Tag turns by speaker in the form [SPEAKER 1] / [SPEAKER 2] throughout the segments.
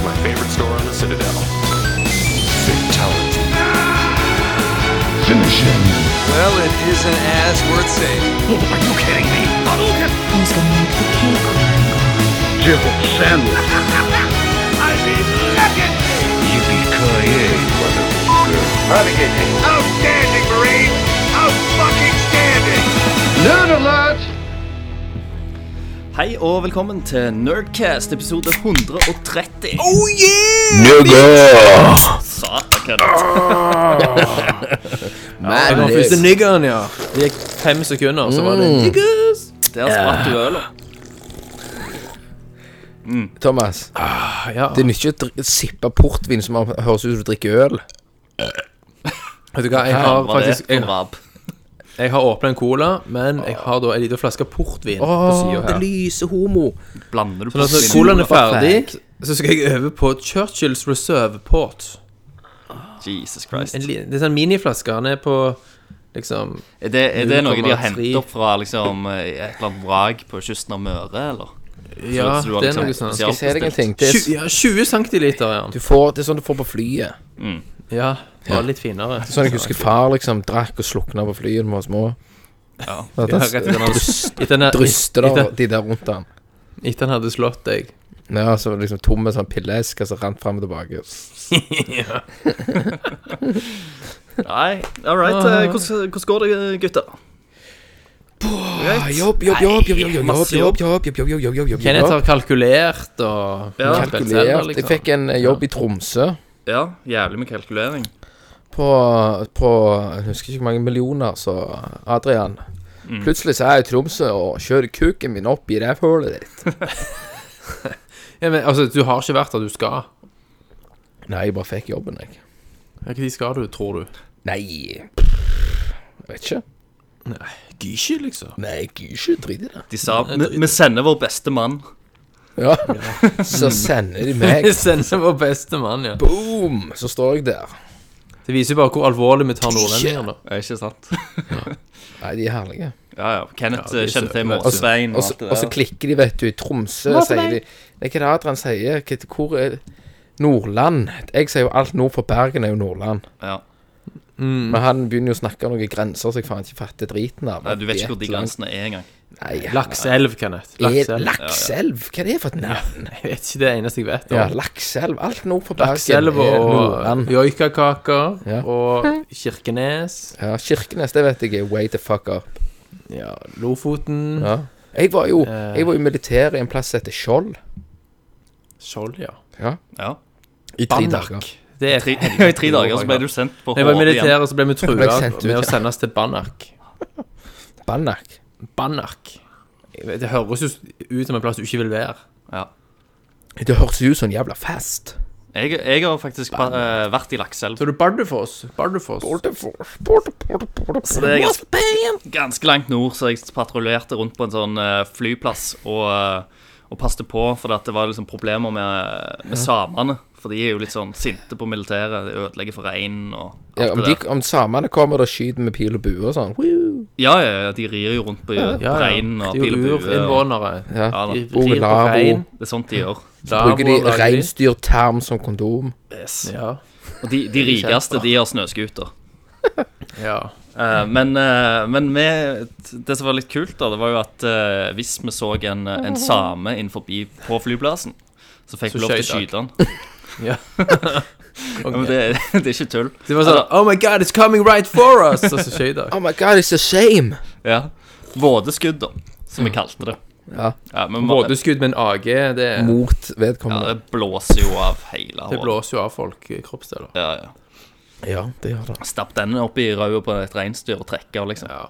[SPEAKER 1] store on the Citadel. Fatality.
[SPEAKER 2] Finish him.
[SPEAKER 3] Well, it isn't as worth saving.
[SPEAKER 4] Oh,
[SPEAKER 5] Who's gonna make the cake?
[SPEAKER 2] Jill Sandwich. Yippee-ki-yay, motherfucker.
[SPEAKER 4] Outstanding, Marine! Out fucking standing!
[SPEAKER 2] Nerd alert!
[SPEAKER 6] Hei og velkommen til Nerdcast episode 130.
[SPEAKER 7] Oh,
[SPEAKER 6] Satan, hva er det?
[SPEAKER 7] Ah!
[SPEAKER 8] Jeg kom først til niggeren, ja. Det gikk fem sekunder, så var
[SPEAKER 6] Mm.
[SPEAKER 8] det niggers.
[SPEAKER 6] Der sprakk altså du øla.
[SPEAKER 8] Thomas,
[SPEAKER 7] Ah, ja.
[SPEAKER 8] det nytter ikke å dri- sippe portvin som man høres ut som du drikker øl.
[SPEAKER 7] Vet du hva, jeg har
[SPEAKER 6] Var det
[SPEAKER 7] faktisk Jeg,
[SPEAKER 6] for rap?
[SPEAKER 7] jeg har åpnet en cola, men jeg har da en liten flaske portvin på siden her.
[SPEAKER 8] lyse homo.
[SPEAKER 6] Blander du
[SPEAKER 7] Så når
[SPEAKER 6] portvin?
[SPEAKER 7] colaen er
[SPEAKER 8] Fuck.
[SPEAKER 7] ferdig, så skal jeg øve på Churchills Reserve Port.
[SPEAKER 6] Jesus Christ.
[SPEAKER 7] En, li- det er sånn miniflaske. Han er på liksom
[SPEAKER 6] Er det, er det noe de har
[SPEAKER 7] 0,3?
[SPEAKER 6] hentet opp fra liksom, et eller annet vrak på kysten av Møre, eller?
[SPEAKER 7] Ja,
[SPEAKER 6] Så du har
[SPEAKER 7] det er
[SPEAKER 6] liksom
[SPEAKER 7] noe sånt.
[SPEAKER 6] spesialbestilt.
[SPEAKER 8] Se deg en ting. Det er,
[SPEAKER 7] Tju- ja, 20 centiliter, ja.
[SPEAKER 8] du får, det er sånn du får på flyet.
[SPEAKER 7] Ja, bare litt finere.
[SPEAKER 8] Sånn jeg husker far liksom drakk og slukna på flyet da vi var små.
[SPEAKER 6] Ja.
[SPEAKER 8] At
[SPEAKER 7] Ja,
[SPEAKER 8] han
[SPEAKER 7] rett etter han etter han-
[SPEAKER 8] dryster
[SPEAKER 7] etter-
[SPEAKER 8] der, de der rundt han.
[SPEAKER 7] Etter han hadde slått deg.
[SPEAKER 8] Ja, så liksom tomme sånn pilleesker som rant fram og tilbake.
[SPEAKER 6] Nei, all right.
[SPEAKER 8] Ah.
[SPEAKER 6] eh, Hvordan, hvordan går det, gutter?
[SPEAKER 8] Jobb, jobb, jobb, jobb, jobb, jobb,
[SPEAKER 6] masse
[SPEAKER 8] jobb, jobb, jobb, jobb, jobb, jobb, jobb, jobb,
[SPEAKER 7] Kenneth
[SPEAKER 8] jobb.
[SPEAKER 7] har kalkulert og
[SPEAKER 6] Ja.
[SPEAKER 7] Kalkulert,
[SPEAKER 8] Kalkulert. Jeg
[SPEAKER 7] liksom.
[SPEAKER 8] fikk en eh, jobb i Tromsø.
[SPEAKER 6] Ja, jævlig med kalkulering.
[SPEAKER 8] på, på Jeg husker ikke hvor mange millioner, så Adrian Plutselig så er jeg i Tromsø og kjører kuken min opp i rævhullet ditt.
[SPEAKER 7] Ja, men altså, du har ikke vært der du skal.
[SPEAKER 8] Nei, jeg bare fikk jobben, jeg.
[SPEAKER 7] Når skal du, tror du?
[SPEAKER 8] Nei Jeg vet ikke.
[SPEAKER 7] Gysje, liksom.
[SPEAKER 8] Nei, gud, ikke drit i det.
[SPEAKER 6] De sa "Vi- vi sender vår beste mann.
[SPEAKER 8] Ja. Så sender de meg.
[SPEAKER 7] Jeg sender vår beste mann, ja.
[SPEAKER 8] Boom! Så står jeg der.
[SPEAKER 7] Det viser jo bare hvor alvorlig vi tar nordlendinger, da.
[SPEAKER 6] Ja, Ikke sant?
[SPEAKER 8] Nei, de er herlige.
[SPEAKER 6] Ja, ja. Kenneth
[SPEAKER 7] Ja,
[SPEAKER 6] eh,
[SPEAKER 7] de
[SPEAKER 6] kjenner
[SPEAKER 7] ser-
[SPEAKER 6] til
[SPEAKER 8] Og så-
[SPEAKER 6] Morseveien
[SPEAKER 8] og så- og så klikker de, vet du, i Tromsø sier de Nei, hva er det Adrian sier? Hva, hvor er Nordland? Jeg sier jo alt nord for Bergen er jo Nordland.
[SPEAKER 6] Ja. Mm.
[SPEAKER 8] Men han begynner jo å snakke om noen grenser så jeg faen ikke fatter driten av.
[SPEAKER 6] Nei, du vet ikke hvor de
[SPEAKER 8] Et eller annet-
[SPEAKER 6] grensene er engang.
[SPEAKER 8] Nei, han-
[SPEAKER 7] Lakseelv, Kenneth.
[SPEAKER 8] Er-
[SPEAKER 7] Lakseelv.
[SPEAKER 8] Lakselv? Hva er det for et navn?
[SPEAKER 7] Jeg vet ikke det eneste jeg vet
[SPEAKER 8] Ja,
[SPEAKER 7] om.
[SPEAKER 8] Lakselv. Alt nord for Bergen
[SPEAKER 7] Lakseelv
[SPEAKER 8] er
[SPEAKER 7] og
[SPEAKER 8] Nordland.
[SPEAKER 7] joikakaker
[SPEAKER 8] Ja.
[SPEAKER 7] og Kirkenes.
[SPEAKER 8] Ja, Kirkenes, det vet jeg er way the fuck up.
[SPEAKER 7] Ja, Lofoten.
[SPEAKER 8] Ja. Jeg var jo Jeg var jo i militæret i en plass som heter Skjold.
[SPEAKER 7] Skjold, ja.
[SPEAKER 6] Ja.
[SPEAKER 8] I tre dager.
[SPEAKER 7] Det er
[SPEAKER 6] Tre, I tre dager så ble du sendt på
[SPEAKER 7] Jeg var i
[SPEAKER 6] Hove igjen.
[SPEAKER 7] militæret, så ble vi trua
[SPEAKER 8] Ble jeg sendt ut,
[SPEAKER 7] med å
[SPEAKER 8] ja.
[SPEAKER 7] sende oss til Banak.
[SPEAKER 8] Banak.
[SPEAKER 7] Banak. Jeg vet, Det høres jo ut som en plass du ikke vil være.
[SPEAKER 6] Ja.
[SPEAKER 8] Det høres jo ut som en jævla fest.
[SPEAKER 6] Jeg, jeg har faktisk eh, vært i Lakselv.
[SPEAKER 7] Så er det Bardufoss. Bardufoss.
[SPEAKER 6] Så det er ganske, ganske langt nord, så jeg patruljerte rundt på en sånn eh, flyplass og, uh, og passte på, for at det var liksom problemer med, med samene. For de er jo litt sånn sinte på militæret. De ødelegger for reinen og alt
[SPEAKER 8] Ja, om,
[SPEAKER 6] det
[SPEAKER 8] de,
[SPEAKER 6] der.
[SPEAKER 8] om samene kommer og skyter med pil og bue og sånn Woo!
[SPEAKER 6] Ja, ja, ja, de rir jo rundt på, på reinen og
[SPEAKER 7] Det er
[SPEAKER 6] pil og
[SPEAKER 7] jo
[SPEAKER 6] bue. og-
[SPEAKER 7] urinnvånere.
[SPEAKER 8] Ja.
[SPEAKER 6] Ja, da.
[SPEAKER 7] De
[SPEAKER 8] Og
[SPEAKER 7] rir på
[SPEAKER 8] lavo.
[SPEAKER 7] rein.
[SPEAKER 6] Det er sånt de gjør.
[SPEAKER 8] Bruker de
[SPEAKER 7] Lavo lager
[SPEAKER 8] reinsdyrtarm som kondom?
[SPEAKER 6] Yes.
[SPEAKER 7] Ja.
[SPEAKER 6] Og de, de rikeste, de har snøscooter.
[SPEAKER 7] ja.
[SPEAKER 6] Eh, men eh, men med, det som var litt kult, da, det var jo at eh, hvis vi så en, eh, en same innenfor på flyplassen, så fikk
[SPEAKER 7] Så
[SPEAKER 6] vi lov til å
[SPEAKER 7] skjøt
[SPEAKER 6] skyte den.
[SPEAKER 7] Ja.
[SPEAKER 6] Ja, men det, det er ikke tull.
[SPEAKER 7] Det var sånn Oh my god, it's coming right for us! Og så skøyt jeg.
[SPEAKER 8] Oh my god, it's a shame!
[SPEAKER 6] Ja. Vådeskudd, da, som vi kalte det.
[SPEAKER 8] Ja.
[SPEAKER 6] men man-
[SPEAKER 7] Vådeskudd med en AG, det,
[SPEAKER 8] Mot
[SPEAKER 6] ja,
[SPEAKER 8] vedkommende.
[SPEAKER 6] det blåser jo av hele
[SPEAKER 7] det
[SPEAKER 6] håret.
[SPEAKER 7] blåser jo av folk i kroppsdeler.
[SPEAKER 6] Ja, ja.
[SPEAKER 8] Ja, det gjør det.
[SPEAKER 6] Stapp den opp i røya på et reinsdyr og trekke, liksom.
[SPEAKER 7] Ja.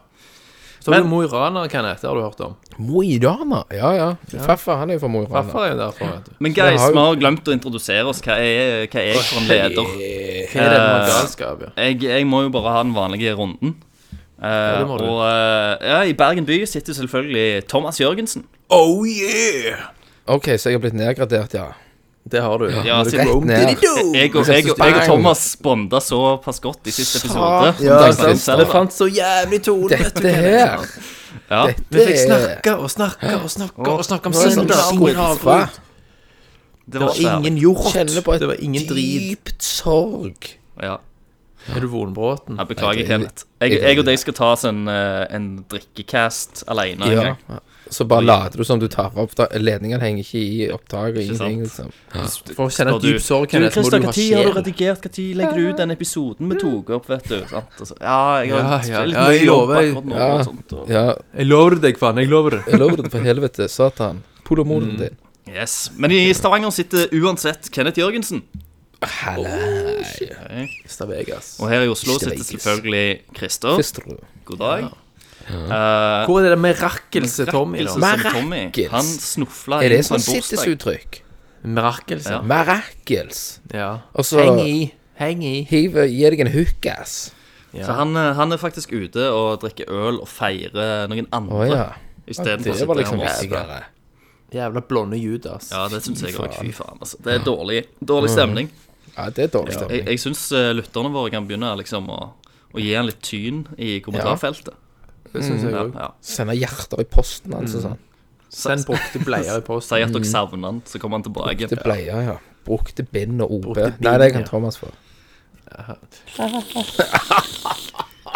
[SPEAKER 7] Så har du Mo i Rana, Kenneth. Det har du hørt om.
[SPEAKER 8] Mo i Rana? Ja, ja. Farfar han er jo fra Mo i Rana.
[SPEAKER 7] Farfar er jo derfra, vet du.
[SPEAKER 6] Men guys,
[SPEAKER 8] har jo-
[SPEAKER 6] vi har glemt å introdusere oss. Hva er, hva er jeg for en leder?
[SPEAKER 7] Hva er det med galskap, ja?
[SPEAKER 6] Jeg, jeg må jo bare ha den vanlige runden. Eh,
[SPEAKER 7] det må du.
[SPEAKER 6] og eh, ja, i Bergen by sitter selvfølgelig Thomas Jørgensen.
[SPEAKER 7] Oh yeah!
[SPEAKER 8] OK, så jeg har blitt nedgradert, ja.
[SPEAKER 7] Det har du.
[SPEAKER 6] Ja,
[SPEAKER 8] Rett
[SPEAKER 6] siden
[SPEAKER 7] Oh.
[SPEAKER 8] ned.
[SPEAKER 6] jeg, og- jeg, og- jeg og Thomas bonda såpass godt i siste episode.
[SPEAKER 8] Ja,
[SPEAKER 6] Dagmar
[SPEAKER 8] sant.
[SPEAKER 6] Rimstad.
[SPEAKER 7] Det fant så jævlig tone.
[SPEAKER 8] Dette her
[SPEAKER 6] Ja.
[SPEAKER 8] Dette
[SPEAKER 7] Vi fikk
[SPEAKER 8] er
[SPEAKER 7] snakke og snakke og snakke og snakke om
[SPEAKER 8] Nå er det sånn
[SPEAKER 7] Sindre.
[SPEAKER 8] skuffa.
[SPEAKER 6] Det
[SPEAKER 7] Det
[SPEAKER 6] var
[SPEAKER 7] var ingen hjort.
[SPEAKER 8] Kjenner på et
[SPEAKER 7] Det var ingen drit.
[SPEAKER 8] dypt sorg.
[SPEAKER 6] Ja.
[SPEAKER 7] Er du Vonbråten?
[SPEAKER 6] Jeg beklager,
[SPEAKER 8] Nei, det er-
[SPEAKER 6] Kenneth. Jeg, jeg og deg skal ta oss en, eh, en drikkecast alene. en
[SPEAKER 8] Ja.
[SPEAKER 6] gang.
[SPEAKER 8] Så bare later du som du tar opp da- Ledningen henger ikke i opptaket.
[SPEAKER 6] Ikke
[SPEAKER 8] Ingenting, liksom.
[SPEAKER 7] For å kjenne
[SPEAKER 6] Skal du-
[SPEAKER 7] dyp sorg,
[SPEAKER 6] Du,
[SPEAKER 7] Kenneth, må
[SPEAKER 6] Christer,
[SPEAKER 7] du ha
[SPEAKER 6] når har du
[SPEAKER 7] sjel.
[SPEAKER 6] redigert? Når legger du ut den episoden vi tok opp? vet du? Sant? Altså, ja, jeg har
[SPEAKER 7] Ja,
[SPEAKER 6] det er
[SPEAKER 7] ja,
[SPEAKER 6] litt
[SPEAKER 7] ja,
[SPEAKER 6] mye
[SPEAKER 7] jeg
[SPEAKER 6] jobb
[SPEAKER 7] lover.
[SPEAKER 6] akkurat nå,
[SPEAKER 8] Ja.
[SPEAKER 6] og sånt, og,
[SPEAKER 8] Ja,
[SPEAKER 7] Jeg lover deg, faen. Jeg lover det.
[SPEAKER 8] jeg lover det for helvete. Satan. Polomoden din.
[SPEAKER 6] yes. Men i Stavanger sitter uansett Kenneth Jørgensen.
[SPEAKER 7] Christer Vegas.
[SPEAKER 6] Og her i Oslo
[SPEAKER 8] Ikke
[SPEAKER 6] sitter
[SPEAKER 8] veikes.
[SPEAKER 6] selvfølgelig Christer.
[SPEAKER 8] Fister du?
[SPEAKER 6] God dag. Eh,
[SPEAKER 7] Hvor er det der mirakelse Tommy, da?
[SPEAKER 6] Rakkelse som Tommy.
[SPEAKER 8] Merkels.
[SPEAKER 6] Han snufla
[SPEAKER 8] Er
[SPEAKER 6] inn
[SPEAKER 8] det
[SPEAKER 6] på
[SPEAKER 8] sånn
[SPEAKER 6] en bursdag.
[SPEAKER 8] sittesuttrykk?
[SPEAKER 7] Mirakelse?
[SPEAKER 6] Ja.
[SPEAKER 8] Merakels.
[SPEAKER 7] Ja.
[SPEAKER 8] Og så
[SPEAKER 7] Heng i.
[SPEAKER 8] hiver Gir deg en hookass.
[SPEAKER 6] Så han, eh, han er faktisk ute og drikker øl og feirer noen
[SPEAKER 8] Å
[SPEAKER 6] andre.
[SPEAKER 8] ja.
[SPEAKER 6] Istedenfor å
[SPEAKER 8] Det
[SPEAKER 6] sitte
[SPEAKER 8] var liksom
[SPEAKER 6] her og mase.
[SPEAKER 8] viktigere.
[SPEAKER 7] Jævla blonde Judas.
[SPEAKER 6] Ja, det syns jeg òg. Fy faen. altså Det er dårlig, dårlig stemning.
[SPEAKER 8] Ja, det er dårlig
[SPEAKER 6] Jeg,
[SPEAKER 8] Mm. stemning.
[SPEAKER 6] jeg syns lytterne våre kan begynne liksom å, å gi han litt tyn i kommentarfeltet.
[SPEAKER 7] Det syns jeg
[SPEAKER 6] Ja,
[SPEAKER 7] òg.
[SPEAKER 6] ja.
[SPEAKER 8] Sender hjerter i posten hans og sånn.
[SPEAKER 7] Send brukte bleier i posten.
[SPEAKER 6] Si at dere savner han, så kommer han tilbake.
[SPEAKER 8] Brukte bleier, ja. Brukte bind og OB.
[SPEAKER 7] Brukte bind,
[SPEAKER 8] Nei, det kan
[SPEAKER 7] ja.
[SPEAKER 8] Thomas få.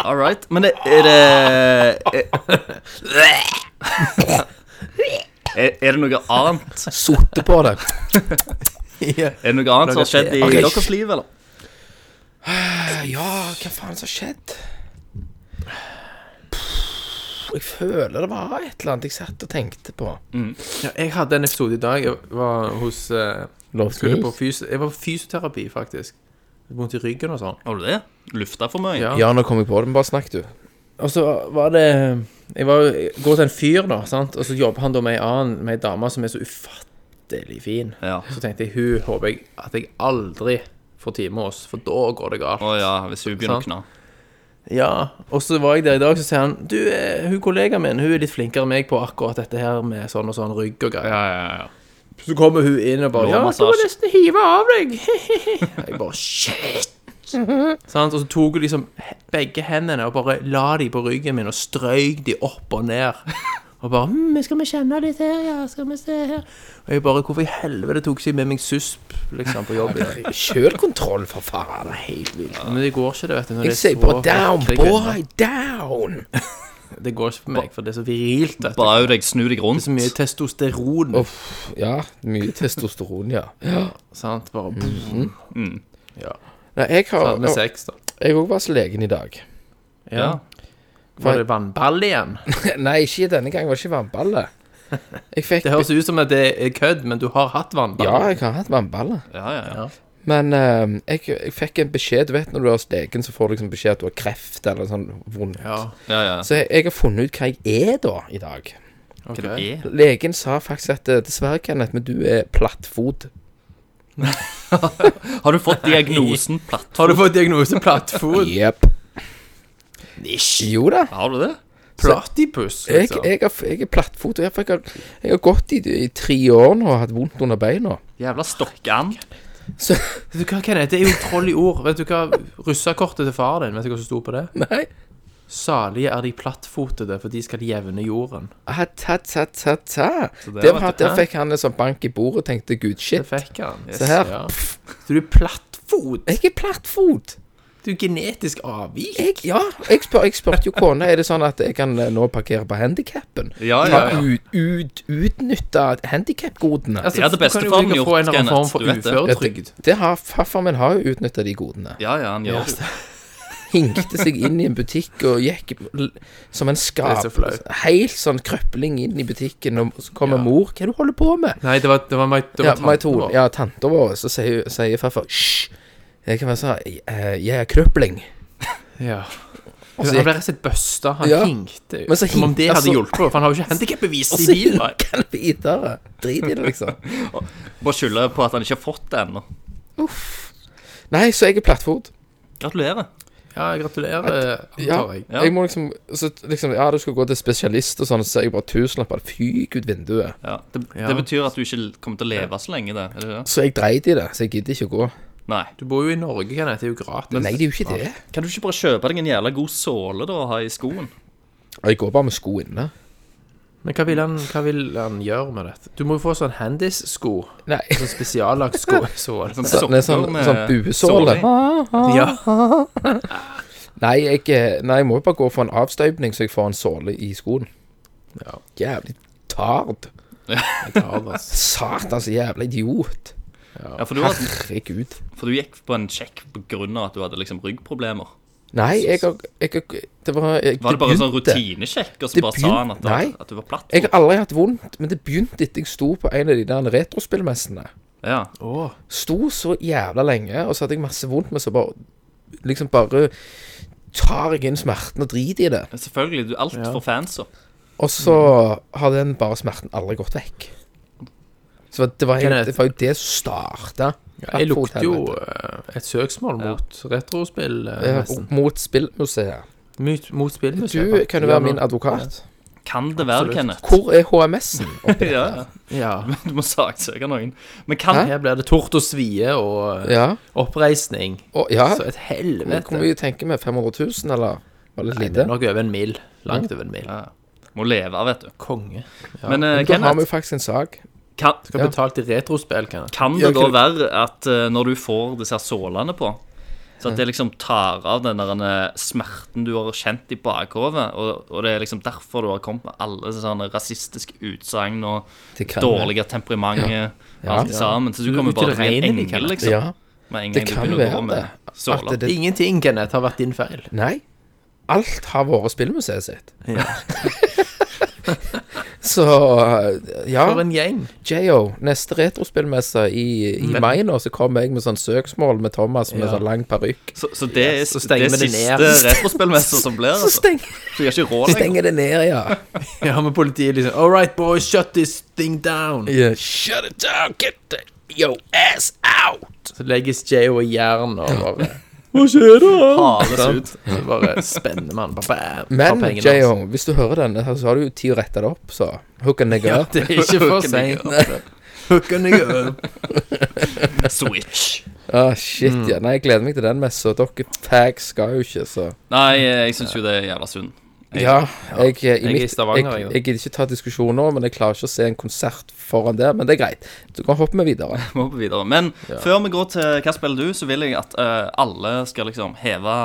[SPEAKER 6] All right. Men er- er det Er, er det noe annet
[SPEAKER 8] Sotte på det.
[SPEAKER 7] Ja.
[SPEAKER 6] Er det noe annet som har skjedd i
[SPEAKER 8] Ok.
[SPEAKER 6] deres liv, eller?
[SPEAKER 8] Ja, hva faen som har skjedd? Pff, Jeg føler det var et eller annet jeg satt og tenkte på.
[SPEAKER 7] Ja, jeg hadde en episode i dag. Jeg var hos eh, skulle på
[SPEAKER 8] Lovsnill?
[SPEAKER 7] fys Jeg var på fysioterapi, faktisk. Vondt i ryggen og sånn.
[SPEAKER 6] Har du det? Lufta for mye?
[SPEAKER 7] Ja.
[SPEAKER 8] Ja, nå kom jeg på det, men bare snakk, du.
[SPEAKER 7] Og så var det Jeg var, jeg går til en fyr, da, sant? og så jobber han da med ei annen, med ei dame som er så ufattelig fin.
[SPEAKER 6] Ja.
[SPEAKER 7] Så tenkte jeg hun håper jeg at jeg aldri får time med oss, for da går det galt.
[SPEAKER 6] Å ja, hvis hun begynner å kna.
[SPEAKER 7] Ja, Og så var jeg der i dag, så sier han Du, eh, hun kollegaen min hun er litt flinkere enn meg på akkurat dette her med sånn og sånn rygg og greier.
[SPEAKER 6] Ja, ja, ja.
[SPEAKER 7] Så kommer hun inn og bare Ja, du må
[SPEAKER 6] Lårmassasje.
[SPEAKER 7] nesten hive av deg. Jeg bare Shit. Sant? Og så tok hun liksom he- begge hendene og bare la de på ryggen min og strøyk de opp og ned. Og bare hm, 'Skal vi kjenne litt her, ja? Skal vi se her?' Og jeg bare 'Hvorfor i helvete tok ikke jeg med meg susp liksom, på jobb?' i dag?»
[SPEAKER 8] Kjølkontroll, for faen.
[SPEAKER 7] Helt vilt. Men det går ikke, det, vet du. Når
[SPEAKER 8] Jeg
[SPEAKER 7] det er
[SPEAKER 8] sier bare
[SPEAKER 7] så
[SPEAKER 8] down,
[SPEAKER 7] vakre kvinner.
[SPEAKER 8] boy, down.
[SPEAKER 7] Det går ikke for meg, for det er så virilt. vet du.
[SPEAKER 6] Bare au deg, snu deg
[SPEAKER 7] Det er så mye
[SPEAKER 6] rundt.
[SPEAKER 7] testosteron.
[SPEAKER 8] Uff, ja. Mye testosteron, ja.
[SPEAKER 7] Sant? Bare
[SPEAKER 8] Mm. Nei, jeg har
[SPEAKER 7] Hadde med sex, da.
[SPEAKER 8] Jeg òg var hos legen i dag.
[SPEAKER 7] Ja. Var det vannball igjen?
[SPEAKER 8] Nei, ikke denne gangen. Var det ikke vannballe. Jeg fikk
[SPEAKER 7] Det høres ut som at det er kødd, men du har hatt vannball.
[SPEAKER 8] Ja, jeg har hatt vannballe.
[SPEAKER 6] Ja, ja, ja.
[SPEAKER 8] Men eh, jeg, jeg fikk en beskjed. Du vet når du er hos legen, så får du liksom beskjed at du har kreft eller sånn vondt.
[SPEAKER 7] Ja,
[SPEAKER 6] ja, ja.
[SPEAKER 8] Så jeg, jeg har funnet ut hva jeg er da, i dag.
[SPEAKER 7] ok.
[SPEAKER 6] Hva det er?
[SPEAKER 8] Legen sa faktisk at eh, dessverre, Kenneth, men du er plattfot.
[SPEAKER 6] Har du fått diagnosen platt?
[SPEAKER 7] Har du fått diagnose plattfot?
[SPEAKER 8] Jepp. Jo da.
[SPEAKER 6] Har du det?
[SPEAKER 7] Platypus,
[SPEAKER 8] Jeg,
[SPEAKER 7] liksom.
[SPEAKER 8] jeg, har- jeg er plattfot. og Jeg, for jeg, har, jeg har gått i, i tre år nå og hatt vondt under beina.
[SPEAKER 6] Jævla stokkand.
[SPEAKER 8] Så
[SPEAKER 7] Vet du hva, Kenneth, det er jo troll i ord. Vet du hva russekortet til far din, vet du hva som sto på det?
[SPEAKER 8] Nei.
[SPEAKER 7] Salige er de plattfotede, for de skal jevne jorden.
[SPEAKER 8] Ah, Ta, ta, ta, ta.
[SPEAKER 6] det
[SPEAKER 8] Der,
[SPEAKER 6] var
[SPEAKER 8] var,
[SPEAKER 6] et-
[SPEAKER 8] der
[SPEAKER 7] hæ?
[SPEAKER 8] fikk han en sånn bank i bordet og tenkte gud,
[SPEAKER 7] Det
[SPEAKER 8] shit.
[SPEAKER 7] fikk han.
[SPEAKER 8] Se her.
[SPEAKER 7] Ja. Så du er plattfot.
[SPEAKER 8] Jeg er plattfot.
[SPEAKER 7] Du er genetisk avvik.
[SPEAKER 8] Jeg, ja, jeg, spør, jeg spurte jo kona Er det sånn at jeg kan eh, nå parkere på handikappen.
[SPEAKER 6] Ja, ja, ja.
[SPEAKER 8] Ut, ut, utnytte handikapgodene.
[SPEAKER 7] Altså,
[SPEAKER 6] Det hadde
[SPEAKER 7] du kan jo
[SPEAKER 6] bestefaren
[SPEAKER 7] ikke få
[SPEAKER 6] gjort,
[SPEAKER 7] en eller annen
[SPEAKER 6] Kenneth,
[SPEAKER 7] form for
[SPEAKER 6] du vet det.
[SPEAKER 7] uføretrygd.
[SPEAKER 8] Det har farfar min har jo utnytta de godene.
[SPEAKER 6] Ja, ja, han gjør det.
[SPEAKER 8] Hinkte seg inn i en butikk og gikk l- som en skap.
[SPEAKER 7] Det er så flaut.
[SPEAKER 8] Helt sånn krøpling inn i butikken, og så kommer mor. Hva er det du holder på med?
[SPEAKER 7] Nei, det var, det var, meg- det var
[SPEAKER 8] Ja,
[SPEAKER 7] tanten
[SPEAKER 8] Maitolen.
[SPEAKER 7] vår.
[SPEAKER 8] Ja, tanta vår. Så sier, sier farfar Hysj. Jeg kan være sånn eh, Jeg er krøpling.
[SPEAKER 7] Ja.
[SPEAKER 8] så
[SPEAKER 7] han
[SPEAKER 8] gikk-
[SPEAKER 7] ble rett og slett busta. Han
[SPEAKER 8] Ja.
[SPEAKER 7] hinkte.
[SPEAKER 8] Men så
[SPEAKER 7] Som om
[SPEAKER 8] hink-
[SPEAKER 7] det hadde
[SPEAKER 8] altså-
[SPEAKER 7] hjulpet, for han har jo ikke handikapbevis
[SPEAKER 8] Og
[SPEAKER 7] i
[SPEAKER 8] så
[SPEAKER 7] bilen.
[SPEAKER 8] gikk han videre. Drit i det, liksom.
[SPEAKER 6] Bare skylder på at han ikke har fått det ennå.
[SPEAKER 8] Nei, så jeg er plattfot.
[SPEAKER 6] Gratulerer.
[SPEAKER 7] Ja, gratulerer, eh,
[SPEAKER 8] Ja,
[SPEAKER 7] antar jeg.
[SPEAKER 6] Ja.
[SPEAKER 8] jeg må liksom, så liksom Ja, du skal gå til spesialist og sånn, så ser jeg bare tusenlapper fyke ut vinduet.
[SPEAKER 6] Ja. Det,
[SPEAKER 7] Ja.
[SPEAKER 6] det betyr at du ikke kommer til å leve så lenge, det. Er det det?
[SPEAKER 8] Så jeg dreit i det, så jeg gidder ikke å gå.
[SPEAKER 6] Nei.
[SPEAKER 7] Du bor jo i Norge, Kenneth. Det er jo gratis.
[SPEAKER 8] Nei, det er jo ikke det.
[SPEAKER 6] Kan du ikke bare kjøpe deg en jævla god såle da å ha i skoen?
[SPEAKER 8] Og jeg går bare med sko inne.
[SPEAKER 7] Men hva vil han, hva vil han gjøre med dette? Du må jo få sånn handis-sko.
[SPEAKER 8] Nei.
[SPEAKER 7] Sånn spesiallagt sko. sånn.
[SPEAKER 6] Sånn
[SPEAKER 8] Sånn, sånn,
[SPEAKER 6] med
[SPEAKER 8] sånn
[SPEAKER 6] såle
[SPEAKER 8] buesåle.
[SPEAKER 6] i.
[SPEAKER 7] Ja.
[SPEAKER 8] Nei, jeg, eh, nei, jeg må jo bare gå for en avstøypning, så jeg får en såle i skoen.
[SPEAKER 7] Ja.
[SPEAKER 8] Jævlig tard. Satans jævla idiot.
[SPEAKER 6] Ja, for, du var,
[SPEAKER 8] Herregud.
[SPEAKER 6] for du gikk på en sjekk pga. at du hadde liksom ryggproblemer.
[SPEAKER 8] Nei, jeg har jeg, har- Det var jeg,
[SPEAKER 6] Var det bare en sånn
[SPEAKER 8] begynte-
[SPEAKER 6] rutinesjekk, og så
[SPEAKER 8] Det
[SPEAKER 6] bare sa han at,
[SPEAKER 8] begynte- nei.
[SPEAKER 6] at, at du var platt?
[SPEAKER 8] Jeg har aldri hatt vondt, men det begynte etter jeg sto på en av de der retrospillmessene.
[SPEAKER 6] Ja.
[SPEAKER 8] Sto så jævla lenge, og så hadde jeg masse vondt, men så bare Liksom bare tar jeg inn smerten og driter i det.
[SPEAKER 6] Selvfølgelig. Du er altfor fancy.
[SPEAKER 8] Og så
[SPEAKER 6] Mm.
[SPEAKER 8] har den bare smerten aldri gått vekk. Så det var, helt,
[SPEAKER 7] Kenneth.
[SPEAKER 8] det var jo det som starta.
[SPEAKER 7] Jeg lukter jo eh, et søksmål
[SPEAKER 6] Ja.
[SPEAKER 7] mot retrospill, eh, nesten.
[SPEAKER 8] Mot spillmuseet.
[SPEAKER 7] Mot, mot spillmuseet.
[SPEAKER 8] Du kan jo være min advokat.
[SPEAKER 6] Kan det være,
[SPEAKER 7] Absolutt.
[SPEAKER 6] Kenneth?
[SPEAKER 8] Hvor er HMS-en? oppi
[SPEAKER 6] Ja,
[SPEAKER 8] dette?
[SPEAKER 6] ja.
[SPEAKER 7] Ja.
[SPEAKER 6] Du må saksøke noen. Men kan
[SPEAKER 8] Hæ?
[SPEAKER 7] Her blir det tort og svie og eh,
[SPEAKER 8] Ja.
[SPEAKER 7] oppreisning.
[SPEAKER 8] Og, ja.
[SPEAKER 7] Så et
[SPEAKER 8] Hvor
[SPEAKER 7] helvete.
[SPEAKER 8] mye tenker vi? 500 000, eller? Var det litt
[SPEAKER 7] Nei, det er
[SPEAKER 8] lite?
[SPEAKER 7] nok over en mil. Langt over en mil.
[SPEAKER 6] Må leve, vet du.
[SPEAKER 7] Konge. Ja.
[SPEAKER 6] Men eh,
[SPEAKER 8] Da har vi
[SPEAKER 6] Kenneth,
[SPEAKER 8] jo faktisk en sak.
[SPEAKER 6] kan,
[SPEAKER 7] Skal
[SPEAKER 8] Ja.
[SPEAKER 7] betalt i retrospill, kan jeg.
[SPEAKER 6] kan
[SPEAKER 8] Ja,
[SPEAKER 6] det da
[SPEAKER 8] kan-
[SPEAKER 6] være at eh, når du får disse her sålene på så at det liksom tar av den der eh, smerten du har kjent i bakhovet, og, og det er liksom derfor du har kommet med alle sånne rasistiske utsagn og
[SPEAKER 8] Det kan
[SPEAKER 6] dårlige temperament og alt
[SPEAKER 8] Ja.
[SPEAKER 6] sammen. Så du
[SPEAKER 7] Du-
[SPEAKER 6] kommer
[SPEAKER 7] du
[SPEAKER 6] bare til å bli en
[SPEAKER 7] regner de,
[SPEAKER 6] engel,
[SPEAKER 7] Kenneth.
[SPEAKER 6] liksom.
[SPEAKER 8] Ja.
[SPEAKER 6] Med en
[SPEAKER 8] Det
[SPEAKER 6] gang du
[SPEAKER 8] kan
[SPEAKER 6] begynner å
[SPEAKER 8] være
[SPEAKER 6] gå
[SPEAKER 8] det.
[SPEAKER 6] med
[SPEAKER 8] At
[SPEAKER 6] såler.
[SPEAKER 8] det,
[SPEAKER 7] Ingenting, Kenneth, har vært din feil.
[SPEAKER 8] nei. Alt har vært spillmuseet sitt. Så ja.
[SPEAKER 7] For en gjeng.
[SPEAKER 8] JO, neste retrospillmesse i, i mai nå, så kommer jeg med sånn søksmål med Thomas med
[SPEAKER 7] Ja.
[SPEAKER 8] sånn lang parykk.
[SPEAKER 6] Så, så det er
[SPEAKER 7] så
[SPEAKER 6] det
[SPEAKER 7] stenger
[SPEAKER 6] er
[SPEAKER 7] vi det
[SPEAKER 6] siste
[SPEAKER 7] ned.
[SPEAKER 6] retrospillmester som blir,
[SPEAKER 8] Så
[SPEAKER 6] altså.
[SPEAKER 8] steng,
[SPEAKER 6] Så jeg har ikke råd lenger.
[SPEAKER 8] stenger det ned, ja.
[SPEAKER 7] Ja, men politiet liksom All right, boys, shut this thing down.
[SPEAKER 8] Shut it down, get the, your ass out!
[SPEAKER 7] Så legges J.O. i jern og bare
[SPEAKER 6] Hales ut.
[SPEAKER 7] Så bare spenner man. Bare bam, tar
[SPEAKER 8] Men
[SPEAKER 7] pengene altså.
[SPEAKER 8] JO,
[SPEAKER 7] hans.
[SPEAKER 8] hvis du hører denne, her, så har du jo tid å rette det opp, så hook a nigga
[SPEAKER 7] Ja,
[SPEAKER 8] up.
[SPEAKER 7] det er ikke for
[SPEAKER 6] Hooken i
[SPEAKER 7] seint. Hooken jeg up.
[SPEAKER 6] Switch.
[SPEAKER 8] Ah, shit, ja. Nei, jeg gleder meg til den messa. Dere tags skal jo ikke, så
[SPEAKER 6] Nei, jeg syns jo det er jævla synd.
[SPEAKER 8] Ja, jeg, jeg,
[SPEAKER 7] er i
[SPEAKER 8] mitt-
[SPEAKER 7] Stavanger,
[SPEAKER 8] jeg,
[SPEAKER 7] jeg, da.
[SPEAKER 8] jeg gidder ikke ta diskusjon nå, men jeg klarer ikke å se en konsert foran der. Men det er greit. Du kan hoppe med videre.
[SPEAKER 6] Vi hopper videre. Men før vi går til Hva spiller du, så vil jeg at eh, alle skal liksom heve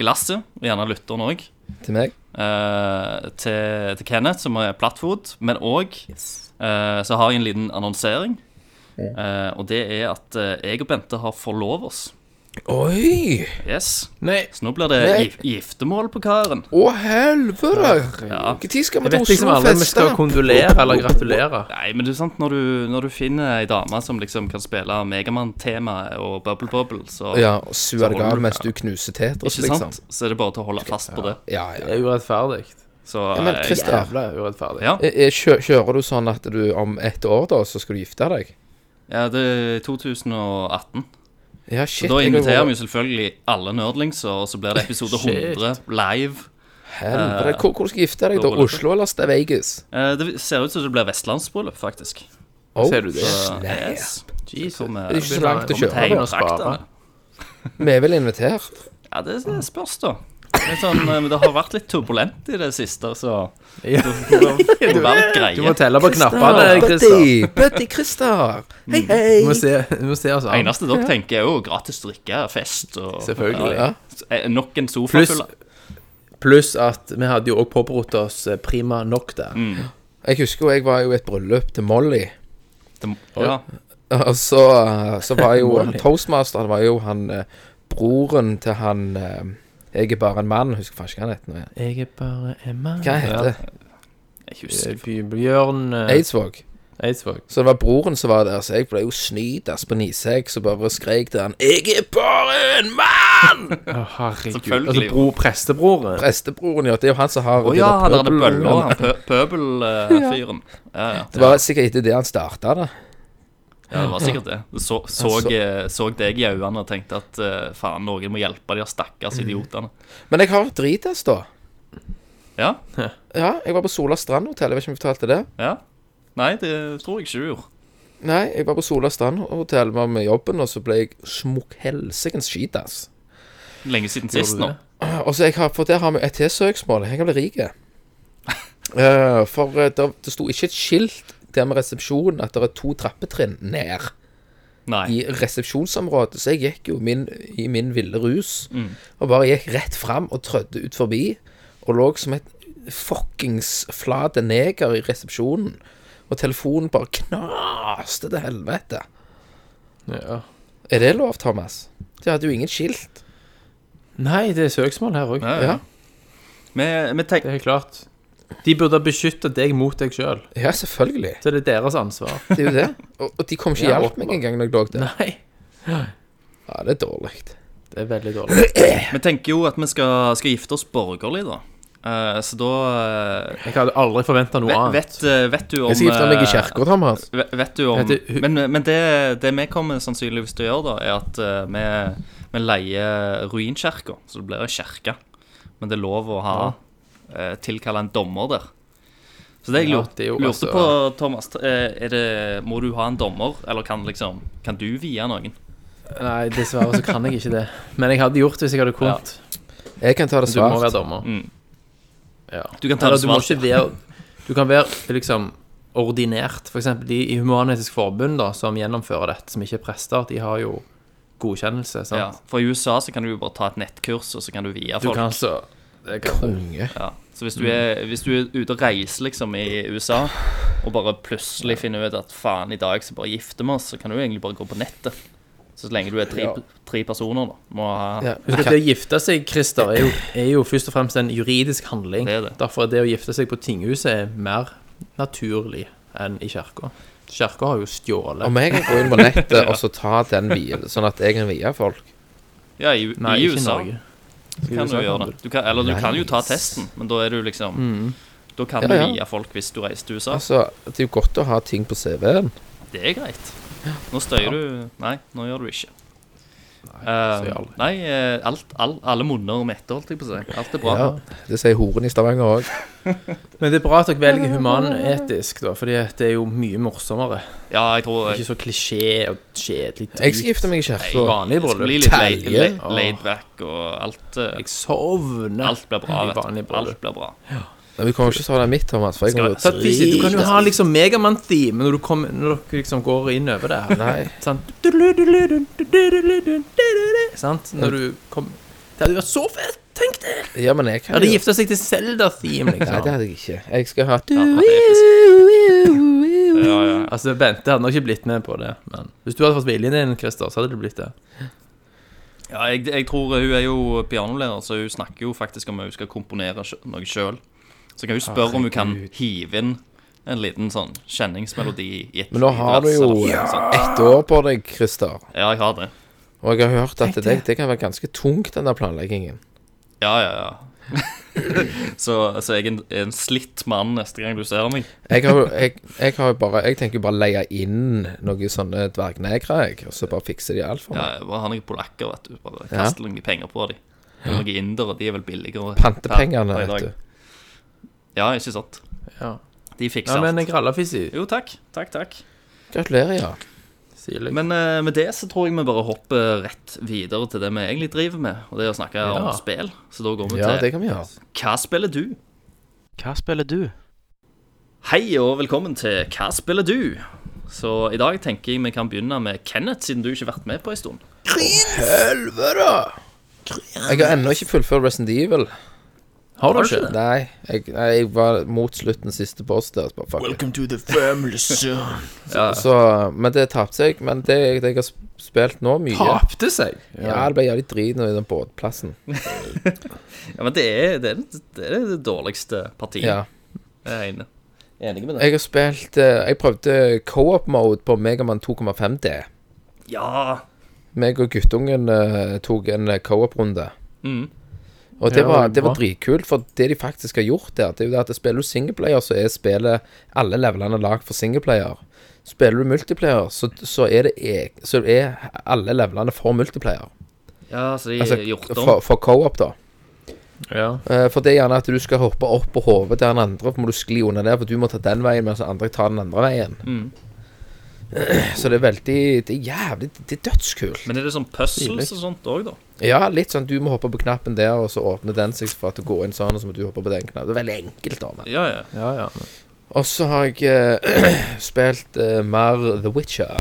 [SPEAKER 6] glasset, og gjerne lytteren òg,
[SPEAKER 8] Til meg.
[SPEAKER 6] til, til Kenneth, som er plattfot. Men òg så har jeg en liten annonsering. Eh, og det er at eh, jeg og Bente har forlovet oss.
[SPEAKER 8] Oi!
[SPEAKER 6] Yes.
[SPEAKER 7] Nei,
[SPEAKER 6] Så nå blir det
[SPEAKER 8] Nei.
[SPEAKER 6] gif giftermål på karen.
[SPEAKER 8] Å, helvete!
[SPEAKER 6] Ja.
[SPEAKER 8] Når skal vi
[SPEAKER 7] jeg
[SPEAKER 8] til
[SPEAKER 7] vet liksom
[SPEAKER 8] Oslo og
[SPEAKER 7] aldri om vi
[SPEAKER 8] feste?
[SPEAKER 7] skal kondolere eller gratulere.
[SPEAKER 6] Nei, men det er sant, når du, når du finner ei dame som liksom kan spille Megamann-temaet og Bubble Bubble, så
[SPEAKER 8] Ja, og sue deg
[SPEAKER 6] holder
[SPEAKER 8] av
[SPEAKER 6] du-
[SPEAKER 8] mens du knuser Tetris,
[SPEAKER 6] ikke
[SPEAKER 8] liksom.
[SPEAKER 6] sant? Så er det bare til å holde fast på det.
[SPEAKER 8] Ja, ja.
[SPEAKER 7] Det er urettferdig.
[SPEAKER 6] Så
[SPEAKER 8] Ja, Men
[SPEAKER 6] eh,
[SPEAKER 8] Christer,
[SPEAKER 7] Jævla urettferdig.
[SPEAKER 6] Ja.
[SPEAKER 8] eh, eh, kjø- kjører du sånn at du om ett år da, så skal du gifte deg?
[SPEAKER 6] ja, det er 2018.
[SPEAKER 8] Ja,
[SPEAKER 6] Så
[SPEAKER 8] shit.
[SPEAKER 6] da
[SPEAKER 8] jeg har
[SPEAKER 6] inviterer
[SPEAKER 8] vært-
[SPEAKER 6] vi jo selvfølgelig alle nerdlingser, og så blir det episode
[SPEAKER 7] Shit.
[SPEAKER 6] 100 live.
[SPEAKER 8] Helvete. Hvor, hvor skal du gifte deg,
[SPEAKER 6] da
[SPEAKER 8] da?
[SPEAKER 6] holder det.
[SPEAKER 8] Oslo eller Vegas?
[SPEAKER 6] Eh, Det ser ut som det blir vestlandsbryllup, faktisk.
[SPEAKER 8] Oh,
[SPEAKER 7] Ser du det?
[SPEAKER 6] Så, eh, yes.
[SPEAKER 7] Jesus.
[SPEAKER 6] Kommer-
[SPEAKER 8] Det er ikke så langt å
[SPEAKER 6] kommer
[SPEAKER 8] kjøre.
[SPEAKER 6] tegn
[SPEAKER 7] da.
[SPEAKER 6] og trakter.
[SPEAKER 8] Vi er vel invitert?
[SPEAKER 6] Ja, det det spørs, da. Det, er sånn, eh, men det har vært litt turbulent i det siste, så
[SPEAKER 7] Ja.
[SPEAKER 6] det må det må være litt
[SPEAKER 7] Du
[SPEAKER 6] greie.
[SPEAKER 7] må telle på knappene, Christer.
[SPEAKER 8] Buddy! Buddy Christer! Hei, hei!
[SPEAKER 7] Du må se, du må se altså. oss
[SPEAKER 6] Det
[SPEAKER 7] an.
[SPEAKER 6] eneste dere tenker, er jo gratis drikke, fest og
[SPEAKER 7] Selvfølgelig.
[SPEAKER 8] Ja.
[SPEAKER 6] Eh, Nok en sofa full.
[SPEAKER 7] Pluss at vi hadde jo òg påberopt oss eh, prima nocta.
[SPEAKER 6] Mm.
[SPEAKER 8] Jeg husker jo, jeg var jo i et bryllup til Molly.
[SPEAKER 6] Ja.
[SPEAKER 8] Og så, eh, så var jo toastmasteren var jo han eh, broren til han eh, Jeg er bare en mann, husker faen ikke hva han heter. nå igjen.
[SPEAKER 7] Jeg er bare Emma.
[SPEAKER 8] Hva heter det?
[SPEAKER 6] Jeg
[SPEAKER 7] Eh,
[SPEAKER 6] husker
[SPEAKER 7] By- Bjørn eh,
[SPEAKER 8] Eidsvåg.
[SPEAKER 7] Eidsvåg.
[SPEAKER 8] Så det var broren som var der, så jeg ble jo snytt ass på Nisek, så bare skrek til han 'Jeg er bare en mann!'
[SPEAKER 7] Å, herregud.
[SPEAKER 6] Selvfølgelig,
[SPEAKER 7] Altså, bro, prestebroren.
[SPEAKER 8] Prestebroren, ja. Det er jo han som har
[SPEAKER 6] Å ja, han der
[SPEAKER 8] pøbel-
[SPEAKER 6] bølla, han pø pøbelfyren. Ja, ja.
[SPEAKER 8] Det var sikkert etter det han starta det.
[SPEAKER 6] ja, det var sikkert det. Så, så, eh, så deg i øynene og tenkte at eh, faen, noen må hjelpe de her stakkars
[SPEAKER 8] Mm.
[SPEAKER 6] idiotene.
[SPEAKER 8] Men jeg har vært dritass, da.
[SPEAKER 6] Ja?
[SPEAKER 8] Ja, jeg var på Sola Strand Hotell, jeg vet ikke om jeg fortalte det.
[SPEAKER 6] Ja? Nei, det tror jeg ikke du gjorde.
[SPEAKER 8] Nei, jeg var på Sola Strand Hotell var med jobben, og så ble jeg smukkhelsikens skitass.
[SPEAKER 6] Lenge siden sist
[SPEAKER 7] du
[SPEAKER 6] nå.
[SPEAKER 7] det?
[SPEAKER 8] Og så jeg har, for der har vi et til søksmål. Jeg kan bli rik. Eh, for eh, det, det sto ikke et skilt der med resepsjonen at det er to trappetrinn ned
[SPEAKER 6] Nei.
[SPEAKER 8] i resepsjonsområdet. Så jeg gikk jo min, i min ville rus og bare gikk rett fram og trødde ut forbi. Og lå som et fuckings flate neger i resepsjonen. Og telefonen bare knaste til helvete.
[SPEAKER 7] Ja.
[SPEAKER 8] Er det lov, Thomas? De hadde jo ingen skilt.
[SPEAKER 7] Nei, det er søksmål her òg.
[SPEAKER 6] Ja,
[SPEAKER 8] Ja,
[SPEAKER 6] ja. Vi, vi tenk,
[SPEAKER 7] Det er helt klart. De burde ha beskytta deg mot deg sjøl.
[SPEAKER 8] ja selvfølgelig.
[SPEAKER 7] Så det er deres ansvar.
[SPEAKER 8] Det er jo det. Og, og de kom ikke
[SPEAKER 7] Ja,
[SPEAKER 8] og hjalp meg engang når jeg lå der.
[SPEAKER 7] Nei.
[SPEAKER 8] Ja, det er dårlig.
[SPEAKER 7] Det er veldig dårlig.
[SPEAKER 6] vi tenker jo at vi skal, skal gifte oss borgerlig, da. Eh, så da eh,
[SPEAKER 7] Jeg hadde aldri forventa noe
[SPEAKER 6] vet,
[SPEAKER 7] annet.
[SPEAKER 6] vet, eh, vet du om
[SPEAKER 8] Jeg skal gifte meg i
[SPEAKER 6] eh,
[SPEAKER 8] kirka, Thomas.
[SPEAKER 6] Ve- Vet du om
[SPEAKER 7] Vet du, hu-
[SPEAKER 6] Men, men det, det vi kommer sannsynligvis til å gjøre, da, er at eh, vi, vi leier ruinkjerker. Så det blir ei kjerke. Men det er lov å ha eh, tilkalle en dommer der. Så det jeg
[SPEAKER 7] Ja,
[SPEAKER 6] lurte,
[SPEAKER 7] det er jo
[SPEAKER 6] lurte
[SPEAKER 7] altså-
[SPEAKER 6] på, Thomas, eh, er det, må du ha en dommer, eller kan, liksom, kan du vie noen?
[SPEAKER 7] Nei, dessverre så kan jeg ikke det. Men jeg hadde gjort det hvis jeg hadde kunnet.
[SPEAKER 8] Jeg kan ta det
[SPEAKER 7] Du må være
[SPEAKER 8] svart.
[SPEAKER 7] dommer.
[SPEAKER 6] Mm.
[SPEAKER 7] Ja.
[SPEAKER 6] Du kan ta
[SPEAKER 7] Eller
[SPEAKER 6] det
[SPEAKER 7] du må
[SPEAKER 6] svart.
[SPEAKER 7] ikke være Du kan være liksom ordinert. For eksempel de i Human-Etisk Forbund da, som gjennomfører dette, som ikke er prester, de har jo godkjennelse. sant?
[SPEAKER 6] Ja, for i USA så kan du jo bare ta et nettkurs, og så kan du vie
[SPEAKER 7] Du
[SPEAKER 6] folk.
[SPEAKER 7] kan så det kan du.
[SPEAKER 8] Konge.
[SPEAKER 6] Ja. Så hvis du, er, hvis du er ute og reiser liksom i USA, og bare plutselig finner ut at faen, i dag så bare gifter vi oss, så kan du egentlig bare gå på nettet. Så lenge du er tre, tre personer, da. Må ha
[SPEAKER 8] Ja.
[SPEAKER 7] Husk at det å gifte seg, Christer, er jo, er jo først og fremst en juridisk handling.
[SPEAKER 6] Det er det.
[SPEAKER 7] Derfor er det å gifte seg på tinghuset er mer naturlig enn i kirka. Kirka har jo stjålet.
[SPEAKER 8] Om jeg kan gå inn på nettet og så ta den hvile, sånn at jeg kan vie folk
[SPEAKER 6] Ja, i,
[SPEAKER 7] Nei,
[SPEAKER 6] i
[SPEAKER 7] ikke i
[SPEAKER 6] USA
[SPEAKER 7] Norge.
[SPEAKER 6] kan du gjøre det. Du kan, eller du kan jo ta
[SPEAKER 8] Nice.
[SPEAKER 6] testen, men da er du liksom Da kan
[SPEAKER 8] Ja,
[SPEAKER 6] du
[SPEAKER 8] ja.
[SPEAKER 6] vie folk hvis du reiser til USA.
[SPEAKER 8] Altså, det er jo godt å ha ting på CV-en.
[SPEAKER 6] Det er greit. Nå støyer du Nei, nå gjør du ikke. Nei,
[SPEAKER 7] støyer aldri.
[SPEAKER 6] nei eh, alt, all, alle munner metter, holdt jeg på å si. Alt er bra.
[SPEAKER 8] Ja, det sier horen i Stavanger òg.
[SPEAKER 7] Men det er bra at dere velger human-etisk, da, fordi at det er jo mye morsommere.
[SPEAKER 6] ja jeg tror
[SPEAKER 7] Ikke så klisjé og kjedelig. drit.
[SPEAKER 8] Jeg skal gifte meg i kirka.
[SPEAKER 7] Vanlig
[SPEAKER 6] Det skal bli
[SPEAKER 7] bryllup.
[SPEAKER 6] litt laid,
[SPEAKER 8] Terje.
[SPEAKER 6] laid, laid back og alt eh,
[SPEAKER 7] Jeg sovner.
[SPEAKER 6] Alt blir bra,
[SPEAKER 7] i
[SPEAKER 6] vet
[SPEAKER 7] vanlig
[SPEAKER 6] du. Alt
[SPEAKER 7] bryllup.
[SPEAKER 6] blir bra.
[SPEAKER 8] Men Vi kommer ikke til å ta det mitt, Thomas. For jeg
[SPEAKER 6] Skal
[SPEAKER 8] kan
[SPEAKER 6] vi-
[SPEAKER 7] Så at hvis- Du kan jo ha liksom Megamann-theme når, du kommer- når dere liksom går innover der.
[SPEAKER 8] Nei.
[SPEAKER 7] Sant? Du-du-du-du-du-du-du-du-du-du-du. Sant? Når du kom Det hadde vært så fett! Tenk det!
[SPEAKER 8] Ja, men jeg
[SPEAKER 7] Jeg
[SPEAKER 8] kan
[SPEAKER 7] hadde
[SPEAKER 8] jo
[SPEAKER 7] gifta seg til Zelda-theme,
[SPEAKER 8] Nei, det
[SPEAKER 7] liksom.
[SPEAKER 8] hadde jeg ikke. Jeg skal ha
[SPEAKER 6] Ja, det er episk. ja, ja.
[SPEAKER 7] Altså, Bente hadde nok ikke blitt med på det, men hvis du hadde fått viljen din, Christer, så hadde det blitt det.
[SPEAKER 6] ja jeg, jeg tror eh, hun er jo pianolærer, så hun snakker jo faktisk om hun skal komponere sj- noe sjøl. Så kan hun spørre om hun kan hive inn en liten sånn kjenningsmelodi i et
[SPEAKER 8] Men nå har du
[SPEAKER 6] vers
[SPEAKER 8] jo
[SPEAKER 6] eller noe sånt.
[SPEAKER 8] ett år på deg, Christer.
[SPEAKER 6] Ja, jeg har det.
[SPEAKER 8] Og jeg har hørt at det, det kan være ganske tungt, den der planleggingen.
[SPEAKER 6] Ja, ja, ja. så, så jeg er en, en slitt mann neste gang du ser meg.
[SPEAKER 8] Jeg har jo jeg, jeg har jo bare Jeg tenker jo bare leie inn noen sånne dvergnegre, jeg, og så bare fikser de alt for meg.
[SPEAKER 6] Ja, jeg bare har noen polakker, vet du. Bare
[SPEAKER 8] Ja.
[SPEAKER 6] kast noen penger på dem. Noen indere, de er vel billigere.
[SPEAKER 8] Pantepengene,
[SPEAKER 6] per- per i dag.
[SPEAKER 8] vet du.
[SPEAKER 6] Ja, ikke sant.
[SPEAKER 7] Ja.
[SPEAKER 6] De fikser
[SPEAKER 7] Ja, men
[SPEAKER 6] alt.
[SPEAKER 7] en grallafisi
[SPEAKER 6] Jo, takk. Takk, takk.
[SPEAKER 8] Gratulerer, ja.
[SPEAKER 7] sier jeg.
[SPEAKER 6] Men eh, med det så tror jeg vi bare hopper rett videre til det vi egentlig driver med, og det er å snakke om
[SPEAKER 7] Ja.
[SPEAKER 6] spill. Så da går vi
[SPEAKER 8] Ja, det
[SPEAKER 6] til
[SPEAKER 8] kan vi gjøre.
[SPEAKER 6] Hva spiller du?
[SPEAKER 1] Hva spiller du?
[SPEAKER 6] Hei og velkommen til Hva spiller du? Så i dag tenker jeg vi kan begynne med Kenneth, siden du ikke har vært med på en stund.
[SPEAKER 8] Helvete! Jeg har ennå ikke fullført Resident Evil.
[SPEAKER 7] Har du ikke?
[SPEAKER 8] Nei, jeg, nei, jeg var mot slutten siste boss der. så bare fuck it.
[SPEAKER 6] Ja,
[SPEAKER 8] Så, men det tapte seg. Men det, det jeg har sp- spilt nå, mye
[SPEAKER 7] Tapte seg?
[SPEAKER 8] Ja, det ble jævlig drit nå i den båtplassen.
[SPEAKER 6] ja men det er det, er, det, er det dårligste partiet.
[SPEAKER 8] Ja.
[SPEAKER 6] Jeg er enig. Enig med det.
[SPEAKER 8] Jeg har spilt eh, Jeg prøvde co-op-mode på Megaman 2,5D.
[SPEAKER 6] Ja.
[SPEAKER 8] meg og guttungen eh, tok en eh, co-op-runde.
[SPEAKER 6] Mhm.
[SPEAKER 8] Og det,
[SPEAKER 7] Ja,
[SPEAKER 8] var,
[SPEAKER 7] det
[SPEAKER 8] det
[SPEAKER 7] var
[SPEAKER 8] var dritkult, for det de faktisk har gjort der, det er jo det at spiller du singleplayer, så er spillet alle levelene lag for singleplayer. Spiller du multiplayer, så, så, er, det, e- så er alle levelene for multiplayer.
[SPEAKER 6] ja, så de
[SPEAKER 8] Altså,
[SPEAKER 6] har gjort om.
[SPEAKER 8] for, for co-op, da.
[SPEAKER 7] Ja.
[SPEAKER 8] Eh, For det er gjerne at du skal hoppe opp på hodet til den andre, for må du skli under der, for du må ta den veien, mens den andre tar den andre veien. Så det er veldig Det er jævlig Det er dødskult.
[SPEAKER 6] Men er det sånn puzzles og sånt òg, da?
[SPEAKER 8] Ja, litt sånn du må hoppe på knappen der, og så åpner den seg for at det går inn sånn, og så må du hoppe på den knappen. Det er veldig enkelt, da. Men.
[SPEAKER 6] Ja, ja.
[SPEAKER 7] Ja, ja.
[SPEAKER 8] Og så har jeg eh, spilt eh, mer The Witcher.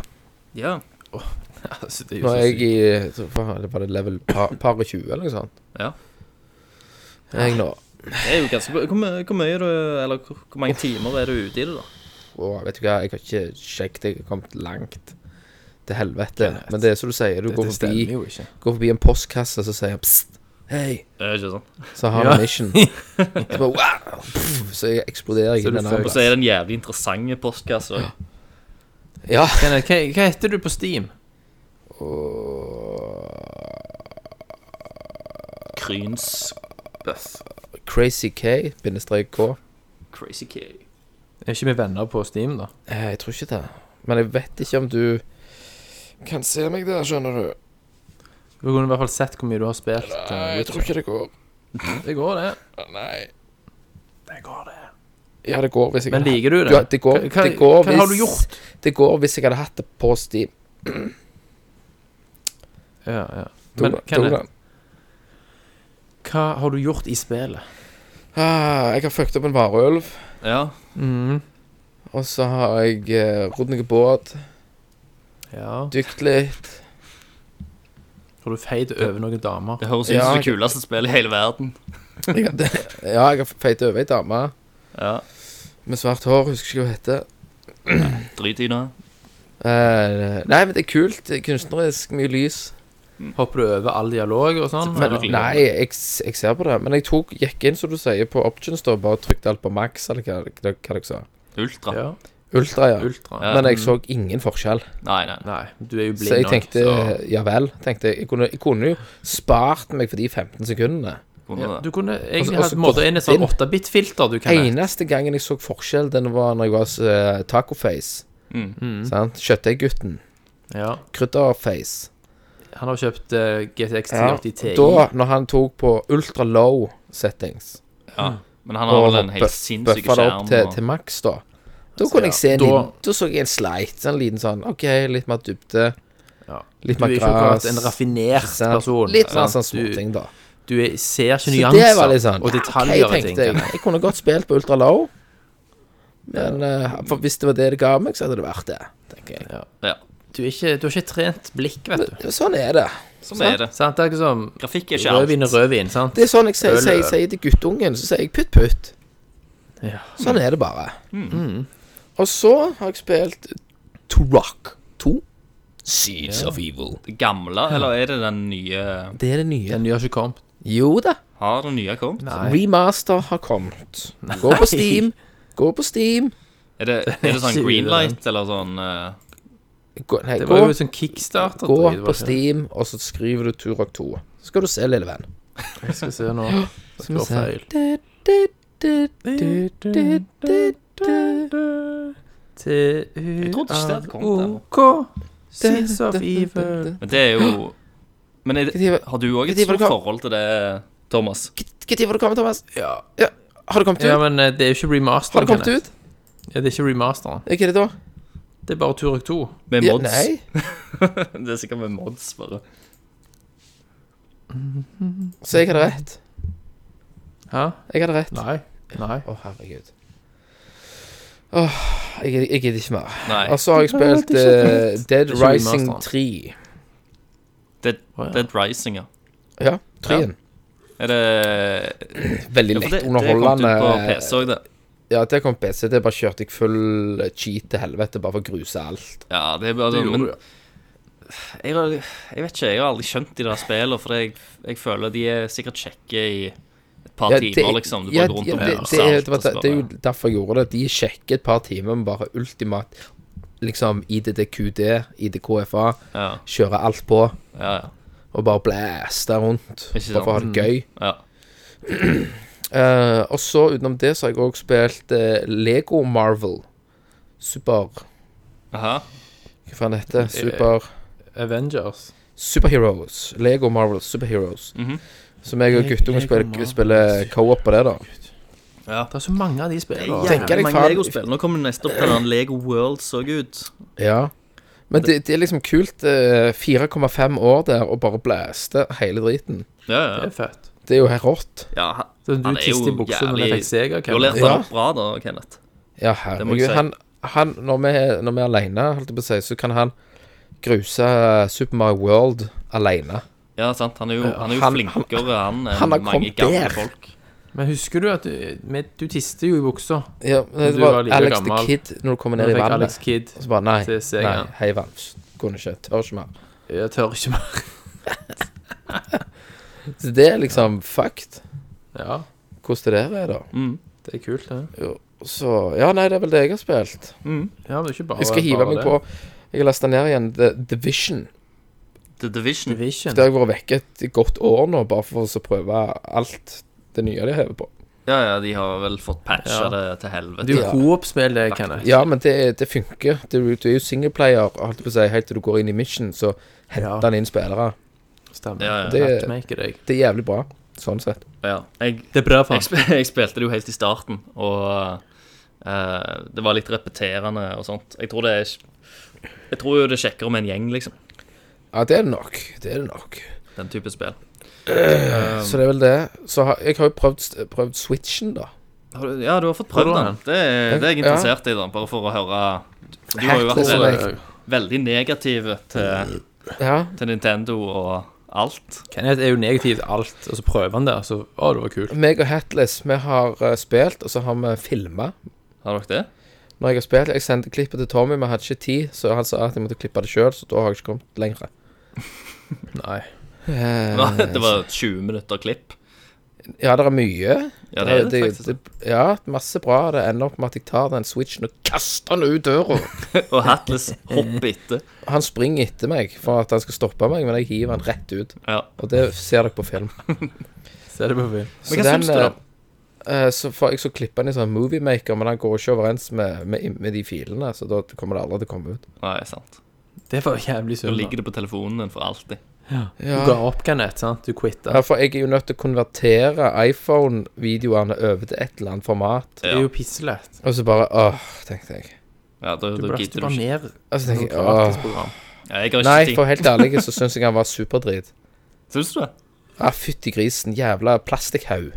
[SPEAKER 6] ja.
[SPEAKER 7] Altså, det er jo
[SPEAKER 8] Nå
[SPEAKER 7] så
[SPEAKER 8] er jeg
[SPEAKER 7] sykt.
[SPEAKER 8] i så faen, det Var det level par, par og 20, eller noe sånt?
[SPEAKER 6] Ja.
[SPEAKER 8] Jeg nå
[SPEAKER 6] Det er jo ganske bra. Hvor, mye- hvor mye er du Eller hvor, hvor mange timer er du ute i det, da?
[SPEAKER 8] Åh, vet du hva, jeg har ikke sjekket, jeg har kommet langt til helvete. Men det er som du sier, du
[SPEAKER 7] Det,
[SPEAKER 8] går,
[SPEAKER 7] det stemmer
[SPEAKER 8] forbi,
[SPEAKER 7] jo ikke.
[SPEAKER 8] går forbi en postkasse, så sier han pst, hei,
[SPEAKER 6] Det er ikke sånn.
[SPEAKER 8] så har han
[SPEAKER 7] Ja.
[SPEAKER 8] en mission. Så bare wow, pff, så jeg eksploderer jeg
[SPEAKER 7] Så
[SPEAKER 8] i
[SPEAKER 7] du
[SPEAKER 8] den
[SPEAKER 7] får-
[SPEAKER 6] Og
[SPEAKER 8] andre.
[SPEAKER 6] så er det en jævlig interessant postkasse òg.
[SPEAKER 8] Ja.
[SPEAKER 7] Kenneth, hva, hva heter du på Steam?
[SPEAKER 6] Kryns
[SPEAKER 8] Crazy K, bindestrek K.
[SPEAKER 6] Crazy K.
[SPEAKER 7] Er ikke vi venner på Steam, da?
[SPEAKER 8] Eh, Jeg tror ikke det. Men jeg vet ikke om du kan se meg der, skjønner du.
[SPEAKER 7] Du kunne i hvert fall sett hvor mye du har spilt. eh,
[SPEAKER 8] Jeg tror ikke det går.
[SPEAKER 7] Det går, det.
[SPEAKER 8] Nei.
[SPEAKER 7] Det går, det.
[SPEAKER 8] Ja, det går hvis jeg
[SPEAKER 7] Men liker du det?
[SPEAKER 8] Ja, det går,
[SPEAKER 7] Hva- hva-
[SPEAKER 8] det går
[SPEAKER 7] hva har du gjort?
[SPEAKER 8] Det går hvis jeg hadde hatt det på Steam.
[SPEAKER 7] Ja, ja.
[SPEAKER 8] Tok
[SPEAKER 7] Men
[SPEAKER 8] den- tok
[SPEAKER 7] Kenneth,
[SPEAKER 8] den.
[SPEAKER 7] hva har du gjort i spillet?
[SPEAKER 8] ah, Jeg har fucket opp en varulv.
[SPEAKER 6] Ja.
[SPEAKER 7] Mm.
[SPEAKER 8] Og så har jeg eh, rodd noe båt,
[SPEAKER 7] Ja.
[SPEAKER 8] dykt litt.
[SPEAKER 7] Har du feid over noen damer?
[SPEAKER 6] Det høres ut
[SPEAKER 8] Ja,
[SPEAKER 6] som det
[SPEAKER 8] jeg-
[SPEAKER 6] kuleste spillet i hele verden.
[SPEAKER 8] Jeg hadde, ja, jeg har feit over ei dame
[SPEAKER 6] Ja.
[SPEAKER 8] med svart hår, husker ikke hva hun heter.
[SPEAKER 6] Drit i det.
[SPEAKER 8] Eh, nei, men det er kult. det er Kunstnerisk, mye lys. Mm.
[SPEAKER 7] Hopper du over all dialog og sånn?
[SPEAKER 8] Men,
[SPEAKER 6] Selvfølgelig.
[SPEAKER 8] nei, jeg, s- jeg ser på det. Men jeg tok, gikk inn, som du sier, på options da, bare trykte alt på max, eller hva, hva, hva dere sa.
[SPEAKER 6] Ultra.
[SPEAKER 7] Ja.
[SPEAKER 8] Ultra, ja.
[SPEAKER 7] Ultra.
[SPEAKER 6] Ja.
[SPEAKER 8] Men jeg så ingen forskjell.
[SPEAKER 6] Nei, nei.
[SPEAKER 7] Nei, du er jo blind
[SPEAKER 8] Så jeg tenkte
[SPEAKER 7] så-
[SPEAKER 8] ja vel. tenkte Jeg jeg kunne, jeg kunne jo spart meg for de 15 sekundene.
[SPEAKER 6] Kunne
[SPEAKER 7] ja,
[SPEAKER 6] det.
[SPEAKER 7] Du kunne
[SPEAKER 8] Også-
[SPEAKER 7] egentlig
[SPEAKER 8] også
[SPEAKER 7] hatt måte inn et sånn
[SPEAKER 8] blind.
[SPEAKER 7] 8-bit-filter du kan
[SPEAKER 8] Eneste gangen jeg så forskjell, den var når jeg var uh, tacoface.
[SPEAKER 6] Mm.
[SPEAKER 8] Sant? Kjøttdeiggutten.
[SPEAKER 7] Ja.
[SPEAKER 8] Krydderface.
[SPEAKER 7] Han har kjøpt eh, GTX
[SPEAKER 8] Ja,
[SPEAKER 7] 1080 Ti.
[SPEAKER 8] Da, når han tok på ultra low settings
[SPEAKER 6] Ja. Men han har vel en helt
[SPEAKER 8] buff-
[SPEAKER 6] sinnssyk
[SPEAKER 8] buffa det
[SPEAKER 6] skjerm.
[SPEAKER 8] opp til,
[SPEAKER 6] og-
[SPEAKER 8] til maks, da Da kunne
[SPEAKER 7] ja,
[SPEAKER 8] jeg se en
[SPEAKER 7] da-
[SPEAKER 8] liten Da så jeg en sleit. En liten sånn OK, litt mer dybde.
[SPEAKER 7] Ja.
[SPEAKER 8] Litt
[SPEAKER 7] Du er
[SPEAKER 8] mer
[SPEAKER 7] ikke
[SPEAKER 8] gress.
[SPEAKER 7] akkurat en raffinert
[SPEAKER 8] sant?
[SPEAKER 7] person.
[SPEAKER 8] Litt mer
[SPEAKER 7] sant?
[SPEAKER 8] sånn småting, da.
[SPEAKER 7] Du, du er, ser ikke
[SPEAKER 8] Så
[SPEAKER 7] nyanser
[SPEAKER 8] det var litt sånn,
[SPEAKER 7] og
[SPEAKER 8] ja,
[SPEAKER 7] detaljer
[SPEAKER 8] ok,
[SPEAKER 7] i ting.
[SPEAKER 8] tenkte jeg.
[SPEAKER 7] Kenneth.
[SPEAKER 8] Jeg kunne godt spilt på ultra low, men eh, for hvis det var det det ga meg, så hadde det vært det, tenker jeg.
[SPEAKER 6] Ja.
[SPEAKER 7] Du, er ikke, du har ikke trent blikk, vet du.
[SPEAKER 8] Sånn er det.
[SPEAKER 6] Sånn er det.
[SPEAKER 7] Sant? Det er ikke som
[SPEAKER 6] Grafikk er ikke alt.
[SPEAKER 7] rødvin er rødvin, sant?
[SPEAKER 8] Det er sånn jeg sier,
[SPEAKER 7] Øl er
[SPEAKER 8] sier,
[SPEAKER 7] øl.
[SPEAKER 8] sier til guttungen, så sier jeg putt putt.
[SPEAKER 7] Ja.
[SPEAKER 8] Sånn er det bare. Og så har jeg spilt To Rock 2. Seeds of Evil.
[SPEAKER 6] Det gamle, eller er det den nye
[SPEAKER 8] Det er det nye.
[SPEAKER 7] Den nye har ikke kommet.
[SPEAKER 8] Jo da.
[SPEAKER 6] Har den nye kommet?
[SPEAKER 8] Remaster har kommet. Gå på Steam. Gå på Steam.
[SPEAKER 6] Er det, er det sånn
[SPEAKER 7] Ikke
[SPEAKER 6] greenlight eller sånn eh,
[SPEAKER 8] Gå, nei,
[SPEAKER 7] Det
[SPEAKER 8] gå,
[SPEAKER 7] var jo sånn kickstarter.
[SPEAKER 8] gå på Steam, og så skriver du To Rock 2. Så skal du se, lille venn.
[SPEAKER 7] Jeg skal se nå. Det
[SPEAKER 8] vi
[SPEAKER 7] slår
[SPEAKER 8] se.
[SPEAKER 7] feil. Jeg
[SPEAKER 6] trodde ikke det hadde kommet ennå.
[SPEAKER 7] OK. Sins of evil.
[SPEAKER 6] Men det er jo Men er det, har du òg et
[SPEAKER 8] Hva tid var
[SPEAKER 6] stort
[SPEAKER 8] det kom?
[SPEAKER 6] forhold til det, Thomas?
[SPEAKER 8] Når var det kommet, Thomas? Ja. Har det kommet ut?
[SPEAKER 7] Ja, men eh, det er jo ikke remaster.
[SPEAKER 8] har det kommet ut?
[SPEAKER 7] Ja, det er ikke remasteren.
[SPEAKER 8] Er ikke det da?
[SPEAKER 7] Det er bare Turok 2.
[SPEAKER 6] Med
[SPEAKER 8] Ja,
[SPEAKER 6] mods?
[SPEAKER 8] nei.
[SPEAKER 6] det er sikkert med mods, bare.
[SPEAKER 8] Så jeg hadde rett.
[SPEAKER 7] Hæ?
[SPEAKER 8] Jeg hadde rett. Å,
[SPEAKER 7] Nei. Nei.
[SPEAKER 8] herregud. Åh, jeg jeg gidder ikke mer.
[SPEAKER 6] Nei.
[SPEAKER 8] Og så har jeg spilt eh, Dead
[SPEAKER 7] Det er ikke
[SPEAKER 8] Rising
[SPEAKER 7] remasteren.
[SPEAKER 8] 3.
[SPEAKER 6] Dead,
[SPEAKER 7] Å, ja.
[SPEAKER 6] Dead Rising, ja.
[SPEAKER 8] Ja, 3-en.
[SPEAKER 6] Er det
[SPEAKER 8] Veldig
[SPEAKER 6] ja, for det, det kom
[SPEAKER 8] lett eh,
[SPEAKER 6] ut
[SPEAKER 8] underholdende.
[SPEAKER 6] på PC òg, det.
[SPEAKER 8] Ja, det kom PC. Det bare kjørte jeg full eh, cheat til helvete, bare for å gruse alt.
[SPEAKER 6] Ja, det er bare
[SPEAKER 7] Det
[SPEAKER 6] sånn, men
[SPEAKER 7] gjorde du,
[SPEAKER 6] jeg, har- jeg vet ikke, jeg har aldri skjønt de der spillene, for jeg, jeg føler de er sikkert kjekke i et par
[SPEAKER 8] Ja,
[SPEAKER 6] timer, liksom. Du
[SPEAKER 8] ja,
[SPEAKER 6] bare går rundt
[SPEAKER 8] ja,
[SPEAKER 6] og
[SPEAKER 8] det,
[SPEAKER 6] bruser
[SPEAKER 8] det, er-
[SPEAKER 6] alt,
[SPEAKER 8] det, var,
[SPEAKER 6] og så
[SPEAKER 8] det er jo
[SPEAKER 6] bare-
[SPEAKER 8] derfor jeg gjorde det. De sjekker et par timer med bare ultimat liksom IDDQD, IDKFA,
[SPEAKER 6] ja,
[SPEAKER 8] kjøre alt på
[SPEAKER 6] ja, ja.
[SPEAKER 8] og bare blæste rundt. Bare
[SPEAKER 6] Ikke sant?
[SPEAKER 8] for å ha det gøy.
[SPEAKER 6] Ja.
[SPEAKER 8] Eh, og så utenom det så har jeg òg spilt eh, Lego Marvel. Super
[SPEAKER 6] Aha.
[SPEAKER 8] Hva faen
[SPEAKER 7] Eh,
[SPEAKER 8] heter det? Super
[SPEAKER 7] Avengers.
[SPEAKER 8] Superheroes. Lego Marvel Superheroes.
[SPEAKER 6] Mhm.
[SPEAKER 8] Som jeg og
[SPEAKER 7] Le-
[SPEAKER 8] guttungen
[SPEAKER 7] Lego
[SPEAKER 8] spiller,
[SPEAKER 7] Marvel
[SPEAKER 8] spiller co-op på det, da.
[SPEAKER 6] Ja.
[SPEAKER 7] Det er så mange av de spillene.
[SPEAKER 8] Tenker deg
[SPEAKER 6] Mange
[SPEAKER 8] faen-
[SPEAKER 6] Lego-spill. Nå kommer neste opp til den Lego Worlds òg ut.
[SPEAKER 8] Ja. Men det, det er liksom kult. eh, 4,5 år der og bare blæste hele driten.
[SPEAKER 6] Ja,
[SPEAKER 7] Det
[SPEAKER 6] ja.
[SPEAKER 7] er fett.
[SPEAKER 8] Det er jo helt rått.
[SPEAKER 6] ja han,
[SPEAKER 7] Så du
[SPEAKER 6] han er
[SPEAKER 7] kiste i
[SPEAKER 6] jo
[SPEAKER 7] buksa når
[SPEAKER 6] jævlig-
[SPEAKER 7] jeg fikk seger,
[SPEAKER 6] Du har lært
[SPEAKER 8] Ja.
[SPEAKER 6] han opp bra da, Kenneth.
[SPEAKER 8] Ja,
[SPEAKER 6] Det må jeg
[SPEAKER 8] herregud.
[SPEAKER 6] si.
[SPEAKER 8] Han, han, når, vi, når vi er alene, holdt jeg på å si, så kan han gruse Super Mario World alene.
[SPEAKER 6] Ja, sant. Han er jo, han er jo
[SPEAKER 8] Han-
[SPEAKER 6] flinkere, han, enn
[SPEAKER 8] han har
[SPEAKER 6] mange
[SPEAKER 8] kommet
[SPEAKER 6] gamle
[SPEAKER 8] der.
[SPEAKER 6] folk.
[SPEAKER 7] Men husker du at du, men du tiste jo i buksa?
[SPEAKER 8] Ja, det
[SPEAKER 7] du
[SPEAKER 8] var
[SPEAKER 7] var like
[SPEAKER 8] Alex
[SPEAKER 7] gammel.
[SPEAKER 8] the Kid når du kommer
[SPEAKER 7] Da
[SPEAKER 8] ned i
[SPEAKER 7] fikk
[SPEAKER 8] vannet.
[SPEAKER 7] Alex Kidd
[SPEAKER 8] Og så bare nei,
[SPEAKER 7] til seg,
[SPEAKER 8] nei,
[SPEAKER 7] ja.
[SPEAKER 8] hei vann. Kunne ikke, tør ikke mer.
[SPEAKER 7] Jeg tør ikke mer.
[SPEAKER 8] Så det er liksom fucked.
[SPEAKER 7] Ja,
[SPEAKER 8] Hvordan det der er, da.
[SPEAKER 6] Mm,
[SPEAKER 7] det er kult, det.
[SPEAKER 8] Jo, Så ja, nei, det er vel det jeg har spilt.
[SPEAKER 6] mm.
[SPEAKER 7] Ja, men det er ikke bare
[SPEAKER 8] Jeg skal hive
[SPEAKER 7] bare
[SPEAKER 8] meg
[SPEAKER 7] det.
[SPEAKER 8] på Jeg har lasta ned igjen The Division.
[SPEAKER 6] The Division.
[SPEAKER 7] Division.
[SPEAKER 8] Det har jeg vært vekke et godt år nå, bare for å prøve alt det nye de hever på.
[SPEAKER 6] Ja, ja, de har vel fått patcha
[SPEAKER 7] Ja.
[SPEAKER 6] det til helvete.
[SPEAKER 7] Du coop-spill, det, Kenneth.
[SPEAKER 8] Ja, men det, det funker. Du, du er jo singleplayer holdt jeg på å si, helt til du går inn i Mission, så
[SPEAKER 7] Ja.
[SPEAKER 8] henter han inn spillere.
[SPEAKER 7] Stemmer.
[SPEAKER 6] Ja, ja.
[SPEAKER 7] Det
[SPEAKER 8] Det-
[SPEAKER 7] Matchmaker deg.
[SPEAKER 8] Det er jævlig bra, sånn sett.
[SPEAKER 6] Ja. Jeg,
[SPEAKER 7] Det er bra, faen.
[SPEAKER 6] jeg, spil, jeg spilte det jo helt i starten, og eh, det var litt repeterende og sånt. Jeg tror det er Jeg tror jo det er kjekkere med en gjeng, liksom.
[SPEAKER 8] Ja, det er det nok. Det er det nok.
[SPEAKER 6] Den type spill.
[SPEAKER 7] Um.
[SPEAKER 8] Så det er vel det. Så har, jeg har jo prøvd, prøvd Switchen, da.
[SPEAKER 6] Har du, ja, du har fått prøvd
[SPEAKER 7] Hvordan?
[SPEAKER 6] den. Det, er- det er jeg
[SPEAKER 8] Ja.
[SPEAKER 6] interessert i, da, bare for å høre for Du har jo vært
[SPEAKER 8] Hackers
[SPEAKER 6] veldig,
[SPEAKER 7] eh,
[SPEAKER 8] Life.
[SPEAKER 6] veldig negativ til,
[SPEAKER 8] Ja.
[SPEAKER 6] til Nintendo og alt.
[SPEAKER 7] Kenneth er jo negativ til alt, og så prøver han det, og så Å, det var kult.
[SPEAKER 8] Meg og Hatless, vi har eh, spilt, og så har vi filma.
[SPEAKER 6] Har dere det?
[SPEAKER 8] Når jeg har spilt, jeg sendte klippet til Tommy, men hadde ikke tid, så han sa at jeg måtte klippe det sjøl, så da har jeg ikke kommet lenger.
[SPEAKER 7] Nei.
[SPEAKER 8] Eh,
[SPEAKER 6] det var 20 minutter klipp.
[SPEAKER 8] ja, det er mye.
[SPEAKER 6] Ja, det er det
[SPEAKER 8] det,
[SPEAKER 6] faktisk.
[SPEAKER 8] det, ja, masse bra. Det ender opp med at jeg tar den switchen og kaster den ut døra.
[SPEAKER 6] Og Hatless hopper etter.
[SPEAKER 8] Han springer etter meg for at han skal stoppe meg, men jeg hiver han rett ut.
[SPEAKER 6] Ja.
[SPEAKER 8] Og det ser dere på film.
[SPEAKER 7] Se det på film.
[SPEAKER 8] Så
[SPEAKER 6] hva syns du da?
[SPEAKER 8] eh, eh, så får jeg så klippe den i sånn moviemaker, men han går ikke overens med, med, med de filene, så da kommer det aldri til å komme ut.
[SPEAKER 6] Nei, sant.
[SPEAKER 7] Det var jævlig
[SPEAKER 6] Da
[SPEAKER 7] synd. da.
[SPEAKER 6] ligger det på telefonen din for alltid.
[SPEAKER 7] Du
[SPEAKER 8] Ja.
[SPEAKER 7] ga opp, Kenneth, sant? Du quitta.
[SPEAKER 8] Ja, for jeg er jo nødt til å konvertere iPhone-videoene over til et eller annet format.
[SPEAKER 7] Det er jo pisselett.
[SPEAKER 8] Og så bare åh, tenkte jeg.
[SPEAKER 6] Ja, da,
[SPEAKER 7] Du
[SPEAKER 6] da
[SPEAKER 7] burde
[SPEAKER 6] gidder
[SPEAKER 7] bare
[SPEAKER 6] du ikke.
[SPEAKER 7] ned
[SPEAKER 8] Og så
[SPEAKER 7] noe
[SPEAKER 8] tenker jeg åh.
[SPEAKER 7] gratisprogram.
[SPEAKER 6] Ja, jeg har ikke
[SPEAKER 8] Nei,
[SPEAKER 6] tid.
[SPEAKER 8] for helt ærlig så syns jeg han var superdrit.
[SPEAKER 6] Syns du det?
[SPEAKER 8] Ja, fytti grisen. Jævla plastikkhaug.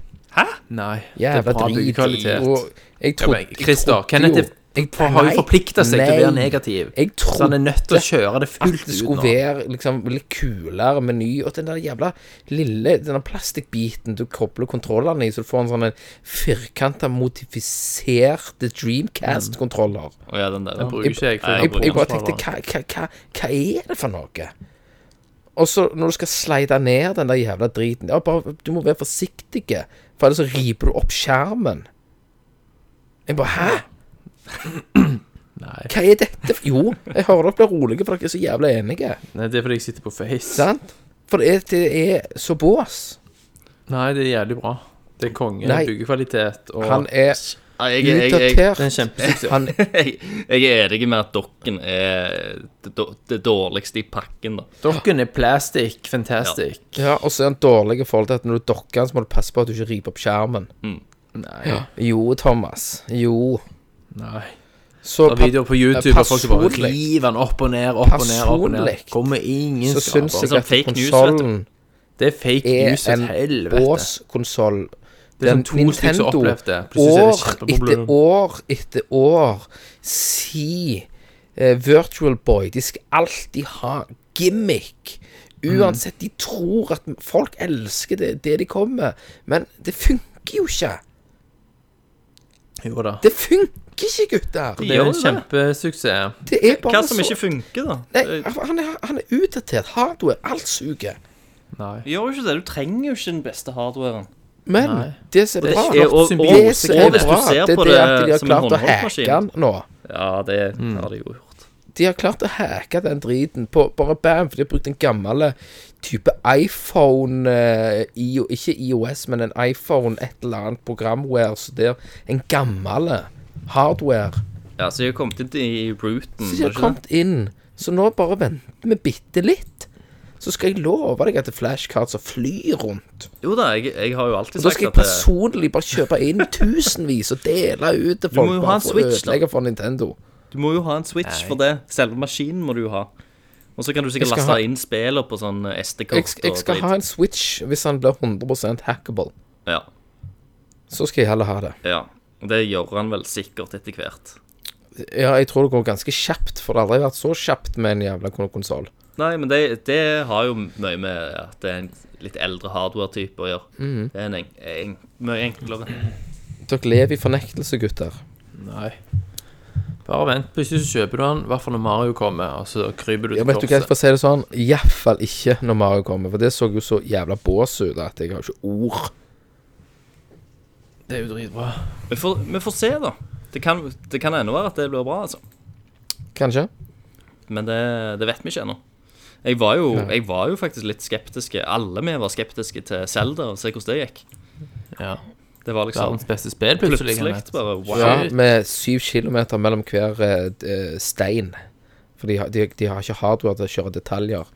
[SPEAKER 7] Nei.
[SPEAKER 8] Jævla
[SPEAKER 7] bra
[SPEAKER 8] drit.
[SPEAKER 7] byggekvalitet.
[SPEAKER 8] Og jeg trodde
[SPEAKER 7] men Christer,
[SPEAKER 8] jeg trodde
[SPEAKER 7] Kenneth
[SPEAKER 8] jo-
[SPEAKER 7] er- For har jo
[SPEAKER 8] Nei,
[SPEAKER 7] forplikta seg til å være
[SPEAKER 8] nei.
[SPEAKER 7] negativ.
[SPEAKER 8] Jeg
[SPEAKER 7] Så han er
[SPEAKER 8] trodde
[SPEAKER 7] nødt til å kjøre det
[SPEAKER 8] at
[SPEAKER 7] fullt
[SPEAKER 8] det
[SPEAKER 7] ut
[SPEAKER 8] skulle
[SPEAKER 7] nå.
[SPEAKER 8] være liksom litt kulere meny, og den der jævla lille Den der plastikkbiten du kobler kontrollene i, så du får en sånn en firkanta, modifiserte Dreamcast-kontroller.
[SPEAKER 6] Å ja, den der.
[SPEAKER 7] Den bruker ikke jeg. for
[SPEAKER 6] Nei,
[SPEAKER 8] Jeg,
[SPEAKER 6] bruker
[SPEAKER 8] jeg bare
[SPEAKER 7] den.
[SPEAKER 8] tenkte hva, hva, hva, hva er det for noe? Og så når du skal slide ned den der jævla driten ja, bare, Du må være forsiktig, for ellers så riper du opp skjermen. Jeg bare Hæ?
[SPEAKER 7] Nei.
[SPEAKER 8] Hva er dette? for- Jo, jeg hører dere blir rolige, for dere er så jævla enige.
[SPEAKER 7] Nei, det er fordi jeg sitter på Face.
[SPEAKER 8] Sant? For det er, det er så bås.
[SPEAKER 7] Nei, det er jævlig bra. Det er konge.
[SPEAKER 8] Nei.
[SPEAKER 7] Byggekvalitet og
[SPEAKER 8] Han er
[SPEAKER 6] Nei, jeg, jeg, jeg, jeg,
[SPEAKER 7] Det er en
[SPEAKER 8] utdatert.
[SPEAKER 7] kjempesuksess.
[SPEAKER 8] Han
[SPEAKER 6] jeg, jeg er enig med at dokken er det, då- det dårligste i pakken, da.
[SPEAKER 7] Dokken er plastic, fantastic.
[SPEAKER 8] Ja, og så er han dårlig i forhold til at når du dokker han, så må du passe på at du ikke riper opp skjermen.
[SPEAKER 7] Nei.
[SPEAKER 8] Jo, Thomas. Jo.
[SPEAKER 7] Nei.
[SPEAKER 8] Så
[SPEAKER 7] Det er videoer på YouTube og folk som bare
[SPEAKER 8] personlig.
[SPEAKER 7] river den opp og ned, opp og ned, opp og ned.
[SPEAKER 8] Personlig.
[SPEAKER 7] Kommer ingen
[SPEAKER 8] så
[SPEAKER 7] skaper.
[SPEAKER 8] syns jeg E
[SPEAKER 6] sånn
[SPEAKER 8] at
[SPEAKER 6] fake news,
[SPEAKER 8] konsollen
[SPEAKER 7] Det er fake
[SPEAKER 8] er
[SPEAKER 7] news et
[SPEAKER 8] en
[SPEAKER 7] helvete.
[SPEAKER 8] båskonsoll.
[SPEAKER 7] Det er sånn to stykker som opplevde det. Plutselig er det
[SPEAKER 8] år
[SPEAKER 7] kjempeproblem.
[SPEAKER 8] etter år etter år si eh, Virtual Boy De skal alltid ha gimmick.
[SPEAKER 7] Mm.
[SPEAKER 8] Uansett, de tror at folk elsker det, det de kommer med, men det funker jo ikke.
[SPEAKER 7] Jo da.
[SPEAKER 8] Det funker ikke, gutter!
[SPEAKER 7] Det er
[SPEAKER 6] Gjør
[SPEAKER 7] en
[SPEAKER 6] det?
[SPEAKER 7] kjempesuksess.
[SPEAKER 8] Det er bare
[SPEAKER 6] Hva som ikke funker, da?
[SPEAKER 8] Nei,
[SPEAKER 6] Det-
[SPEAKER 8] han er, han er utdatert. Hardware. Alt suger.
[SPEAKER 7] Nei.
[SPEAKER 6] Gjør jo ikke det. Du trenger jo ikke den beste hardwaren.
[SPEAKER 8] Men
[SPEAKER 7] Nei.
[SPEAKER 8] det som er
[SPEAKER 7] Det er
[SPEAKER 8] bra
[SPEAKER 7] ikke-
[SPEAKER 6] og, og,
[SPEAKER 7] Hvis
[SPEAKER 8] Det som
[SPEAKER 7] du
[SPEAKER 8] er
[SPEAKER 7] ser
[SPEAKER 8] bra, det er
[SPEAKER 6] på
[SPEAKER 8] det at de har
[SPEAKER 6] som en
[SPEAKER 8] klart å hacke
[SPEAKER 6] håndholdsmaskin
[SPEAKER 8] den Mm. nå.
[SPEAKER 6] Ja, det har de jo gjort.
[SPEAKER 8] De har klart å hacke den driten på bare bam, for de har brukt en gammel eh, type iPhone eh, I, Ikke IOS, men en iPhone, et eller annet programware. Så det er en gammel eh, hardware.
[SPEAKER 6] Ja, så de har kommet inn i routen. er Mm,
[SPEAKER 8] Så de
[SPEAKER 6] det
[SPEAKER 8] har
[SPEAKER 6] ikke det?
[SPEAKER 8] kommet inn. Så nå bare venter vi bitte litt. Så skal jeg love deg at det er flashcards som flyr rundt.
[SPEAKER 6] Jo da, jeg, jeg har jo alltid
[SPEAKER 8] Og da
[SPEAKER 6] sagt
[SPEAKER 8] skal jeg
[SPEAKER 6] at det,
[SPEAKER 8] personlig bare kjøpe inn tusenvis og dele ut til folk.
[SPEAKER 6] må jo ha
[SPEAKER 8] bare
[SPEAKER 6] en
[SPEAKER 8] for å
[SPEAKER 6] Switch, da.
[SPEAKER 8] ødelegge for Nintendo.
[SPEAKER 6] du Du må jo ha en Switch for det. Selve maskinen må du jo ha. Og så kan du sikkert
[SPEAKER 8] Jeg skal
[SPEAKER 6] laste
[SPEAKER 8] ha-
[SPEAKER 6] inn spiller på sånn SD-kort.
[SPEAKER 8] Jeg, jeg skal ha en Switch hvis han blir 100 hackable.
[SPEAKER 6] Ja,
[SPEAKER 8] Så skal jeg heller ha det.
[SPEAKER 6] ja. Og Det gjør han vel sikkert etter hvert.
[SPEAKER 8] Ja, jeg tror det går ganske kjapt, for det har aldri vært så kjapt med en jævla konsoll.
[SPEAKER 6] Nei, men det, det har jo mye med at det er en litt eldre hardware-type å gjøre.
[SPEAKER 7] Mhm.
[SPEAKER 6] Det er en, en, en mye enklere.
[SPEAKER 8] Dere lever i fornektelse, gutter.
[SPEAKER 7] Nei. Bare vent. Plutselig så kjøper du den, i hvert fall når Mario kommer, og så kryper du
[SPEAKER 8] Ja,
[SPEAKER 7] til
[SPEAKER 8] vet du hva,
[SPEAKER 7] korset.
[SPEAKER 8] for å si det sånn, iallfall ikke når Mario kommer, for det så jo så jævla bås ut at jeg har ikke ord.
[SPEAKER 7] Det er jo dritbra.
[SPEAKER 6] Vi får, vi får se, da. Det kan, det kan ennå være at det blir bra, altså.
[SPEAKER 8] Kanskje?
[SPEAKER 6] Men det, det vet vi ikke ennå. Jeg var, jo,
[SPEAKER 8] Nei.
[SPEAKER 6] jeg var jo faktisk litt skeptiske. Alle vi var skeptiske til Zelda, og se hvordan det gikk.
[SPEAKER 7] Ja.
[SPEAKER 6] Det var liksom
[SPEAKER 7] Verdens beste spill, plutselig.
[SPEAKER 6] plutselig liksom. bare wow.
[SPEAKER 8] Ja, med syv kilometer mellom hver eh, d- eh, stein. For de, har- de, de har ikke hardware til å kjøre detaljer.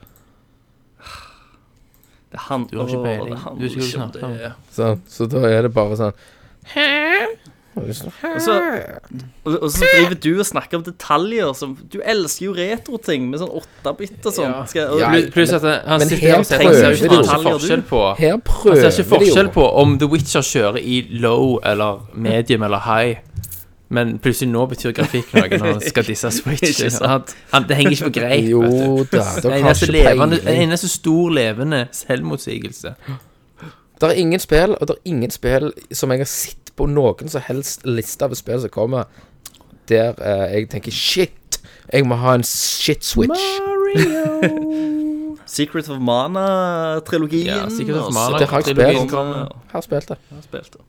[SPEAKER 6] Det han,
[SPEAKER 7] Du har ikke
[SPEAKER 6] Åh,
[SPEAKER 7] peiling.
[SPEAKER 6] det handler
[SPEAKER 7] Du husker
[SPEAKER 6] ikke
[SPEAKER 7] ikke
[SPEAKER 6] om
[SPEAKER 7] snakket om
[SPEAKER 6] det.
[SPEAKER 7] det.
[SPEAKER 8] Så, så da er det bare sånn
[SPEAKER 6] Og så, og, og så driver du og snakker om detaljer som Du elsker jo retro-ting med sånn 8-bit og sånn. Skal- og-
[SPEAKER 8] Ja,
[SPEAKER 7] Plu- Pluss at det- han
[SPEAKER 8] Men
[SPEAKER 7] sitter
[SPEAKER 8] her
[SPEAKER 7] og ser
[SPEAKER 8] prøver
[SPEAKER 7] ser jo ikke
[SPEAKER 8] de jo.
[SPEAKER 7] forskjell på
[SPEAKER 8] Her
[SPEAKER 7] Han
[SPEAKER 8] prøver
[SPEAKER 7] ser ikke forskjell på om The Witcher kjører i low eller medium eller high. Men plutselig nå betyr grafikk noe når han skal disse Switch.
[SPEAKER 6] Ikke sant?
[SPEAKER 7] Han, det henger ikke på greip.
[SPEAKER 8] Jo
[SPEAKER 7] vet du.
[SPEAKER 8] da,
[SPEAKER 7] Det
[SPEAKER 8] dere
[SPEAKER 7] er
[SPEAKER 8] har
[SPEAKER 7] eneste,
[SPEAKER 8] ikke
[SPEAKER 7] levende, det er
[SPEAKER 8] peiling.
[SPEAKER 7] eneste stor levende selvmotsigelse.
[SPEAKER 8] Det er ingen spill, og det er ingen spill som jeg har sett på noen som helst liste av spill som kommer, der eh, jeg tenker shit, jeg må ha en shit-switch.
[SPEAKER 6] Secret of Mana-trilogien.
[SPEAKER 7] Ja, Secret of
[SPEAKER 6] og
[SPEAKER 7] Mana.
[SPEAKER 8] Det har jeg
[SPEAKER 7] trilogien
[SPEAKER 8] spilt.
[SPEAKER 7] kommer.
[SPEAKER 8] Har spilt det.
[SPEAKER 6] har spilt det.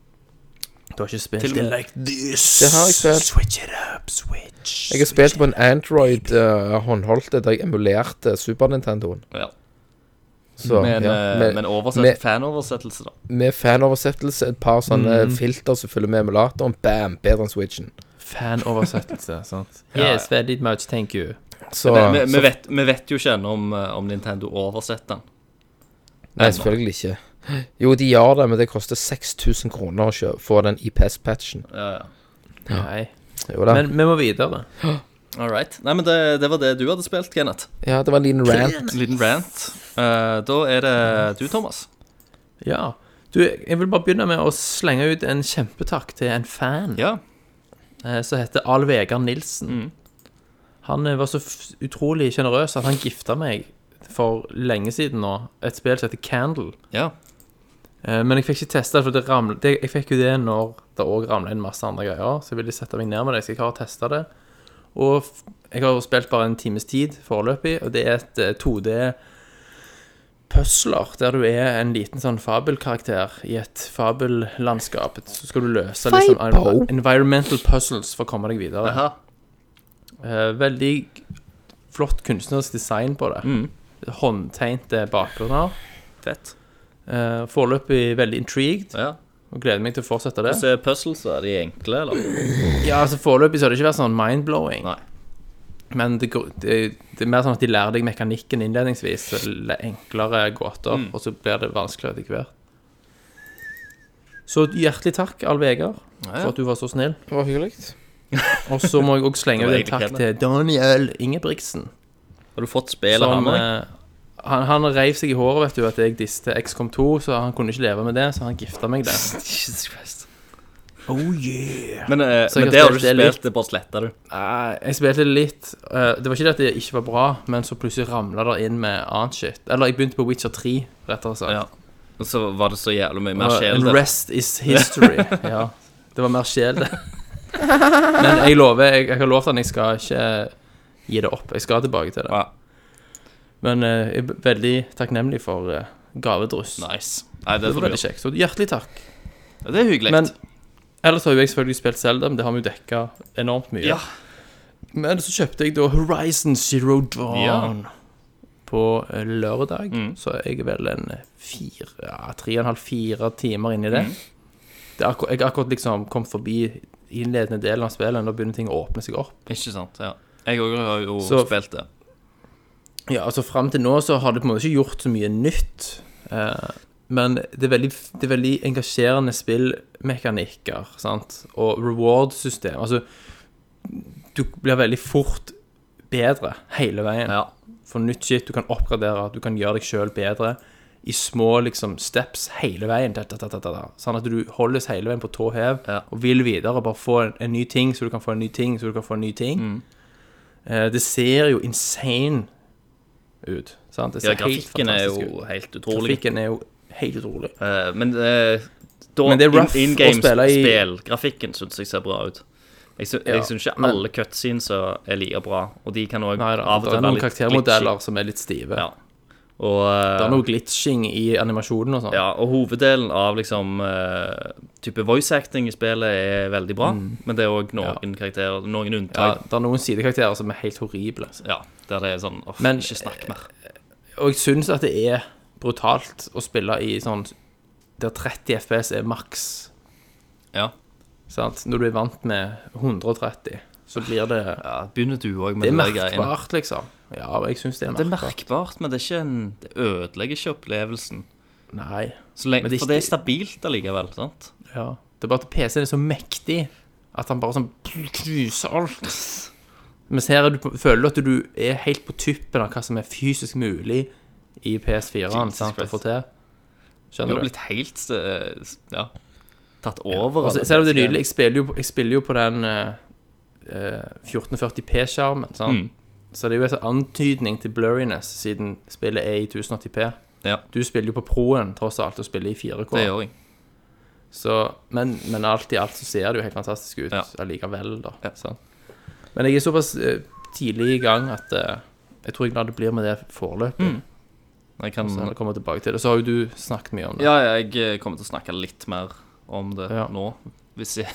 [SPEAKER 7] Du har ikke spilt
[SPEAKER 6] Til og med
[SPEAKER 8] Det har jeg spilt.
[SPEAKER 7] Switch it up, switch.
[SPEAKER 8] Jeg har spilt på en Android eh, håndholdte der jeg emulerte Super Nintendoen.
[SPEAKER 6] ja.
[SPEAKER 8] Så,
[SPEAKER 6] Men,
[SPEAKER 8] ja,
[SPEAKER 6] eh,
[SPEAKER 8] med,
[SPEAKER 6] men oversett,
[SPEAKER 8] med-
[SPEAKER 6] fanoversettelse, da.
[SPEAKER 8] med fanoversettelse, et par sånne
[SPEAKER 6] Mm.
[SPEAKER 8] filter som følger med emulatoren. Bam! Bedre enn Switchen.
[SPEAKER 7] Fanoversettelse, sant.
[SPEAKER 6] Ja.
[SPEAKER 7] Yes, very much, thank you.
[SPEAKER 8] Så,
[SPEAKER 6] Men vi, vi,
[SPEAKER 8] så
[SPEAKER 6] vet, vi vet jo ikke ennå om, eh, om Nintendo oversetter den.
[SPEAKER 8] Nei, selvfølgelig ikke. Jo, de gjør det, men det koster 6000 kroner å kjø- få den IPS-patchen.
[SPEAKER 6] Ja, ja.
[SPEAKER 7] Nei.
[SPEAKER 8] Jo da.
[SPEAKER 7] Men vi må videre.
[SPEAKER 6] All right. Nei, men det, det var det du hadde spilt, Kenneth.
[SPEAKER 8] Ja, det var en liten rant.
[SPEAKER 6] En liten rant. Eh, da er det du, Thomas.
[SPEAKER 7] Ja. Du, jeg vil bare begynne med å slenge ut en kjempetakk til en
[SPEAKER 8] Mm.
[SPEAKER 7] fan
[SPEAKER 6] Ja. Mm.
[SPEAKER 7] eh, som heter Al Vegard Nilsen. Han eh, var så f utrolig sjenerøs at han gifta meg for lenge siden nå, et spill som heter Candle.
[SPEAKER 6] ja.
[SPEAKER 7] Eh, Men jeg fikk ikke testa det, for det ramlet, det, jeg fikk jo det når det òg ramla inn masse andre greier. Så jeg ville sette meg ned med det. Så jeg har testa det. Og f- jeg har jo spilt bare en times tid foreløpig, og det er et eh, 2D Puzzler, der du er en liten sånn fabelkarakter i et fabellandskap. Så skal du løse liksom
[SPEAKER 8] Fable.
[SPEAKER 7] envi- environmental puzzles for å komme deg videre.
[SPEAKER 6] Aha.
[SPEAKER 7] Eh, veldig flott kunstnerisk design på det.
[SPEAKER 6] Mm.
[SPEAKER 7] Håndtegnte bakgrunner.
[SPEAKER 6] Fett.
[SPEAKER 7] Eh, foreløpig veldig intrigued,
[SPEAKER 6] Ja.
[SPEAKER 7] og gleder meg til å fortsette det.
[SPEAKER 6] Og så er puzzles, er de enkle, eller?
[SPEAKER 7] Ja, altså Foreløpig så har det ikke vært sånn mind-blowing.
[SPEAKER 6] Nei.
[SPEAKER 7] Men det, går- det, det er mer sånn at de lærer deg mekanikken innledningsvis. så det er Enklere gåter,
[SPEAKER 6] Mm.
[SPEAKER 7] og så blir det vanskeligere etter hvert. Så hjertelig takk, Al Vegard,
[SPEAKER 6] ja.
[SPEAKER 7] for at du var så snill.
[SPEAKER 8] Det var hyggelig.
[SPEAKER 7] Og så må jeg òg slenge
[SPEAKER 6] Det
[SPEAKER 7] ut
[SPEAKER 6] var
[SPEAKER 7] en
[SPEAKER 6] egentlig
[SPEAKER 7] takk til Daniel Ingebrigtsen.
[SPEAKER 6] Har du fått spill av han
[SPEAKER 7] Som,
[SPEAKER 6] òg?
[SPEAKER 7] eh, han, han reiv seg i håret, vet du, at jeg diste XCOM 2, så han kunne ikke leve med det, så han gifta meg det.
[SPEAKER 6] Jesus Christ.
[SPEAKER 7] Oh yeah!
[SPEAKER 6] Men, eh,
[SPEAKER 7] Så
[SPEAKER 6] men
[SPEAKER 7] jeg har
[SPEAKER 6] det har du ikke
[SPEAKER 7] spilt det litt.
[SPEAKER 6] spilt, det bare sletta du.
[SPEAKER 7] Nei, Eh, jeg spilte litt. eh, det var ikke det at det ikke var bra, men så plutselig ramla det inn med annet shit. Eller jeg begynte på Witcher 3, rettere sagt.
[SPEAKER 6] Ja. Og så var det så jævlig mye mer
[SPEAKER 7] Og
[SPEAKER 6] sjel
[SPEAKER 7] And
[SPEAKER 6] der.
[SPEAKER 7] rest is history. ja. Det var mer sjel, det. Men jeg lover, jeg, jeg har lovt at jeg skal ikke gi det opp. Jeg skal tilbake til det.
[SPEAKER 6] Ja.
[SPEAKER 7] Men eh, jeg er veldig takknemlig for eh, gavedryss.
[SPEAKER 6] Nice. Nei, det,
[SPEAKER 7] Det
[SPEAKER 6] får
[SPEAKER 7] var
[SPEAKER 6] du
[SPEAKER 7] veldig
[SPEAKER 6] gjøre.
[SPEAKER 7] kjekt. Så hjertelig takk.
[SPEAKER 6] Det er hyggelig.
[SPEAKER 7] Men ellers har jo jeg selvfølgelig spilt Zelda, men det har vi jo dekka enormt mye.
[SPEAKER 6] Ja.
[SPEAKER 7] Men så kjøpte jeg da Horizon Zero Dawn på eh, lørdag,
[SPEAKER 6] Mm.
[SPEAKER 7] så jeg er vel en eh, fire, ja, tre og en halv, fire timer inni det. det er akkur jeg har akkurat liksom kommet forbi innledende delen av spillet, da begynner ting å åpne seg opp.
[SPEAKER 6] Ikke sant. Ja. Jeg òg har jo
[SPEAKER 7] Så-
[SPEAKER 6] spilt det.
[SPEAKER 7] Ja, altså Fram til nå så har det på en måte ikke gjort så mye nytt. Eh, men det er veldig, det er veldig engasjerende spillmekanikker sant? og reward-system. Altså, du blir veldig fort bedre hele veien.
[SPEAKER 6] Ja.
[SPEAKER 7] For nytt shit, du kan oppgradere, du kan gjøre deg sjøl bedre i små liksom steps hele veien. Da, da, da, da, da, da. Sånn at du holdes hele veien på tå hev
[SPEAKER 6] Ja.
[SPEAKER 7] og vil videre. Bare få en, en ny ting, så du kan få en ny ting, så du kan få en ny ting.
[SPEAKER 6] Mm.
[SPEAKER 7] Eh, det ser jo insane ut. Sant? Det
[SPEAKER 6] Ja,
[SPEAKER 7] ser helt
[SPEAKER 6] grafikken er
[SPEAKER 7] fantastisk
[SPEAKER 6] jo
[SPEAKER 7] ut.
[SPEAKER 6] helt utrolig.
[SPEAKER 7] Grafikken er jo helt utrolig.
[SPEAKER 6] Eh, men, eh, da,
[SPEAKER 7] Men det er rough
[SPEAKER 6] in, in
[SPEAKER 7] å spille i-
[SPEAKER 6] Grafikken syns jeg ser bra ut. Jeg syns,
[SPEAKER 7] Ja,
[SPEAKER 6] jeg syns ikke alle cutscenes er like bra, og de kan òg
[SPEAKER 7] Nei da,
[SPEAKER 6] av og
[SPEAKER 7] det
[SPEAKER 6] til være
[SPEAKER 7] er noen
[SPEAKER 6] litt
[SPEAKER 7] karaktermodeller
[SPEAKER 6] glitchy.
[SPEAKER 7] som er litt stive.
[SPEAKER 6] Ja. Og, eh,
[SPEAKER 7] Det er noe glitching i animasjonen og sånn.
[SPEAKER 6] ja, og hoveddelen av liksom eh, type voice acting i spillet er veldig bra,
[SPEAKER 7] Mm.
[SPEAKER 6] men det er òg noen karakterer, noen
[SPEAKER 7] Ja,
[SPEAKER 6] unntak,
[SPEAKER 7] det er noen sidekarakterer som er helt horrible.
[SPEAKER 6] ja. der det er sånn Uff,
[SPEAKER 7] Men- eh,
[SPEAKER 6] ikke snakk mer.
[SPEAKER 7] Og jeg syns at det er brutalt å spille i sånn der 30 FPS er maks.
[SPEAKER 6] Ja.
[SPEAKER 7] Sant? Når du er vant med 130, så blir det
[SPEAKER 6] ja, begynner du òg med
[SPEAKER 7] Det er
[SPEAKER 6] de der greiene.
[SPEAKER 7] merkbart, liksom. Ja, og jeg syns det er
[SPEAKER 6] Det er
[SPEAKER 7] merkbart.
[SPEAKER 6] merkbart, men det, er ikke en, det ødelegger ikke opplevelsen.
[SPEAKER 7] Nei.
[SPEAKER 6] Så lenge,
[SPEAKER 7] Men det er
[SPEAKER 6] for det er
[SPEAKER 7] ikke-
[SPEAKER 6] stabilt allikevel, sant?
[SPEAKER 7] Ja. Det er bare at PC-en er så mektig at han bare sånn knuser alt. Mens her er du på, føler du at du er helt på tuppen av hva som er fysisk mulig i PS4-en
[SPEAKER 6] Jesus
[SPEAKER 7] sant, å
[SPEAKER 6] Christ.
[SPEAKER 7] få til.
[SPEAKER 6] Du
[SPEAKER 7] Skjønner
[SPEAKER 6] har
[SPEAKER 7] du?
[SPEAKER 6] blitt helt eh, ja, tatt over.
[SPEAKER 7] Altså,
[SPEAKER 6] av
[SPEAKER 7] selv om det er
[SPEAKER 6] greiene.
[SPEAKER 7] nydelig, jeg spiller jo, på- jeg spiller jo på den eh, eh, 1440p-skjermen, sant?
[SPEAKER 6] Mm.
[SPEAKER 7] Så det er jo en sånn antydning til blurriness, siden spillet er i 1080p.
[SPEAKER 6] Ja.
[SPEAKER 7] Du spiller jo på Proen, tross alt, og spiller i 4K.
[SPEAKER 6] Det gjør jeg.
[SPEAKER 7] Så, men, men alt i alt så ser det jo helt fantastisk ut
[SPEAKER 6] Ja.
[SPEAKER 7] allikevel, da.
[SPEAKER 6] Ja.
[SPEAKER 7] sant? Men jeg er såpass eh, tidlig i gang at eh, jeg tror jeg lar det blir med det foreløpig.
[SPEAKER 6] Mm. Jeg kan,
[SPEAKER 7] Så jeg kommer tilbake til det. Så har jo du snakket mye om det.
[SPEAKER 6] Mm. ja, ja, jeg eh, kommer til å snakke litt mer om det
[SPEAKER 7] Ja.
[SPEAKER 6] nå. Hvis jeg,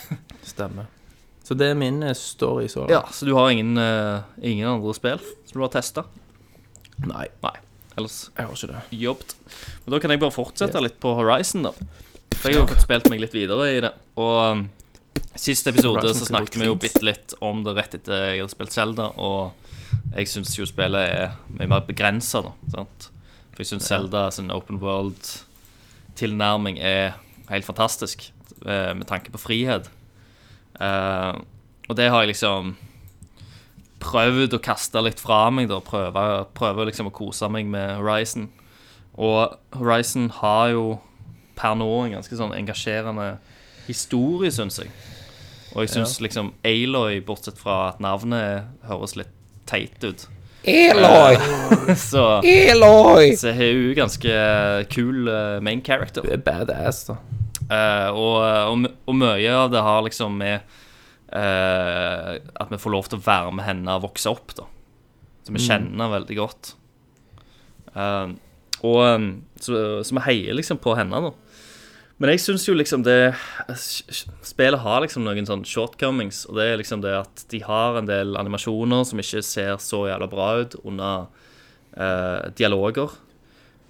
[SPEAKER 7] Stemmer. Så det er min eh, story så
[SPEAKER 6] ja, så du har ingen, eh, ingen andre spill som du har testa?
[SPEAKER 7] Nei,
[SPEAKER 6] Nei. Ellers
[SPEAKER 7] jeg har ikke det.
[SPEAKER 6] jobbet. Men da kan jeg bare fortsette litt på Horizon, da. For jeg har jo fått spilt meg litt videre i det. Og um, sist episode
[SPEAKER 7] Horizon
[SPEAKER 6] så
[SPEAKER 7] Zero
[SPEAKER 6] snakket vi jo
[SPEAKER 7] Dawn.
[SPEAKER 6] bitte litt om det rett etter jeg hadde spilt Zelda, og jeg syns jo spillet er mye mer begrensa, da. Sant? For jeg syns Zelda sin open world-tilnærming er helt fantastisk, eh, med tanke på frihet. Eh, og det har jeg liksom prøvd å kaste litt fra meg, da. Prøve, prøve liksom å kose meg med Horizon. Og Horizon har jo per nå en ganske sånn engasjerende historie, syns jeg. Og jeg syns liksom Aloy, bortsett fra at navnet høres litt teit ut,
[SPEAKER 8] Eloy!
[SPEAKER 6] så,
[SPEAKER 8] Eloy!
[SPEAKER 6] så er hun ganske kul eh, main character.
[SPEAKER 7] Du er badass, da.
[SPEAKER 6] Eh, og, og, og mye av det har liksom med eh, at vi får lov til å være med henne og vokse opp, da. Så
[SPEAKER 7] Mm.
[SPEAKER 6] vi kjenner henne veldig godt. Eh, og eh, så, så vi heier liksom på henne, da. Men jeg syns jo liksom det Spillet har liksom noen sånne shortcomings, og det er liksom det at de har en del animasjoner som ikke ser så jævla bra ut under eh, dialoger.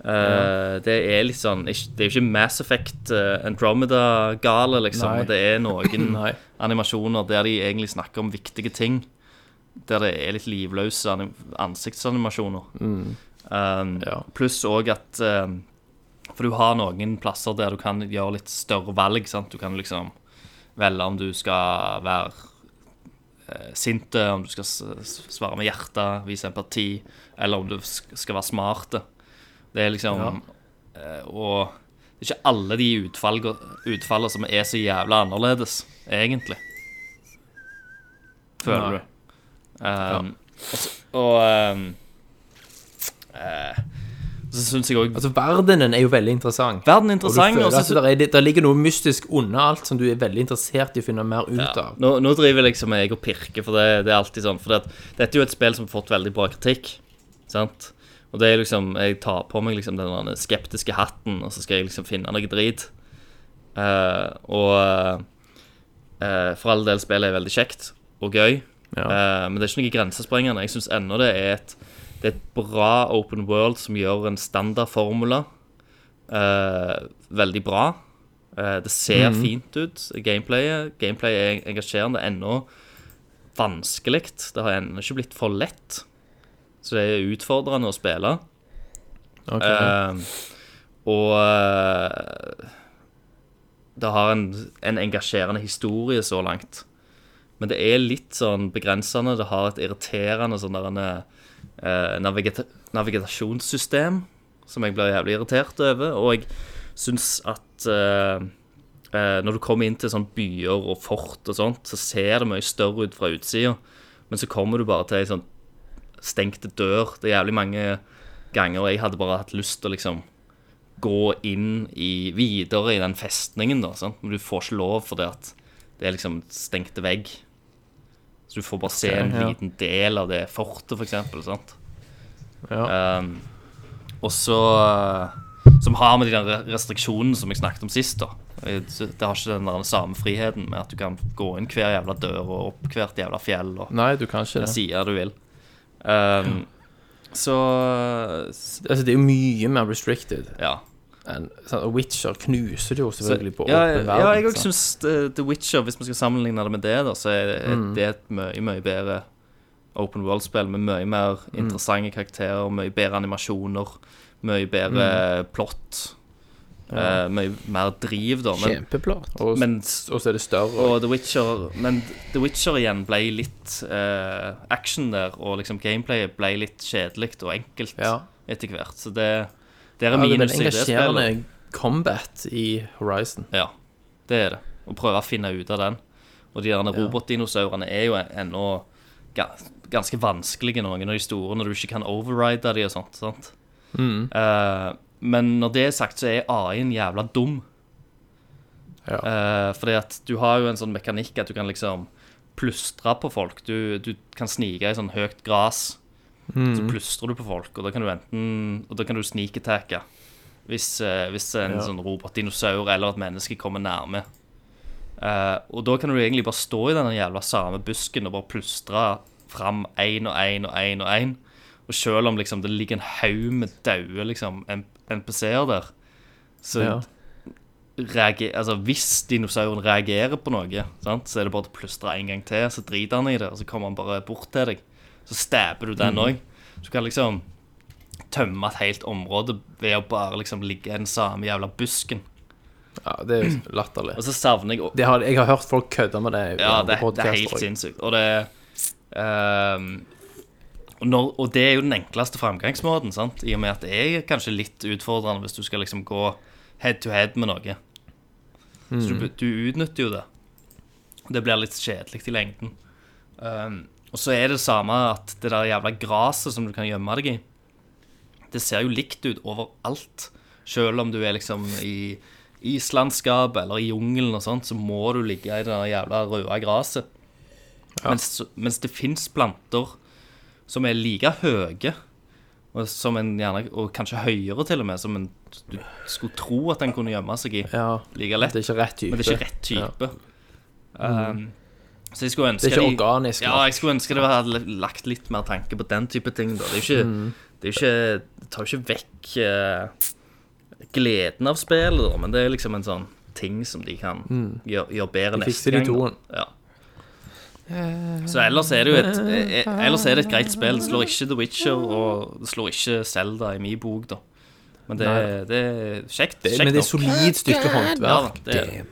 [SPEAKER 6] Eh, Det er litt sånn ikk- Det er jo ikke Mass Effect eh, Andromeda-gale, liksom.
[SPEAKER 7] Nei.
[SPEAKER 6] men Det er noen
[SPEAKER 7] Nei.
[SPEAKER 6] animasjoner der de egentlig snakker om viktige ting. Der det er litt livløse anim- ansiktsanimasjoner. Um,
[SPEAKER 7] Ja.
[SPEAKER 6] Pluss òg at um, For du har noen plasser der du kan gjøre litt større valg. Sant? Du kan liksom velge om du skal være eh, sinte, om du skal s- s- svare med hjertet, vise empati, eller om du sk- skal være smarte. Det er liksom eh, Og det er ikke alle de utfallene, utfallene som er så jævla annerledes, egentlig. Føler
[SPEAKER 7] Nei.
[SPEAKER 6] du. Um, og så- og um, eh, så syns jeg òg
[SPEAKER 7] Altså, verdenen er jo veldig interessant.
[SPEAKER 6] Verden er
[SPEAKER 7] Og du
[SPEAKER 6] interessant.
[SPEAKER 7] føler
[SPEAKER 6] og så
[SPEAKER 7] at
[SPEAKER 6] sy-
[SPEAKER 7] der, er, der ligger noe mystisk unna alt som du er veldig interessert i å finne mer ut
[SPEAKER 6] ja.
[SPEAKER 7] av.
[SPEAKER 6] nå, nå driver liksom jeg og pirker, for det, det er alltid sånn. For det, at- dette er jo et spill som har fått veldig bra kritikk. Sant? Og det er liksom Jeg tar på meg liksom den der skeptiske hatten, og så skal jeg liksom finne noe drit. Eh, og eh, for all del, spillet er veldig kjekt og gøy. Eh, men det er ikke noe grensesprengende. Jeg syns ennå det er et Det er et bra open world som gjør en standardformula eh, veldig bra. Eh, det ser fint ut, gameplayet. Gameplay er engasjerende ennå. Vanskelig. Det har ennå ikke blitt for lett. Så det er utfordrende å spille.
[SPEAKER 7] Ok.
[SPEAKER 6] Ehm, og eh, det har en, en engasjerende historie så langt. Men det er litt sånn begrensende. Det har et irriterende sånn der en, eh, navigeta navigasjonssystem som jeg blir jævlig irritert over. Og jeg syns at eh, eh, når du kommer inn til sånn byer og fort og sånt, så ser det mye større ut fra utsida. Men så kommer du bare til ei sånn stengt dør. Det er jævlig mange ganger og jeg hadde bare hatt lyst til å liksom gå inn i, videre i den festningen, da. Sant? Men du får ikke lov fordi at det er liksom stengte vegg. Så du får bare se en
[SPEAKER 7] ja.
[SPEAKER 6] liten del av det fortet, for eksempel. Sant?
[SPEAKER 7] Ja.
[SPEAKER 6] Um, og så eh, Som har med de der restriksjonene som jeg snakket om sist, da. Eh, Det har ikke den der samme friheten med at du kan gå inn hver jævla dør og opp hvert jævla fjell. og
[SPEAKER 7] Nei, du kan ikke
[SPEAKER 6] den
[SPEAKER 7] det.
[SPEAKER 6] sida du vil. Ehm, så s-
[SPEAKER 7] Altså, det er jo mye mer restricted.
[SPEAKER 6] ja.
[SPEAKER 7] enn- sant, og Witcher knuser det jo
[SPEAKER 6] Så,
[SPEAKER 7] selvfølgelig på
[SPEAKER 6] ja,
[SPEAKER 7] åpen
[SPEAKER 6] ja, jeg
[SPEAKER 7] sant.
[SPEAKER 6] også syns eh, The The Witcher, hvis vi skal sammenligne det med det, da, så er er
[SPEAKER 7] Mm.
[SPEAKER 6] det et mye, mye bedre open world-spill med mye mer
[SPEAKER 7] Mm.
[SPEAKER 6] interessante karakterer, mye bedre animasjoner, mye bedre
[SPEAKER 7] Mm.
[SPEAKER 6] plott. eh, mye mer driv, da. Men,
[SPEAKER 8] Kjempeplott.
[SPEAKER 7] Og,
[SPEAKER 6] men
[SPEAKER 7] og så er det større.
[SPEAKER 6] Og The Witcher Men The Witcher igjen ble litt eh, action der, og liksom gameplayet ble litt kjedelig og enkelt
[SPEAKER 7] Ja.
[SPEAKER 6] etter hvert. Så det, det er
[SPEAKER 7] Ja, det er
[SPEAKER 6] minus
[SPEAKER 7] vel
[SPEAKER 6] i det
[SPEAKER 7] engasjerende
[SPEAKER 6] spillet.
[SPEAKER 7] combat i Horizon.
[SPEAKER 6] Ja, det er det. Å prøve å finne ut av den. Og de der robotdinosaurene er jo en- ennå ga, ganske vanskelige, noen av de store, når du ikke kan override de og sånt. sant?
[SPEAKER 7] Mm.
[SPEAKER 6] Eh, men når det er sagt, så er AI-en jævla dum.
[SPEAKER 7] Ja.
[SPEAKER 6] Eh, fordi at du har jo en sånn mekanikk at du kan liksom plystre på folk. Du, du kan snike i sånn høyt gras. Så
[SPEAKER 7] Mm.
[SPEAKER 6] plystrer du på folk, og da kan du enten Og da kan du sneak-attacke hvis, eh, hvis en
[SPEAKER 7] Ja.
[SPEAKER 6] sånn robotdinosaur eller et menneske kommer nærme. Eh, og da kan du egentlig bare stå i den jævla samme busken og bare plystre fram én og én og én og én. Og selv om liksom det ligger en haug med daue liksom, N- NPC-er der, så
[SPEAKER 7] Ja.
[SPEAKER 6] reager, altså hvis dinosauren reagerer på noe, sant, så er det bare å plystre en gang til, så driter han i det, og så kommer han bare bort til deg. Så stabber du den òg. Du kan liksom tømme et helt område ved å bare liksom ligge i den samme jævla busken.
[SPEAKER 7] Ja, det er jo latterlig.
[SPEAKER 6] Og så savner jeg
[SPEAKER 7] Altså, Det har, jeg har hørt folk kødde med det. i
[SPEAKER 6] Ja,
[SPEAKER 7] eh, andre
[SPEAKER 6] det, det
[SPEAKER 7] podcaster
[SPEAKER 6] er helt
[SPEAKER 7] også.
[SPEAKER 6] sinnssykt. Og det ehm, og når, Og det er jo den enkleste framgangsmåten, sant? i og med at det er kanskje litt utfordrende hvis du skal liksom gå head to head med noe. Så
[SPEAKER 7] Mm.
[SPEAKER 6] du, du utnytter jo det. Det blir litt kjedelig i lengden. Ehm, og så er det samme at det der jævla gresset som du kan gjemme deg i, det ser jo likt ut overalt. Selv om du er liksom i islandskapet eller i jungelen og sånt, så må du ligge i det der jævla røde gresset. Mens, mens det fins planter som er like høye, og, som en gjerne, og kanskje høyere til og med, som en, du skulle tro at en kunne gjemme seg i
[SPEAKER 7] Ja,
[SPEAKER 6] like lett.
[SPEAKER 7] det er ikke rett type.
[SPEAKER 6] Men det er ikke rett type. Um, så jeg skulle ønske
[SPEAKER 7] Det er ikke
[SPEAKER 6] de-
[SPEAKER 7] organisk
[SPEAKER 6] Ja,
[SPEAKER 7] nok.
[SPEAKER 6] jeg skulle ønske det hadde lagt litt mer tanke på den type ting. Da. Det, er jo ikke,
[SPEAKER 7] Mm.
[SPEAKER 6] det, er jo ikke, det tar jo ikke vekk eh, gleden av spillet, da, men det er liksom en sånn ting som de kan gjøre, gjøre bedre
[SPEAKER 7] Mm.
[SPEAKER 6] neste
[SPEAKER 7] De fikser de
[SPEAKER 6] gang.
[SPEAKER 7] toen.
[SPEAKER 6] da. Ja. Så ellers er det jo et eh, eh, Ellers er det et greit spill. Det slår ikke The Witcher, og det slår ikke Zelda i min bok, da. Men det,
[SPEAKER 7] Nei.
[SPEAKER 6] det er kjekt.
[SPEAKER 7] Det-
[SPEAKER 6] kjekt
[SPEAKER 7] Men det er
[SPEAKER 6] nok.
[SPEAKER 7] solid stykke
[SPEAKER 6] Ja,
[SPEAKER 7] håndverk.
[SPEAKER 6] da, det er det.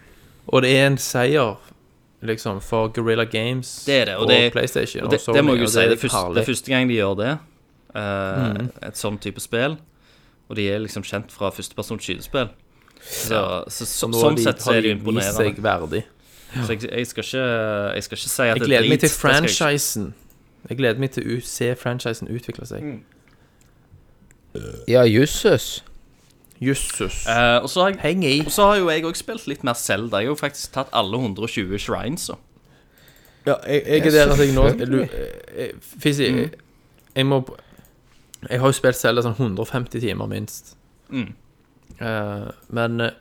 [SPEAKER 7] Og det er en seier liksom for Guerrilla Games
[SPEAKER 6] Det er det, og det-
[SPEAKER 7] PlayStation.
[SPEAKER 6] Og det,
[SPEAKER 7] Sony,
[SPEAKER 6] det må jeg jo
[SPEAKER 7] og
[SPEAKER 6] si, det er, første,
[SPEAKER 7] herlig.
[SPEAKER 6] det er første gang de gjør det. eh,
[SPEAKER 7] Mhm.
[SPEAKER 6] Et sånn type spill. Og de er liksom kjent fra førstepersons skytespill. Så, så, så,
[SPEAKER 7] Og nå har
[SPEAKER 6] sånn
[SPEAKER 7] de-
[SPEAKER 6] sett så
[SPEAKER 7] har
[SPEAKER 6] er det jo
[SPEAKER 7] de vist
[SPEAKER 6] imponerende.
[SPEAKER 7] seg verdig.
[SPEAKER 6] Så jeg, jeg, skal ikke, jeg skal ikke si at
[SPEAKER 7] Jeg
[SPEAKER 6] det er
[SPEAKER 7] gleder
[SPEAKER 6] drit,
[SPEAKER 7] meg til
[SPEAKER 6] det skal jeg ikke.
[SPEAKER 7] franchisen. Jeg gleder meg til å se franchisen utvikle
[SPEAKER 6] Mm.
[SPEAKER 7] seg.
[SPEAKER 8] Ja, jøsses.
[SPEAKER 7] Jøsses.
[SPEAKER 6] Eh, og, så har jeg,
[SPEAKER 7] Heng i.
[SPEAKER 6] og så har jo jeg òg spilt litt mer Zelda. Jeg har jo faktisk tatt alle 120 shrines. Så.
[SPEAKER 7] Ja, jeg, jeg er
[SPEAKER 8] Ja,
[SPEAKER 7] der at jeg nå eh,
[SPEAKER 8] selvfølgelig.
[SPEAKER 7] Fizzy, jeg, jeg må Jeg har jo spilt Zelda sånn 150 timer minst.
[SPEAKER 6] Mm.
[SPEAKER 7] Eh, men eh,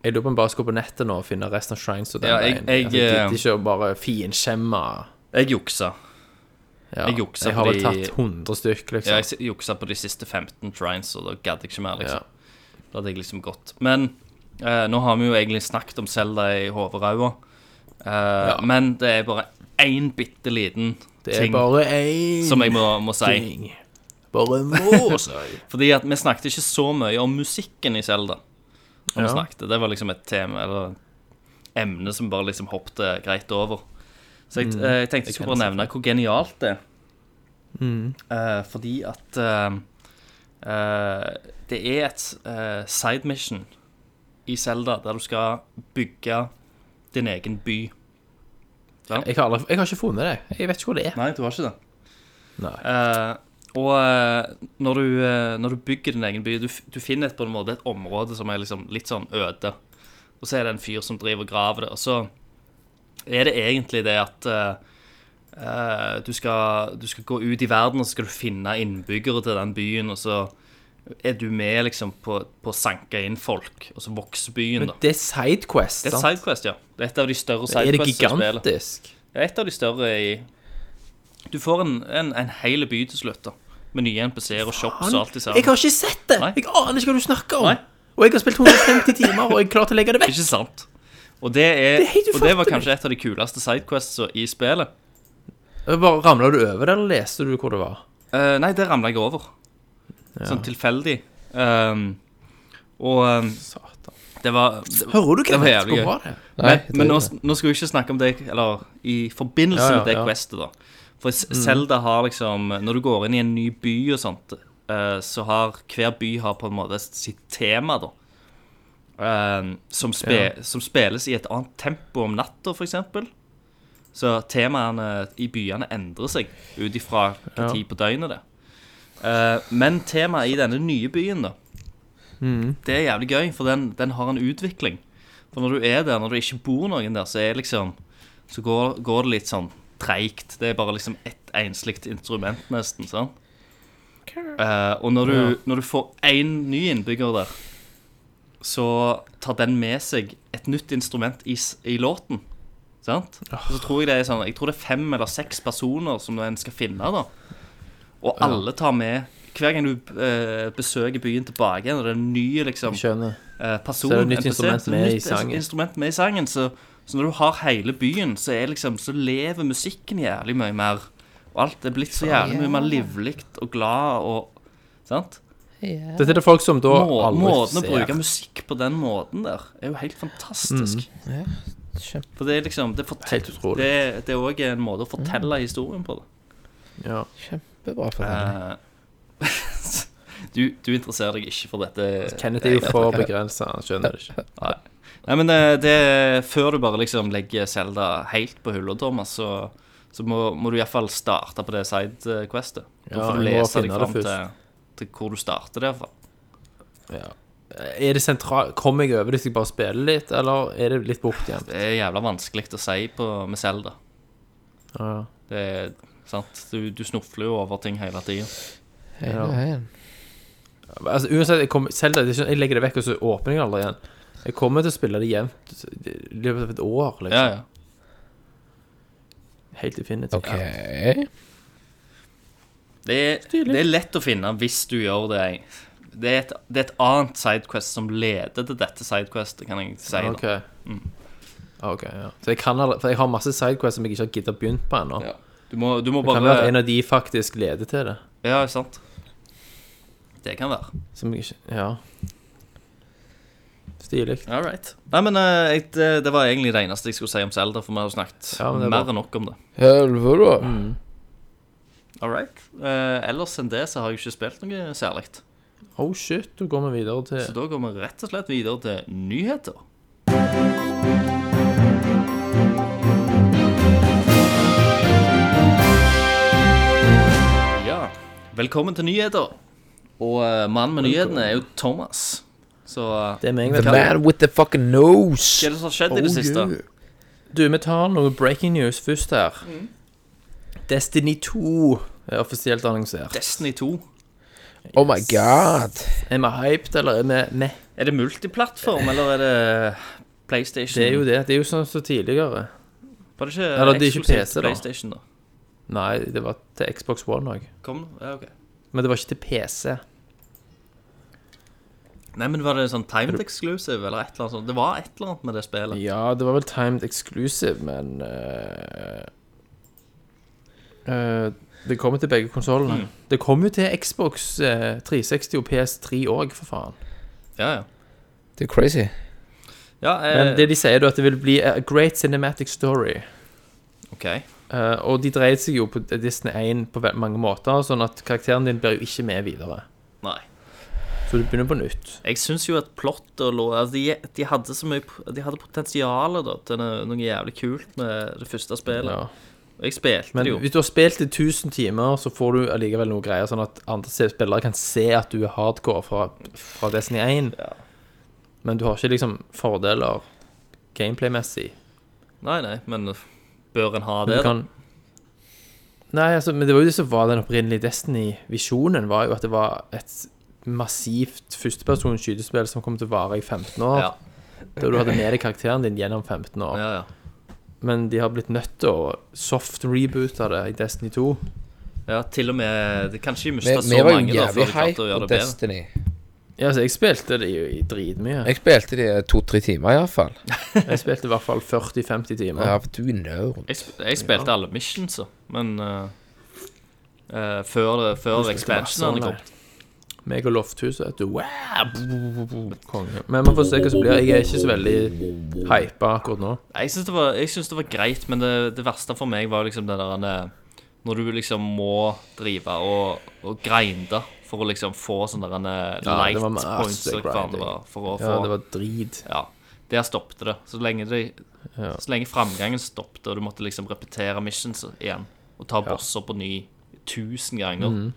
[SPEAKER 7] jeg lurer på om jeg bare skal gå på nettet nå og finne resten av shrines og den
[SPEAKER 6] Ja, jeg-
[SPEAKER 7] veien.
[SPEAKER 6] jeg, eh,
[SPEAKER 7] Altså, jeg gidder ikke å bare finskjemme
[SPEAKER 6] Jeg juksa.
[SPEAKER 7] ja.
[SPEAKER 6] Jeg jukser
[SPEAKER 7] har vel
[SPEAKER 6] fordi-
[SPEAKER 7] tatt 100 stykk,
[SPEAKER 6] Ja,
[SPEAKER 7] liksom.
[SPEAKER 6] jeg s- juksa på de siste 15 trines, og da gadd jeg ikke mer,
[SPEAKER 7] Ja.
[SPEAKER 6] liksom. Da hadde jeg liksom gått. Men eh, nå har vi jo egentlig snakket om Selda i hovedraua. Eh, Men det er bare én bitte liten
[SPEAKER 7] Det er
[SPEAKER 6] ting
[SPEAKER 7] bare én
[SPEAKER 6] som jeg må, må si.
[SPEAKER 7] ting. Bare må si.
[SPEAKER 6] Fordi at vi snakket ikke så mye om musikken i Selda.
[SPEAKER 7] Ja.
[SPEAKER 6] Det var liksom et tema, eller emne som bare liksom hoppet greit over. Så jeg, eh, jeg tenkte jeg skulle bare nevne hvor genialt det er. Eh, fordi at eh, eh, det er et eh, side mission i Zelda der du skal bygge din egen by.
[SPEAKER 7] Jeg har, aldri, jeg har ikke funnet det. Jeg vet ikke hvor det er.
[SPEAKER 6] Nei, du har ikke det.
[SPEAKER 7] Nei.
[SPEAKER 6] Eh, og eh, når, du, eh, når du bygger din egen by, du, f- du finner et, på en måte et område som er liksom litt sånn øde. Og så er det en fyr som driver og graver det. Og så er det egentlig det at eh, eh, du, skal, du skal gå ut i verden og så skal du finne innbyggere til den byen. Og så er du med liksom på, på å sanke inn folk, og så vokser byen,
[SPEAKER 7] Men
[SPEAKER 6] da.
[SPEAKER 7] det er Sidequest,
[SPEAKER 6] Det er et
[SPEAKER 7] sant?
[SPEAKER 6] sidequest, ja. Det er et av de større
[SPEAKER 7] Er det
[SPEAKER 6] sidequestene i spillet.
[SPEAKER 7] gigantisk?
[SPEAKER 6] Det er et av de større i Du får en, en, en hel by til slutt, da. Med nye NPC-er og shops og alt i
[SPEAKER 7] Jeg
[SPEAKER 6] sammen.
[SPEAKER 7] har ikke sett det!
[SPEAKER 6] Nei.
[SPEAKER 7] Jeg aner ikke hva du snakker om.
[SPEAKER 6] Nei.
[SPEAKER 7] Og jeg har spilt 150 timer, og jeg er klar til å legge det vekk.
[SPEAKER 6] Ikke sant? Og det, er,
[SPEAKER 7] Det er helt
[SPEAKER 6] og det var
[SPEAKER 7] ufattelig.
[SPEAKER 6] kanskje et av de kuleste sidequestene i spillet.
[SPEAKER 7] Eh, Bare Ramla du over det, eller leste du hvor det var?
[SPEAKER 6] Eh, nei, det ramla jeg over. Sånn tilfeldig. Um, og um,
[SPEAKER 7] Satan.
[SPEAKER 6] det var, det,
[SPEAKER 7] Hører du
[SPEAKER 6] det var
[SPEAKER 7] Kenneth,
[SPEAKER 6] jævlig
[SPEAKER 7] hvor
[SPEAKER 6] gøy.
[SPEAKER 7] bra det er?
[SPEAKER 8] Nei,
[SPEAKER 6] men men nå, nå skal vi ikke snakke om det Eller i forbindelse
[SPEAKER 7] Ja, ja,
[SPEAKER 6] med det
[SPEAKER 7] ja. Mm.
[SPEAKER 6] questet, da. For S- Zelda har liksom Når du går inn i en ny by og sånt, eh, så har hver by har på en måte sitt tema, da. Eh, som, spe, som spilles i et annet tempo om natta, f.eks. Så temaene i byene endrer seg ut ifra hvilken
[SPEAKER 7] Ja.
[SPEAKER 6] tid på døgnet det er. Eh, men temaet i denne nye byen, da,
[SPEAKER 7] Mm.
[SPEAKER 6] det er jævlig gøy, for den, den har en utvikling. For når du er der, når du ikke bor noen der, så er liksom Så går, går det litt sånn treigt. Det er bare liksom ett enslikt instrument, nesten. sant? Eh, og når du, når du får én ny innbygger der, så tar den med seg et nytt instrument i, s- i låten. Sant? Og så tror jeg det er sånn Jeg tror det er fem eller seks personer som en skal finne, da. Og alle tar med Hver gang du eh, besøker byen tilbake igjen, og det er en ny liksom,
[SPEAKER 7] Skjønner.
[SPEAKER 6] eh, person
[SPEAKER 7] Så er det nytt
[SPEAKER 6] NPC,
[SPEAKER 7] instrument
[SPEAKER 6] så er det
[SPEAKER 7] med i
[SPEAKER 6] nytt
[SPEAKER 7] sangen.
[SPEAKER 6] instrument med i sangen så, så når du har hele byen, så, er liksom, så lever musikken jævlig mye mer. Og alt er blitt så jævlig mye mer livlig og glad og Sant?
[SPEAKER 7] Dette er det folk som da
[SPEAKER 6] Må, måten
[SPEAKER 7] aldri
[SPEAKER 6] å bruke
[SPEAKER 7] ser.
[SPEAKER 6] musikk på den måten der er jo helt fantastisk.
[SPEAKER 8] kjempe-
[SPEAKER 6] For det er liksom Det, fortel-
[SPEAKER 7] Mm. Helt utrolig.
[SPEAKER 6] det, det er òg en måte å fortelle historien på. Da.
[SPEAKER 7] Ja.
[SPEAKER 8] Kjempebra for deg.
[SPEAKER 6] Eh, du, du interesserer deg ikke for dette.
[SPEAKER 7] Kenneth er jo for begrensa, han skjønner det ikke.
[SPEAKER 6] Nei. Nei, men eh, det, før du bare liksom legger Selda helt på hullet, Thomas, så, så må, må du iallfall starte på det sidequestet. Da
[SPEAKER 7] Ja,
[SPEAKER 6] får du
[SPEAKER 7] jeg må
[SPEAKER 6] lese deg
[SPEAKER 7] finne
[SPEAKER 6] fram
[SPEAKER 7] det
[SPEAKER 6] til, til hvor du starter derfra.
[SPEAKER 7] Er det sentral... Kommer jeg over det hvis jeg bare spiller litt, eller er det litt bort igjen?
[SPEAKER 6] Det er jævla vanskelig å si på, med Selda.
[SPEAKER 7] Ja.
[SPEAKER 6] Det er sant. Du, du snufler jo over ting hele tida.
[SPEAKER 7] Ja.
[SPEAKER 8] Hele veien.
[SPEAKER 7] Altså, uansett, jeg, kommer, selv det, det er ikke sånn- jeg legger det vekk, og så åpner jeg det aldri igjen. Jeg kommer til å spille det jevnt i løpet av et år. Liksom.
[SPEAKER 6] Ja, ja.
[SPEAKER 7] Helt definitivt.
[SPEAKER 8] OK.
[SPEAKER 6] Det er, det er lett å finne hvis du gjør det. Det er et, det er et annet sidequest som leder til dette sidequestet, kan jeg si. da. Mm.
[SPEAKER 7] Ok. Mm. Ok, ja. Så jeg kan allerede, for jeg har masse sidequests som jeg ikke har giddet å begynt på ennå.
[SPEAKER 6] Ja. Du, må, du må
[SPEAKER 7] Det kan være at
[SPEAKER 6] bare
[SPEAKER 7] en av de faktisk leder til det.
[SPEAKER 6] Ja, sant. Det kan være.
[SPEAKER 7] Som jeg ikke Ja. Stilig.
[SPEAKER 6] All right. Nei, men eh, jeg, det, det var egentlig det eneste jeg skulle si om Zelda, for vi har jo snakket
[SPEAKER 7] Ja, men det er
[SPEAKER 6] mer
[SPEAKER 7] bra.
[SPEAKER 6] enn nok om det.
[SPEAKER 8] Helvete, da.
[SPEAKER 6] Mm. All right. Eh, ellers enn det så har jeg ikke spilt noe særlig.
[SPEAKER 7] Oh shit, da går vi videre
[SPEAKER 6] Så
[SPEAKER 7] til
[SPEAKER 6] da går vi rett og slett videre til nyheter. Ja, velkommen til nyheter. Og eh, mannen med nyhetene er jo Thomas. Så eh,
[SPEAKER 7] Det er meg,
[SPEAKER 8] The
[SPEAKER 7] vet du.
[SPEAKER 8] man with the fucking nose.
[SPEAKER 6] hva er det som har skjedd i det
[SPEAKER 8] Oh,
[SPEAKER 6] siste?
[SPEAKER 8] yeah.
[SPEAKER 7] Du, vi tar noe breaking news først her. Destiny 2 er offisielt annonsert.
[SPEAKER 6] Destiny 2.
[SPEAKER 8] Oh my god.
[SPEAKER 7] Er vi hyped, eller er vi meh?
[SPEAKER 6] Er det multiplattform, eller er det PlayStation?
[SPEAKER 7] Det er jo det. Det er jo sånn som tidligere.
[SPEAKER 6] Var det ikke
[SPEAKER 7] Eller det er ikke
[SPEAKER 6] eksklusivt
[SPEAKER 7] PC da.
[SPEAKER 6] PlayStation, da?
[SPEAKER 7] Nei, det var til Xbox One òg.
[SPEAKER 6] Kom, ja, ok.
[SPEAKER 7] Men det var ikke til PC.
[SPEAKER 6] Nei, men var det sånn timed exclusive, eller et eller annet sånt? Det var et eller annet med det spillet.
[SPEAKER 7] Ja, det var vel timed exclusive, men eh, eh, Det kommer til begge konsollene. Det kom jo til Xbox eh, 360 og PS3 òg, for faen.
[SPEAKER 6] Ja, ja.
[SPEAKER 8] Det er crazy.
[SPEAKER 6] Ja, eh,
[SPEAKER 7] Men det de sier, da, at det vil bli a great cinematic story.
[SPEAKER 6] OK.
[SPEAKER 7] Eh, og de dreide seg jo på Disney 1 på ve- mange måter, sånn at karakteren din blir jo ikke med videre.
[SPEAKER 6] Nei.
[SPEAKER 7] Så du begynner på nytt.
[SPEAKER 6] Jeg syns jo at plott og lå altså de, de hadde så mye De hadde potensial da, til noe, noe jævlig kult med det første spillet.
[SPEAKER 7] Ja.
[SPEAKER 6] Og jeg spilte
[SPEAKER 7] Men
[SPEAKER 6] det jo.
[SPEAKER 7] hvis du har spilt i 1000 timer, så får du allikevel noe greier, sånn at andre se- spillere kan se at du er hardcore fra, fra Destiny 1. Men du har ikke liksom fordeler gameplay-messig.
[SPEAKER 6] Nei, nei, men bør en ha
[SPEAKER 7] Men
[SPEAKER 6] det?
[SPEAKER 7] du kan Nei, altså, men det var jo det som var den opprinnelige Destiny-visjonen, var jo at det var et massivt førstepersons skytespill som kom til å vare i 15 år.
[SPEAKER 6] da? Ja.
[SPEAKER 7] Der du hadde med deg karakteren din gjennom 15 år.
[SPEAKER 6] ja, ja.
[SPEAKER 7] Men de har blitt nødt til å soft-reboote det i Destiny 2.
[SPEAKER 6] Ja, til og med det- Kanskje de
[SPEAKER 8] Vi,
[SPEAKER 6] mista
[SPEAKER 8] vi
[SPEAKER 6] så
[SPEAKER 8] var jo
[SPEAKER 6] mange da, før
[SPEAKER 8] jævlig
[SPEAKER 6] de
[SPEAKER 8] hype
[SPEAKER 6] klarte å
[SPEAKER 8] på
[SPEAKER 6] gjøre det bedre.
[SPEAKER 8] Destiny.
[SPEAKER 7] Ja, altså, jeg spilte det jo i dritmye.
[SPEAKER 8] Jeg spilte det to-tre timer, iallfall.
[SPEAKER 7] Jeg spilte i hvert fall 40-50 timer.
[SPEAKER 8] Ja, for du er nerd.
[SPEAKER 6] Jeg, sp jeg spilte alle missions, så, men eh, eh, før, det- før expansionene kom.
[SPEAKER 7] Meg og Lofthuset, vet du. Wow! Konge. Men man får se hva som blir. Jeg er ikke så veldig hypa akkurat nå.
[SPEAKER 6] Nei, Jeg syns det, var- jeg syns det var greit, men det, det verste for meg var liksom det der eh, Når du liksom må drive og, og grinde for å liksom få sånne der, eh,
[SPEAKER 7] Ja,
[SPEAKER 6] light
[SPEAKER 7] det var masse
[SPEAKER 6] points og
[SPEAKER 7] grinding.
[SPEAKER 6] hverandre for å få
[SPEAKER 7] Ja, det var drit.
[SPEAKER 6] Ja, der stoppet det. Så lenge, det, så lenge framgangen stoppet, og du måtte liksom repetere missions igjen, og ta bosser på ny tusen ganger,
[SPEAKER 7] Mhm.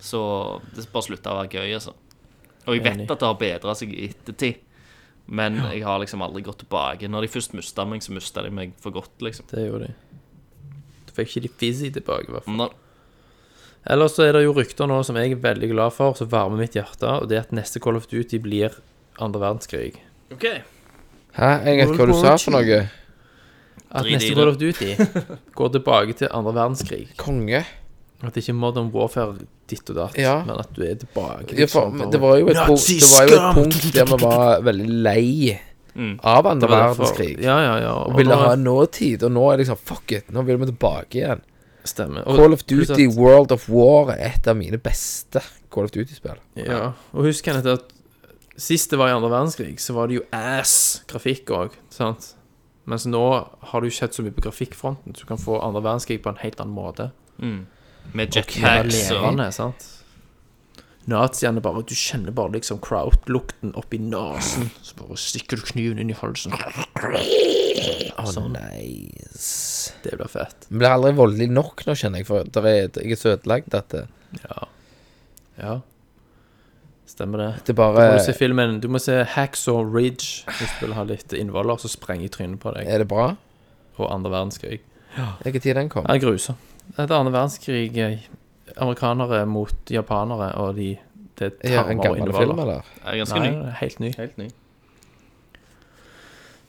[SPEAKER 6] så det bare slutta å være gøy, altså. Og jeg vet
[SPEAKER 7] Enig.
[SPEAKER 6] at det har bedra seg i ettertid, men jeg har liksom aldri gått tilbake. Når de først mista meg, så mista de meg for godt, liksom.
[SPEAKER 7] Det gjorde de. Du fikk ikke de fizzy tilbake, i hvert fall.
[SPEAKER 6] Men da-
[SPEAKER 7] Ellers så er det jo rykter nå som jeg er veldig glad for, som varmer mitt hjerte, og det er at neste Call of Duty blir andre verdenskrig.
[SPEAKER 6] OK.
[SPEAKER 8] Hæ, jeg vet hva du sa for noe.
[SPEAKER 7] At
[SPEAKER 6] Drit i
[SPEAKER 7] neste
[SPEAKER 6] det.
[SPEAKER 7] Call of Duty går tilbake til andre verdenskrig.
[SPEAKER 8] Konge.
[SPEAKER 7] At det ikke er Modern Warfare ditt og datt,
[SPEAKER 8] Ja.
[SPEAKER 7] men at du er tilbake.
[SPEAKER 8] Ja,
[SPEAKER 7] liksom,
[SPEAKER 8] for, men
[SPEAKER 7] bare-
[SPEAKER 8] det var jo et, punkt, det var jo et punkt der vi var veldig lei av
[SPEAKER 7] Mm. Det
[SPEAKER 8] andre
[SPEAKER 7] var derfor-
[SPEAKER 8] verdenskrig.
[SPEAKER 7] Ja, ja, ja.
[SPEAKER 8] Og ville
[SPEAKER 7] nå-
[SPEAKER 8] ha nåtid, og nå er det liksom fuck it, nå vil vi tilbake igjen.
[SPEAKER 7] Stemmer. Og-
[SPEAKER 8] Call of
[SPEAKER 7] pluss at-
[SPEAKER 8] Duty World of War er et av mine beste Call of Duty-spill.
[SPEAKER 7] Ja, og husk Kenneth at sist det var i andre verdenskrig, så var det jo ass-grafikk òg, sant? Mens nå har det jo skjedd så mye på grafikkfronten, så du kan få andre verdenskrig på en helt annen måte.
[SPEAKER 6] Med
[SPEAKER 7] Mer
[SPEAKER 6] jetpacks og
[SPEAKER 7] levende, sant? Naziene bare Du kjenner bare liksom kraut-lukten oppi nesen, så bare stikker du kniven inn i halsen.
[SPEAKER 8] Å,
[SPEAKER 7] Sånn.
[SPEAKER 8] nice.
[SPEAKER 7] Det blir fett.
[SPEAKER 8] Det blir aldri voldelig nok nå, kjenner jeg, for der er, jeg er så ødelagt at det,
[SPEAKER 7] Ja. Stemmer det.
[SPEAKER 8] det eh,
[SPEAKER 7] Du
[SPEAKER 8] bare
[SPEAKER 7] må se filmen Du må se Hacksaw Ridge hvis du vil ha litt innvoller, så sprenger trynet på deg.
[SPEAKER 8] Er det bra?
[SPEAKER 7] Og andre verdenskrig.
[SPEAKER 8] Hvilken tid den kom?
[SPEAKER 7] Ja, grusom. Etter andre verdenskrig eh, Amerikanere mot japanere, og de det er
[SPEAKER 8] Ja,
[SPEAKER 7] tarmer
[SPEAKER 8] en
[SPEAKER 7] og
[SPEAKER 8] gammel film,
[SPEAKER 7] innvoller.
[SPEAKER 8] eller?
[SPEAKER 6] er ganske
[SPEAKER 7] Nei,
[SPEAKER 6] ny.
[SPEAKER 7] det er helt ny.
[SPEAKER 6] Helt ny.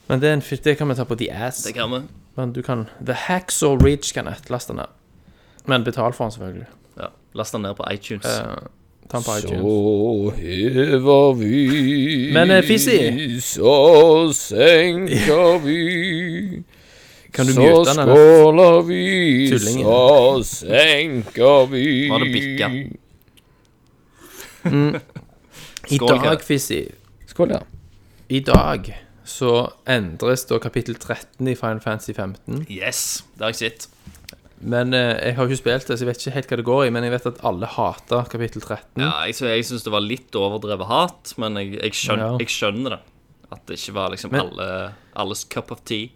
[SPEAKER 7] Men det, er en, fi- det kan vi ta på The Ass.
[SPEAKER 6] Det kan vi.
[SPEAKER 7] Men du kan The Hacksaw Ridge kan jeg laste ned. Men betal for den, selvfølgelig.
[SPEAKER 6] Ja. Last den ned på iTunes.
[SPEAKER 7] Eh, ta den på iTunes.
[SPEAKER 8] Så hever vi
[SPEAKER 7] Men, eh, Fizzy.
[SPEAKER 8] Så senker vi
[SPEAKER 7] Kan du
[SPEAKER 8] Så
[SPEAKER 7] mute den, eller?
[SPEAKER 8] skåler vi
[SPEAKER 7] Tullingen.
[SPEAKER 8] Så senker vi
[SPEAKER 6] Var det bikka?
[SPEAKER 7] I
[SPEAKER 6] Skål, Kenneth.
[SPEAKER 7] dag, Fizzy,
[SPEAKER 8] Skål, ja.
[SPEAKER 7] i dag så endres da kapittel 13 i Final Fantasy 15.
[SPEAKER 6] Yes, det har jeg sett.
[SPEAKER 7] Men eh, jeg har jo ikke spilt det, så jeg vet ikke helt hva det går i. Men jeg vet at alle hater kapittel 13.
[SPEAKER 6] Ja, jeg, sy- jeg syns det var litt overdrevet hat, men jeg, jeg, skjøn,
[SPEAKER 7] Ja.
[SPEAKER 6] jeg skjønner det. At det ikke var liksom
[SPEAKER 7] Men-
[SPEAKER 6] alle, alles cup of tea.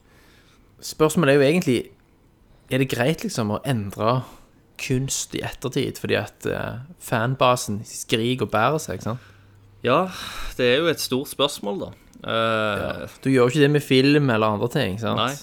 [SPEAKER 7] Spørsmålet er jo egentlig Er det greit liksom å endre kunst i ettertid fordi at eh, fanbasen skriker og bærer seg, ikke sant?
[SPEAKER 6] Ja, det er jo et stort spørsmål, da. Eh,
[SPEAKER 7] Du gjør jo ikke det med film eller andre ting, ikke sant?
[SPEAKER 6] Nei.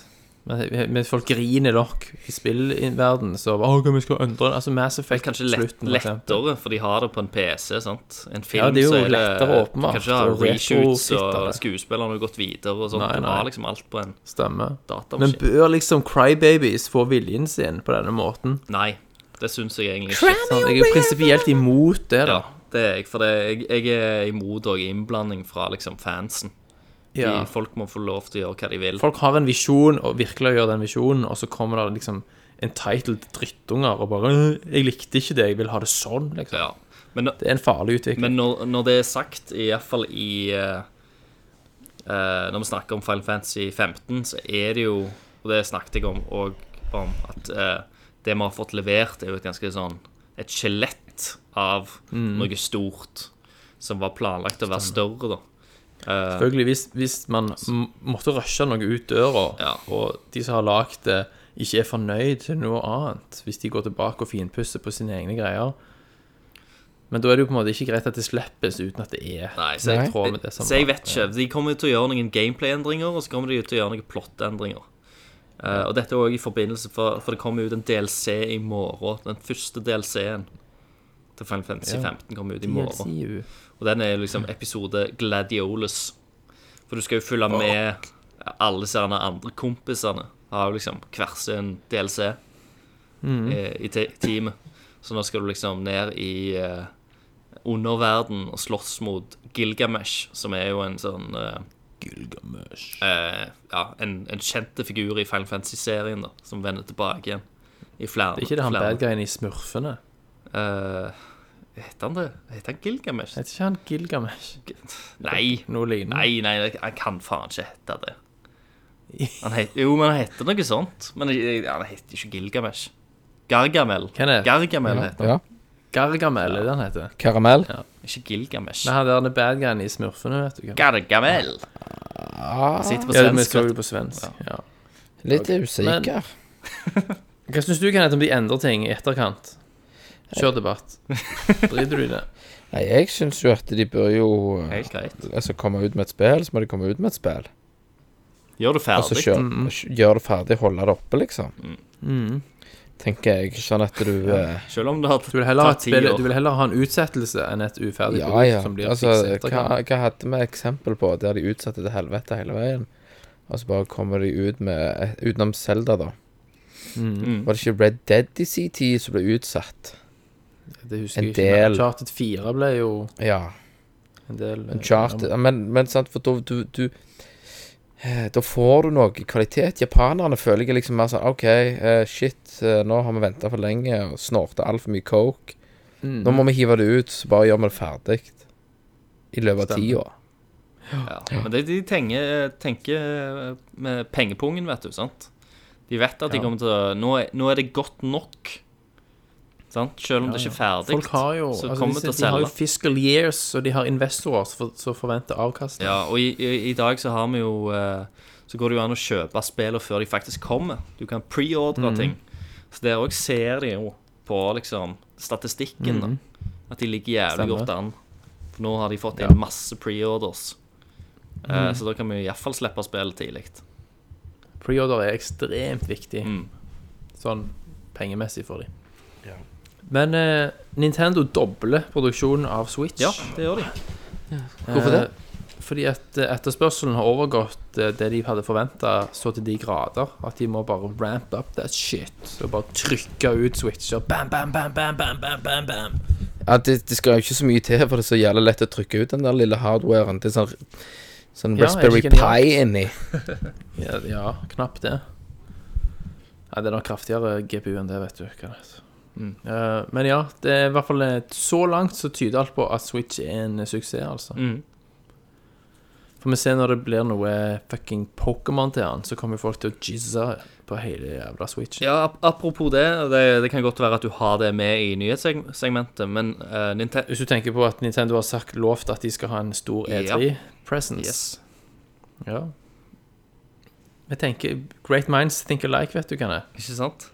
[SPEAKER 7] Men, men folk griner nok i spillverden så Å, hva vi skal endre den? Altså Mass
[SPEAKER 6] det er
[SPEAKER 7] Effect
[SPEAKER 6] kanskje lett,
[SPEAKER 7] for eksempel.
[SPEAKER 6] lettere, for de har det på en PC. sant? En film,
[SPEAKER 7] Ja, det er jo
[SPEAKER 6] så er
[SPEAKER 7] lettere, åpenbart,
[SPEAKER 6] Kanskje har
[SPEAKER 7] og
[SPEAKER 6] reshoots, og
[SPEAKER 7] retrofittere.
[SPEAKER 6] skuespillerne har gått videre og sånt.
[SPEAKER 7] Nei,
[SPEAKER 6] Du
[SPEAKER 7] nei.
[SPEAKER 6] har liksom alt på en
[SPEAKER 7] Stemmer. Men
[SPEAKER 6] datamaskin.
[SPEAKER 7] bør liksom Crybabies få viljen sin på denne måten?
[SPEAKER 6] Nei, det syns jeg egentlig ikke.
[SPEAKER 7] Sant? Jeg er prinsipielt imot det, da.
[SPEAKER 6] Ja, det er jeg, for det, jeg, jeg er imot også innblanding fra liksom fansen. De,
[SPEAKER 7] Ja.
[SPEAKER 6] Folk må få lov til å gjøre hva de vil.
[SPEAKER 7] Folk har en visjon og virkelig gjør den visjonen, og så kommer det liksom entitled drittunger og bare «Øh, 'Jeg likte ikke det, jeg vil ha det sånn', liksom.
[SPEAKER 6] Ja. Men
[SPEAKER 7] Det er en farlig utvikling.
[SPEAKER 6] Men når, når det er sagt, i hvert fall i eh, eh, Når vi snakker om Final Fantasy 15, så er det jo Og det snakket jeg om og snakka om. At eh, det vi har fått levert, er jo et ganske sånn Et skjelett av noe stort som var planlagt å være større, da.
[SPEAKER 7] Selvfølgelig, hvis, hvis man m- måtte rushe noe ut døra,
[SPEAKER 6] Ja.
[SPEAKER 7] og de som har lagd det, ikke er fornøyd til noe annet, hvis de går tilbake og finpusser på sine egne greier Men da er det jo på en måte ikke greit at det slippes uten at det er
[SPEAKER 6] Nei, så
[SPEAKER 7] i
[SPEAKER 6] jeg,
[SPEAKER 7] tråd med det som
[SPEAKER 6] så jeg vet ikke. De kommer jo til å gjøre noen gameplay-endringer, og så kommer de jo til å gjøre noen plot-endringer. Eh, og dette er også i forbindelse for, for det kommer ut en DLC i morgen. Den første DLC-en til Final Fantasy 15 kommer ut i morgen.
[SPEAKER 7] DLC-u.
[SPEAKER 6] Og den er liksom episode Gladiolus. For du skal jo følge med alle disse her andre kompisene. Har jo liksom hver sin DLC
[SPEAKER 7] Mm.
[SPEAKER 6] eh, i te teamet. Så nå skal du liksom ned i eh, underverden og slåss mot Gilgamesh, som er jo en sånn eh,
[SPEAKER 7] Gilgamesh.
[SPEAKER 6] eh, Ja, en, en kjente figur i Final Fantasy-serien, da, som vender tilbake igjen. I flere
[SPEAKER 7] Det er ikke det han
[SPEAKER 6] flere-
[SPEAKER 7] bad guyen i Smurfene.
[SPEAKER 6] Eh, Heter han det? Heter han Gilgamesh?
[SPEAKER 7] Heter ikke han Gilgamesh?
[SPEAKER 6] Nei.
[SPEAKER 7] Noe lignende.
[SPEAKER 6] Nei, nei, det- han kan faen ikke hete det. Han het, jo, men han heter noe sånt. Men jeg- jeg- han heter ikke Gilgamesh. Gargamel.
[SPEAKER 7] Kenneth.
[SPEAKER 6] Gargamel heter han.
[SPEAKER 8] Ja.
[SPEAKER 7] Gargamel er det han heter.
[SPEAKER 8] Karamell?
[SPEAKER 6] Ikke Gilgamesh.
[SPEAKER 7] Nei, han der er bad guyen i Smurfene, vet du. hvem.
[SPEAKER 6] Gargamel. Han sitter på
[SPEAKER 7] Ja, vi
[SPEAKER 6] svensk.
[SPEAKER 7] så
[SPEAKER 6] vet
[SPEAKER 7] det
[SPEAKER 6] du.
[SPEAKER 7] på svensk. Ja.
[SPEAKER 8] Ah, Litt usikker.
[SPEAKER 7] Men- Hva syns du, Kenneth, om de endrer ting i etterkant? Kjør debatt. Driter du i det?
[SPEAKER 8] Nei, jeg syns jo at de bør jo eh,
[SPEAKER 6] Helt greit.
[SPEAKER 8] Altså komme ut med et spill, så må de komme ut med et spill.
[SPEAKER 6] Gjør du
[SPEAKER 7] Altså,
[SPEAKER 6] ferdig.
[SPEAKER 8] Og så kjør, gjør det ferdig, holde det oppe, liksom. Tenker jeg. Sånn at du eh,
[SPEAKER 6] Selv om det har
[SPEAKER 7] Du vil heller, ha
[SPEAKER 6] tatt
[SPEAKER 7] et
[SPEAKER 6] ti
[SPEAKER 7] spill,
[SPEAKER 6] år.
[SPEAKER 7] du vil heller ha en utsettelse enn et uferdig
[SPEAKER 8] Ja,
[SPEAKER 7] produkt
[SPEAKER 8] ja.
[SPEAKER 7] som blir
[SPEAKER 8] Altså,
[SPEAKER 7] fikset i
[SPEAKER 8] hva,
[SPEAKER 7] etterkant.
[SPEAKER 8] hva hadde vi eksempel på der de utsatte til helvete hele veien? Og så bare kommer de ut med eh, Utenom Zelda, da.
[SPEAKER 7] Mm.
[SPEAKER 6] Mm.
[SPEAKER 8] Var det ikke Red Dead i sin tid som ble utsatt?
[SPEAKER 7] Det husker
[SPEAKER 8] en
[SPEAKER 7] jeg ikke.
[SPEAKER 8] del-
[SPEAKER 7] Men Charted 4 ble jo
[SPEAKER 8] Ja.
[SPEAKER 7] en del eh,
[SPEAKER 8] Uncharted ja, men, men sant, for da du, du eh, Da får du noe kvalitet. Japanerne føler jeg liksom mer sånn OK, eh, shit, eh, nå har vi venta for lenge og snorta altfor mye coke.
[SPEAKER 7] Mm.
[SPEAKER 8] Nå
[SPEAKER 7] Mhm.
[SPEAKER 8] må vi hive det ut, så bare gjør vi det ferdig. I løpet av
[SPEAKER 7] Stemmer.
[SPEAKER 8] tida.
[SPEAKER 6] Ja. Men det, de tenker, tenker eh, med pengepungen, vet du. sant? De vet at de kommer til å nå, er- nå er det godt nok. Sant? Selv om det ikke er ferdig,
[SPEAKER 7] Folk har jo
[SPEAKER 6] så
[SPEAKER 7] altså,
[SPEAKER 6] kommer vi
[SPEAKER 7] disse,
[SPEAKER 6] til å
[SPEAKER 7] De har
[SPEAKER 6] selge.
[SPEAKER 7] jo fiscal years, og de har investorer som for- som forventer avkastning.
[SPEAKER 6] Ja, og i, i, i dag så har vi jo eh, Så går det jo an å kjøpe spillene før de faktisk kommer. Du kan preordre ting. Så der òg ser de jo på liksom statistikken da, at de ligger jævlig
[SPEAKER 7] Stemmer.
[SPEAKER 6] godt an. For nå har de fått
[SPEAKER 7] Ja.
[SPEAKER 6] inn masse preorders. Eh, så da kan vi iallfall slippe spillet tidlig.
[SPEAKER 7] Preorder er ekstremt viktig
[SPEAKER 6] Mm.
[SPEAKER 7] sånn pengemessig for dem. Men eh, Nintendo dobler produksjonen av Switch.
[SPEAKER 6] Ja, det gjør de.
[SPEAKER 8] Hvorfor det?
[SPEAKER 7] Eh, Fordi at eh, etterspørselen har overgått eh, det de hadde forventa så til de grader at de må bare ramp up that shit. Og bare trykke ut switcher. Bam, bam, bam, bam, bam, bam, bam, bam.
[SPEAKER 8] Ja, det, det skal jo ikke så mye til, for det er så jævlig lett å trykke ut den der lille hardwaren. Det er sånn, sånn
[SPEAKER 7] Ja, er det
[SPEAKER 8] Raspberry
[SPEAKER 7] ikke genialt?
[SPEAKER 8] Pi inni.
[SPEAKER 7] Ja, ja knapt det. Nei, det er nok kraftigere GPU enn det, vet du. Kenneth.
[SPEAKER 8] Mm.
[SPEAKER 7] Eh, men ja, det er i hvert fall eh, så langt så tyder alt på at Switch er en suksess, altså.
[SPEAKER 6] Mm.
[SPEAKER 7] For vi ser når det blir noe fucking Pokémon til han, så kommer folk til å jizze på hele jævla Switch.
[SPEAKER 6] Ja, ap- apropos det, det. Det kan godt være at du har det med i nyhetssegmentet, men eh, Nintendo
[SPEAKER 7] Hvis du tenker på at Nintendo har sagt lovt at de skal ha en stor E3-presence
[SPEAKER 6] Yes.
[SPEAKER 7] Ja. Jeg tenker Great minds think alike, vet du hva det er.
[SPEAKER 6] Ikke sant?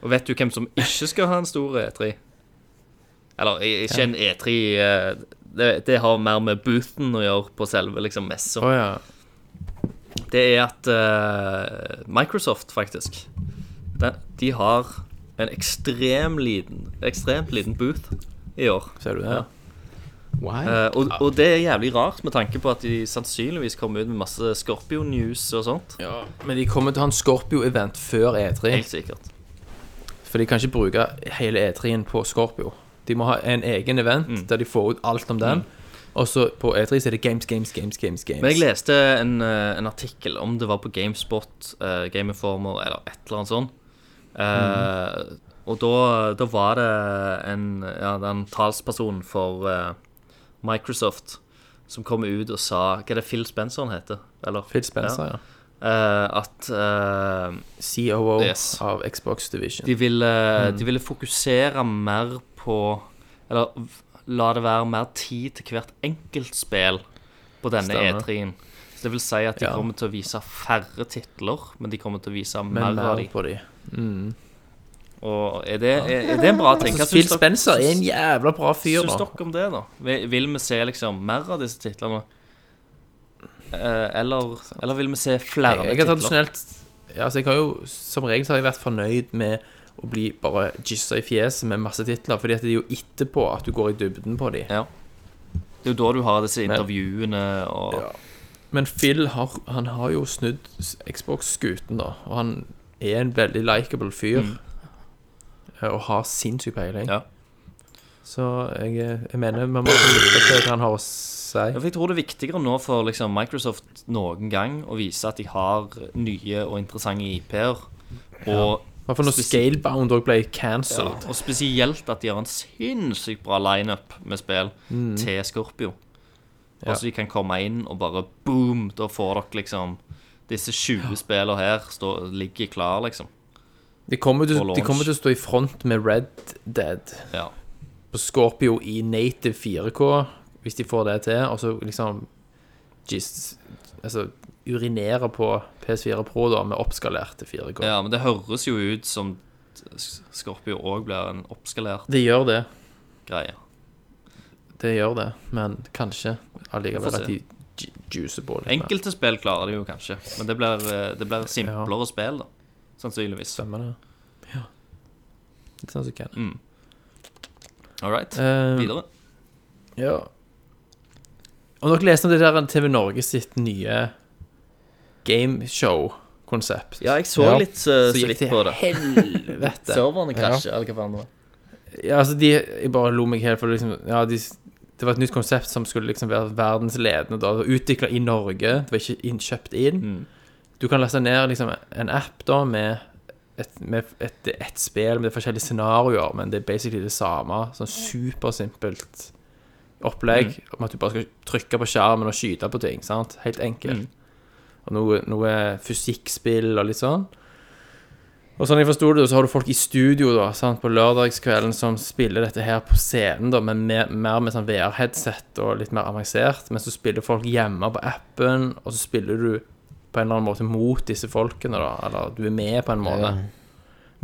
[SPEAKER 6] Og vet du hvem som ikke skal ha en stor E3? Eller i- ikke en E3 eh, det, det har mer med boothen å gjøre på selve liksom, messa.
[SPEAKER 7] Å ja.
[SPEAKER 6] Det er at eh, Microsoft, faktisk de, de har en ekstrem liten, ekstremt liten booth i år.
[SPEAKER 7] Ser du det?
[SPEAKER 6] Eh, og, og det er jævlig rart, med tanke på at de sannsynligvis kommer ut med masse Scorpio-news og sånt.
[SPEAKER 7] Ja. Men de kommer til å ha en Scorpio-event før E3.
[SPEAKER 6] Helt sikkert.
[SPEAKER 7] For de kan ikke bruke hele E3-en på Scorpio. De må ha en egen event
[SPEAKER 6] Mm.
[SPEAKER 7] der de får ut alt om den. Og så på E3 så er det games, games, games, games. games.
[SPEAKER 6] Men jeg leste en, eh, en artikkel, om det var på GameSpot, eh, Game Informer eller et eller annet sånt. Eh, Og da, da var det en, ja, det er en talsperson for eh, Microsoft som kom ut og sa Hva er det Phil Spencer han heter? Eller?
[SPEAKER 7] Phil Spencer,
[SPEAKER 6] Ja.
[SPEAKER 7] ja.
[SPEAKER 6] eh, at eh,
[SPEAKER 7] COO
[SPEAKER 6] Yes.
[SPEAKER 7] av Xbox Division.
[SPEAKER 6] de, ville,
[SPEAKER 7] Mm.
[SPEAKER 6] de ville fokusere mer på Eller v- la det være mer tid til hvert enkelt spill på denne
[SPEAKER 7] Stemmer.
[SPEAKER 6] E3-en. Så det vil si at de
[SPEAKER 7] Ja.
[SPEAKER 6] kommer til å vise færre titler, men de kommer til å vise mer,
[SPEAKER 7] Men
[SPEAKER 6] av
[SPEAKER 7] mer
[SPEAKER 6] dem.
[SPEAKER 7] på de.
[SPEAKER 6] Og er det, er, er det en bra ting? Hva syns
[SPEAKER 7] Altså, Phil
[SPEAKER 6] dere-
[SPEAKER 7] Spencer er en jævla bra fyr,
[SPEAKER 6] Syns
[SPEAKER 7] da.
[SPEAKER 6] dere om det, da? Vi- Vil vi se liksom mer av disse titlene? Eh, eller, eller vil vi se flere
[SPEAKER 7] Jeg, jeg
[SPEAKER 6] titler?
[SPEAKER 7] har tradisjonelt ja, altså, jeg har jo, Som regel så har jeg vært fornøyd med å bli bare jizza i fjeset med masse titler, fordi at det er jo etterpå at du går i dybden på de.
[SPEAKER 6] Ja. Det er jo da du har disse intervjuene og
[SPEAKER 7] Ja. Men Phil har, han har jo snudd s- Xbox-skuten, da. Og han er en veldig likeable fyr. eh, Og har sinnssyk peiling.
[SPEAKER 6] Mm. Ja.
[SPEAKER 7] Så jeg, eh, jeg mener vi må lytte til hva han har å si.
[SPEAKER 6] Ja, for Jeg tror det er viktigere nå for liksom, Microsoft noen gang å vise at de har nye og interessante IP-er. Og,
[SPEAKER 7] Hvertfall når
[SPEAKER 6] Spesielt-
[SPEAKER 7] Scalebound òg ble cancelled.
[SPEAKER 6] og spesielt at de har en sinnssykt bra lineup med spill til Scorpio.
[SPEAKER 7] Ja.
[SPEAKER 6] Og så de kan komme inn og bare boom, da får dere liksom disse 20 spillene her stå, ligger klar, liksom.
[SPEAKER 7] De kommer, til,
[SPEAKER 6] Og
[SPEAKER 7] de
[SPEAKER 6] launch.
[SPEAKER 7] kommer til å stå i front med Red Dead
[SPEAKER 6] Ja.
[SPEAKER 7] på Scorpio i native 4K, hvis de får det til. Og så liksom just, Altså urinere på PS4 Pro da med oppskalerte 4K.
[SPEAKER 6] ja, men det høres jo ut som Scorpio òg blir en oppskalert
[SPEAKER 7] Det gjør det.
[SPEAKER 6] greie.
[SPEAKER 7] Det gjør det, men kanskje allikevel
[SPEAKER 6] Få se.
[SPEAKER 7] at de ju- juicer på litt. mer.
[SPEAKER 6] Enkelte spill klarer de jo kanskje, men det blir, eh, det blir simplere spill, da. Sannsynligvis.
[SPEAKER 7] Stemmer det. Ja. Litt sånn som Ken.
[SPEAKER 6] All right.
[SPEAKER 7] Eh,
[SPEAKER 6] Mm. Videre.
[SPEAKER 7] ja. Om dere leste om det der TV Norge sitt nye gameshow-konsept
[SPEAKER 6] Ja, jeg så
[SPEAKER 8] Ja.
[SPEAKER 6] litt uh, så vidt på det.
[SPEAKER 7] helvete.
[SPEAKER 6] Serverne
[SPEAKER 8] krasjer,
[SPEAKER 6] eller hva faen det var.
[SPEAKER 7] Ja, altså de, Jeg bare lo meg helt for liksom, ja, de, Det var et nytt konsept som skulle liksom være verdensledende da, Utviklet i Norge Det var ikke inn, kjøpt inn
[SPEAKER 6] Mm.
[SPEAKER 7] Du kan laste ned liksom, en app da Med et, med et, et spill Med forskjellige scenarier Men det er basically det samme Sånn supersimpelt opplegg Om at du bare skal trykke på skjermen og skyte på ting sant? Helt enkelt Og noe, noe fysikkspill og litt sånn og sånn jeg forstod det, så har du folk i studio da, sant, på lørdagskvelden som spiller dette her på scenen, da, men mer, mer med sånn VR-headset og litt mer avansert. Men så spiller folk hjemme på appen, og så spiller du på en eller annen måte mot disse folkene, da. Eller du er med på en måte.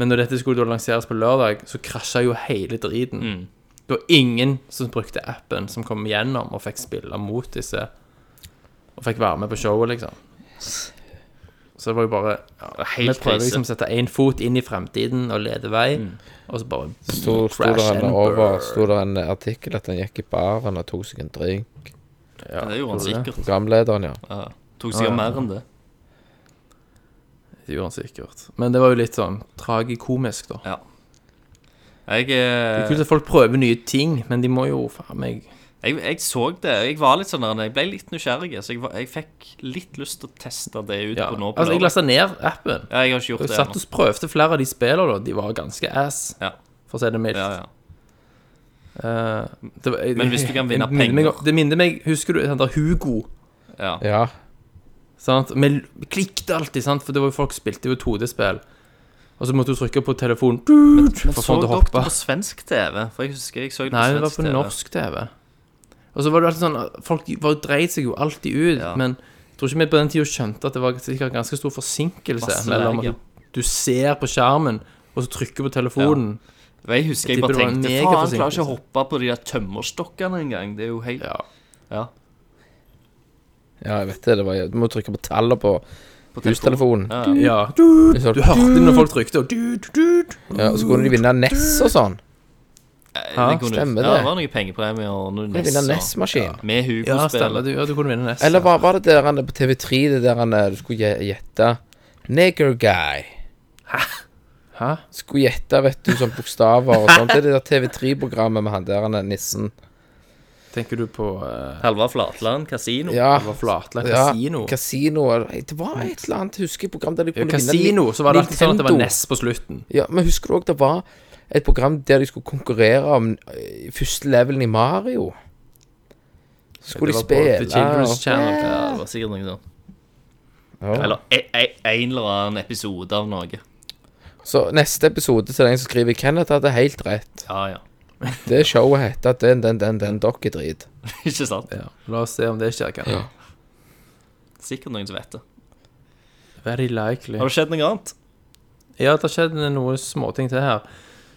[SPEAKER 7] Men når dette skulle da lanseres på lørdag, så krasja jo hele driten.
[SPEAKER 6] Mm.
[SPEAKER 7] Det var ingen som brukte appen, som kom gjennom og fikk spille mot disse, og fikk være med på showet, liksom. Så det var jo bare
[SPEAKER 6] Helt
[SPEAKER 7] vi prøver
[SPEAKER 6] krise.
[SPEAKER 7] liksom å sette én fot inn i fremtiden og lede vei,
[SPEAKER 6] Mm.
[SPEAKER 7] og så bare
[SPEAKER 8] Sto, sto der
[SPEAKER 7] Crash
[SPEAKER 8] en
[SPEAKER 7] and
[SPEAKER 8] over,
[SPEAKER 7] burn.
[SPEAKER 8] sto der en artikkel at han gikk i baren og tok seg en drink.
[SPEAKER 7] ja,
[SPEAKER 6] det gjorde han
[SPEAKER 7] tror du
[SPEAKER 6] sikkert.
[SPEAKER 8] Programlederen, ja.
[SPEAKER 6] Ja. Tok sikkert
[SPEAKER 7] Ja, ja.
[SPEAKER 6] mer enn det.
[SPEAKER 7] Det gjorde han sikkert. Men det var jo litt sånn tragikomisk, da.
[SPEAKER 6] Jeg,
[SPEAKER 7] Det
[SPEAKER 6] eh,
[SPEAKER 7] er kult at folk prøver nye ting, men de må jo faen meg
[SPEAKER 6] jeg, jeg så det. Jeg var litt sånn der, jeg ble litt nysgjerrig, så jeg, var, jeg fikk litt lyst til å teste det ut
[SPEAKER 7] ja.
[SPEAKER 6] på nå. På
[SPEAKER 7] Altså, jeg
[SPEAKER 6] lørdag.
[SPEAKER 7] lasta ned appen.
[SPEAKER 6] ja, jeg har ikke gjort
[SPEAKER 7] Jeg
[SPEAKER 6] det
[SPEAKER 7] satt
[SPEAKER 6] ennå.
[SPEAKER 7] og prøvde flere av de spillene, da. De var ganske ass,
[SPEAKER 6] Ja.
[SPEAKER 7] for å si det mildt.
[SPEAKER 6] Ja, ja.
[SPEAKER 7] Eh, det var- jeg-
[SPEAKER 6] Men hvis du kan vinne
[SPEAKER 7] jeg minner meg
[SPEAKER 6] penger.
[SPEAKER 7] om- Det minner meg Husker du den der Hugo?
[SPEAKER 6] Ja.
[SPEAKER 8] Ja,
[SPEAKER 7] Sant? Vi klikket alltid, sant? for det var jo folk spilte jo 2D-spill. Og så måtte du trykke på telefonen
[SPEAKER 6] Men
[SPEAKER 7] for å
[SPEAKER 6] så
[SPEAKER 7] få den til
[SPEAKER 6] dere
[SPEAKER 7] å
[SPEAKER 6] det
[SPEAKER 7] hoppe.
[SPEAKER 6] på svensk TV? For jeg husker jeg så det på
[SPEAKER 7] Nei, det var
[SPEAKER 6] svensk
[SPEAKER 7] på
[SPEAKER 6] TV.
[SPEAKER 7] norsk TV. Og så var det alltid sånn at Folk var, dreit seg jo alltid ut,
[SPEAKER 6] Ja.
[SPEAKER 7] men jeg tror ikke vi på den tida skjønte at det var sikkert ganske stor forsinkelse
[SPEAKER 6] Masse
[SPEAKER 7] mellom
[SPEAKER 6] lag, ja.
[SPEAKER 7] at du ser på skjermen, og så trykker på telefonen.
[SPEAKER 6] Og Jeg husker jeg,
[SPEAKER 7] Jeg
[SPEAKER 6] bare
[SPEAKER 7] tipper det var en
[SPEAKER 6] tenkte
[SPEAKER 7] mega
[SPEAKER 6] Faen, klarer ikke å
[SPEAKER 7] forsinkelse.
[SPEAKER 6] hoppe på de der tømmerstokkene engang. Det er jo helt
[SPEAKER 7] Ja.
[SPEAKER 6] Ja.
[SPEAKER 8] ja jeg vet det. det var, du må trykke på tallet på hustelefonen.
[SPEAKER 6] Ja,
[SPEAKER 7] ja.
[SPEAKER 6] ja.
[SPEAKER 7] Du,
[SPEAKER 8] Så-
[SPEAKER 7] du hørte når folk trykte, og du, du, du.
[SPEAKER 8] Ja, og så kunne de vinne NES og sånn.
[SPEAKER 6] Ja, det kunne-
[SPEAKER 8] stemmer
[SPEAKER 6] Ja,
[SPEAKER 8] det.
[SPEAKER 6] det var noen pengepremier og noen
[SPEAKER 8] Kunne vinne
[SPEAKER 6] Ness.
[SPEAKER 8] NES-maskin.
[SPEAKER 6] Med
[SPEAKER 7] Ja,
[SPEAKER 6] Hugo-spillet.
[SPEAKER 7] stemmer. Du, ja, du kunne vinne nesten.
[SPEAKER 8] Eller var, var det der han på TV3, det der han eh, du skulle gje- gjette Nigger guy.
[SPEAKER 7] Hæ?
[SPEAKER 8] Skulle gjette, vet du, sånn bokstaver og sånt. Det er det der TV3-programmet med han der han er nissen.
[SPEAKER 7] Tenker du på eh,
[SPEAKER 6] Halvard Flatland kasino.
[SPEAKER 8] Ja.
[SPEAKER 7] det var Flatland
[SPEAKER 8] ja,
[SPEAKER 7] kasino?
[SPEAKER 8] Casino, eller- Det var et eller annet, husker jeg, program der de
[SPEAKER 7] Ja,
[SPEAKER 8] kunne
[SPEAKER 7] kasino, så var det alltid sånn at det var
[SPEAKER 8] Nintendo.
[SPEAKER 7] Ness på slutten.
[SPEAKER 8] Ja, men husker du òg det var et program der de skulle konkurrere om eh, første levelen i Mario? Så skulle de
[SPEAKER 7] Det var på The
[SPEAKER 8] spille
[SPEAKER 7] Children's
[SPEAKER 8] og-
[SPEAKER 7] Channel.
[SPEAKER 6] Ja, det var sikkert noe sånt. Eller e- e- en eller annen episode av noe.
[SPEAKER 8] Så neste episode til den som skriver Kenneth hadde helt rett.
[SPEAKER 6] Ja, ja.
[SPEAKER 8] Det showet heter den, den, den, den dokkedrit.
[SPEAKER 6] Ikke sant?
[SPEAKER 7] La oss se om det skjer, kan.
[SPEAKER 6] Sikkert noen som vet det.
[SPEAKER 7] Very likely.
[SPEAKER 6] Har det skjedd noe annet?
[SPEAKER 7] Ja, det skjedde noen småting til her.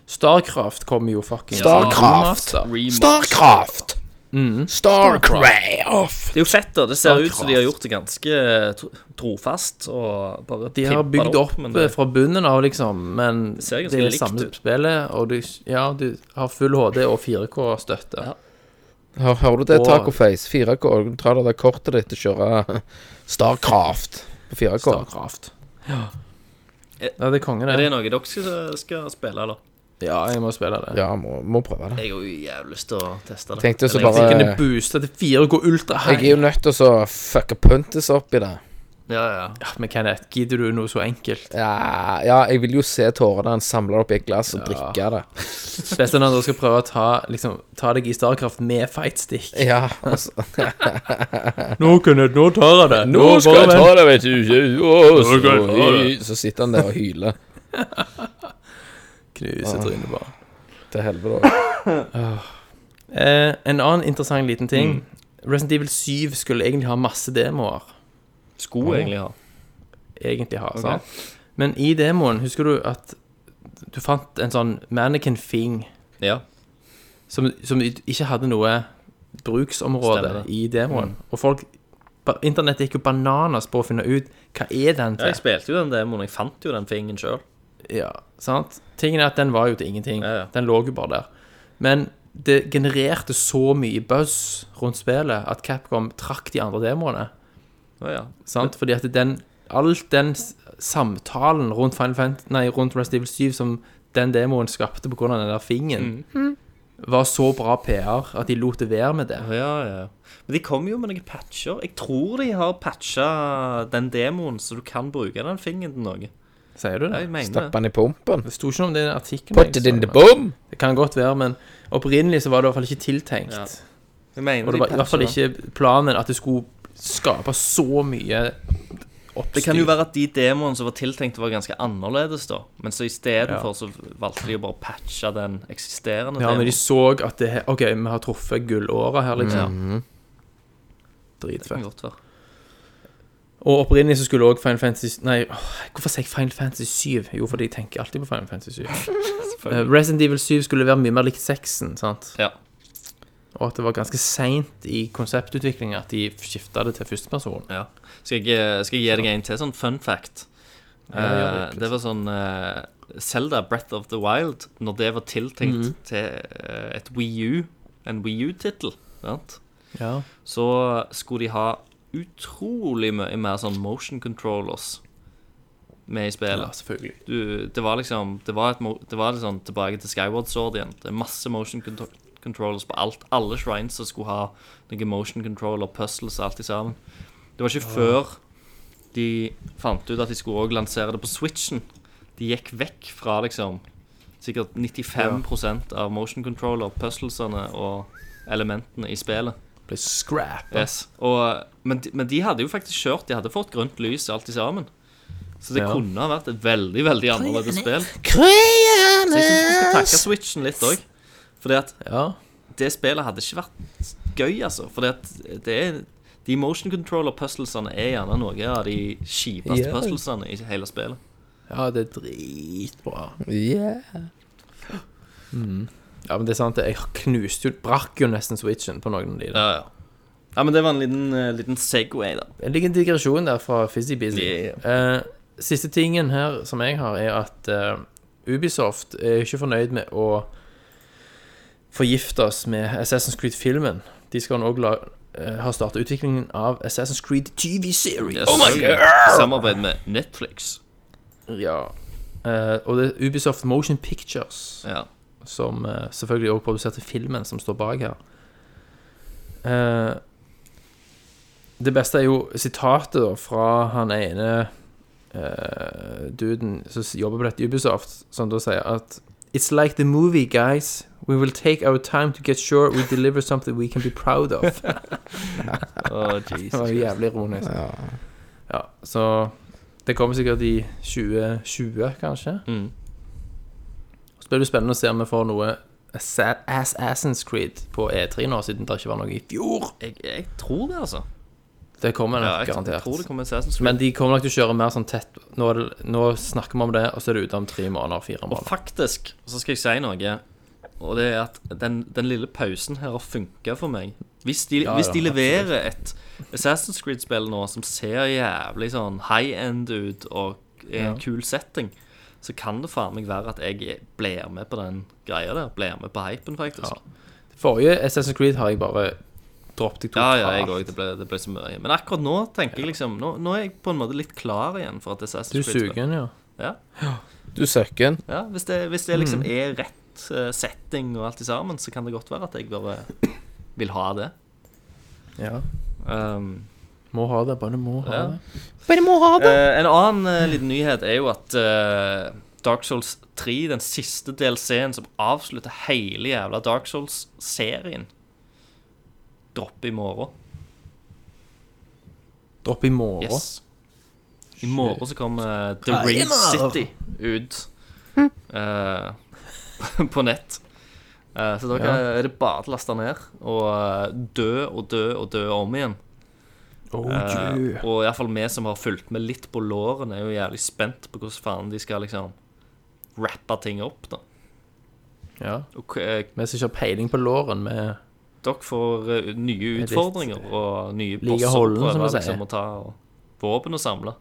[SPEAKER 7] Starcraft kommer jo fucking
[SPEAKER 8] Starcraft.
[SPEAKER 7] Ja,
[SPEAKER 6] Remake.
[SPEAKER 8] Starcraft!
[SPEAKER 7] Mm.
[SPEAKER 8] Starcraft!
[SPEAKER 6] Det er jo fett, da. Det ser ut
[SPEAKER 7] Starcraft.
[SPEAKER 6] som de har gjort det ganske tro- trofast. Og bare
[SPEAKER 7] De har
[SPEAKER 6] pimpa det
[SPEAKER 7] bygd opp eh,
[SPEAKER 6] men det,
[SPEAKER 7] fra bunnen av, liksom, men det,
[SPEAKER 6] ser ganske
[SPEAKER 7] er
[SPEAKER 6] likt
[SPEAKER 7] samme
[SPEAKER 6] ut.
[SPEAKER 7] spillet, og du, ja, du har full HD og 4K-støtte.
[SPEAKER 6] Ja.
[SPEAKER 8] Hør- Hører du det,
[SPEAKER 7] Og-
[SPEAKER 8] Tacoface? 4K. Du tar det der kortet ditt og kjører eh, Starcraft på 4K.
[SPEAKER 7] Starcraft. Ja. Ja, det er konge,
[SPEAKER 6] er det
[SPEAKER 7] det.
[SPEAKER 6] noe dere skal, skal spille, eller?
[SPEAKER 7] Ja, jeg må spille det.
[SPEAKER 8] Ja, må, må prøve det.
[SPEAKER 6] Jeg har jo jævlig lyst til å teste det.
[SPEAKER 8] Tenkte også
[SPEAKER 6] Eller,
[SPEAKER 8] bare-
[SPEAKER 7] Jeg kunne booste til 4K Ultra
[SPEAKER 8] Jeg er
[SPEAKER 7] High.
[SPEAKER 8] jo nødt til å fucke puntes opp i det.
[SPEAKER 6] Ja, ja.
[SPEAKER 7] Ja, men Kenneth, gidder du noe så enkelt?
[SPEAKER 8] Ja, ja jeg vil jo se tårene han samler opp i et glass og drikke det.
[SPEAKER 7] Best når sånn du skal prøve å ta, liksom, ta deg i Starcraft med fightstick.
[SPEAKER 8] Ja, altså.
[SPEAKER 7] Nå, Kenneth, nå tar jeg det. bare vent.
[SPEAKER 8] det, vet du.
[SPEAKER 7] Nå skal jeg ta det.
[SPEAKER 8] så sitter han der og hyler
[SPEAKER 7] Knuse trynet bare.
[SPEAKER 8] til helvete.
[SPEAKER 7] Eh, en annen interessant liten ting.
[SPEAKER 8] Mm.
[SPEAKER 7] Resident Evil 7 skulle egentlig ha masse demoer.
[SPEAKER 6] Sko, egentlig. Ja.
[SPEAKER 7] Egentlig ha, sant? Men i demoen, husker du at du fant en sånn mannequin thing
[SPEAKER 6] ja.
[SPEAKER 7] som, som ikke hadde noe bruksområde
[SPEAKER 6] Stemmer det. Mm.
[SPEAKER 7] i demoen? Og folk ba- Internett gikk jo bananas på å finne ut hva er den
[SPEAKER 6] Jeg
[SPEAKER 7] til.
[SPEAKER 6] spilte jo den demoen. Jeg fant jo den fingen sjøl.
[SPEAKER 7] Ja, sant? Tingen er at den var jo til ingenting.
[SPEAKER 6] Ja, ja.
[SPEAKER 7] Den lå jo bare der. Men det genererte så mye buzz rundt spillet at Capcom trakk de andre demoene.
[SPEAKER 6] Å ja.
[SPEAKER 7] Sant? Fordi at den Alt den s- samtalen rundt Final Fantasy Nei, rundt Resident Evil 7 som den demoen skapte pga. den der fingen,
[SPEAKER 6] Mm.
[SPEAKER 7] var så bra PR at de lot det være med det.
[SPEAKER 6] Å ja, ja. Men de kom jo med noen patcher. Jeg tror de har patcha den demoen, så du kan bruke den fingen til noe.
[SPEAKER 7] Sier du
[SPEAKER 6] Ja,
[SPEAKER 7] det?
[SPEAKER 6] Jeg mener det.
[SPEAKER 8] Stappe han i pumpen.
[SPEAKER 7] Det sto ikke noe om det i den artikkelen.
[SPEAKER 8] Put
[SPEAKER 7] jeg
[SPEAKER 8] it in
[SPEAKER 7] så,
[SPEAKER 8] the
[SPEAKER 7] men-
[SPEAKER 8] boom!
[SPEAKER 7] Det kan godt være, men opprinnelig så var det i hvert fall ikke tiltenkt.
[SPEAKER 6] Ja. Jeg mener
[SPEAKER 7] Og
[SPEAKER 6] de
[SPEAKER 7] det var i hvert fall
[SPEAKER 6] patcher den.
[SPEAKER 7] ikke planen at det skulle skape så mye oppstyr.
[SPEAKER 6] Det kan jo være at de demoene som var tiltenkt, var ganske annerledes, da. Men så istedenfor
[SPEAKER 7] Ja.
[SPEAKER 6] så valgte de å bare patche den eksisterende
[SPEAKER 7] Ja, når de
[SPEAKER 6] demoen.
[SPEAKER 7] så at det OK, vi har truffet gullåra her, liksom.
[SPEAKER 8] Mhm.
[SPEAKER 7] Dritfett.
[SPEAKER 6] Kan godt være.
[SPEAKER 7] Og opprinnelig så skulle også Final Fantasy Nei, åh, hvorfor sier jeg Final Fantasy 7? Jo, fordi jeg tenker alltid på Final Fantasy 7. Eh, Resident Evil 7 skulle være mye mer likt 6-en, sant?
[SPEAKER 6] Ja.
[SPEAKER 7] Og at det var ganske seint i konseptutviklingen at de skifta det til førsteperson.
[SPEAKER 6] Ja. Skal, jeg, skal jeg gi deg en til sånn fun fact?
[SPEAKER 7] gjør
[SPEAKER 6] Eh, det var sånn eh, Zelda Breath of the Wild, når det var tiltenkt til eh, et Wii U, en Wii U-tittel, sant?
[SPEAKER 7] Ja.
[SPEAKER 6] så skulle de ha utrolig mye mer sånn motion controllers med i spillet.
[SPEAKER 7] ja, selvfølgelig.
[SPEAKER 6] du, det var liksom Det var, et, mo- det var litt sånn tilbake til Skyward Sword igjen. Det er masse motion contro- controllers på alt. Alle shrines som skulle ha noen motion controller, puzzles og alt i sammen. Det var ikke før de fant ut at de skulle også lansere det på Switchen. De gikk vekk fra liksom sikkert 95 av motion controller, puzzlesene og elementene i spillet.
[SPEAKER 7] Ble scrap.
[SPEAKER 6] Yes. Og, men, de- men de hadde jo faktisk kjørt. De hadde fått grønt lys alt i sammen. Så det
[SPEAKER 7] Ja.
[SPEAKER 6] kunne ha vært et veldig veldig annerledes spill. Så jeg syns vi skal
[SPEAKER 8] Kreanes!
[SPEAKER 6] takke Switchen litt òg. Fordi at
[SPEAKER 7] Ja.
[SPEAKER 6] det spillet hadde ikke vært gøy, altså. Fordi at det er De motion controller-puzzlesene er gjerne noe av de kjipeste
[SPEAKER 8] Ja.
[SPEAKER 6] puzzlesene i hele spillet.
[SPEAKER 7] ja, det er dritbra.
[SPEAKER 8] Yeah.
[SPEAKER 7] Ja, men det er sant, jeg knuste jo Brakk jo nesten switchen på noen av de der.
[SPEAKER 6] Ja, ja. ja men det var en liten, eh, liten Segway, da.
[SPEAKER 7] En liten digresjon der fra Fizzy Bizzy. Eh, siste tingen her som jeg har, er at eh, Ubisoft er ikke fornøyd med å forgifte oss med Assassin's Creed-filmen. De skal nå også la, eh, ha starta utviklingen av Assassin's Creed TV-series.
[SPEAKER 6] Yes. Oh my God! Samarbeid med Netflix.
[SPEAKER 7] Ja. Eh, og det er Ubisoft Motion Pictures,
[SPEAKER 6] Ja.
[SPEAKER 7] som eh, selvfølgelig også produserte filmen som står bak her. Eh, det beste er jo sitatet da, fra han ene eh, duden som s- jobber på dette i Ubisoft, som da sier at It's like the movie, guys. We will take our time to get sure we deliver something we can be proud of.
[SPEAKER 6] Oh, Jesus.
[SPEAKER 7] Det var jo jævlig ironisk. Ja, så det kommer sikkert i 2020, kanskje.
[SPEAKER 6] Mm.
[SPEAKER 7] Så blir det spennende å se om vi får noe Assa- Assassin's Creed på E3 nå, siden det ikke var noe i fjor.
[SPEAKER 6] Jeg, jeg tror det, altså.
[SPEAKER 7] Det kommer nok,
[SPEAKER 6] Ja, jeg
[SPEAKER 7] garantert.
[SPEAKER 6] tror det kommer Assassin's Creed.
[SPEAKER 7] Men de kommer nok til å kjøre mer sånn tett Nå, er det, nå snakker vi om det, og så er det ute om tre måneder, fire
[SPEAKER 6] Og
[SPEAKER 7] måneder.
[SPEAKER 6] faktisk så skal jeg si noe. Og det er at den, den lille pausen her har funka for meg. Hvis de,
[SPEAKER 7] Ja,
[SPEAKER 6] hvis de
[SPEAKER 7] ja,
[SPEAKER 6] leverer et Assassin's Creed-spill nå som ser jævlig sånn high end ut og er en kul setting, så kan det faen meg være at jeg blir med på den greia der. Blir med på hypen, faktisk.
[SPEAKER 7] Forrige Assassin's Creed har jeg bare droppet jeg
[SPEAKER 6] Ja,
[SPEAKER 7] totalt.
[SPEAKER 6] ja, jeg òg. Det, ble- det ble så mye. Men akkurat nå tenker jeg liksom Nå, nå er jeg på en måte litt klar igjen for at
[SPEAKER 7] Du
[SPEAKER 6] Assassin's Creed
[SPEAKER 7] suger den, ja.
[SPEAKER 6] Ja.
[SPEAKER 8] Du søkken.
[SPEAKER 6] Ja, hvis det, hvis det liksom er rett eh, setting og alt i sammen, så kan det godt være at jeg bare vil ha det.
[SPEAKER 7] ja.
[SPEAKER 6] Um,
[SPEAKER 7] Må ha det, bare må ha
[SPEAKER 6] Ja.
[SPEAKER 7] det.
[SPEAKER 6] eh, en annen eh, liten nyhet er jo at eh, Dark Souls 3, den siste DLC-en som avslutter hele jævla Dark Souls-serien, dropper i morgen.
[SPEAKER 7] Dropp i morgen.
[SPEAKER 6] Yes. I morgen så kommer eh, The Ring City ut eh, på nett. Eh, så da kan- er det bare å laste ned og eh, dø og dø og dø om igjen.
[SPEAKER 7] Oh,
[SPEAKER 6] Eh,
[SPEAKER 7] yeah.
[SPEAKER 6] og iallfall vi som har fulgt med litt på lårene, er jo jævlig spent på hvordan faen de skal liksom rappe ting opp. da
[SPEAKER 7] ja.
[SPEAKER 6] Og eh,
[SPEAKER 7] Vi som ikke har peiling på låren, med
[SPEAKER 6] dere får eh, nye
[SPEAKER 7] litt-
[SPEAKER 6] utfordringer og nye
[SPEAKER 7] Like
[SPEAKER 6] bosser å
[SPEAKER 7] holden, som
[SPEAKER 6] prøve
[SPEAKER 7] vi sier.
[SPEAKER 6] liksom, å ta og våpen å samle.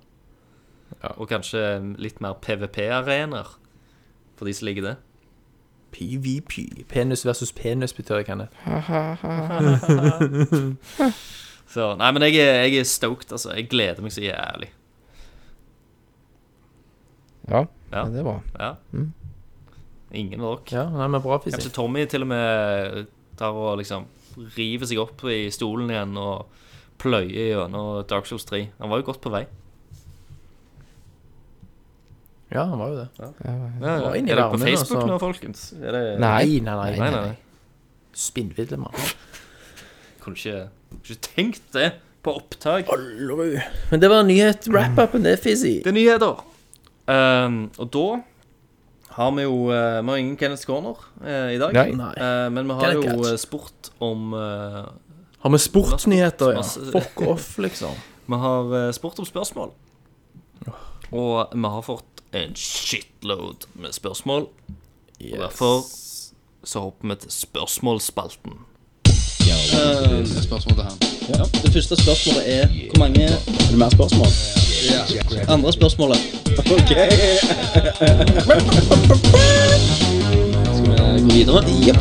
[SPEAKER 7] Ja.
[SPEAKER 6] Og kanskje litt mer PVP-arenaer for de som liker det.
[SPEAKER 7] PVP. Penis versus penis, betyr det, Kenneth.
[SPEAKER 6] Så, nei, men jeg er, jeg er stoked, altså. Jeg gleder meg så jævlig.
[SPEAKER 8] Ja,
[SPEAKER 6] Ja.
[SPEAKER 8] det er bra.
[SPEAKER 6] Ja.
[SPEAKER 7] Mm.
[SPEAKER 6] Ingen av dere.
[SPEAKER 7] Ja, nei, men bra
[SPEAKER 6] Kanskje
[SPEAKER 7] fising.
[SPEAKER 6] Tommy til og med eh, tar og liksom river seg opp i stolen igjen og pløyer gjennom Dark Souls 3. Han var jo godt på vei.
[SPEAKER 7] Ja, han var jo det.
[SPEAKER 6] Ja, ja.
[SPEAKER 7] var
[SPEAKER 6] Er
[SPEAKER 7] inne i
[SPEAKER 6] dere på
[SPEAKER 7] varmen,
[SPEAKER 6] Facebook
[SPEAKER 7] altså.
[SPEAKER 6] nå, folkens? Er det...
[SPEAKER 8] Nei.
[SPEAKER 7] nei, nei.
[SPEAKER 6] nei, nei.
[SPEAKER 7] Spinnvidde, mann.
[SPEAKER 6] Kunne ikke, kunne ikke tenkt det på opptak.
[SPEAKER 7] Men det var en nyhet. Wrap-upen, det er fizzy.
[SPEAKER 6] Det er nyheter. Ehm, og da har vi jo eh, Vi har ingen Kenneth Corner eh, i dag.
[SPEAKER 8] Nei.
[SPEAKER 7] Nei.
[SPEAKER 6] Eh, men vi har
[SPEAKER 7] Kenneth
[SPEAKER 6] jo
[SPEAKER 7] Catch.
[SPEAKER 6] eh, spurt om eh,
[SPEAKER 7] Har vi sportsnyheter, ja?
[SPEAKER 6] Masse-
[SPEAKER 7] Fuck off, liksom.
[SPEAKER 6] Vi har eh, spurt om spørsmål. Og vi har fått en shitload med spørsmål. Og derfor så hopper vi til spørsmålsspalten.
[SPEAKER 5] Det første spørsmålet er hvor mange Er det mer spørsmål? Andre spørsmålet. Ok. Skal vi gå videre? Jepp.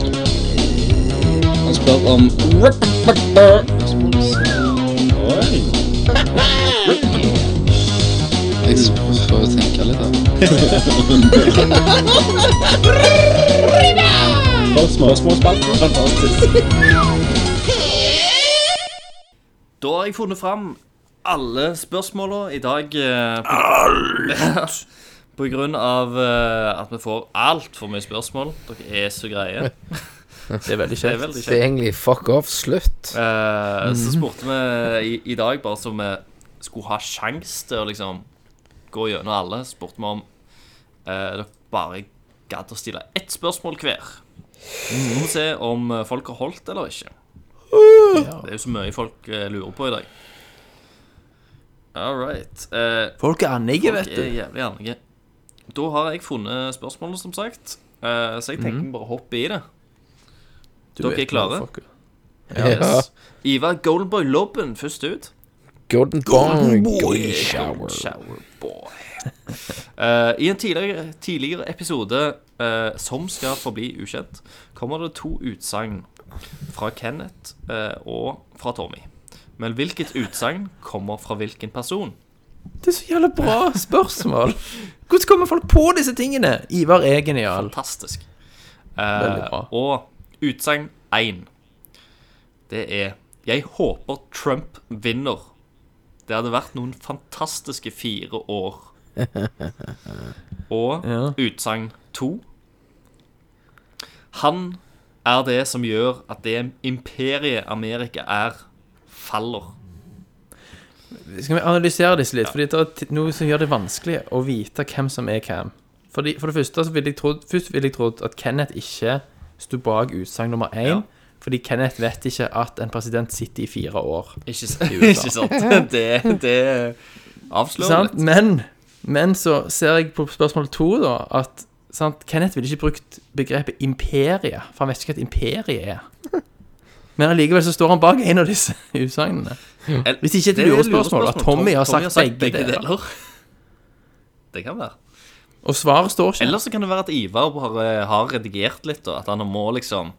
[SPEAKER 5] Han spør om
[SPEAKER 6] Da har jeg funnet fram alle spørsmåla i dag. eh, på- På grunn av eh, at vi får altfor mye spørsmål. Dere er så greie.
[SPEAKER 7] Det er
[SPEAKER 6] Det er
[SPEAKER 7] veldig kjekt.
[SPEAKER 6] veldig
[SPEAKER 8] Det er
[SPEAKER 6] kjekt.
[SPEAKER 8] egentlig fuck off, slutt.
[SPEAKER 6] Eh, Så spurte vi i, i dag, bare så vi skulle ha sjanse til å liksom gå gjennom alle, spurte vi om eh, dere bare gadd å stille ett spørsmål hver. Så må vi se om eh, folk har holdt eller ikke. Det er jo så mye folk eh, lurer på i dag. All right. Eh,
[SPEAKER 7] Folk er annige, vet
[SPEAKER 6] Folk er
[SPEAKER 7] du.
[SPEAKER 6] jævlig anlige. Da har jeg funnet spørsmålet, som sagt. Eh, så jeg tenker vi bare hoppe i det.
[SPEAKER 7] Du
[SPEAKER 6] Dere er
[SPEAKER 7] vet,
[SPEAKER 6] klare?
[SPEAKER 7] motherfucker.
[SPEAKER 8] Ja.
[SPEAKER 6] Ivar Goldenboy Lobben først ut.
[SPEAKER 8] Golden Bong. Golden
[SPEAKER 6] Golden
[SPEAKER 8] Shower.
[SPEAKER 6] Shower Boy. Eh, I en tidligere, tidligere episode, eh, som skal forbli ukjent, kommer det to utsagn fra Kenneth eh, og fra Tommy. Men hvilket utsagn kommer fra hvilken person?
[SPEAKER 7] Det er så jævla bra spørsmål. Hvordan kommer folk på disse tingene? Ivar er genial.
[SPEAKER 6] Fantastisk.
[SPEAKER 7] Veldig bra.
[SPEAKER 6] Eh, og utsagn én, det er Jeg håper Trump vinner. Det hadde vært noen fantastiske fire år. Og
[SPEAKER 7] Ja.
[SPEAKER 6] utsagn to Han er det som gjør at det imperiet Amerika er, faller.
[SPEAKER 7] Skal vi analysere disse litt? Fordi det er t- noe som gjør det vanskelig å vite hvem som er hvem. Fordi, for det første så ville jeg trodd, først ville jeg trodd at Kenneth ikke sto bak utsagn nummer én. Fordi Kenneth vet ikke at en president sitter i fire år.
[SPEAKER 6] Ikke, s- ikke sant? Det, det avslører
[SPEAKER 7] Sant?
[SPEAKER 6] litt.
[SPEAKER 7] Men, men så ser jeg på spørsmål to, da, at sant? Kenneth ville ikke brukt begrepet imperie, for han vet ikke hva et imperie er. Men allikevel så står han bak en av disse utsagnene.
[SPEAKER 6] Eller-
[SPEAKER 7] Hvis ikke et
[SPEAKER 6] det er
[SPEAKER 7] lurespørsmål, at Tommy har sagt begge deler.
[SPEAKER 6] Det kan være.
[SPEAKER 7] Og svaret står ikke.
[SPEAKER 6] Eller så kan det være at Ivar har, har redigert litt, da. At han må liksom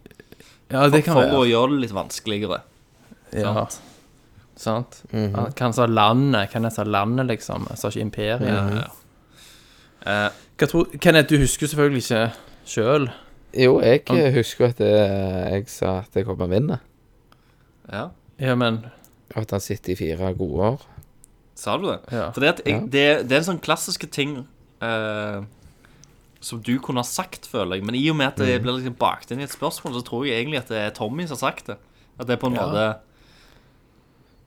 [SPEAKER 7] ja, det kan
[SPEAKER 6] For
[SPEAKER 7] være.
[SPEAKER 6] å gjøre det litt vanskeligere.
[SPEAKER 7] Ja. Sant?
[SPEAKER 6] Mhm.
[SPEAKER 7] Han- Kan sa landet, kan jeg sa landet, liksom? Jeg sa ikke imperiet.
[SPEAKER 6] Eh,
[SPEAKER 7] Hva tror, Kenneth, du husker jo selvfølgelig ikke sjøl.
[SPEAKER 8] Jo, jeg eh, husker jo at eh, jeg sa at jeg kom til å vinne.
[SPEAKER 6] ja.
[SPEAKER 7] Ja, men
[SPEAKER 8] Og at han sitter i fire gode år.
[SPEAKER 6] Sa du det?
[SPEAKER 7] Ja.
[SPEAKER 6] For det, at jeg,
[SPEAKER 8] Ja.
[SPEAKER 6] det, det er en sånn klassiske ting eh, som du kunne ha sagt, føler jeg. Men i og med at
[SPEAKER 7] Mm.
[SPEAKER 6] det blir liksom bakt inn i et spørsmål, så tror jeg egentlig at det er Tommy som har sagt det. At det er på en måte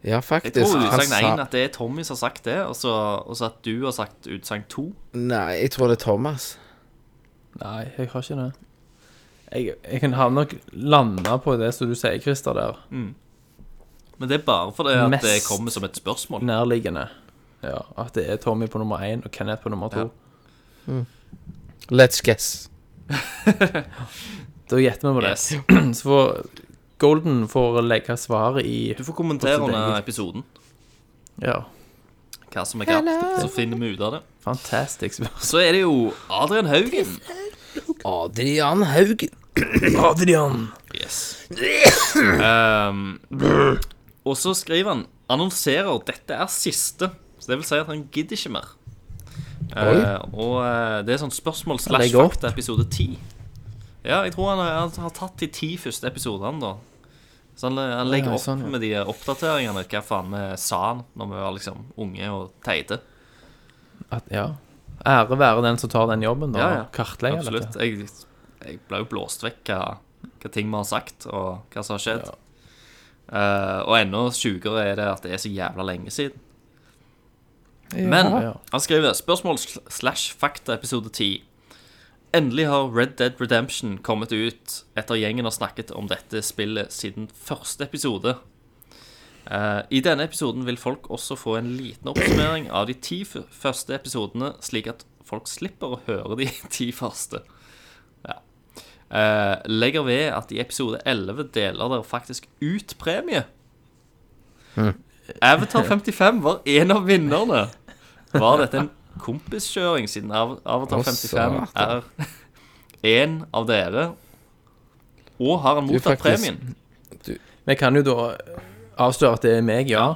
[SPEAKER 8] Ja,
[SPEAKER 6] Jeg
[SPEAKER 8] faktisk.
[SPEAKER 6] tror
[SPEAKER 8] han
[SPEAKER 6] utsagn
[SPEAKER 8] sa-
[SPEAKER 6] én at det er Tommy som har sagt det, og så, og så at du har sagt utsagn to.
[SPEAKER 8] Nei, jeg tror det er Thomas.
[SPEAKER 7] Nei, jeg har ikke det. Jeg, jeg kan havne nok lande på det som du sier, Christer, der.
[SPEAKER 6] Men det er bare fordi at det
[SPEAKER 7] Mest-
[SPEAKER 6] kommer som et spørsmål.
[SPEAKER 7] Nærliggende. Ja, At det er Tommy på nummer én og Kenneth på nummer to.
[SPEAKER 6] Ja.
[SPEAKER 8] Let's guess.
[SPEAKER 7] Da gjetter vi på det.
[SPEAKER 6] Yes.
[SPEAKER 7] Så får Golden får legge svaret i
[SPEAKER 6] Du får kommentere
[SPEAKER 7] Også
[SPEAKER 6] under
[SPEAKER 7] deg.
[SPEAKER 6] episoden
[SPEAKER 7] Ja.
[SPEAKER 6] hva som er kapt. Så finner vi ut av det.
[SPEAKER 7] Fantastisk spørsmål.
[SPEAKER 6] Så er det jo Adrian Haugen.
[SPEAKER 8] Adrian Haugen.
[SPEAKER 7] Adrian!
[SPEAKER 6] Yes. Ehm, og så skriver han Annonserer dette er siste. Så det vil si at han gidder ikke mer. Eh, og eh, det er sånn spørsmål slash
[SPEAKER 7] legger opp.
[SPEAKER 6] fakta episode ti. Ja, jeg tror han, har- han har tatt de ti første episodene, da. Så han, han legger
[SPEAKER 7] ja,
[SPEAKER 6] opp
[SPEAKER 7] sånn, ja.
[SPEAKER 6] med de oppdateringene. Hva faen vi sa han når vi var liksom unge og teite.
[SPEAKER 7] At, ja. Ære være den som tar den jobben, da.
[SPEAKER 6] Ja, ja.
[SPEAKER 7] og Kartlegger
[SPEAKER 6] Absolutt.
[SPEAKER 7] dette.
[SPEAKER 6] Jeg, jeg ble jo blåst vekk hva, hva ting vi har sagt, og hva som har skjedd. Eh, og enda sjukere er det at det er så jævla lenge siden. Men
[SPEAKER 7] Ja.
[SPEAKER 6] han skriver spørsmål sl- slash fakta episode 10. Endelig har Red Dead Redemption kommet ut etter gjengen har snakket om dette spillet siden første episode. Eh, I denne episoden vil folk også få en liten oppsummering av de ti f første episodene, slik at folk slipper å høre de ti første. Ja. Eh, legger ved at i episode 11 deler dere faktisk ut premie.
[SPEAKER 8] Mm.
[SPEAKER 6] Avatar 55 var en av vinnerne. Var dette en kompiskjøring siden Av- Avatar
[SPEAKER 8] Å,
[SPEAKER 6] 55
[SPEAKER 8] satan.
[SPEAKER 6] er en av dere? Og har han
[SPEAKER 8] Du,
[SPEAKER 6] mottatt
[SPEAKER 8] faktisk.
[SPEAKER 6] premien?
[SPEAKER 7] Vi kan jo da avsløre at det er meg, ja.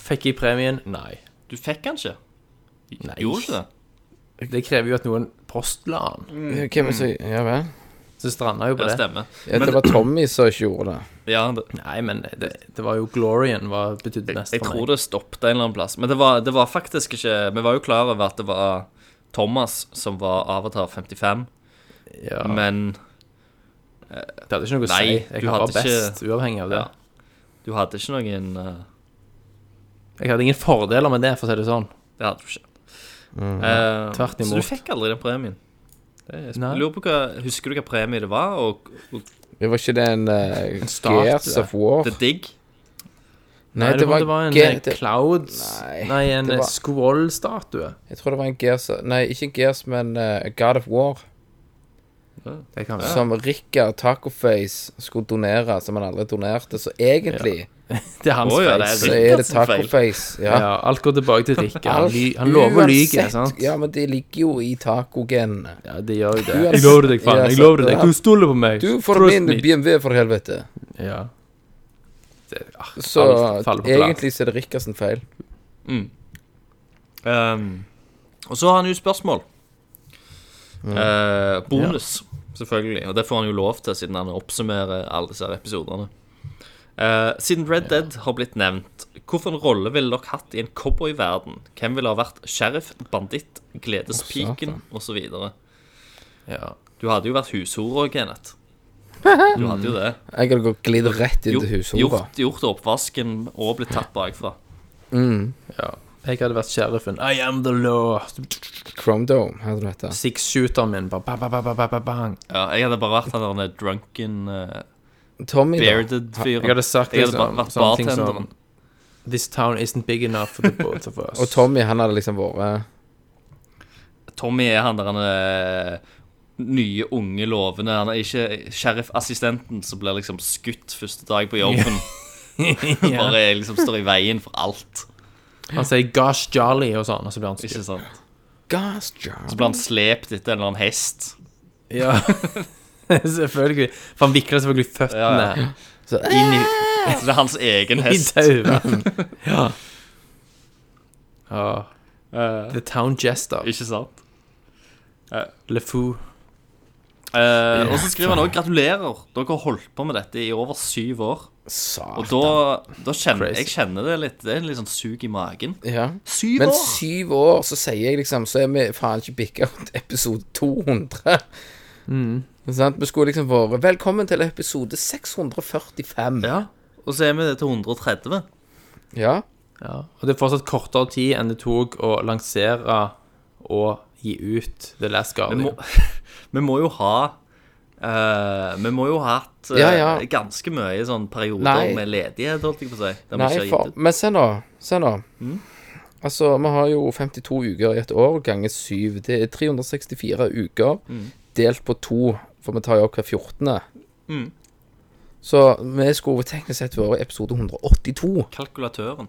[SPEAKER 7] Fikk jeg premien? Nei.
[SPEAKER 6] Du fikk han ikke?
[SPEAKER 7] Nei.
[SPEAKER 6] Gjorde du det?
[SPEAKER 7] Det krever jo at noen postla den.
[SPEAKER 8] Hvem er det som
[SPEAKER 7] Mm.
[SPEAKER 8] Ja vel.
[SPEAKER 7] Så stranda jo på
[SPEAKER 6] Mm. Ja,
[SPEAKER 7] det.
[SPEAKER 6] stemmer.
[SPEAKER 8] Ja, det var Tommy som ikke gjorde det.
[SPEAKER 6] Ja, det,
[SPEAKER 7] Nei, men det, det var jo Glorien var betydde mest
[SPEAKER 6] jeg
[SPEAKER 7] for
[SPEAKER 6] tror
[SPEAKER 7] meg.
[SPEAKER 6] det stoppet en eller annen plass. Men det var, det var faktisk ikke Vi var jo klar over at det var Thomas som var Avatar 55,
[SPEAKER 7] Ja,
[SPEAKER 6] men
[SPEAKER 7] det hadde ikke noe å
[SPEAKER 6] Nei,
[SPEAKER 7] si.
[SPEAKER 6] du
[SPEAKER 7] Jeg var
[SPEAKER 6] hadde ikke-
[SPEAKER 7] best, uavhengig av det.
[SPEAKER 6] Ja. du hadde ikke noen eh,
[SPEAKER 7] Jeg hadde ingen fordeler med det, for å si det sånn.
[SPEAKER 6] Det hadde du ikke. Eh,
[SPEAKER 7] Mm. Tvert
[SPEAKER 6] Så
[SPEAKER 7] imot.
[SPEAKER 6] du fikk aldri den premien. Det er,
[SPEAKER 7] Nei.
[SPEAKER 6] jeg lurer på hva, Husker du hva premie det var, og, og
[SPEAKER 8] Det var ikke det en eh,
[SPEAKER 7] start,
[SPEAKER 8] Gears
[SPEAKER 7] det.
[SPEAKER 8] of War?
[SPEAKER 6] The Digg?
[SPEAKER 7] Nei, det, var, det var en
[SPEAKER 8] Ge-
[SPEAKER 7] eh,
[SPEAKER 8] det-
[SPEAKER 7] Clouds
[SPEAKER 8] Nei,
[SPEAKER 7] Nei, en
[SPEAKER 8] det var-
[SPEAKER 7] Squall-statue.
[SPEAKER 8] Jeg tror det var en Gears Nei, ikke Gears, men eh, God of War.
[SPEAKER 7] Det kan være.
[SPEAKER 8] Som Rikard Tacoface skulle donere, som han aldri donerte. Så egentlig
[SPEAKER 7] Det er hans
[SPEAKER 6] Å, ja, det er
[SPEAKER 7] face.
[SPEAKER 8] så
[SPEAKER 6] Rikard
[SPEAKER 8] er det
[SPEAKER 6] sin feil.
[SPEAKER 8] Tacoface.
[SPEAKER 7] Ja.
[SPEAKER 8] Ja.
[SPEAKER 7] alt går tilbake til Rikke. Han,
[SPEAKER 8] Alt-
[SPEAKER 7] ly, han lover å lyge,
[SPEAKER 8] uansett-
[SPEAKER 7] sant?
[SPEAKER 8] Ja, men det ligger jo i tacogenene.
[SPEAKER 7] Ja, det gjør jo det.
[SPEAKER 8] Uansett-
[SPEAKER 7] Jeg lover deg, faen.
[SPEAKER 8] Ja,
[SPEAKER 7] Jeg
[SPEAKER 8] sant,
[SPEAKER 7] lover deg.
[SPEAKER 8] ja.
[SPEAKER 7] Du stoler på meg.
[SPEAKER 8] Du får
[SPEAKER 7] Trust
[SPEAKER 8] min
[SPEAKER 7] me.
[SPEAKER 8] BMW, for helvete.
[SPEAKER 7] Ja. Det, ah,
[SPEAKER 8] Så
[SPEAKER 7] alt faller på plass.
[SPEAKER 8] egentlig så er det Rikard sin feil.
[SPEAKER 6] Ehm, og så har han jo spørsmål. Eh, bonus, selvfølgelig. Og det får han jo lov til, siden han oppsummerer alle disse her episodene. Eh, siden Red Dead har blitt nevnt, hvilken rolle ville dere hatt i en cowboyverden? Hvem ville ha vært sheriff, banditt, gledespiken osv.?
[SPEAKER 7] Ja.
[SPEAKER 6] Du hadde jo vært hushora, Kenneth. Du hadde jo det.
[SPEAKER 8] Mm. Jeg hadde gått glidd rett inn
[SPEAKER 6] Gjort,
[SPEAKER 8] til hushora.
[SPEAKER 6] gjort, gjort oppvasken og blitt tatt bakfra.
[SPEAKER 7] Ja. Jeg hadde vært sheriffen. I am the law.
[SPEAKER 8] Chromedome, hadde du hett.
[SPEAKER 7] Six-shooteren min. Bare, ba, ba, ba, ba, ba, ba, bang.
[SPEAKER 6] Ja, jeg hadde bare vært han der drunken, eh,
[SPEAKER 8] Tommy, da.
[SPEAKER 6] bearded fyren.
[SPEAKER 7] Jeg hadde sagt
[SPEAKER 6] Jeg hadde
[SPEAKER 7] liksom,
[SPEAKER 6] bare vært
[SPEAKER 7] sånne ting
[SPEAKER 6] bartenderen.
[SPEAKER 7] som This town isn't big enough for the both of us.
[SPEAKER 8] Og Tommy, han hadde liksom vært
[SPEAKER 6] Tommy er han der han er nye, unge, lovende. Han er ikke sheriff-assistenten som blir liksom skutt første dag på jobben. Bare liksom står i veien for alt.
[SPEAKER 7] Han sier 'gosh jolly' og sånn, og så blir han
[SPEAKER 6] Ikke
[SPEAKER 7] skutt.
[SPEAKER 6] sant?
[SPEAKER 8] Gas job.
[SPEAKER 6] Så blir han slept etter en eller annen hest.
[SPEAKER 7] Ja. selvfølgelig. For han vikler selvfølgelig føttene
[SPEAKER 6] Ja,
[SPEAKER 8] Så,
[SPEAKER 6] Inn i, så det er hans egen
[SPEAKER 7] i
[SPEAKER 6] hest.
[SPEAKER 7] dauen. ja. Ja. The Town Jester.
[SPEAKER 6] Eh, Ikke sant?
[SPEAKER 7] LeFou.
[SPEAKER 6] Eh, og så skriver han òg 'Gratulerer, dere har holdt på med dette i over syv år'. Og
[SPEAKER 8] Satan.
[SPEAKER 6] da, da kjenner jeg
[SPEAKER 7] Crazy.
[SPEAKER 6] kjenner det litt Det er en litt sånn sug i magen.
[SPEAKER 8] Ja.
[SPEAKER 6] Syv
[SPEAKER 8] Men
[SPEAKER 6] år!
[SPEAKER 8] syv år, så sier jeg liksom Så er vi faen ikke bikka ut episode 200.
[SPEAKER 6] Mm.
[SPEAKER 8] Sant? Vi skulle liksom vært Velkommen til episode 645.
[SPEAKER 6] Ja. Og så er vi til 130.
[SPEAKER 8] Ja.
[SPEAKER 7] Ja. Og det er fortsatt kortere tid enn det tok å lansere og gi ut The Last
[SPEAKER 6] Vi
[SPEAKER 7] Guardian.
[SPEAKER 6] må, vi må jo ha eh, Vi må jo ha hatt eh,
[SPEAKER 8] Ja, ja.
[SPEAKER 6] ganske mye sånn perioder
[SPEAKER 8] Nei.
[SPEAKER 6] med ledighet, holdt jeg på å si. der vi ikke har
[SPEAKER 8] Nei,
[SPEAKER 6] gitt Mm.
[SPEAKER 8] for,
[SPEAKER 6] ut.
[SPEAKER 8] men se nå. Se nå. Altså, vi har jo 52 uker i et år ganger 7. Det er 364 uker
[SPEAKER 6] Mm.
[SPEAKER 8] delt på to, for vi tar jo opp hver 14.
[SPEAKER 6] Mm.
[SPEAKER 8] Så vi skulle teknisk sett vært i episode 182.
[SPEAKER 6] Kalkulatøren.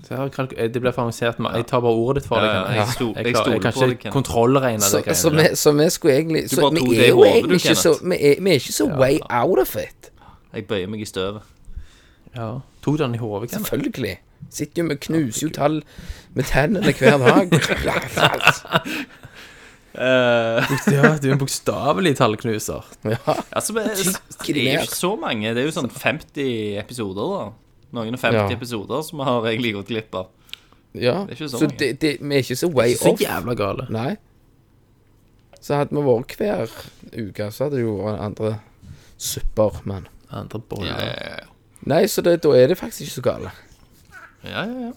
[SPEAKER 7] Så her kalk- eh, Det blir for avansert. men Jeg tar bare ordet ditt for
[SPEAKER 6] Ja,
[SPEAKER 7] deg.
[SPEAKER 6] ja,
[SPEAKER 7] Kenneth.
[SPEAKER 6] jeg sto- jeg
[SPEAKER 7] Jeg, klarer- jeg
[SPEAKER 6] stoler på
[SPEAKER 7] kan
[SPEAKER 6] deg,
[SPEAKER 7] ikke
[SPEAKER 6] Kenneth.
[SPEAKER 7] kontrollregne
[SPEAKER 8] Så,
[SPEAKER 7] det. greiene
[SPEAKER 8] så,
[SPEAKER 7] der.
[SPEAKER 8] vi, så vi skulle egentlig
[SPEAKER 6] Du
[SPEAKER 8] så,
[SPEAKER 6] bare tok det
[SPEAKER 8] Vi
[SPEAKER 6] i
[SPEAKER 8] er jo
[SPEAKER 6] hodet, du,
[SPEAKER 8] egentlig ikke så
[SPEAKER 6] Kenneth.
[SPEAKER 8] vi er, vi er ikke så way out of it.
[SPEAKER 6] Jeg bøyer meg i støvet.
[SPEAKER 7] Ja. Tok du den i hodet? Kenneth?
[SPEAKER 8] Selvfølgelig. Sitter jo med knuser jo tall med tennene hver dag.
[SPEAKER 7] Ja, du er en bokstavelig tallknuser.
[SPEAKER 8] Ja,
[SPEAKER 6] Altså, men, det er jo ikke så mange. Det er jo sånn 50 episoder, da. Noen og 50
[SPEAKER 8] Ja.
[SPEAKER 6] episoder som vi har egentlig gått glipp av.
[SPEAKER 8] ja.
[SPEAKER 6] ikke så
[SPEAKER 8] Så
[SPEAKER 6] mange.
[SPEAKER 8] det, det, vi er ikke så way
[SPEAKER 7] Så
[SPEAKER 8] off.
[SPEAKER 7] jævla gale.
[SPEAKER 8] Nei. Så hadde vi vært hver uke, så hadde det jo vært andre supper, men
[SPEAKER 7] Andre boller.
[SPEAKER 8] Nei, så det, da er det faktisk ikke så gale.
[SPEAKER 6] Ja, ja, ja.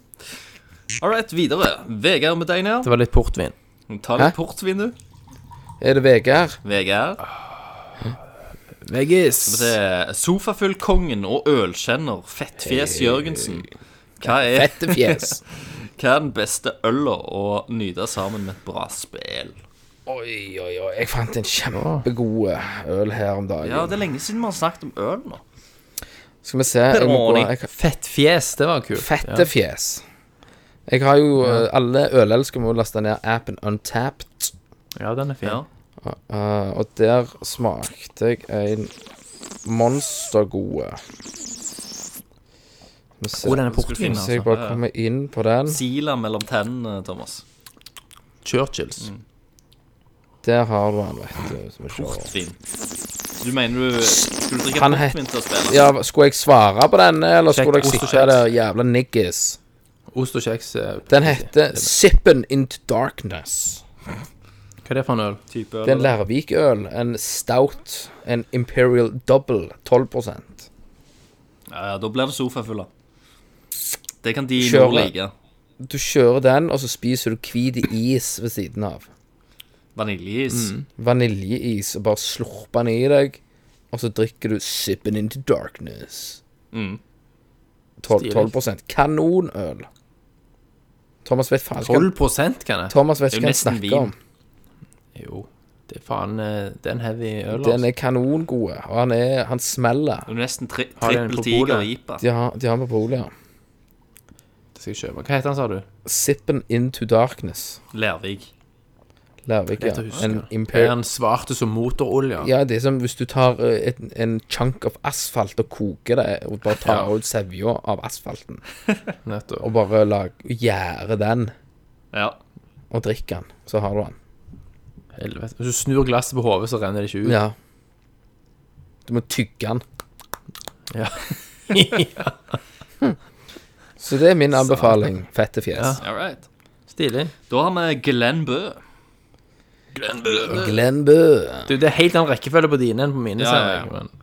[SPEAKER 6] All right, videre. Vegard med deg ned.
[SPEAKER 7] Det var litt portvin.
[SPEAKER 6] Ta litt portvin, du.
[SPEAKER 8] Er det Vegard?
[SPEAKER 6] Vegard.
[SPEAKER 7] Veggis.
[SPEAKER 6] Det er Sofafullkongen og ølkjenner Fettfjes Jørgensen. Hva er,
[SPEAKER 8] Fette fjes.
[SPEAKER 6] hva er den beste øla å nyte sammen med et bra spill?
[SPEAKER 8] Oi, oi, oi. Jeg fant en kjempegod øl her om dagen.
[SPEAKER 6] Ja, det er lenge siden vi har snakket om øl nå.
[SPEAKER 8] Skal vi se jeg må gå, jeg,
[SPEAKER 7] Fettfjes, det var kult.
[SPEAKER 8] Fette fjes. Jeg har jo eh, Alle ølelskere må laste ned appen Untapped.
[SPEAKER 7] Ja, den er fin.
[SPEAKER 6] Ja.
[SPEAKER 8] eh, og der smakte jeg en monstergode. Skal vi se-
[SPEAKER 7] Og den er
[SPEAKER 6] Skulle
[SPEAKER 7] portvin,
[SPEAKER 6] finne,
[SPEAKER 8] Hvis jeg
[SPEAKER 7] altså.
[SPEAKER 8] bare kommer inn på den
[SPEAKER 6] Sila mellom tennene, Thomas.
[SPEAKER 7] Churchills.
[SPEAKER 8] Der har du han, vet du. Skal vi se.
[SPEAKER 6] Portvin. Du mener du skulle drikke
[SPEAKER 8] Han het-
[SPEAKER 6] portvin til å spille?
[SPEAKER 8] Ja, skulle jeg svare på denne, eller skulle jeg
[SPEAKER 7] ost og
[SPEAKER 8] sitte
[SPEAKER 7] kjeks.
[SPEAKER 8] der jævla niggis?
[SPEAKER 7] Ost og kjeks. eh,
[SPEAKER 8] Den heter Sippen Into Darkness.
[SPEAKER 7] Hva er det for en øl?
[SPEAKER 6] Type
[SPEAKER 8] Det er en
[SPEAKER 6] øl.
[SPEAKER 8] Lærvikøl. En stout. En Imperial Double. 12
[SPEAKER 6] Ja, ja, da blir det sofafulla. Det kan de i
[SPEAKER 8] Kjøre.
[SPEAKER 6] nord like.
[SPEAKER 8] Du kjører den, og så spiser du hvit is ved siden av.
[SPEAKER 6] Vaniljeis.
[SPEAKER 8] Mm. Vaniljeis, og bare slurper den i deg. Og så drikker du Sippen Into Darkness.
[SPEAKER 6] Mm.
[SPEAKER 8] 12, 12 Kanonøl. Thomas vet faen ikke hva
[SPEAKER 7] 12 kan jeg.
[SPEAKER 8] Thomas vet
[SPEAKER 6] Det er
[SPEAKER 8] ikke hva han
[SPEAKER 6] jo nesten
[SPEAKER 8] snakker om.
[SPEAKER 7] Jo. Det er faen eh, Det er en heavy øl, altså.
[SPEAKER 8] Den er kanongod, og han, er, han smeller.
[SPEAKER 6] Det er nesten tri
[SPEAKER 7] Har de en
[SPEAKER 6] trippel
[SPEAKER 7] på
[SPEAKER 6] tiger
[SPEAKER 7] bordet?
[SPEAKER 6] ipa.
[SPEAKER 8] De har, de har med bolig, ja.
[SPEAKER 7] Det skal jeg kjøpe. Hva heter den, sa du?
[SPEAKER 8] Sippen into darkness.
[SPEAKER 6] Lervig.
[SPEAKER 8] Lærvik, ja.
[SPEAKER 7] Lett å huske.
[SPEAKER 8] En
[SPEAKER 7] Er
[SPEAKER 8] imperial
[SPEAKER 7] den svarte som motorolje?
[SPEAKER 8] Ja, det er som hvis du tar eh, et, en chunk av asfalt og koker det, og bare tar ut sevja av asfalten,
[SPEAKER 7] Nettopp.
[SPEAKER 8] og bare lag, gjærer den
[SPEAKER 6] Ja.
[SPEAKER 8] og drikker den, så har du den.
[SPEAKER 7] Helvete. Hvis du snur glasset på hodet, så renner det ikke ut.
[SPEAKER 8] Ja. Du må tygge den.
[SPEAKER 7] Ja.
[SPEAKER 8] Så det er min anbefaling. Fette fjes.
[SPEAKER 6] All right.
[SPEAKER 7] Stilig.
[SPEAKER 6] Da har vi Glenn Bø.
[SPEAKER 8] Glenn Bø.
[SPEAKER 7] Du, det er helt annen rekkefølge på dine enn på mine,
[SPEAKER 6] Ja,
[SPEAKER 7] ser
[SPEAKER 6] ja, ja.
[SPEAKER 7] jeg. Men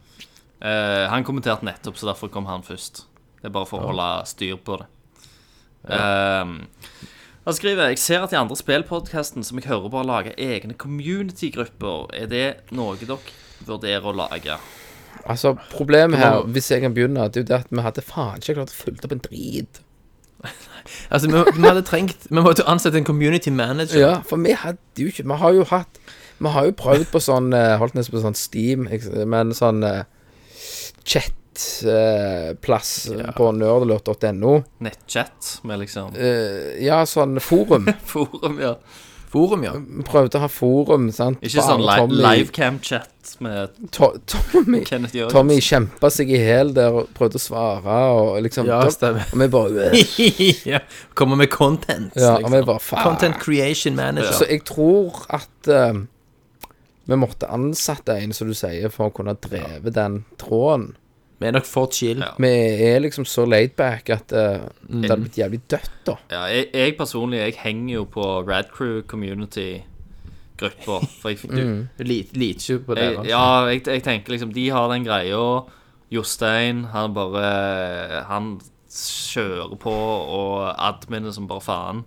[SPEAKER 6] Eh, han kommenterte nettopp, så derfor kom han først. Det er bare for å holde styr på det. Ehm, han skriver Jeg ser at de andre spillpodkasten som jeg hører på, lager egne community-grupper. Er det noe dere vurderer å lage?
[SPEAKER 8] Altså, problemet her, hvis jeg kan begynne, det er jo det at vi hadde faen ikke klart å følge opp en drit.
[SPEAKER 7] Altså, vi, vi hadde trengt Vi måtte ansette en community manager.
[SPEAKER 8] Ja, for vi hadde jo ikke Vi har jo hatt Vi har jo prøvd på sånn eh, Holdt nesten på sånn Steam ikke- Men sånn eh, Chat eh, Plass på nerdelurt.no
[SPEAKER 6] Nettchat med liksom
[SPEAKER 8] Eh, Ja, sånn forum
[SPEAKER 6] forum, ja.
[SPEAKER 7] Forum, ja.
[SPEAKER 8] Vi prøvde å ha forum, sant
[SPEAKER 6] Ikke sånn
[SPEAKER 8] Bare
[SPEAKER 6] li livecam-chat med
[SPEAKER 8] To Tommy
[SPEAKER 6] Kenneth Jørgensen.
[SPEAKER 8] Tommy kjempet seg i hel der Og prøvde å svare Og liksom
[SPEAKER 7] Ja,
[SPEAKER 8] da-
[SPEAKER 7] stemmer.
[SPEAKER 8] Og vi bare øh,
[SPEAKER 7] ja. Kommer med content.
[SPEAKER 8] Ja, og
[SPEAKER 7] liksom.
[SPEAKER 8] vi bare faen
[SPEAKER 7] Content creation manager.
[SPEAKER 8] Så jeg tror at eh, Vi måtte ansette en, som du sier For å kunne dreve den tråden
[SPEAKER 7] Vi er nok for chill.
[SPEAKER 6] Ja. Mm.
[SPEAKER 8] Vi er liksom så laid back at eh, det hadde blitt jævlig dødt, da.
[SPEAKER 6] Ja, jeg, jeg personlig jeg henger jo på Radcrew Community-grupper. For jeg, du,
[SPEAKER 8] Mm.
[SPEAKER 7] Vi lit- Liter ikke på det.
[SPEAKER 6] jeg, ja, jeg, jeg tenker liksom De har den greia. Jostein, han bare Han kjører på, og adminen som bare faen.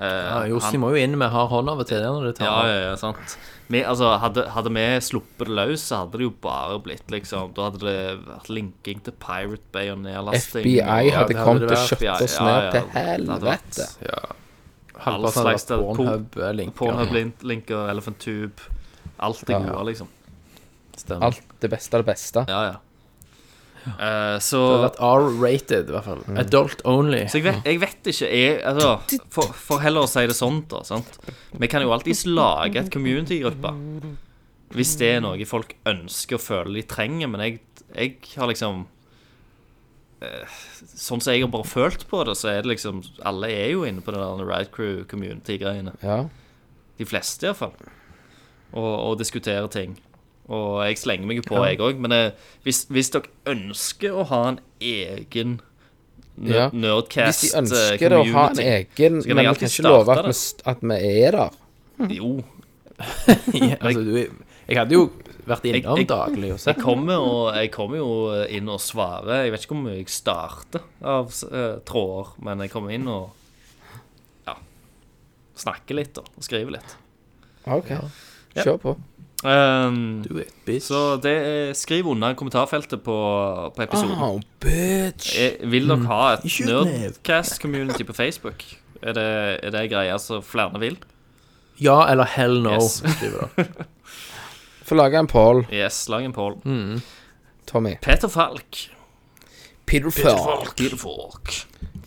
[SPEAKER 6] Eh,
[SPEAKER 7] Ja, Jostein
[SPEAKER 6] han-
[SPEAKER 7] må jo inn med hard hånd av og til det når det tar
[SPEAKER 6] ja, ja, ja, sant. Vi, altså, hadde, hadde vi sluppet det løs, så hadde det jo bare blitt liksom Da hadde det vært linking til Pirate Bay og nedlasting.
[SPEAKER 8] FBI
[SPEAKER 6] og-
[SPEAKER 8] hadde
[SPEAKER 7] det
[SPEAKER 8] kommet
[SPEAKER 7] hadde
[SPEAKER 8] og
[SPEAKER 7] vært
[SPEAKER 8] kjøpt
[SPEAKER 6] FBI,
[SPEAKER 8] oss
[SPEAKER 6] ja,
[SPEAKER 8] ned
[SPEAKER 6] ja,
[SPEAKER 8] til
[SPEAKER 6] det hadde vært-
[SPEAKER 8] helvete.
[SPEAKER 7] Halvparten
[SPEAKER 6] All slags
[SPEAKER 7] av
[SPEAKER 6] der-
[SPEAKER 7] Pornhub-linker.
[SPEAKER 6] Pornhub-linker, Elephant Tube Alt det
[SPEAKER 8] Ja,
[SPEAKER 6] gode,
[SPEAKER 8] ja.
[SPEAKER 6] liksom.
[SPEAKER 7] Stemmer.
[SPEAKER 8] Alt det beste av det beste.
[SPEAKER 6] Ja, ja. Eh,
[SPEAKER 7] Det hadde
[SPEAKER 6] så,
[SPEAKER 7] vært R-rated, i hvert fall. Adult only.
[SPEAKER 6] så jeg, vet, jeg vet ikke jeg, altså, for, for heller å si det sånn, da. Sant? Vi kan jo alltids lage et community-gruppe. Hvis det er noe folk ønsker og føler de trenger, men jeg, jeg har liksom eh, Sånn som jeg har bare følt på det, så er det liksom Alle er jo inne på det der Ride Crew community-greiene.
[SPEAKER 8] Ja.
[SPEAKER 6] De fleste, iallfall. Og, og diskutere ting. Og jeg slenger meg jo på, jeg òg. Men eh, hvis, hvis dere ønsker å ha en egen nø
[SPEAKER 8] Ja. Hvis
[SPEAKER 6] nerdcast
[SPEAKER 8] de
[SPEAKER 6] eh,
[SPEAKER 8] ønsker det å ha en
[SPEAKER 6] community
[SPEAKER 8] egen,
[SPEAKER 6] Så kan jeg
[SPEAKER 8] men vi
[SPEAKER 6] alltid
[SPEAKER 8] kan ikke
[SPEAKER 6] starte
[SPEAKER 8] love at
[SPEAKER 6] det.
[SPEAKER 8] vi, st- at vi er der.
[SPEAKER 6] Jo,
[SPEAKER 7] Ja, altså, du, jeg hadde jo vært innom
[SPEAKER 6] Jeg- jeg-
[SPEAKER 7] daglig og
[SPEAKER 6] jeg
[SPEAKER 7] sett.
[SPEAKER 6] kommer, og, jeg kommer jo inn og svarer. Jeg vet ikke hvor mye jeg starter av eh, tråder, men jeg kommer inn og ja, snakker litt og, og skriver litt.
[SPEAKER 8] OK. Kjør på.
[SPEAKER 6] Ehm,
[SPEAKER 7] Du er et bitch.
[SPEAKER 6] så det er, skriv unna i kommentarfeltet på, på episoden.
[SPEAKER 8] Oh, bitch.
[SPEAKER 6] Eh, Vil dere ha et
[SPEAKER 7] Shoot me.
[SPEAKER 6] Nerdcast-community på Facebook? Er det, er det greia som flere vil?
[SPEAKER 7] Ja eller hell no,
[SPEAKER 6] Yes.
[SPEAKER 7] skriver det.
[SPEAKER 8] Få lage en poll,
[SPEAKER 6] Yes, lag en poll.
[SPEAKER 8] Tommy.
[SPEAKER 6] Peter Falk.
[SPEAKER 8] Peter Fall.
[SPEAKER 6] Peter Falk.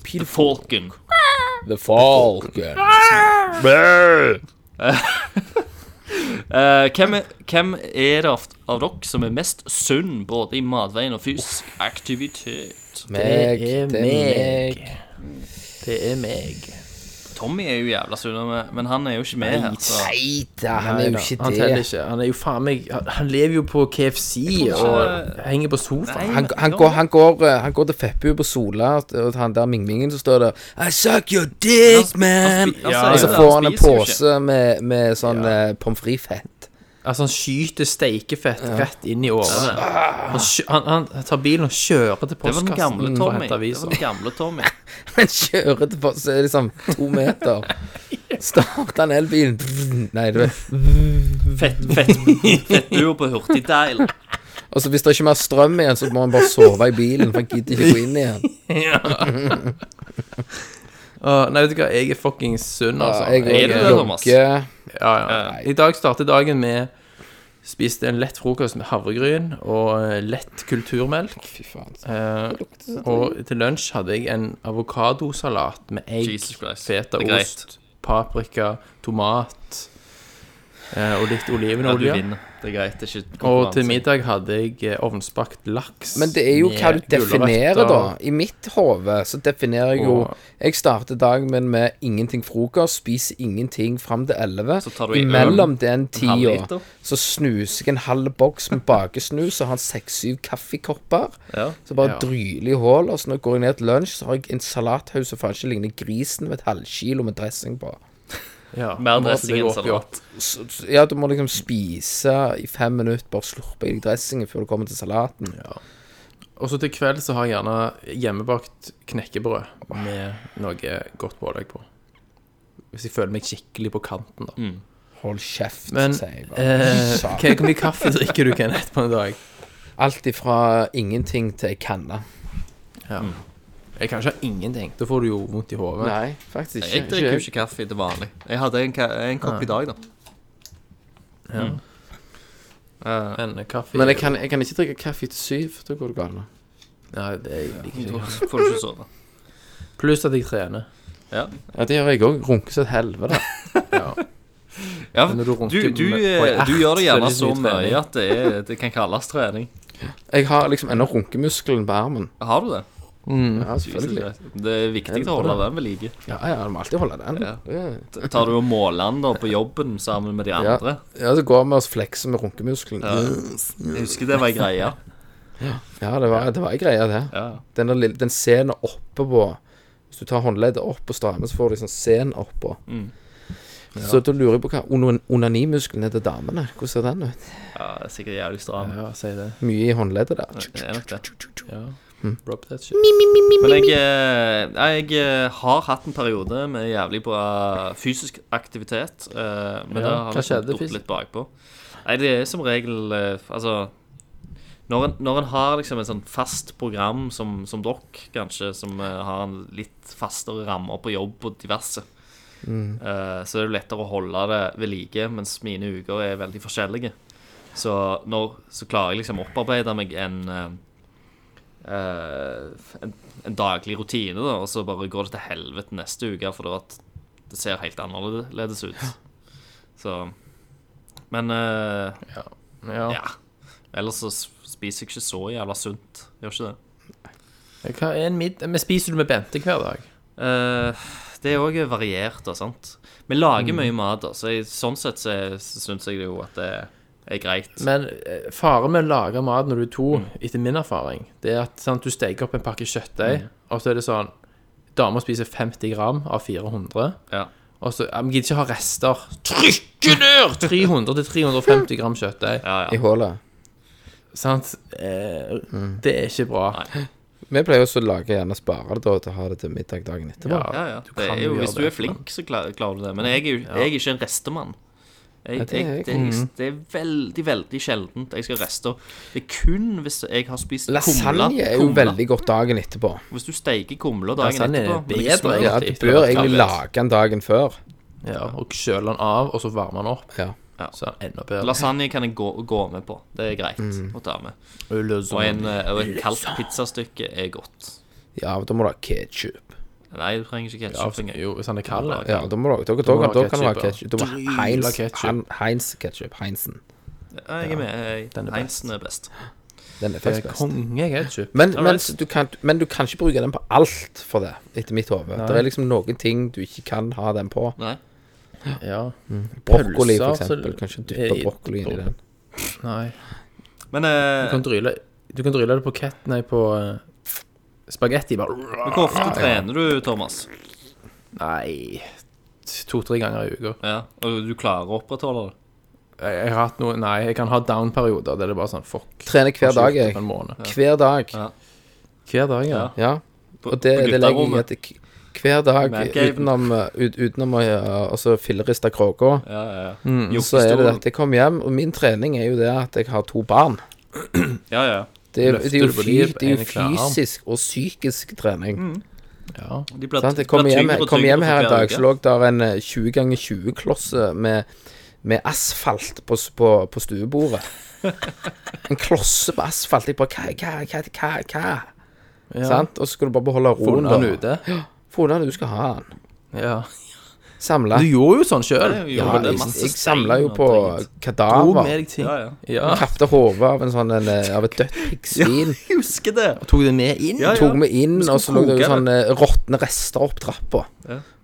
[SPEAKER 6] Peter Falken.
[SPEAKER 8] The Falcon.
[SPEAKER 6] Eh, hvem, er- hvem er det av, av dere som er mest sunn både i matveien og fysisk aktivitet?
[SPEAKER 8] Meg.
[SPEAKER 7] Det er
[SPEAKER 8] Det er meg.
[SPEAKER 7] Det er meg.
[SPEAKER 6] Tommy er jo jævla sunn, men- men han er jo ikke med her. Så.
[SPEAKER 8] Nei da, han er jo ikke
[SPEAKER 7] Han teller
[SPEAKER 8] det.
[SPEAKER 7] ikke. Han er jo faen meg Han han lever jo på KFC og henger på sofaen.
[SPEAKER 8] Han, han, går, han, går, eh, han går til Feppbu på Sola, og han der mingmingen, så står det I suck your dick, man!
[SPEAKER 6] han
[SPEAKER 8] og så
[SPEAKER 6] sier det,
[SPEAKER 8] får
[SPEAKER 6] han
[SPEAKER 8] han en
[SPEAKER 6] spiser jo
[SPEAKER 8] pose med, med sånn eh, pommes frites-fett.
[SPEAKER 7] Altså, han skyter steikefett rett inn i årene. Han, skjø- han, han tar bilen og kjører til
[SPEAKER 6] Det var den gamle
[SPEAKER 7] postkassen for å
[SPEAKER 6] Tommy.
[SPEAKER 7] hente
[SPEAKER 6] Det var
[SPEAKER 7] aviser.
[SPEAKER 6] den gamle Tommy.
[SPEAKER 8] Han kjører til på, så er det liksom to meter. Starter han elbilen brrr, Nei, du vet.
[SPEAKER 6] Fett, fett, fett duo på hurtigdial.
[SPEAKER 8] Og så hvis det er ikke er mer strøm igjen, så må han bare sove i bilen, for han gidder ikke gå inn igjen.
[SPEAKER 7] Åh, nei, vet du hva, jeg er fucking sunn, altså.
[SPEAKER 8] Jeg,
[SPEAKER 6] Er det det, Thomas?
[SPEAKER 8] jogger.
[SPEAKER 7] ja, ja. I dag starter dagen med Spiste en lett frokost med havregryn og eh, lett kulturmelk.
[SPEAKER 8] Fy faen.
[SPEAKER 7] Eh, og til lunsj hadde jeg en avokadosalat med egg,
[SPEAKER 6] Jesus Christ.
[SPEAKER 7] feta
[SPEAKER 6] Det er greit.
[SPEAKER 7] ost, paprika, tomat eh, og
[SPEAKER 6] Ja,
[SPEAKER 7] litt
[SPEAKER 6] du
[SPEAKER 7] olivenolje.
[SPEAKER 6] vinner. Det er greit. Det er ikke
[SPEAKER 7] og til
[SPEAKER 6] konkurranse.
[SPEAKER 7] middag hadde jeg eh, ovnsbakt laks.
[SPEAKER 8] Men det er jo hva du
[SPEAKER 7] med
[SPEAKER 8] definerer, da.
[SPEAKER 7] gulrøtter.
[SPEAKER 8] I mitt hode så definerer jeg jo
[SPEAKER 7] Og-
[SPEAKER 8] Jeg starter dagen min med ingenting frokost, spiser ingenting fram til 11.
[SPEAKER 6] Så tar du i
[SPEAKER 8] Imellom den
[SPEAKER 6] halv
[SPEAKER 8] tida
[SPEAKER 6] liter.
[SPEAKER 8] så snuser jeg en halv boks med bakesnus og har seks-syv kaffekopper.
[SPEAKER 6] Ja.
[SPEAKER 8] Så bare
[SPEAKER 7] Ja.
[SPEAKER 8] dryler i hullet, og så når jeg går ned til lunsj, så har jeg en salathaus som faen ikke ligner grisen med et halvkilo med dressing på.
[SPEAKER 7] Ja,
[SPEAKER 6] Mer
[SPEAKER 7] måtte
[SPEAKER 6] dressing
[SPEAKER 7] jeg
[SPEAKER 6] enn
[SPEAKER 7] opp i opp.
[SPEAKER 6] salat.
[SPEAKER 8] Så, så- ja, du må liksom spise i fem minutter, bare slurpe i deg dressingen før du kommer til salaten.
[SPEAKER 7] Og så til kveld så har jeg gjerne hjemmebakt knekkebrød med noe godt pålegg på. Hvis jeg føler meg skikkelig på kanten, da.
[SPEAKER 8] Hold kjeft,
[SPEAKER 7] Men
[SPEAKER 8] sier jeg bare.
[SPEAKER 7] eh,
[SPEAKER 8] Sa-
[SPEAKER 7] hva- hvor mye kaffe drikker du, Kenneth, på en dag?
[SPEAKER 8] Alt ifra ingenting til ei kanne.
[SPEAKER 7] Jeg kan ikke ha ingenting. Da får du jo vondt i hodet.
[SPEAKER 8] Nei, faktisk
[SPEAKER 6] Jeg
[SPEAKER 8] ikke.
[SPEAKER 6] drikker jo ikke kaffe til vanlig. Jeg hadde en, ka- en kopp i dag, da.
[SPEAKER 7] Eh, Men kaffe
[SPEAKER 8] Men jeg kan, jeg kan ikke drikke kaffe til syv. Da går det galt.
[SPEAKER 7] Nei, det liker jeg ikke.
[SPEAKER 6] Da får du ikke sove.
[SPEAKER 7] Pluss at jeg trener.
[SPEAKER 8] Ja, det gjør jeg òg. Runker som et helvete.
[SPEAKER 6] Ja,
[SPEAKER 7] Men når
[SPEAKER 6] du,
[SPEAKER 7] du runker
[SPEAKER 6] du,
[SPEAKER 7] med- på
[SPEAKER 6] eh,
[SPEAKER 7] en
[SPEAKER 6] du
[SPEAKER 7] ert,
[SPEAKER 6] gjør det
[SPEAKER 7] så er
[SPEAKER 6] gjerne
[SPEAKER 7] det ikke
[SPEAKER 6] så
[SPEAKER 7] så mye
[SPEAKER 6] mye
[SPEAKER 7] trening.
[SPEAKER 6] at det, er, det kan kalles trening.
[SPEAKER 8] Jeg har liksom ennå runkemuskelen på armen.
[SPEAKER 6] Har du det? Mm.
[SPEAKER 8] Ja, selvfølgelig.
[SPEAKER 6] Det er viktig å holde den ved like.
[SPEAKER 8] Ja, ja, du må alltid holde den.
[SPEAKER 6] Ja.
[SPEAKER 8] Det-
[SPEAKER 6] Tar du og måler den da på jobben sammen med de andre?
[SPEAKER 8] Ja, så går vi og flekser med runkemuskelen.
[SPEAKER 6] Jeg husker det var greia.
[SPEAKER 8] Ja, det var, det var en greie, det.
[SPEAKER 6] Ja.
[SPEAKER 8] Den, der lille, den scenen oppe på Hvis du tar håndleddet opp på stammen, så får du liksom scenen oppå.
[SPEAKER 6] Mm.
[SPEAKER 8] Så da lurer jeg på hva onan- onanimuskelen er til damene. Hvordan ser den ut?
[SPEAKER 6] ja, det er sikkert jævlig stram.
[SPEAKER 7] Ja, si det.
[SPEAKER 8] Mye i håndleddet der.
[SPEAKER 6] Det er nok det.
[SPEAKER 7] Rub that shit.
[SPEAKER 6] Men jeg, eh, jeg eh, har hatt en periode med jævlig bra fysisk aktivitet. eh, Men
[SPEAKER 7] Ja,
[SPEAKER 6] det har
[SPEAKER 7] hva
[SPEAKER 6] liksom
[SPEAKER 7] skjedde
[SPEAKER 6] gått
[SPEAKER 7] fysisk?
[SPEAKER 6] litt bakpå. Nei, det er som regel eh, Altså når en, når en har liksom en sånn fast program som, som dere, kanskje, som eh, har en litt fastere rammer på jobb og diverse,
[SPEAKER 7] Mm.
[SPEAKER 6] eh, så er det jo lettere å holde det ved like, mens mine uker er veldig forskjellige. Så når så klarer jeg liksom å opparbeide meg en eh, eh, en, en daglig rutine, da, og så bare går det til helvete neste uke, for da at det ser helt annerledes ut. Så Men eh,
[SPEAKER 7] Ja.
[SPEAKER 6] ja. Ellers så s- spiser jeg ikke så jævla sunt. Gjør ikke det.
[SPEAKER 7] Hva er en midd... Men spiser du med Bente hver dag?
[SPEAKER 6] Eh, det er òg variert, da, sant. Vi lager mye mat, da, så jeg, sånn sett så syns jeg jo at det er greit.
[SPEAKER 7] Men eh, faren med å lage mat når du er to,
[SPEAKER 6] Mm.
[SPEAKER 7] etter min erfaring, det er at sant, du steker opp en pakke kjøttdeig,
[SPEAKER 6] Mm.
[SPEAKER 7] og så er det sånn Dama spiser 50 gram av 400.
[SPEAKER 6] Ja.
[SPEAKER 7] Og så Jeg gidder ikke ha rester. Trykke ned! 300-350 gram kjøttdeig.
[SPEAKER 6] Ja,
[SPEAKER 8] I
[SPEAKER 6] ja.
[SPEAKER 8] hullet.
[SPEAKER 7] Sant? Eh,
[SPEAKER 6] Mm.
[SPEAKER 7] det er ikke bra.
[SPEAKER 8] Vi pleier også å lage gjerne spare det da, til å ha det til middag dagen etterpå.
[SPEAKER 6] ja, ja.
[SPEAKER 7] Du
[SPEAKER 6] Det
[SPEAKER 7] kan
[SPEAKER 6] er jo,
[SPEAKER 7] gjøre
[SPEAKER 6] hvis du
[SPEAKER 7] det.
[SPEAKER 6] er flink, så klarer, klarer du det. Men jeg er jo jeg er ikke en restemann. Jeg,
[SPEAKER 8] det er
[SPEAKER 6] jeg,
[SPEAKER 8] jeg.
[SPEAKER 6] det, er,
[SPEAKER 7] Mm.
[SPEAKER 6] det er veldig, veldig sjeldent jeg skal reste. Det er kun hvis jeg har spist kumle.
[SPEAKER 8] Lasagne er jo veldig godt dagen etterpå.
[SPEAKER 6] Hvis du steiker kumler dagen
[SPEAKER 7] Lasagne er
[SPEAKER 6] etterpå men jeg
[SPEAKER 7] bedre,
[SPEAKER 6] smører
[SPEAKER 8] Ja,
[SPEAKER 6] det
[SPEAKER 8] Du
[SPEAKER 6] etter
[SPEAKER 8] bør
[SPEAKER 6] at jeg har
[SPEAKER 8] egentlig
[SPEAKER 6] spist.
[SPEAKER 8] lage den dagen før.
[SPEAKER 7] Ja, og kjøler den av, og så varmer den opp.
[SPEAKER 8] Ja.
[SPEAKER 7] Så er den enda bedre. Mm.
[SPEAKER 6] Lasagne kan jeg gå, gå med på. Det er greit å ta med. Og, en, eh, og et kaldt pizzastykke er godt.
[SPEAKER 8] Ja, men da må du ha ketsjup.
[SPEAKER 6] Nei, du trenger ikke
[SPEAKER 7] Ja,
[SPEAKER 6] ketsjup engang.
[SPEAKER 7] jo, hvis den er kald. ja.
[SPEAKER 8] Ja, da må du da, da,
[SPEAKER 7] Da må
[SPEAKER 8] da,
[SPEAKER 7] du ha
[SPEAKER 8] da kan du ha
[SPEAKER 7] ketchup,
[SPEAKER 8] ketsjup. Da må Heinz
[SPEAKER 7] ketchup.
[SPEAKER 8] Han- Heinz ketsjup. Heinsen.
[SPEAKER 6] Ja, Jeg er med. Jeg-
[SPEAKER 7] Den er best.
[SPEAKER 6] Heinsen er best.
[SPEAKER 8] Den er
[SPEAKER 7] Det
[SPEAKER 8] faktisk
[SPEAKER 7] er
[SPEAKER 8] best.
[SPEAKER 7] kongeketchup.
[SPEAKER 8] Men, men,
[SPEAKER 6] Alright.
[SPEAKER 8] du kan, men du kan ikke bruke den på alt for det, etter mitt hode. Det er liksom noen ting du ikke kan ha den på.
[SPEAKER 6] Nei.
[SPEAKER 7] Ja.
[SPEAKER 6] Mm.
[SPEAKER 8] Brokkoli, for
[SPEAKER 7] Pølser, så-
[SPEAKER 8] eksempel. Du kan ikke dyppe
[SPEAKER 7] i-
[SPEAKER 8] brokkoli inn i den.
[SPEAKER 7] Nei.
[SPEAKER 6] Men
[SPEAKER 7] Du
[SPEAKER 6] eh,
[SPEAKER 7] kan dryle, du kan dryle det på ket... Nei, på eh, spagetti. Bare
[SPEAKER 6] hvor ofte trener du, Thomas?
[SPEAKER 7] Nei To-tre ganger i uka.
[SPEAKER 6] Ja, Og du klarer å opprettholde det?
[SPEAKER 7] Jeg, jeg har hatt noe Nei, jeg kan ha down-perioder der det er bare sånn fuck.
[SPEAKER 8] Trener hver dag, jeg.
[SPEAKER 7] På en måned.
[SPEAKER 8] Hver dag.
[SPEAKER 6] Ja.
[SPEAKER 7] Hver dag, ja.
[SPEAKER 6] Ja.
[SPEAKER 8] Ja.
[SPEAKER 6] På-
[SPEAKER 8] Og det,
[SPEAKER 6] på
[SPEAKER 8] det legger jeg i
[SPEAKER 6] gutterommet.
[SPEAKER 8] at jeg- hver dag
[SPEAKER 6] Merker jeg-
[SPEAKER 8] utenom, uh, ut, utenom å uh, altså filleriste kråka,
[SPEAKER 6] Ja, ja, ja.
[SPEAKER 8] Mm, så er det
[SPEAKER 6] Jokkestolen.
[SPEAKER 8] at jeg kommer hjem, og min trening er jo det at jeg har to barn.
[SPEAKER 6] Ja, ja.
[SPEAKER 8] Det er,
[SPEAKER 7] Løfter
[SPEAKER 8] det er jo,
[SPEAKER 7] du på
[SPEAKER 8] fy,
[SPEAKER 7] de
[SPEAKER 8] det er jo
[SPEAKER 7] ene klærne?
[SPEAKER 8] fysisk og psykisk trening.
[SPEAKER 7] ja.
[SPEAKER 6] De blir,
[SPEAKER 8] Sant? Jeg
[SPEAKER 6] blir
[SPEAKER 8] kom hjem,
[SPEAKER 6] tyngre og
[SPEAKER 8] kom
[SPEAKER 6] tyngre
[SPEAKER 8] hjem
[SPEAKER 6] for
[SPEAKER 8] her en
[SPEAKER 6] hver
[SPEAKER 8] dag,
[SPEAKER 6] uke.
[SPEAKER 8] så lå der en eh, 20 ganger 20 klosse med, med asfalt på, s- på, på stuebordet. En klosse på asfalt. Jeg bare Hva, hva, hva? hva, hva? Sant? Og så skal du bare beholde roen.
[SPEAKER 7] Funnet den
[SPEAKER 8] da.
[SPEAKER 7] ute.
[SPEAKER 8] Funnet den, du skal ha den.
[SPEAKER 7] Ja.
[SPEAKER 8] Samla.
[SPEAKER 6] Ah.
[SPEAKER 7] Du gjorde jo sånn sjøl.
[SPEAKER 6] Ja, det
[SPEAKER 8] Ja,
[SPEAKER 6] gjorde det.
[SPEAKER 8] jeg
[SPEAKER 6] Masse
[SPEAKER 8] jeg samla jo
[SPEAKER 6] stein og
[SPEAKER 8] på
[SPEAKER 6] drit.
[SPEAKER 7] Dro
[SPEAKER 8] kadaver.
[SPEAKER 7] med deg ting.
[SPEAKER 6] Ja, ja.
[SPEAKER 7] Ja.
[SPEAKER 8] Kapte hodet av en sånn en, eh, Av et dødt piggsvin.
[SPEAKER 6] Jeg husker det.
[SPEAKER 7] Tok det med inn?
[SPEAKER 6] Ja, ja.
[SPEAKER 8] Tok meg inn,
[SPEAKER 6] skulle
[SPEAKER 8] og så lå det jo
[SPEAKER 6] koke
[SPEAKER 8] sånn eh, råtne rester opp trappa.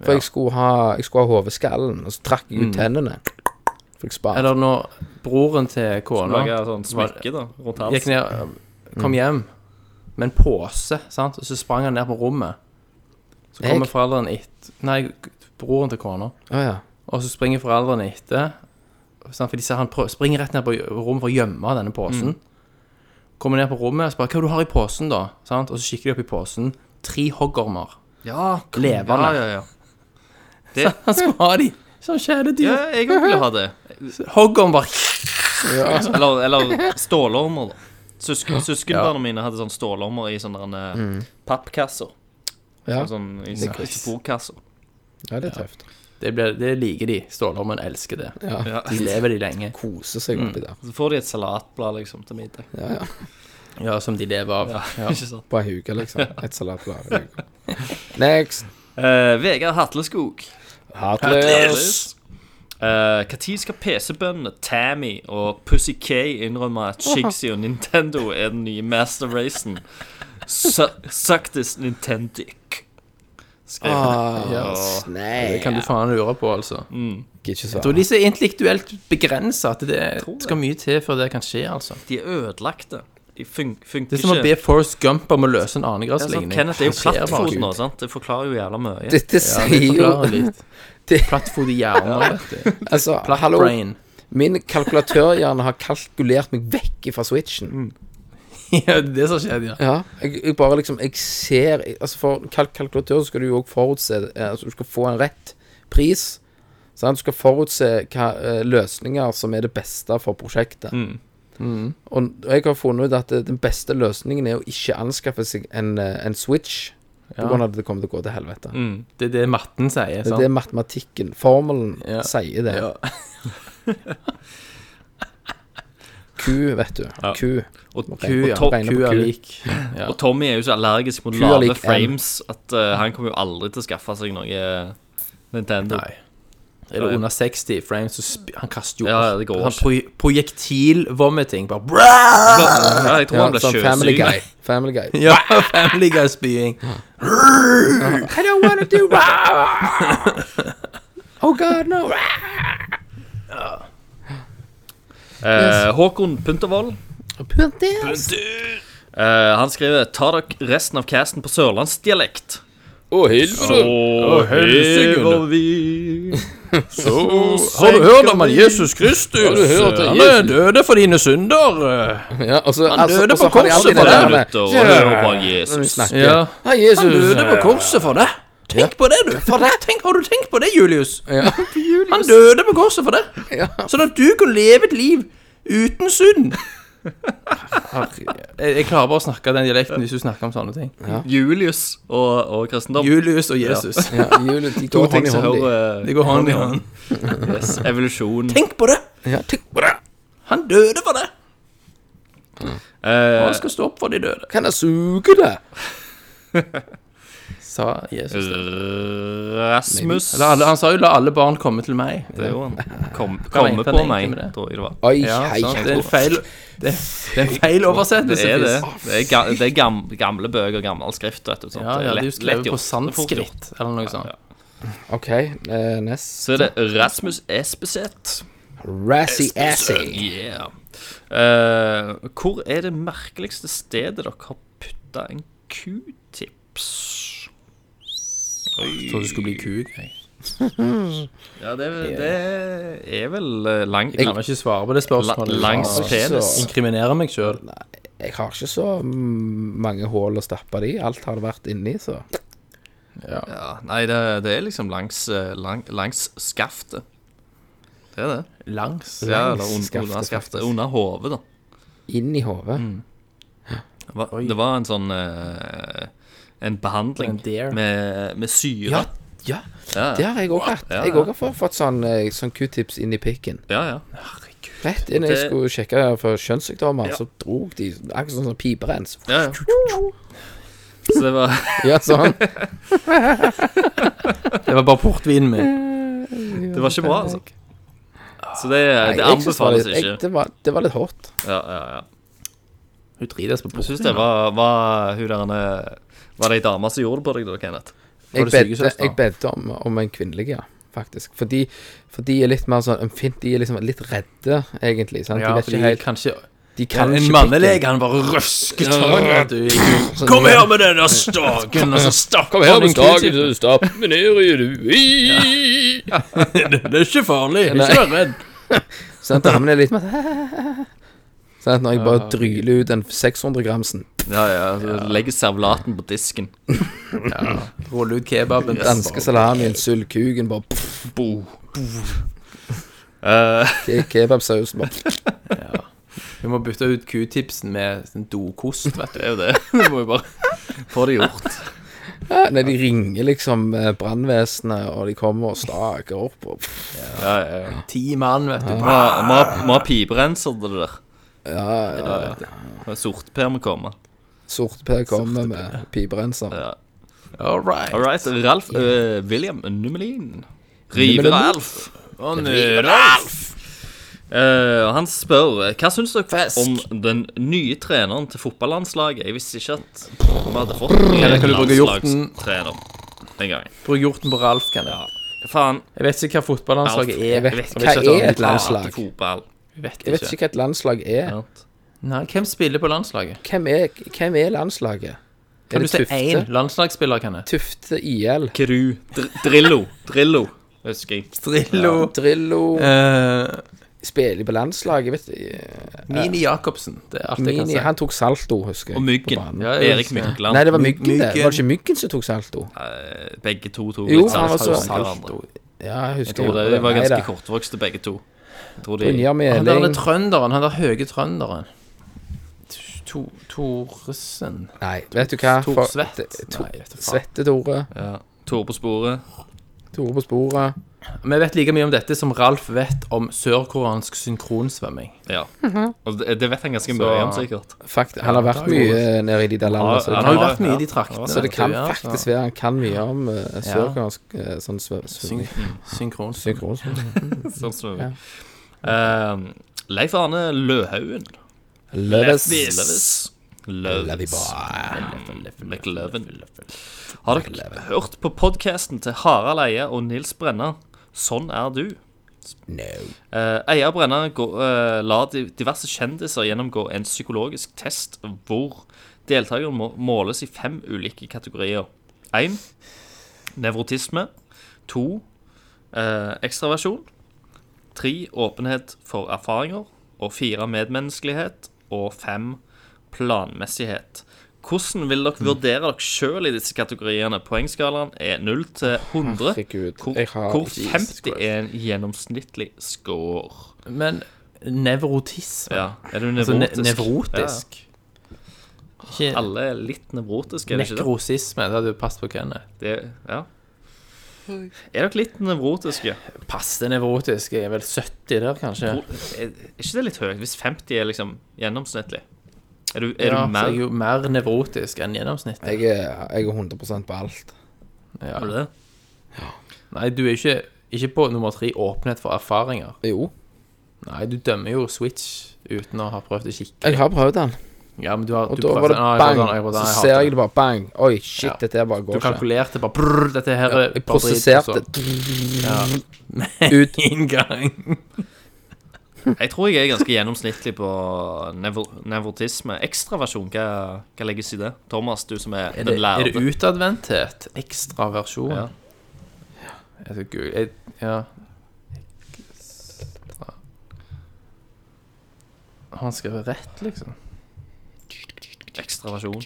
[SPEAKER 8] For jeg skulle ha Jeg skulle ha hodeskallen, og så trakk jeg ut tennene. For jeg sparte.
[SPEAKER 7] Eller når broren til kona
[SPEAKER 6] Lager sånn smykke da, rundt
[SPEAKER 7] gikk
[SPEAKER 6] halsen.
[SPEAKER 7] ned, kom hjem med en pose, sant? og så sprang han ned på rommet. Så
[SPEAKER 8] Jeg?
[SPEAKER 7] kommer foreldrene etter Nei, broren til kona.
[SPEAKER 8] Å ja.
[SPEAKER 7] Og så springer foreldrene etter. Sant? For de ser han prø- springer rett ned på gj- rommet for å gjemme denne posen. Kommer ned på rommet og spør hva du har i posen, da. Sant? Og så kikker de opp i posen. Tre hoggormer.
[SPEAKER 6] Ja, kom-
[SPEAKER 7] Levende.
[SPEAKER 6] Ja, ja, ja.
[SPEAKER 7] Så han skulle ha de som kjæledyr.
[SPEAKER 6] ja jeg òg ville ha det. Altså,
[SPEAKER 7] Hoggormer.
[SPEAKER 6] Eller, eller stålormer, da. Søsken, søskenbarna mine hadde sånn stålormer i sånne der, eh, pappkasser.
[SPEAKER 8] Mm. Ja.
[SPEAKER 6] Sånn, I
[SPEAKER 8] Nice.
[SPEAKER 6] bordkasser.
[SPEAKER 8] ja, det er tøft.
[SPEAKER 7] Det, ble, det liker de. Stålormen elsker det.
[SPEAKER 6] Ja.
[SPEAKER 7] De lever de lenge.
[SPEAKER 8] Kose seg oppi der.
[SPEAKER 6] Så får de et salatblad liksom til middag.
[SPEAKER 7] Ja, som de lever av.
[SPEAKER 6] Ikke sant?
[SPEAKER 8] Bare huke, liksom. Et salatblad. i huka. Next.
[SPEAKER 6] Eh, Vegard Hatleskog.
[SPEAKER 8] Heartless.
[SPEAKER 6] Når Eh, skal PC-bøndene Tammy og Pussy K innrømme at Shigsy og Nintendo er den nye master racen? Su- Suck this Nintendic. Skrev han.
[SPEAKER 8] Yes.
[SPEAKER 7] Det
[SPEAKER 8] Nei.
[SPEAKER 7] kan du faen lure på, altså.
[SPEAKER 8] Gidder ikke
[SPEAKER 7] Jeg tror
[SPEAKER 8] svare.
[SPEAKER 7] de er så intellektuelt begrensa at det skal mye til før det kan skje, altså.
[SPEAKER 6] De er ødelagte. De fun funker
[SPEAKER 7] Det er som å
[SPEAKER 6] ikke.
[SPEAKER 7] be Forrest Gump om å løse en
[SPEAKER 6] Ja, sant,
[SPEAKER 7] annengradsligning.
[SPEAKER 6] Kenneth er jo
[SPEAKER 7] Han skjer bare.
[SPEAKER 6] plattfot nå, sant? Det forklarer jo jævla mye.
[SPEAKER 8] Dette sier jo
[SPEAKER 7] Forklarer litt.
[SPEAKER 8] Det-
[SPEAKER 7] Plattfot i hjernen, vet du.
[SPEAKER 8] Altså, hallo.
[SPEAKER 7] Plattbrain.
[SPEAKER 8] Min kalkulatørhjerne har kalkulert meg vekk fra
[SPEAKER 7] Mm.
[SPEAKER 8] switchen.
[SPEAKER 7] Ja, det er det som skjedde, ja.
[SPEAKER 8] Ja. Jeg, jeg bare liksom Jeg ser Altså, for kalk kalkulatør så skal du jo òg forutse eh, Altså, du skal få en rett pris. Sant? Du skal forutse hva eh, løsninger som er det beste for prosjektet.
[SPEAKER 7] Mm.
[SPEAKER 8] Og, og jeg har funnet ut at eh, den beste løsningen er å ikke anskaffe seg en, eh, en switch. På grunn av at det kommer til å gå til helvete.
[SPEAKER 7] Det er det matten sier,
[SPEAKER 8] Det
[SPEAKER 7] sant?
[SPEAKER 8] er det matematikken, formelen,
[SPEAKER 7] Ja.
[SPEAKER 8] sier det.
[SPEAKER 7] Ja.
[SPEAKER 8] Q, vet du. Q.
[SPEAKER 6] Og,
[SPEAKER 8] Ok.
[SPEAKER 7] Ku, ja.
[SPEAKER 6] Og to-
[SPEAKER 7] Ku er lik. Ja.
[SPEAKER 6] og Tommy er jo så allergisk mot
[SPEAKER 8] Q er
[SPEAKER 6] lave
[SPEAKER 8] lik M.
[SPEAKER 6] frames at eh, han kommer jo aldri til å skaffe seg noe eh, Nintendo.
[SPEAKER 7] Nei. Eller under 60 frames, så sp han kaster jo
[SPEAKER 6] Ja, ja, det går
[SPEAKER 7] Han
[SPEAKER 6] ikke.
[SPEAKER 7] pro projektilvomiting. Bare brrr!
[SPEAKER 6] Ja, jeg tror han ble
[SPEAKER 8] sånn Family
[SPEAKER 6] sjøsyk.
[SPEAKER 8] Guy. Family Guy.
[SPEAKER 7] Ja, Family Guy-spying.
[SPEAKER 8] I don't wanna do Oh god, no.
[SPEAKER 6] Eh, Håkon Puntervold.
[SPEAKER 8] Puntis.
[SPEAKER 6] Eh, han skriver Ta dere resten av casten på sørlandsdialekt.
[SPEAKER 8] Å, helvete.
[SPEAKER 6] Og
[SPEAKER 7] hever
[SPEAKER 6] vi
[SPEAKER 7] Har du hørt om han Jesus Kristus?
[SPEAKER 8] Har du hørt om
[SPEAKER 7] han
[SPEAKER 8] Jesus?
[SPEAKER 7] er døde for dine synder. eh?
[SPEAKER 8] Ja, og så, altså,
[SPEAKER 7] døde
[SPEAKER 8] og så
[SPEAKER 7] på
[SPEAKER 8] har de alltid
[SPEAKER 7] korset for
[SPEAKER 8] det der
[SPEAKER 7] det,
[SPEAKER 8] med
[SPEAKER 6] og hører på Jesus.
[SPEAKER 8] snakker.
[SPEAKER 7] Ja.
[SPEAKER 8] Hei, Jesus.
[SPEAKER 7] Han døde på korset for det. Tenk på det, du. Tenk, har du tenkt på det, Julius?
[SPEAKER 8] Ja.
[SPEAKER 7] Han døde på korset for det.
[SPEAKER 8] Ja.
[SPEAKER 7] Sånn at du kunne leve et liv uten synd. Jeg, jeg klarer bare å snakke den dialekten hvis du snakker om sånne ting.
[SPEAKER 6] Julius og, og kristendom.
[SPEAKER 7] Julius og Jesus.
[SPEAKER 8] Ja, jule, de
[SPEAKER 6] To
[SPEAKER 8] går
[SPEAKER 6] ting
[SPEAKER 8] hånd i
[SPEAKER 6] som
[SPEAKER 8] hånd. de.
[SPEAKER 6] hører eh,
[SPEAKER 7] Det går hånd i hånd.
[SPEAKER 6] yes, evolusjon.
[SPEAKER 7] Tenk på det!
[SPEAKER 8] Ja, tenk på det.
[SPEAKER 7] Han døde for det!
[SPEAKER 6] Eh,
[SPEAKER 7] Han skal stå opp for de døde.
[SPEAKER 8] Kan jeg suge det?
[SPEAKER 7] Sa Jesus.
[SPEAKER 6] Rasmus
[SPEAKER 7] Eller alle, han sa jo 'la alle barn komme til meg'.
[SPEAKER 6] Det er jo han. Kom,
[SPEAKER 7] Hva
[SPEAKER 6] komme
[SPEAKER 7] mente
[SPEAKER 6] på
[SPEAKER 7] han egentlig
[SPEAKER 6] meg,
[SPEAKER 7] med det?
[SPEAKER 6] tror jeg det var.
[SPEAKER 8] Oi,
[SPEAKER 7] Ja,
[SPEAKER 8] hei,
[SPEAKER 7] sant?
[SPEAKER 8] hei.
[SPEAKER 7] Det er en feil, det, det er en feil
[SPEAKER 6] Det
[SPEAKER 7] oversettelse.
[SPEAKER 6] er det.
[SPEAKER 7] Chris.
[SPEAKER 6] Det er, ga, det er gam, gamle bøker, gammel skrift. Vet du, sånt.
[SPEAKER 7] Ja, ja,
[SPEAKER 6] lett-
[SPEAKER 7] det er jo
[SPEAKER 6] lett
[SPEAKER 7] skrevet på
[SPEAKER 6] gjort. Det er fort gjort.
[SPEAKER 7] sanskrit eller noe sånt.
[SPEAKER 8] OK, eh, nest.
[SPEAKER 6] Så er det Rasmus Espeseth.
[SPEAKER 8] Razzy Assy.
[SPEAKER 6] Yeah. Eh, hvor er det merkeligste stedet dere har putta en q-tips?
[SPEAKER 7] Jeg trodde du skulle bli kuk. Jeg
[SPEAKER 6] Ja, det, er- det er vel eh, lang,
[SPEAKER 7] kan ikke svare på det
[SPEAKER 6] la,
[SPEAKER 7] spørsmålet.
[SPEAKER 6] langs
[SPEAKER 8] Ja,
[SPEAKER 6] penis.
[SPEAKER 8] så-
[SPEAKER 7] Inkriminere meg sjøl.
[SPEAKER 8] Jeg har ikke så mm, mange hål å stappe det i. Alt har det vært inni, så.
[SPEAKER 6] Ja, nei, det, det er liksom langs, eh, lang, langs skaftet. Det er det.
[SPEAKER 7] Langs.
[SPEAKER 6] Ja, eller
[SPEAKER 8] Langs
[SPEAKER 6] un, under
[SPEAKER 8] skaftet,
[SPEAKER 6] skaftet.
[SPEAKER 8] faktisk.
[SPEAKER 6] Under hodet, da.
[SPEAKER 8] Inn i hodet.
[SPEAKER 6] Det var, det var en sånn eh, En behandling
[SPEAKER 7] En dare.
[SPEAKER 6] med, med syre.
[SPEAKER 8] Ja, ja.
[SPEAKER 6] ja,
[SPEAKER 8] Det har jeg òg hatt.
[SPEAKER 6] Ja,
[SPEAKER 8] Jeg
[SPEAKER 6] ja.
[SPEAKER 8] òg har fått- fått sånn, eh, sånn q-tips inn i pikken.
[SPEAKER 6] ja, ja.
[SPEAKER 8] Rett inn jeg
[SPEAKER 6] Det-
[SPEAKER 8] skulle sjekke for kjønnssykdommer, så drog de akkurat sånn som piperens.
[SPEAKER 6] ja, ja. Så det var
[SPEAKER 8] Ja, sånn.
[SPEAKER 7] Det var bare portvinen min.
[SPEAKER 6] Det var ikke bra, altså. Så det,
[SPEAKER 8] Nei,
[SPEAKER 6] det
[SPEAKER 8] jeg synes var
[SPEAKER 6] anbefales
[SPEAKER 8] litt-
[SPEAKER 6] ikke.
[SPEAKER 8] jeg- Det var, det var litt hårt.
[SPEAKER 6] Ja, ja, ja.
[SPEAKER 7] Hun drites på
[SPEAKER 6] Jeg syns det
[SPEAKER 7] portvin.
[SPEAKER 6] var, var hun derne Var det ei dame som gjorde det på deg, da, Kenneth?
[SPEAKER 8] Jeg
[SPEAKER 7] det
[SPEAKER 8] bedte,
[SPEAKER 7] sykesøster?
[SPEAKER 8] jeg bedte om, om en kvinnelig, ja. Faktisk. For de, for de er litt mer sånn ømfint. De er liksom litt redde, egentlig. Sant? De
[SPEAKER 7] Ja,
[SPEAKER 8] vet
[SPEAKER 7] fordi
[SPEAKER 8] ikke helt
[SPEAKER 7] kanskje
[SPEAKER 8] De kan
[SPEAKER 7] En
[SPEAKER 8] ikke
[SPEAKER 7] mannelege, han bare røsker taket. du, i kuk.
[SPEAKER 8] pikken.
[SPEAKER 7] Kom her med den der staken, altså, og så stapper han en q-tip.
[SPEAKER 8] stapp meg ned i du
[SPEAKER 7] Det er ikke farlig.
[SPEAKER 8] Nei.
[SPEAKER 7] Ikke vær redd.
[SPEAKER 8] Sånn, damene er litt mer Sånn at når jeg bare dryler ut den 600-gramsen,
[SPEAKER 6] Ja, ja, altså, Legger servelaten på disken.
[SPEAKER 7] Rulle ut kebaben.
[SPEAKER 8] danske salamien, sylkuken, bare pff,
[SPEAKER 6] Bo. Eh,
[SPEAKER 8] ke- kebabsausen bare pff.
[SPEAKER 7] Vi må bytte ut q-tipsen med sånn dokost, vet du.
[SPEAKER 6] det er jo det. Du må jo bare få det gjort.
[SPEAKER 8] Ja, Nei, de ringer liksom eh, brannvesenet, og de kommer og staker opp og pff,
[SPEAKER 6] Ja, ja, ja.
[SPEAKER 7] Ti mann, vet du.
[SPEAKER 6] Vi har- vi har- vi har piperenser til det der.
[SPEAKER 8] Ja, ja.
[SPEAKER 6] Sorteper må komme.
[SPEAKER 8] Sorteper kommer med piperenser.
[SPEAKER 6] Ja.
[SPEAKER 7] All right.
[SPEAKER 6] All right. Ralf eh, William Nummelin.
[SPEAKER 8] Nummelin.
[SPEAKER 6] Rive-Ralf. Rive-Ralf! Eh, han spør hva syns dere om den nye treneren til fotballandslaget. Jeg visste ikke at vi hadde fått en
[SPEAKER 7] kan du bruke hjorten?
[SPEAKER 6] landslagstrener en gang.
[SPEAKER 7] Bruk hjorten på Ralf, kan jeg.
[SPEAKER 6] Hva faen?
[SPEAKER 7] Jeg vet ikke hva fotballandslaget
[SPEAKER 6] Ralf,
[SPEAKER 7] er.
[SPEAKER 8] vet
[SPEAKER 7] Jeg
[SPEAKER 8] hva
[SPEAKER 7] ikke
[SPEAKER 8] er
[SPEAKER 7] om-
[SPEAKER 8] et landslag?
[SPEAKER 6] Hater Fotball.
[SPEAKER 7] Jeg vet
[SPEAKER 8] Jeg vet
[SPEAKER 7] ikke.
[SPEAKER 8] ikke hva et landslag er.
[SPEAKER 6] sant?
[SPEAKER 7] Nei, hvem spiller på landslaget?
[SPEAKER 8] Hvem er, hvem er landslaget?
[SPEAKER 7] Kan
[SPEAKER 8] Er
[SPEAKER 7] du
[SPEAKER 8] det
[SPEAKER 7] si én
[SPEAKER 8] Tufte?
[SPEAKER 7] landslagsspiller, kan jeg?
[SPEAKER 8] Tufte IL?
[SPEAKER 6] Kru. Dr Drillo. Drillo, husker jeg.
[SPEAKER 7] Drillo.
[SPEAKER 8] Drillo
[SPEAKER 7] eh,
[SPEAKER 8] spiller på landslaget, vet du.
[SPEAKER 7] Mini Jacobsen. Det er alt jeg kan
[SPEAKER 8] Mini,
[SPEAKER 7] si.
[SPEAKER 8] han tok salto, husker jeg.
[SPEAKER 6] Og Myggen.
[SPEAKER 8] på banen.
[SPEAKER 7] Ja, jeg
[SPEAKER 6] Erik
[SPEAKER 7] husker det.
[SPEAKER 6] Mykland.
[SPEAKER 8] Nei, det var Myggen, det.
[SPEAKER 7] Myggen.
[SPEAKER 8] Var det ikke Myggen som tok salto?
[SPEAKER 6] Eh, Begge to tok
[SPEAKER 8] Jo,
[SPEAKER 6] litt
[SPEAKER 8] han var
[SPEAKER 6] salto.
[SPEAKER 8] så-
[SPEAKER 6] Salto.
[SPEAKER 8] Ja, jeg
[SPEAKER 6] Jeg
[SPEAKER 8] husker
[SPEAKER 6] tror
[SPEAKER 8] jo
[SPEAKER 6] de var
[SPEAKER 8] Nei,
[SPEAKER 6] ganske
[SPEAKER 8] da.
[SPEAKER 6] kortvokste, begge to. Jeg tror de
[SPEAKER 8] Brynjar
[SPEAKER 7] Han der
[SPEAKER 8] Meling
[SPEAKER 7] er trønderen, han der høye trønderen. T- To- Thoresen
[SPEAKER 8] Nei, vet du hva?
[SPEAKER 7] Tor
[SPEAKER 8] For-
[SPEAKER 7] Svett.
[SPEAKER 8] det- to-
[SPEAKER 7] Nei, jeg vet da faen.
[SPEAKER 8] Svette-Tore.
[SPEAKER 6] ja. Tore på sporet.
[SPEAKER 8] Tore på sporet.
[SPEAKER 7] Vi vet like mye om dette som Ralf vet om sørkoreansk synkronsvømming.
[SPEAKER 6] Ja. Og det, det vet han ganske
[SPEAKER 7] Så-
[SPEAKER 6] mye om, sikkert.
[SPEAKER 8] Fakt, han har vært mye eh, nede i de der landene. Så,
[SPEAKER 6] Ja,
[SPEAKER 7] Han
[SPEAKER 8] det
[SPEAKER 7] har jo
[SPEAKER 6] har-
[SPEAKER 7] vært mye
[SPEAKER 6] ja.
[SPEAKER 7] i de traktene.
[SPEAKER 8] så det kan
[SPEAKER 7] vet du, ja,
[SPEAKER 8] faktisk
[SPEAKER 7] så-
[SPEAKER 8] være han kan mye om uh, sørkoreansk eh, sånn svø- svømming.
[SPEAKER 7] Syn- Synkronsvømming.
[SPEAKER 8] Synkron.
[SPEAKER 6] Sånn som Eh, Leif Arne Løhaugen.
[SPEAKER 8] Løves.
[SPEAKER 6] Løves.
[SPEAKER 8] Løvis.
[SPEAKER 6] Løves. McLøven. Har dere hørt på podkasten til Harald Eie og Nils Brenna? Sånn er du.
[SPEAKER 8] No.
[SPEAKER 6] Eh, Eier Brenna går, eh, lar di- diverse kjendiser gjennomgå en psykologisk test hvor deltakerne må måles i fem ulike kategorier. 1. Nevrotisme. 2. Eh, ekstraversjon. 3. Åpenhet for erfaringer. Og 4. Medmenneskelighet. Og 5. Planmessighet. Hvordan vil dere vurdere dere sjøl i disse kategoriene? Poengskalaen er 0 til 100,
[SPEAKER 8] Herregud,
[SPEAKER 6] hvor,
[SPEAKER 8] jeg har-
[SPEAKER 6] hvor
[SPEAKER 8] Jesus
[SPEAKER 6] 50 er en gjennomsnittlig score.
[SPEAKER 7] Men nevrotisme
[SPEAKER 6] Ja. Er du
[SPEAKER 7] Altså ne
[SPEAKER 6] nevrotisk?
[SPEAKER 7] nevrotisk.
[SPEAKER 6] Ja.
[SPEAKER 7] Ikke
[SPEAKER 6] Alle er litt nevrotiske, er det ikke det?
[SPEAKER 7] nekrosisme. Det hadde jo passet på Kenneth.
[SPEAKER 6] det? Ja. Er dere litt nevrotiske?
[SPEAKER 7] Passe nevrotisk. Jeg er vel 70 der, kanskje.
[SPEAKER 6] Hvor- Er er ikke det litt høyt? Hvis 50 er liksom gjennomsnittlig? Er du, er
[SPEAKER 7] Ja,
[SPEAKER 6] du
[SPEAKER 7] så
[SPEAKER 6] mer
[SPEAKER 7] jeg er jo mer nevrotisk enn gjennomsnittet.
[SPEAKER 8] Jeg er, jeg er 100 på alt.
[SPEAKER 7] Ja.
[SPEAKER 6] Er du det?
[SPEAKER 7] Nei, du er ikke, ikke på nummer tre åpenhet for erfaringer.
[SPEAKER 8] Jo,
[SPEAKER 7] Nei, du dømmer jo Switch uten å ha prøvd å kikke.
[SPEAKER 8] jeg har prøvd den.
[SPEAKER 7] Ja, men du har
[SPEAKER 8] Og
[SPEAKER 7] du
[SPEAKER 8] da
[SPEAKER 7] prøvde-
[SPEAKER 8] var det
[SPEAKER 7] Nei, jeg prøvde den, jeg
[SPEAKER 8] bang,
[SPEAKER 7] prøvde den,
[SPEAKER 8] så
[SPEAKER 7] jeg
[SPEAKER 8] ser
[SPEAKER 7] hater
[SPEAKER 8] jeg det bare bang. Oi, shit,
[SPEAKER 7] Ja.
[SPEAKER 8] dette her bare går
[SPEAKER 7] Du
[SPEAKER 8] ikke.
[SPEAKER 7] kalkulerte bare brrr, dette her er
[SPEAKER 8] Jeg
[SPEAKER 7] bare dritt, altså.
[SPEAKER 8] prosesserte
[SPEAKER 7] og så-
[SPEAKER 8] ut.
[SPEAKER 7] Inngang.
[SPEAKER 6] Jeg tror jeg er ganske gjennomsnittlig på nevro nevrotisme. Ekstraversjon, hva, hva legges i det? Thomas, du som er,
[SPEAKER 7] Er det,
[SPEAKER 6] den
[SPEAKER 7] er det
[SPEAKER 6] lærde.
[SPEAKER 7] utadvendthet? Ekstraversjon?
[SPEAKER 6] Ja.
[SPEAKER 7] Ja. Jeg skal google jeg, Ja. Ekstra. Har Han skrev rett, liksom.
[SPEAKER 6] Ekstraversjon.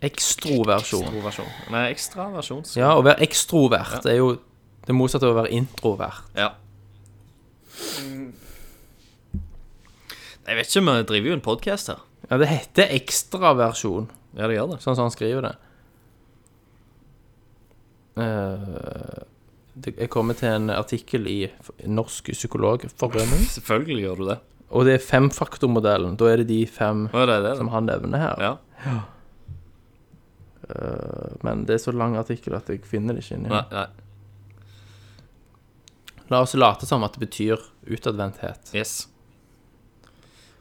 [SPEAKER 7] Ekstroversjon.
[SPEAKER 6] Ekstroversjon. Nei, ekstraversjon. så-
[SPEAKER 7] Ja, å være ekstrovert er jo det motsatte av å være introvert.
[SPEAKER 6] Ja. Jeg vet ikke, men jeg driver jo en podkast her.
[SPEAKER 7] Ja, det heter ekstraversjon,
[SPEAKER 6] Ja, det gjør det.
[SPEAKER 7] sånn som han skriver det. Eh, det- Jeg kommer til en artikkel i F- Norsk psykologforening,
[SPEAKER 6] Selvfølgelig gjør du det.
[SPEAKER 7] og det er femfaktormodellen. Da er det de fem
[SPEAKER 6] Å, det er det.
[SPEAKER 7] som han nevner her.
[SPEAKER 6] Ja.
[SPEAKER 7] Men det er så lang artikkel at jeg finner det ikke inni.
[SPEAKER 6] Nei,
[SPEAKER 7] her.
[SPEAKER 6] nei.
[SPEAKER 7] La oss late som at det betyr utadvendthet.
[SPEAKER 6] Yes.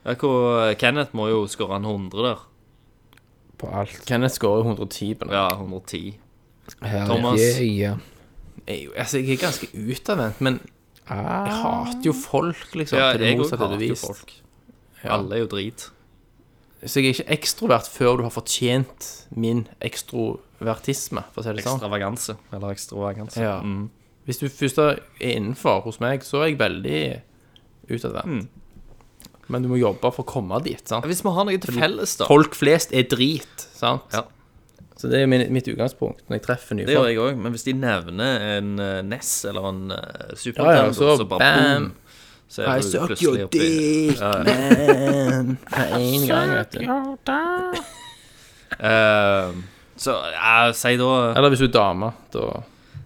[SPEAKER 6] Ja, hvor Kenneth må jo skåre en 100 der.
[SPEAKER 8] På alt.
[SPEAKER 7] Kenneth scorer 110 på det.
[SPEAKER 6] Ja, 110.
[SPEAKER 8] Her,
[SPEAKER 6] Thomas.
[SPEAKER 8] Yeah, yeah.
[SPEAKER 7] Jeg, er jo- altså, jeg er ganske utadvendt, men
[SPEAKER 8] Ah.
[SPEAKER 7] jeg hater jo folk, liksom.
[SPEAKER 6] Ja,
[SPEAKER 7] til det
[SPEAKER 6] jeg òg
[SPEAKER 7] motsatte er
[SPEAKER 6] hater jo
[SPEAKER 7] bevist.
[SPEAKER 6] folk.
[SPEAKER 7] Ja.
[SPEAKER 6] Alle er jo drit.
[SPEAKER 7] Så jeg er ikke ekstrovert før du har fortjent min ekstrovertisme, for å si det sånn.
[SPEAKER 6] Ekstravaganse. Eller ekstravaganse.
[SPEAKER 7] Ja.
[SPEAKER 6] Mm.
[SPEAKER 7] Hvis Mm. du først er innenfor hos meg, så er jeg veldig utadvendt. men du må jobbe for å komme dit. sant?
[SPEAKER 6] Hvis vi har noe til felles, da.
[SPEAKER 7] Folk flest er drit, sant?
[SPEAKER 6] Ja.
[SPEAKER 7] Så det er min, mitt utgangspunkt når jeg treffer nye
[SPEAKER 6] Det gjør
[SPEAKER 7] folk.
[SPEAKER 6] jeg òg, men hvis de nevner en eh, NES eller en uh, Super
[SPEAKER 7] Ja, ja,
[SPEAKER 6] Nintendo,
[SPEAKER 7] så
[SPEAKER 6] så, bare
[SPEAKER 7] bam.
[SPEAKER 6] bam! Så er
[SPEAKER 7] I
[SPEAKER 6] du
[SPEAKER 7] suck
[SPEAKER 6] plutselig
[SPEAKER 7] your
[SPEAKER 6] oppi-
[SPEAKER 7] dick,
[SPEAKER 6] Ja, ja.
[SPEAKER 7] Man, med en gang, vet du.
[SPEAKER 6] Eh, så ja, si da
[SPEAKER 7] Eller hvis du er dame, da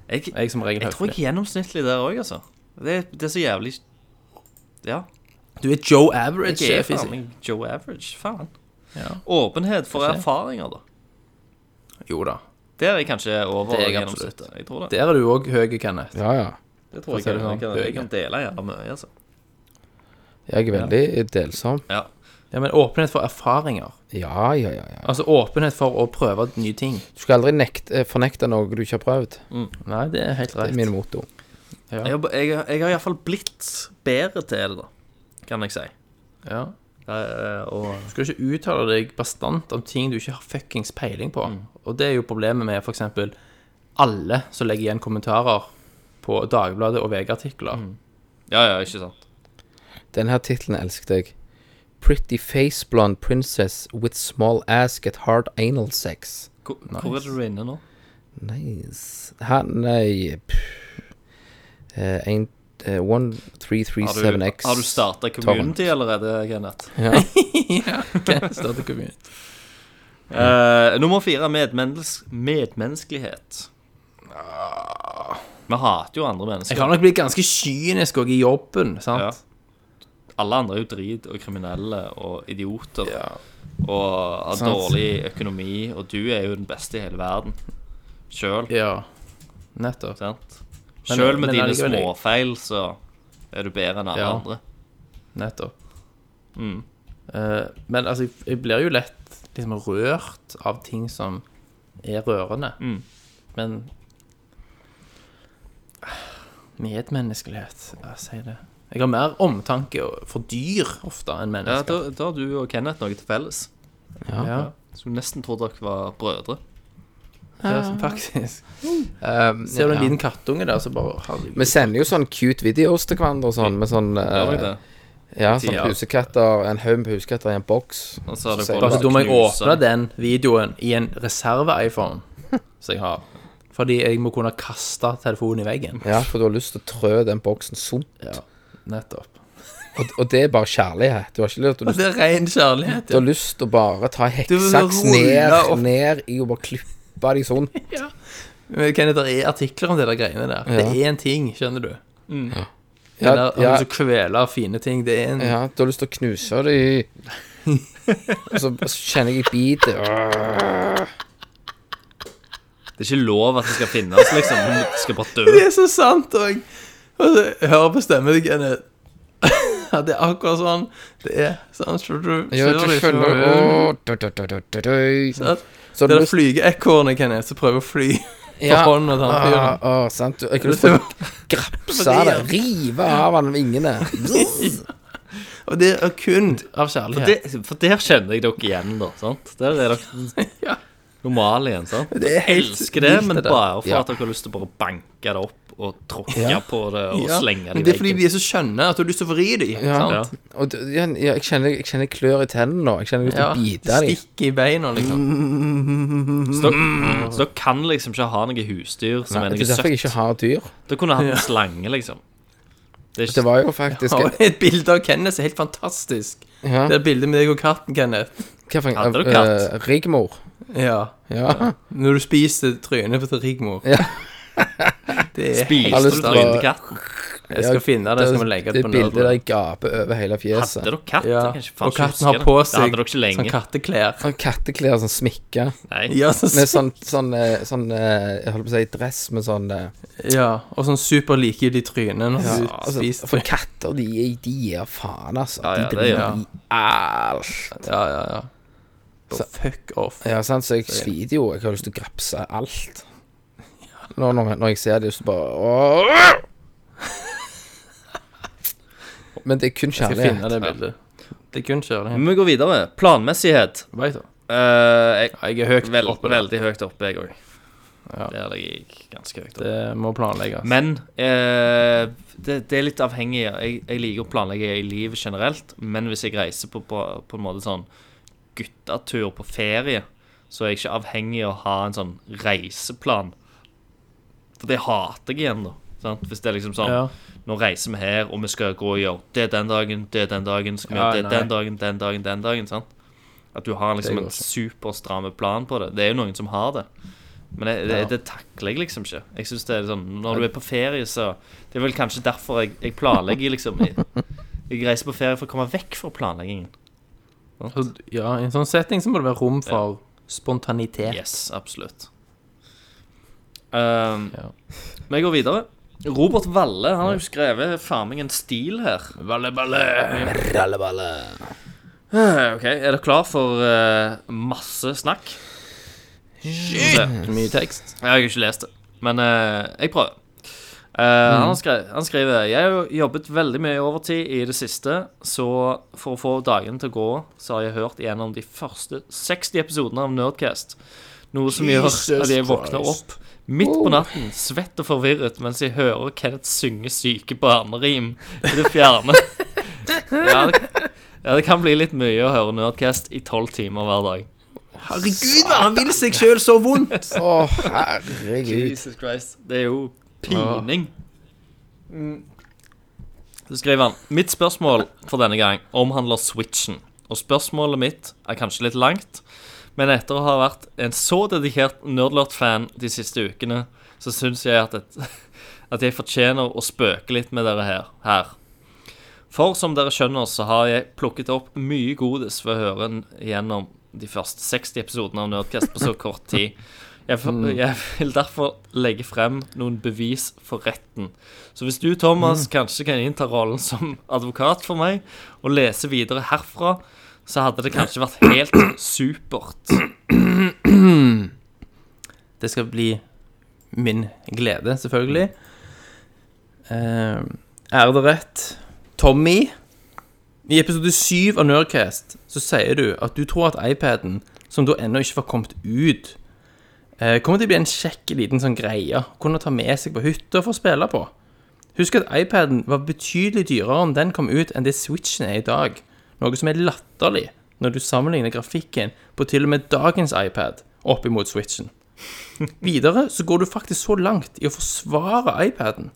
[SPEAKER 6] Jeg,
[SPEAKER 7] er jeg som regel
[SPEAKER 6] jeg tror jeg
[SPEAKER 7] høflig.
[SPEAKER 6] er gjennomsnittlig der òg, altså. Det, det er så jævlig Ja.
[SPEAKER 7] Du er Joe Average, eh,
[SPEAKER 6] Jeg er
[SPEAKER 7] sjef i
[SPEAKER 6] faen
[SPEAKER 7] seg.
[SPEAKER 6] meg Joe Average. Faen.
[SPEAKER 7] Ja.
[SPEAKER 6] Åpenhet for
[SPEAKER 7] Får se.
[SPEAKER 6] erfaringer, da.
[SPEAKER 7] Jo da.
[SPEAKER 6] Det er jeg kanskje over
[SPEAKER 7] Det er jeg
[SPEAKER 6] gjennomsnittet. Jeg tror det.
[SPEAKER 7] Der er du òg høy, Kenneth.
[SPEAKER 8] Ja, ja.
[SPEAKER 6] Det tror jeg,
[SPEAKER 7] for å si det
[SPEAKER 6] jeg,
[SPEAKER 7] sånn.
[SPEAKER 6] kan, jeg kan dele jævla mye, altså.
[SPEAKER 8] Jeg er veldig delsom.
[SPEAKER 6] Ja.
[SPEAKER 7] Ja, Men åpenhet for erfaringer.
[SPEAKER 8] Ja, ja, ja. ja.
[SPEAKER 7] Altså åpenhet for å prøve nye ting.
[SPEAKER 8] Du skal aldri nekte, eh, fornekte noe du ikke har prøvd.
[SPEAKER 7] Nei, det er helt
[SPEAKER 8] Det
[SPEAKER 7] rett.
[SPEAKER 8] er min motto.
[SPEAKER 7] Ja.
[SPEAKER 6] Jeg, har- jeg, jeg har iallfall blitt bedre til det, da, kan jeg si.
[SPEAKER 7] Ja.
[SPEAKER 6] Eh, og
[SPEAKER 7] Du skal ikke uttale deg bastant om ting du ikke har fuckings peiling på. Og det er jo problemet med f.eks. alle som legger igjen kommentarer på Dagbladet og VG-artikler.
[SPEAKER 6] Ja, ja, ikke sant.
[SPEAKER 8] Den her tittelen elsket jeg. Pretty face blonde princess with small ass get hard anal sex.
[SPEAKER 6] Hvor, hvor er det du er inne nå?
[SPEAKER 8] Nice. Her, nei uh, ein, eh,
[SPEAKER 6] Har
[SPEAKER 8] 1337X.
[SPEAKER 6] du, har du starta community allerede, Kenneth?
[SPEAKER 7] Starter kommunen.
[SPEAKER 6] Eh, nummer fire medmennels medmenneskelighet. Ah. Vi hater jo andre
[SPEAKER 7] Jeg
[SPEAKER 6] mennesker.
[SPEAKER 7] har nok blitt ganske kynisk òg i jobben,
[SPEAKER 6] Ja.
[SPEAKER 7] sant.
[SPEAKER 6] Alle andre er jo drit og kriminelle og idioter
[SPEAKER 7] Ja.
[SPEAKER 6] og har
[SPEAKER 7] Sant.
[SPEAKER 6] dårlig økonomi, og du er jo den beste i hele verden. Sjøl,
[SPEAKER 7] Ja. Nettopp.
[SPEAKER 6] sant?
[SPEAKER 7] Men-
[SPEAKER 6] Sjøl med
[SPEAKER 7] men
[SPEAKER 6] dine
[SPEAKER 7] allikevel-
[SPEAKER 6] småfeil, så er du bedre enn alle
[SPEAKER 7] Ja.
[SPEAKER 6] andre.
[SPEAKER 7] Nettopp. Eh, men altså, jeg- jeg blir jo lett liksom rørt av ting som er rørende.
[SPEAKER 6] Mm.
[SPEAKER 7] Men medmenneskelighet, jeg sier det. Jeg har mer omtanke og- for dyr ofte enn
[SPEAKER 6] Ja,
[SPEAKER 7] mennesker.
[SPEAKER 6] da, da har du og Kenneth noe til felles.
[SPEAKER 7] Ja,
[SPEAKER 6] Skulle nesten trodd dere var brødre.
[SPEAKER 7] det er sånn faktisk.
[SPEAKER 8] Um,
[SPEAKER 7] Ser du en
[SPEAKER 8] ja.
[SPEAKER 7] liten kattunge der, så bare herregud.
[SPEAKER 8] Vi sender jo sånn cute videoer til hverandre og sånn, med sånn
[SPEAKER 6] Gjør
[SPEAKER 8] eh,
[SPEAKER 6] dere det?
[SPEAKER 8] Ja, sånn
[SPEAKER 6] Ja.
[SPEAKER 8] pusekatter, en haug med pusekatter i en boks.
[SPEAKER 6] Og så har dere
[SPEAKER 8] sier
[SPEAKER 7] Bare
[SPEAKER 6] bare
[SPEAKER 7] så da må jeg
[SPEAKER 6] knuse.
[SPEAKER 7] åpne den videoen i en reserve-iPhone som jeg har. Fordi jeg må kunne kaste telefonen i veggen.
[SPEAKER 8] Ja, for du har lyst til å trø den boksen sunt.
[SPEAKER 7] Nettopp.
[SPEAKER 8] Og, og det er bare kjærlighet. Du har ikke lyst til å
[SPEAKER 7] Det er ren kjærlighet.
[SPEAKER 8] Du har lyst til å bare ta
[SPEAKER 7] Du vil
[SPEAKER 8] hekksaks
[SPEAKER 7] rulle
[SPEAKER 8] ned,
[SPEAKER 7] opp.
[SPEAKER 8] ned i og bare klippe deg sånn.
[SPEAKER 7] Men Kenneth, det er artikler om det der greiene der.
[SPEAKER 8] Ja.
[SPEAKER 7] Det er en ting, skjønner du. Det
[SPEAKER 8] Ja,
[SPEAKER 7] der at
[SPEAKER 8] ja,
[SPEAKER 7] du skal kvele fine ting, det er en
[SPEAKER 8] ja, du har lyst til å knuse det i Og så så kjenner jeg bitet.
[SPEAKER 6] Det er ikke lov at det skal finnes, liksom. Du skal bare dø.
[SPEAKER 7] Det er så sant òg! Hør på stemmen til Kenneth. Ja, det er akkurat sånn. Det er sånn så du
[SPEAKER 8] Ja, du
[SPEAKER 7] ser det,
[SPEAKER 8] skjønner
[SPEAKER 7] så-
[SPEAKER 8] Åh, du, du, du, du, du, du.
[SPEAKER 7] Sant? Det
[SPEAKER 8] Så har
[SPEAKER 7] er
[SPEAKER 8] du
[SPEAKER 7] det
[SPEAKER 8] lyst
[SPEAKER 7] flygeekornet, Kenneth, som prøver å fly
[SPEAKER 8] Ja.
[SPEAKER 7] på hånda til han
[SPEAKER 8] Ah,
[SPEAKER 7] fyren.
[SPEAKER 8] ah, sant. Du- Jeg kunne få grapsa det, rive av han vingene.
[SPEAKER 7] Og det er kun av
[SPEAKER 6] For,
[SPEAKER 7] kjærlighet.
[SPEAKER 6] det, for der kjenner jeg dere igjen, da. sant? Der er dere
[SPEAKER 7] Ja.
[SPEAKER 6] normale igjen, sant?
[SPEAKER 7] Det er helt
[SPEAKER 6] Elsker det,
[SPEAKER 7] vilt,
[SPEAKER 6] men
[SPEAKER 7] det der.
[SPEAKER 6] bare for
[SPEAKER 8] Ja.
[SPEAKER 6] at dere har lyst til å bare banke det opp og tråkke
[SPEAKER 8] Ja.
[SPEAKER 6] på det og
[SPEAKER 7] Ja,
[SPEAKER 6] slenge det
[SPEAKER 7] men
[SPEAKER 6] i
[SPEAKER 7] det er fordi
[SPEAKER 6] veggen.
[SPEAKER 7] de er så skjønne at du har lyst til å vri dem.
[SPEAKER 8] Ja.
[SPEAKER 7] Sant?
[SPEAKER 8] Og du- ja, ja, jeg, kjenner, jeg kjenner klør i tennene nå. Jeg kjenner jeg
[SPEAKER 7] Ja.
[SPEAKER 8] har lyst til å bite dem.
[SPEAKER 7] Stikk i beina,
[SPEAKER 8] Mm,
[SPEAKER 7] liksom.
[SPEAKER 6] Så dere, så dere kan liksom ikke ha noe husdyr som
[SPEAKER 8] Nei,
[SPEAKER 6] er
[SPEAKER 8] Det er
[SPEAKER 6] noe
[SPEAKER 8] derfor jeg
[SPEAKER 6] søtt.
[SPEAKER 8] ikke har dyr.
[SPEAKER 6] Dere kunne hatt en slange, liksom. Det er
[SPEAKER 8] Det
[SPEAKER 6] ikke,
[SPEAKER 8] var jo faktisk
[SPEAKER 7] Har du et bilde av Kenneth som er helt fantastisk.
[SPEAKER 8] ja.
[SPEAKER 7] Det er bildet med deg og katten, Kenneth.
[SPEAKER 8] Hva for en?
[SPEAKER 6] Hadde du
[SPEAKER 8] eh,
[SPEAKER 6] katt?
[SPEAKER 8] eh, Rigmor.
[SPEAKER 7] Ja.
[SPEAKER 8] Ja.
[SPEAKER 7] Når du spiser trynet på til Rigmor.
[SPEAKER 8] Ja.
[SPEAKER 7] Det er
[SPEAKER 8] Jeg har
[SPEAKER 6] spiste
[SPEAKER 8] lyst
[SPEAKER 6] du
[SPEAKER 8] til å-
[SPEAKER 6] trynekatten?
[SPEAKER 7] Jeg skal finne det, så skal vi legge det på
[SPEAKER 8] bildet der
[SPEAKER 7] nerdbladet.
[SPEAKER 8] jeg gaper over hele fjeset.
[SPEAKER 6] Hadde dere katt?
[SPEAKER 7] Altså, Ja.
[SPEAKER 6] Jeg kan ikke faen
[SPEAKER 7] Og
[SPEAKER 6] ikke
[SPEAKER 7] katten
[SPEAKER 6] huske
[SPEAKER 7] har på
[SPEAKER 6] det. Det
[SPEAKER 7] seg
[SPEAKER 6] hadde dere ikke
[SPEAKER 7] sånn
[SPEAKER 6] lenge.
[SPEAKER 7] katteklær.
[SPEAKER 8] Sånn katteklær, sånn smikke.
[SPEAKER 6] Nei.
[SPEAKER 7] Ja, så,
[SPEAKER 8] Med sånn, sånn, eh, sånn eh, Jeg holdt på å si dress med sånn eh,
[SPEAKER 7] ja, og sånn super likegyldig tryne når du
[SPEAKER 8] altså,
[SPEAKER 7] spiser
[SPEAKER 8] For
[SPEAKER 7] trynet.
[SPEAKER 8] katter, de, de gir faen, altså.
[SPEAKER 6] Ja, ja,
[SPEAKER 8] de
[SPEAKER 6] det
[SPEAKER 8] blir
[SPEAKER 6] gjør
[SPEAKER 8] i alt.
[SPEAKER 7] Ja, ja, ja. Bare fuck off.
[SPEAKER 8] Ja, sant, så jeg sliter jo. Jeg har lyst til å grapse alt. Når, når, når jeg ser det, så bare Åh! Men det er kun
[SPEAKER 7] Jeg skal finne
[SPEAKER 8] kjærlighet.
[SPEAKER 7] det bildet. Det er kun kjøring.
[SPEAKER 6] Men vi går videre. Planmessighet.
[SPEAKER 8] Mm.
[SPEAKER 7] Vet du.
[SPEAKER 6] Eh, jeg,
[SPEAKER 7] Ja, jeg er høyt
[SPEAKER 6] Vel,
[SPEAKER 7] oppe der.
[SPEAKER 6] veldig høyt oppe, jeg òg. Der ligger jeg ganske høyt. oppe.
[SPEAKER 7] Det eh, må planlegges.
[SPEAKER 6] Men eh, det, det er litt avhengig. Jeg, jeg liker å planlegge i livet generelt, men hvis jeg reiser på, på, på en måte sånn guttetur på ferie, så er jeg ikke avhengig av å ha en sånn reiseplan. For det hater jeg igjen, da. Sant? Hvis det er liksom sånn
[SPEAKER 7] Ja.
[SPEAKER 6] Nå reiser vi her, og vi skal gå og gjøre det den dagen, det den dagen, skal vi
[SPEAKER 7] Ja,
[SPEAKER 6] gjøre det
[SPEAKER 7] nei.
[SPEAKER 6] den dagen, den dagen, den dagen. sant? At du har liksom
[SPEAKER 7] går
[SPEAKER 6] en
[SPEAKER 7] ikke.
[SPEAKER 6] superstram plan på det. Det er jo noen som har det. Men jeg, det,
[SPEAKER 7] Ja.
[SPEAKER 6] det takler jeg liksom ikke. Jeg synes det er sånn, Når du er på ferie, så Det er vel kanskje derfor jeg, jeg planlegger, liksom. Jeg, jeg reiser på ferie for å komme vekk fra planleggingen.
[SPEAKER 7] Så- Ja, I en sånn setting så må det være rom for spontanitet.
[SPEAKER 6] Yes, absolutt. Um,
[SPEAKER 7] Ja.
[SPEAKER 6] Men jeg går videre. Robert Valle han har jo skrevet farmingen stil her. Valle, Valle. Eh, Ok, Er dere klar for eh, masse snakk? Shit!
[SPEAKER 7] Mye tekst.
[SPEAKER 6] Jeg har ikke lest det, men eh, jeg prøver.
[SPEAKER 7] Mm.
[SPEAKER 6] Eh, han, skre, han skriver Jeg har jo jobbet veldig mye overtid i det siste, så for å få dagen til å gå, så har jeg hørt gjennom de første 60 episodene av Nerdcast. Noe som gjør at jeg våkner opp midt på natten, svett og forvirret, mens jeg hører Kenneth synge syke barnerim i det fjerne. ja, det, ja, det kan bli litt mye å høre Nerdcast i tolv timer hver dag.
[SPEAKER 7] Herregud, han vil seg sjøl så vondt!
[SPEAKER 8] Å, herregud.
[SPEAKER 6] Jesus Christ. Det er jo pining. Så skriver han Mitt spørsmål for denne gang omhandler switchen. Og spørsmålet mitt er kanskje litt langt, men etter å ha vært en så dedikert Nerdlort-fan de siste ukene, så syns jeg at, et, at jeg fortjener å spøke litt med dere her. her. For som dere skjønner, så har jeg plukket opp mye godis ved å høre n- gjennom de første 60 episodene av Nerdcast på så kort tid. Jeg, for,
[SPEAKER 7] Mm.
[SPEAKER 6] jeg vil derfor legge frem noen bevis for retten. Så hvis du,
[SPEAKER 7] Mm.
[SPEAKER 6] Thomas, kanskje kan innta rollen som advokat for meg, og lese videre herfra, så hadde det kanskje vært helt supert.
[SPEAKER 7] Det skal bli min glede, selvfølgelig. Eh, er det rett? Tommy, i episode 7 av Nerdcast så sier du at du tror at iPaden, som da ennå ikke var kommet ut, eh, kommer til å bli en kjekk liten sånn greie å kunne ta med seg på hytta for å spille på. Husk at iPaden var betydelig dyrere om den kom ut, enn det Switchen er i dag. Noe som er latterlig når du sammenligner grafikken på til og med dagens iPad opp imot Switchen. Videre så går du faktisk så langt i å forsvare iPaden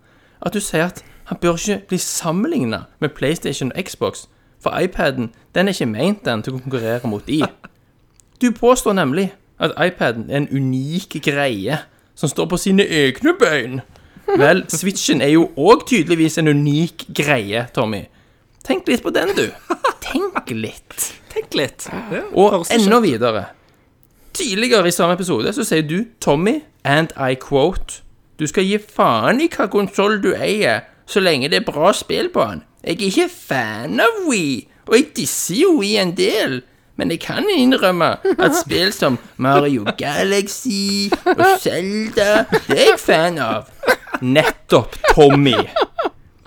[SPEAKER 7] at du sier at han bør ikke bli sammenligna med PlayStation og Xbox, for iPaden den er ikke meint den til å konkurrere mot de. Du påstår nemlig at iPaden er en unik greie som står på sine egne bein. Vel, Switchen er jo òg tydeligvis en unik greie, Tommy. Tenk litt på den, du. Tenk litt.
[SPEAKER 6] Tenk litt.
[SPEAKER 7] Og
[SPEAKER 6] sånn.
[SPEAKER 7] enda videre. Tidligere i samme episode så sier du, Tommy, and I quote Du skal gi faen i hva konsoll du eier, så lenge det er bra spill på den. Jeg er ikke fan av Wii, og jeg disser jo Wii en del. Men jeg kan innrømme at spill som Mario Galaxy og Zelda, det er jeg fan av. Nettopp, Tommy.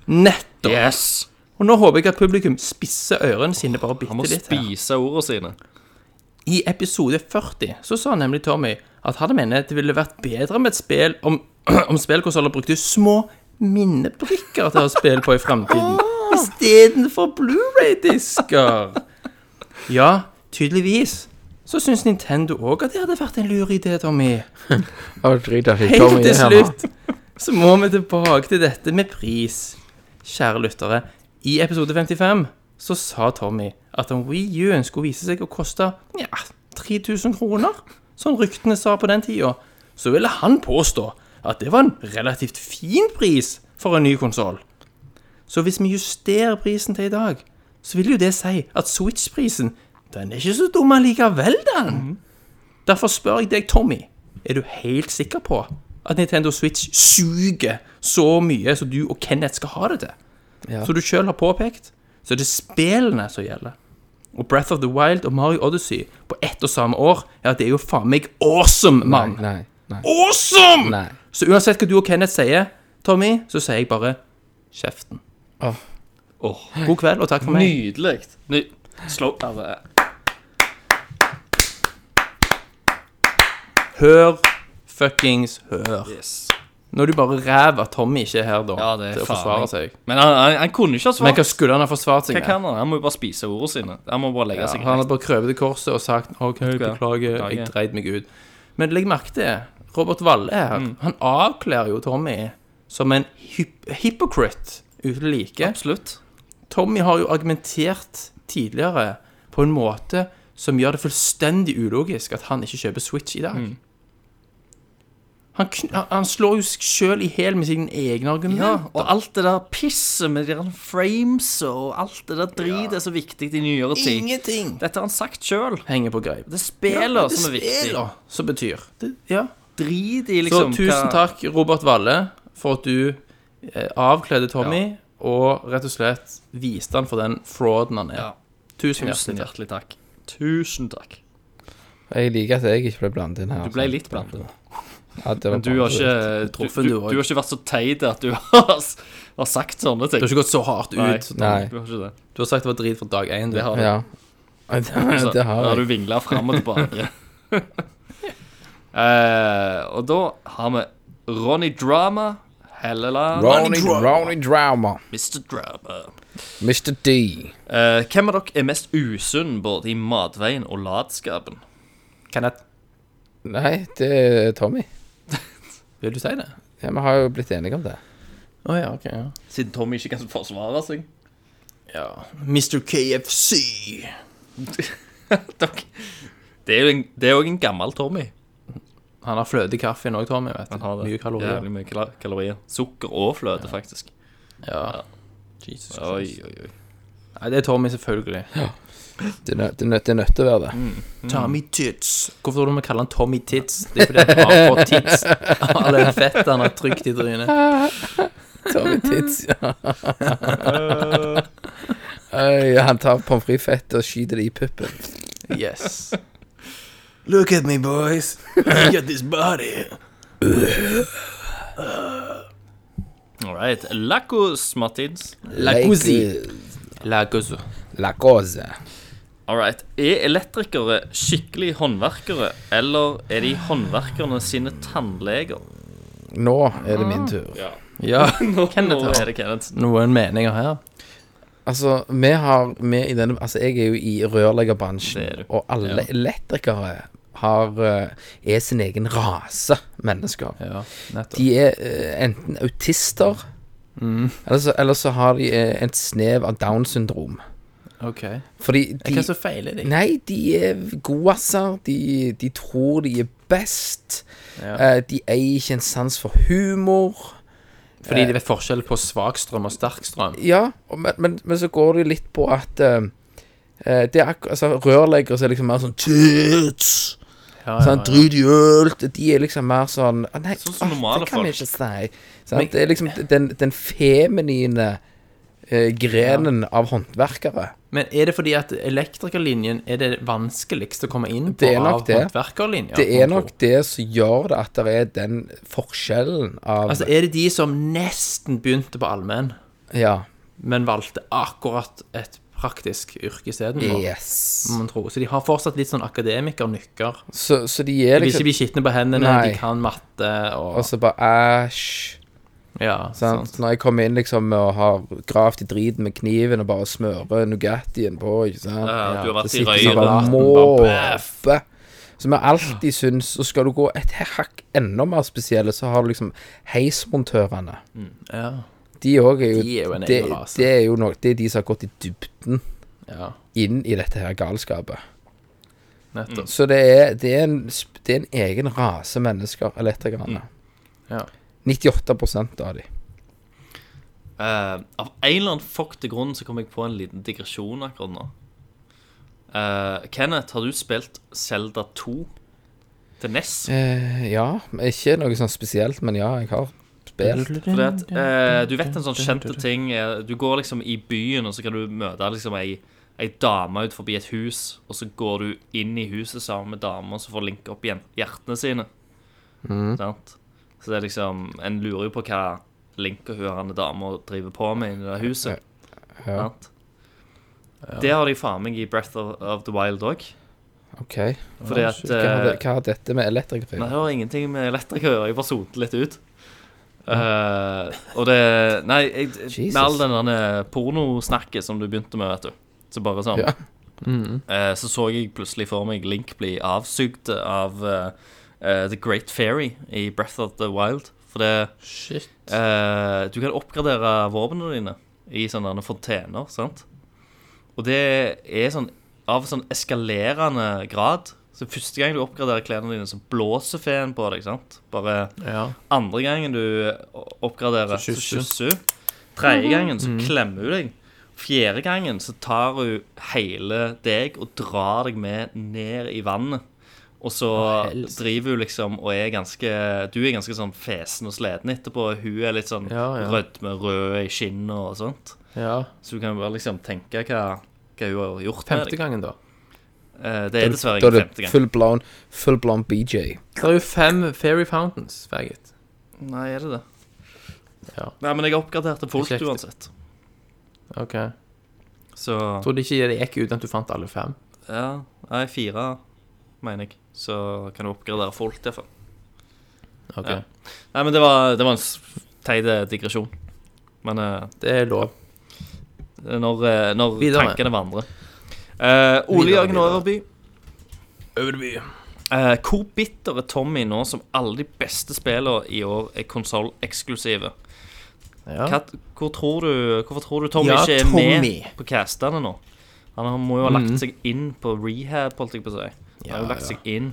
[SPEAKER 7] Nettopp.
[SPEAKER 6] Yes.
[SPEAKER 7] Og nå håper jeg at publikum spisser ørene sine bare bitte
[SPEAKER 6] Han må
[SPEAKER 7] litt. her.
[SPEAKER 6] spise ordene sine.
[SPEAKER 7] I episode 40 så sa nemlig Tommy at han mener det ville vært bedre med et spill om, om spillkonsoller brukte små minnebrikker til å ha spill på i framtiden, istedenfor Blu-ray-disker. Ja, tydeligvis. Så syns Nintendo òg at det hadde vært en lur idé, Tommy.
[SPEAKER 8] Å, drit i det. Kom
[SPEAKER 7] Helt til
[SPEAKER 8] igjen her nå.
[SPEAKER 7] slutt så må vi tilbake til dette med pris. Kjære lyttere, i episode 55 så sa Tommy at en Wii U-en skulle vise seg å koste ja, 3000 kroner, som ryktene sa på den tida, så ville han påstå at det var en relativt fin pris for en ny konsoll. Så hvis vi justerer prisen til i dag, så vil jo det si at Switch-prisen den er ikke så dum allikevel, den.
[SPEAKER 8] Mhm.
[SPEAKER 7] Derfor spør jeg deg, Tommy, er du helt sikker på at Nintendo Switch suger så mye som du og Kenneth skal ha det til? Som du sjøl har påpekt, så er det spillene som gjelder. Og Breath of the Wild og Mario Odyssey på ett og samme år, ja, det er jo faen meg awesome, mann!
[SPEAKER 8] Nei, nei.
[SPEAKER 7] Awesome!
[SPEAKER 8] Nei.
[SPEAKER 7] Så uansett hva du og Kenneth sier, Tommy, så sier jeg bare kjeften.
[SPEAKER 8] Åh.
[SPEAKER 6] Åh.
[SPEAKER 7] God kveld, og takk for meg.
[SPEAKER 6] Nydelig. Ny Slå av
[SPEAKER 7] Hør fuckings hør.
[SPEAKER 6] Yes.
[SPEAKER 7] Nå er det jo bare ræv at Tommy ikke er her, da,
[SPEAKER 6] Ja, det er
[SPEAKER 7] til å
[SPEAKER 6] faen
[SPEAKER 7] forsvare
[SPEAKER 6] meg.
[SPEAKER 7] seg.
[SPEAKER 6] Men han, han, han kunne ikke ha
[SPEAKER 7] Men
[SPEAKER 6] svart.
[SPEAKER 7] hva skulle han ha forsvart seg
[SPEAKER 6] Hva
[SPEAKER 7] med?
[SPEAKER 6] kan han? Han må jo bare spise ordene sine. Han må bare legge
[SPEAKER 7] Ja,
[SPEAKER 6] seg
[SPEAKER 7] han hadde bare krøpet i korset og sagt OK, beklager,
[SPEAKER 6] Beklager.
[SPEAKER 7] jeg dreit meg ut. Men legg merke til Robert Valle her.
[SPEAKER 6] Mm.
[SPEAKER 7] Han avkler jo Tommy som en hyp hypocrite uten like.
[SPEAKER 6] Absolutt.
[SPEAKER 7] Tommy har jo argumentert tidligere på en måte som gjør det fullstendig ulogisk at han ikke kjøper Switch i dag.
[SPEAKER 6] Mm.
[SPEAKER 7] Han, kn- han- han slår jo seg sjøl i hæl med sine egne
[SPEAKER 6] Ja,
[SPEAKER 7] argumenter.
[SPEAKER 6] og alt det der pisset med de der frames og alt det der drit er så viktig i nyere tid.
[SPEAKER 7] Ingenting
[SPEAKER 6] Dette har han sagt sjøl.
[SPEAKER 7] henger på greip.
[SPEAKER 6] Det er spillet
[SPEAKER 7] Ja, det
[SPEAKER 6] som er viktig.
[SPEAKER 7] spiller Som betyr. Det, ja.
[SPEAKER 6] Drit i liksom
[SPEAKER 7] Så tusen takk, Robert Valle, for at du eh, avkledde Tommy og rett og slett viste han for den frauden han er.
[SPEAKER 6] Ja.
[SPEAKER 7] Tusen
[SPEAKER 6] Tusen hjertelig
[SPEAKER 7] hjertelig takk.
[SPEAKER 6] takk. Tusen takk.
[SPEAKER 8] Jeg liker at jeg ikke ble blandet inn her.
[SPEAKER 6] Du ble
[SPEAKER 8] sant?
[SPEAKER 6] litt blandet.
[SPEAKER 8] Ja, det var
[SPEAKER 6] Men du
[SPEAKER 8] bra.
[SPEAKER 6] har ikke du, du,
[SPEAKER 7] Truffen, du
[SPEAKER 6] du
[SPEAKER 7] også.
[SPEAKER 6] har ikke vært så teit at du har, s- har sagt sånne ting.
[SPEAKER 7] Du har ikke gått så hardt ut.
[SPEAKER 6] Nei.
[SPEAKER 8] Nei.
[SPEAKER 6] Du har ikke det.
[SPEAKER 7] Du har sagt det var drit fra dag én. du.
[SPEAKER 6] Det har du.
[SPEAKER 8] Ja. Det,
[SPEAKER 6] Så
[SPEAKER 8] det
[SPEAKER 6] da
[SPEAKER 8] har
[SPEAKER 6] Altså, du
[SPEAKER 8] jeg.
[SPEAKER 6] vingla fram og tilbake. Eh, og da har vi Ronny Drama, Helleland,
[SPEAKER 8] Ronny, Ronny Drama.
[SPEAKER 6] Mr. Drama.
[SPEAKER 8] Mr. D.
[SPEAKER 6] Eh, hvem av dere er mest usunn både i matveien og latskapen?
[SPEAKER 7] Kenneth,
[SPEAKER 8] Nei, det er Tommy.
[SPEAKER 7] vil du si det?
[SPEAKER 8] Ja, Vi har jo blitt enige om det.
[SPEAKER 7] Å ja, ok. Ja.
[SPEAKER 6] Siden Tommy ikke kan forsvare seg.
[SPEAKER 7] ja. Mr. KFC.
[SPEAKER 6] Dere- Det er jo en, det er jo en gammel Tommy.
[SPEAKER 7] Han har fløte i kaffen òg, Tommy. vet du.
[SPEAKER 6] Han har det.
[SPEAKER 7] Mye kalorier.
[SPEAKER 6] Jævlig mye kal- kalorier. Sukker og fløte, faktisk.
[SPEAKER 7] Ja. Jesus
[SPEAKER 6] Oi,
[SPEAKER 7] Christ.
[SPEAKER 6] oi, oi.
[SPEAKER 7] Nei, det er Tommy, selvfølgelig.
[SPEAKER 8] Det er nø- det er nø- det er nødt til å være det.
[SPEAKER 6] Mm.
[SPEAKER 7] Tommy Tits. Hvorfor tror du vi kaller han Tommy Tits? Det er fordi han har fått tits. All den fett han har trykt i trynet.
[SPEAKER 8] Tommy Tits, ja. Øy, han tar pommes frites-fett og skyter det i puppen.
[SPEAKER 7] Yes. Look at me, boys. I got this body.
[SPEAKER 6] All right. Lacos Martins.
[SPEAKER 7] La cousine. La cousine.
[SPEAKER 8] La cose.
[SPEAKER 6] All right. Er elektrikere skikkelig håndverkere, eller er de håndverkerne sine tannleger?
[SPEAKER 8] Nå er det
[SPEAKER 6] Ah.
[SPEAKER 8] min tur.
[SPEAKER 7] Ja,
[SPEAKER 6] Nå,
[SPEAKER 7] Kenneth,
[SPEAKER 6] nå
[SPEAKER 7] ja.
[SPEAKER 6] er det Kenneth.
[SPEAKER 7] noen meninger her.
[SPEAKER 8] Altså, vi har vi i denne Altså, jeg er jo i
[SPEAKER 6] Det er du.
[SPEAKER 8] rørleggerbransjen, og alle elektrikere har eh, er sin egen rase mennesker.
[SPEAKER 7] Ja, nettopp.
[SPEAKER 8] De er eh, enten autister, eller, så, eller så har de eh, et snev av Downs syndrom.
[SPEAKER 7] Ok.
[SPEAKER 8] Fordi de
[SPEAKER 7] Hva så feiler de?
[SPEAKER 8] Nei, de er godasser. De, de tror de er best.
[SPEAKER 7] Ja.
[SPEAKER 8] Eh, de eier ikke en sans for humor.
[SPEAKER 7] Fordi de vet forskjell på svak strøm og sterk strøm.
[SPEAKER 8] Ja, og, men, men, men så går det jo litt på at eh, eh, det er akkur- altså, Rørleggere som er liksom mer sånn Tits!
[SPEAKER 7] Ja, ja,
[SPEAKER 8] Sånn,
[SPEAKER 7] ja.
[SPEAKER 8] Drit i alt. De er liksom mer sånn «Å, Nei,
[SPEAKER 6] Sånn som
[SPEAKER 8] åh,
[SPEAKER 6] normale
[SPEAKER 8] det kan vi
[SPEAKER 6] folk.
[SPEAKER 8] ikke si. Sant? det er liksom den, den feminine eh, grenen av håndverkere.
[SPEAKER 7] Men er det fordi at elektrikerlinjen er det vanskeligste å komme inn på
[SPEAKER 8] Det er nok
[SPEAKER 7] av
[SPEAKER 8] det.
[SPEAKER 7] håndverkerlinja?
[SPEAKER 8] Det
[SPEAKER 7] må
[SPEAKER 8] er
[SPEAKER 7] man
[SPEAKER 8] nok
[SPEAKER 7] tro.
[SPEAKER 8] det som gjør det at det er den forskjellen av
[SPEAKER 7] Altså, er det de som nesten begynte på allmenn,
[SPEAKER 8] Ja.
[SPEAKER 7] men valgte akkurat et praktisk yrke istedenfor?
[SPEAKER 8] Yes.
[SPEAKER 7] må man tro. Så de har fortsatt litt sånn akademikernykker.
[SPEAKER 8] Så, så de er
[SPEAKER 7] De vil ikke
[SPEAKER 8] liksom
[SPEAKER 7] bli skitne på hendene,
[SPEAKER 8] Nei.
[SPEAKER 7] de kan matte og
[SPEAKER 8] Og så bare æsj.
[SPEAKER 7] Ja,
[SPEAKER 8] Sant?
[SPEAKER 7] sant.
[SPEAKER 8] Når jeg kommer inn liksom og har gravd i driten med kniven og bare smører Nugattien på, ikke sant.
[SPEAKER 6] Ja, du har vært
[SPEAKER 8] Det
[SPEAKER 6] i
[SPEAKER 8] sitter
[SPEAKER 6] røyren.
[SPEAKER 8] sånn bare
[SPEAKER 7] raten,
[SPEAKER 8] måpe. Så vi alltid syns Og skal du gå et hakk enda mer spesielle, så har du liksom heismontørene.
[SPEAKER 7] Ja,
[SPEAKER 8] De òg er jo
[SPEAKER 7] De er jo en altså.
[SPEAKER 8] det,
[SPEAKER 7] egen rase.
[SPEAKER 8] det er jo noe Det er de som har gått i dybden
[SPEAKER 7] ja,
[SPEAKER 8] inn i dette her galskapet.
[SPEAKER 7] nettopp.
[SPEAKER 8] Så det er, det er, en, sp- det er en egen rase mennesker, elektrikerne.
[SPEAKER 7] Mm. Ja.
[SPEAKER 8] 98 av de.
[SPEAKER 6] Eh, av en eller annen fuckte grunn så kom jeg på en liten digresjon akkurat nå. Eh, Kenneth, har du spilt Zelda 2 til E NES?
[SPEAKER 8] Eh, ja, men ikke noe sånn spesielt, men ja, jeg har spilt.
[SPEAKER 6] Fordi at, eh, du vet en sånn kjente ting eh, Du går liksom i byen, og så kan du møte liksom ei, ei dame ut forbi et hus, og så går du inn i huset sammen med dama, og så får linke opp igjen hjertene sine.
[SPEAKER 8] Mm.
[SPEAKER 6] Sant? Så det er liksom En lurer jo på hva linka hun og dama driver på med inni det huset.
[SPEAKER 8] Ja.
[SPEAKER 6] Sant? Det har de faen meg i Breath of, of the Wild òg.
[SPEAKER 8] OK.
[SPEAKER 6] Fordi at
[SPEAKER 8] Hva har, det,
[SPEAKER 6] eh,
[SPEAKER 8] hva har dette med elektriker å
[SPEAKER 6] Nei,
[SPEAKER 8] gjøre?
[SPEAKER 6] det har ingenting med elektriker å gjøre. Jeg bare sonte litt ut. Eh, og det Nei, jeg,
[SPEAKER 8] Jesus.
[SPEAKER 6] med all den derne pornosnakket som du begynte med, vet du. Så bare sånn.
[SPEAKER 8] Ja.
[SPEAKER 7] Mm.
[SPEAKER 6] eh, så så jeg plutselig for meg Link bli avsugd av eh, eh, The Great Fairy i Breath of the Wild. For det
[SPEAKER 7] Shit.
[SPEAKER 6] Eh, du kan oppgradere våpnene dine i sånne derne fontener, sant? Og det er sånn av sånn eskalerende grad. Så første gang du oppgraderer klærne dine, så blåser feen på deg, sant? Bare
[SPEAKER 7] Ja.
[SPEAKER 6] andre gangen du oppgraderer, så
[SPEAKER 7] Så kysser. Mhm.
[SPEAKER 6] kysser hun. Tredje gangen så klemmer hun deg. Fjerde gangen så tar hun hele deg og drar deg med ned i vannet. Og så driver hun liksom og er ganske Du er ganske sånn fesen og sliten etterpå. Hun er litt sånn
[SPEAKER 7] Ja, ja.
[SPEAKER 6] rødme, rød i kinnet og sånt.
[SPEAKER 7] ja.
[SPEAKER 6] Så du kan bare liksom tenke hva, hva hun har gjort
[SPEAKER 7] Femte
[SPEAKER 6] med deg.
[SPEAKER 7] gangen, da.
[SPEAKER 6] Eh, Det er dessverre
[SPEAKER 8] Da
[SPEAKER 6] ikke
[SPEAKER 8] er
[SPEAKER 6] femte
[SPEAKER 8] det
[SPEAKER 6] gang.
[SPEAKER 8] full blown, full blown BJ.
[SPEAKER 7] Det er jo fem Fairy Fountains, faggot.
[SPEAKER 6] Nei, er det det?
[SPEAKER 7] Ja.
[SPEAKER 6] Nei, men jeg oppgraderte fullt
[SPEAKER 7] Ikke riktig.
[SPEAKER 6] uansett.
[SPEAKER 7] OK. Jeg
[SPEAKER 6] Så
[SPEAKER 7] trodde ikke det gikk uten at du fant alle fem.
[SPEAKER 6] Ja, nei, fire, mener jeg. Så kan du oppgradere folk, derfor.
[SPEAKER 7] Ok.
[SPEAKER 6] Ja. Nei, men det var, det var en s- teit eh, digresjon. Men eh,
[SPEAKER 7] Det er lov.
[SPEAKER 6] det er når, eh, når
[SPEAKER 7] Videre.
[SPEAKER 6] tankene vandrer. Eh, Ole
[SPEAKER 7] Videre,
[SPEAKER 6] Jørgen
[SPEAKER 7] videre.
[SPEAKER 6] Øverby.
[SPEAKER 7] Øverby.
[SPEAKER 6] Eh, hvor bitter er Tommy nå som alle de beste spillene i år er konsolleksklusive?
[SPEAKER 7] Ja.
[SPEAKER 6] Hva- Hvor tror du, hvorfor tror du Tommy
[SPEAKER 7] Ja,
[SPEAKER 6] ikke er
[SPEAKER 7] Tommy. Mm.
[SPEAKER 6] med på castene nå? Han må jo ha lagt seg inn på rehab, holdt jeg på å si. Han har jo lagt seg inn.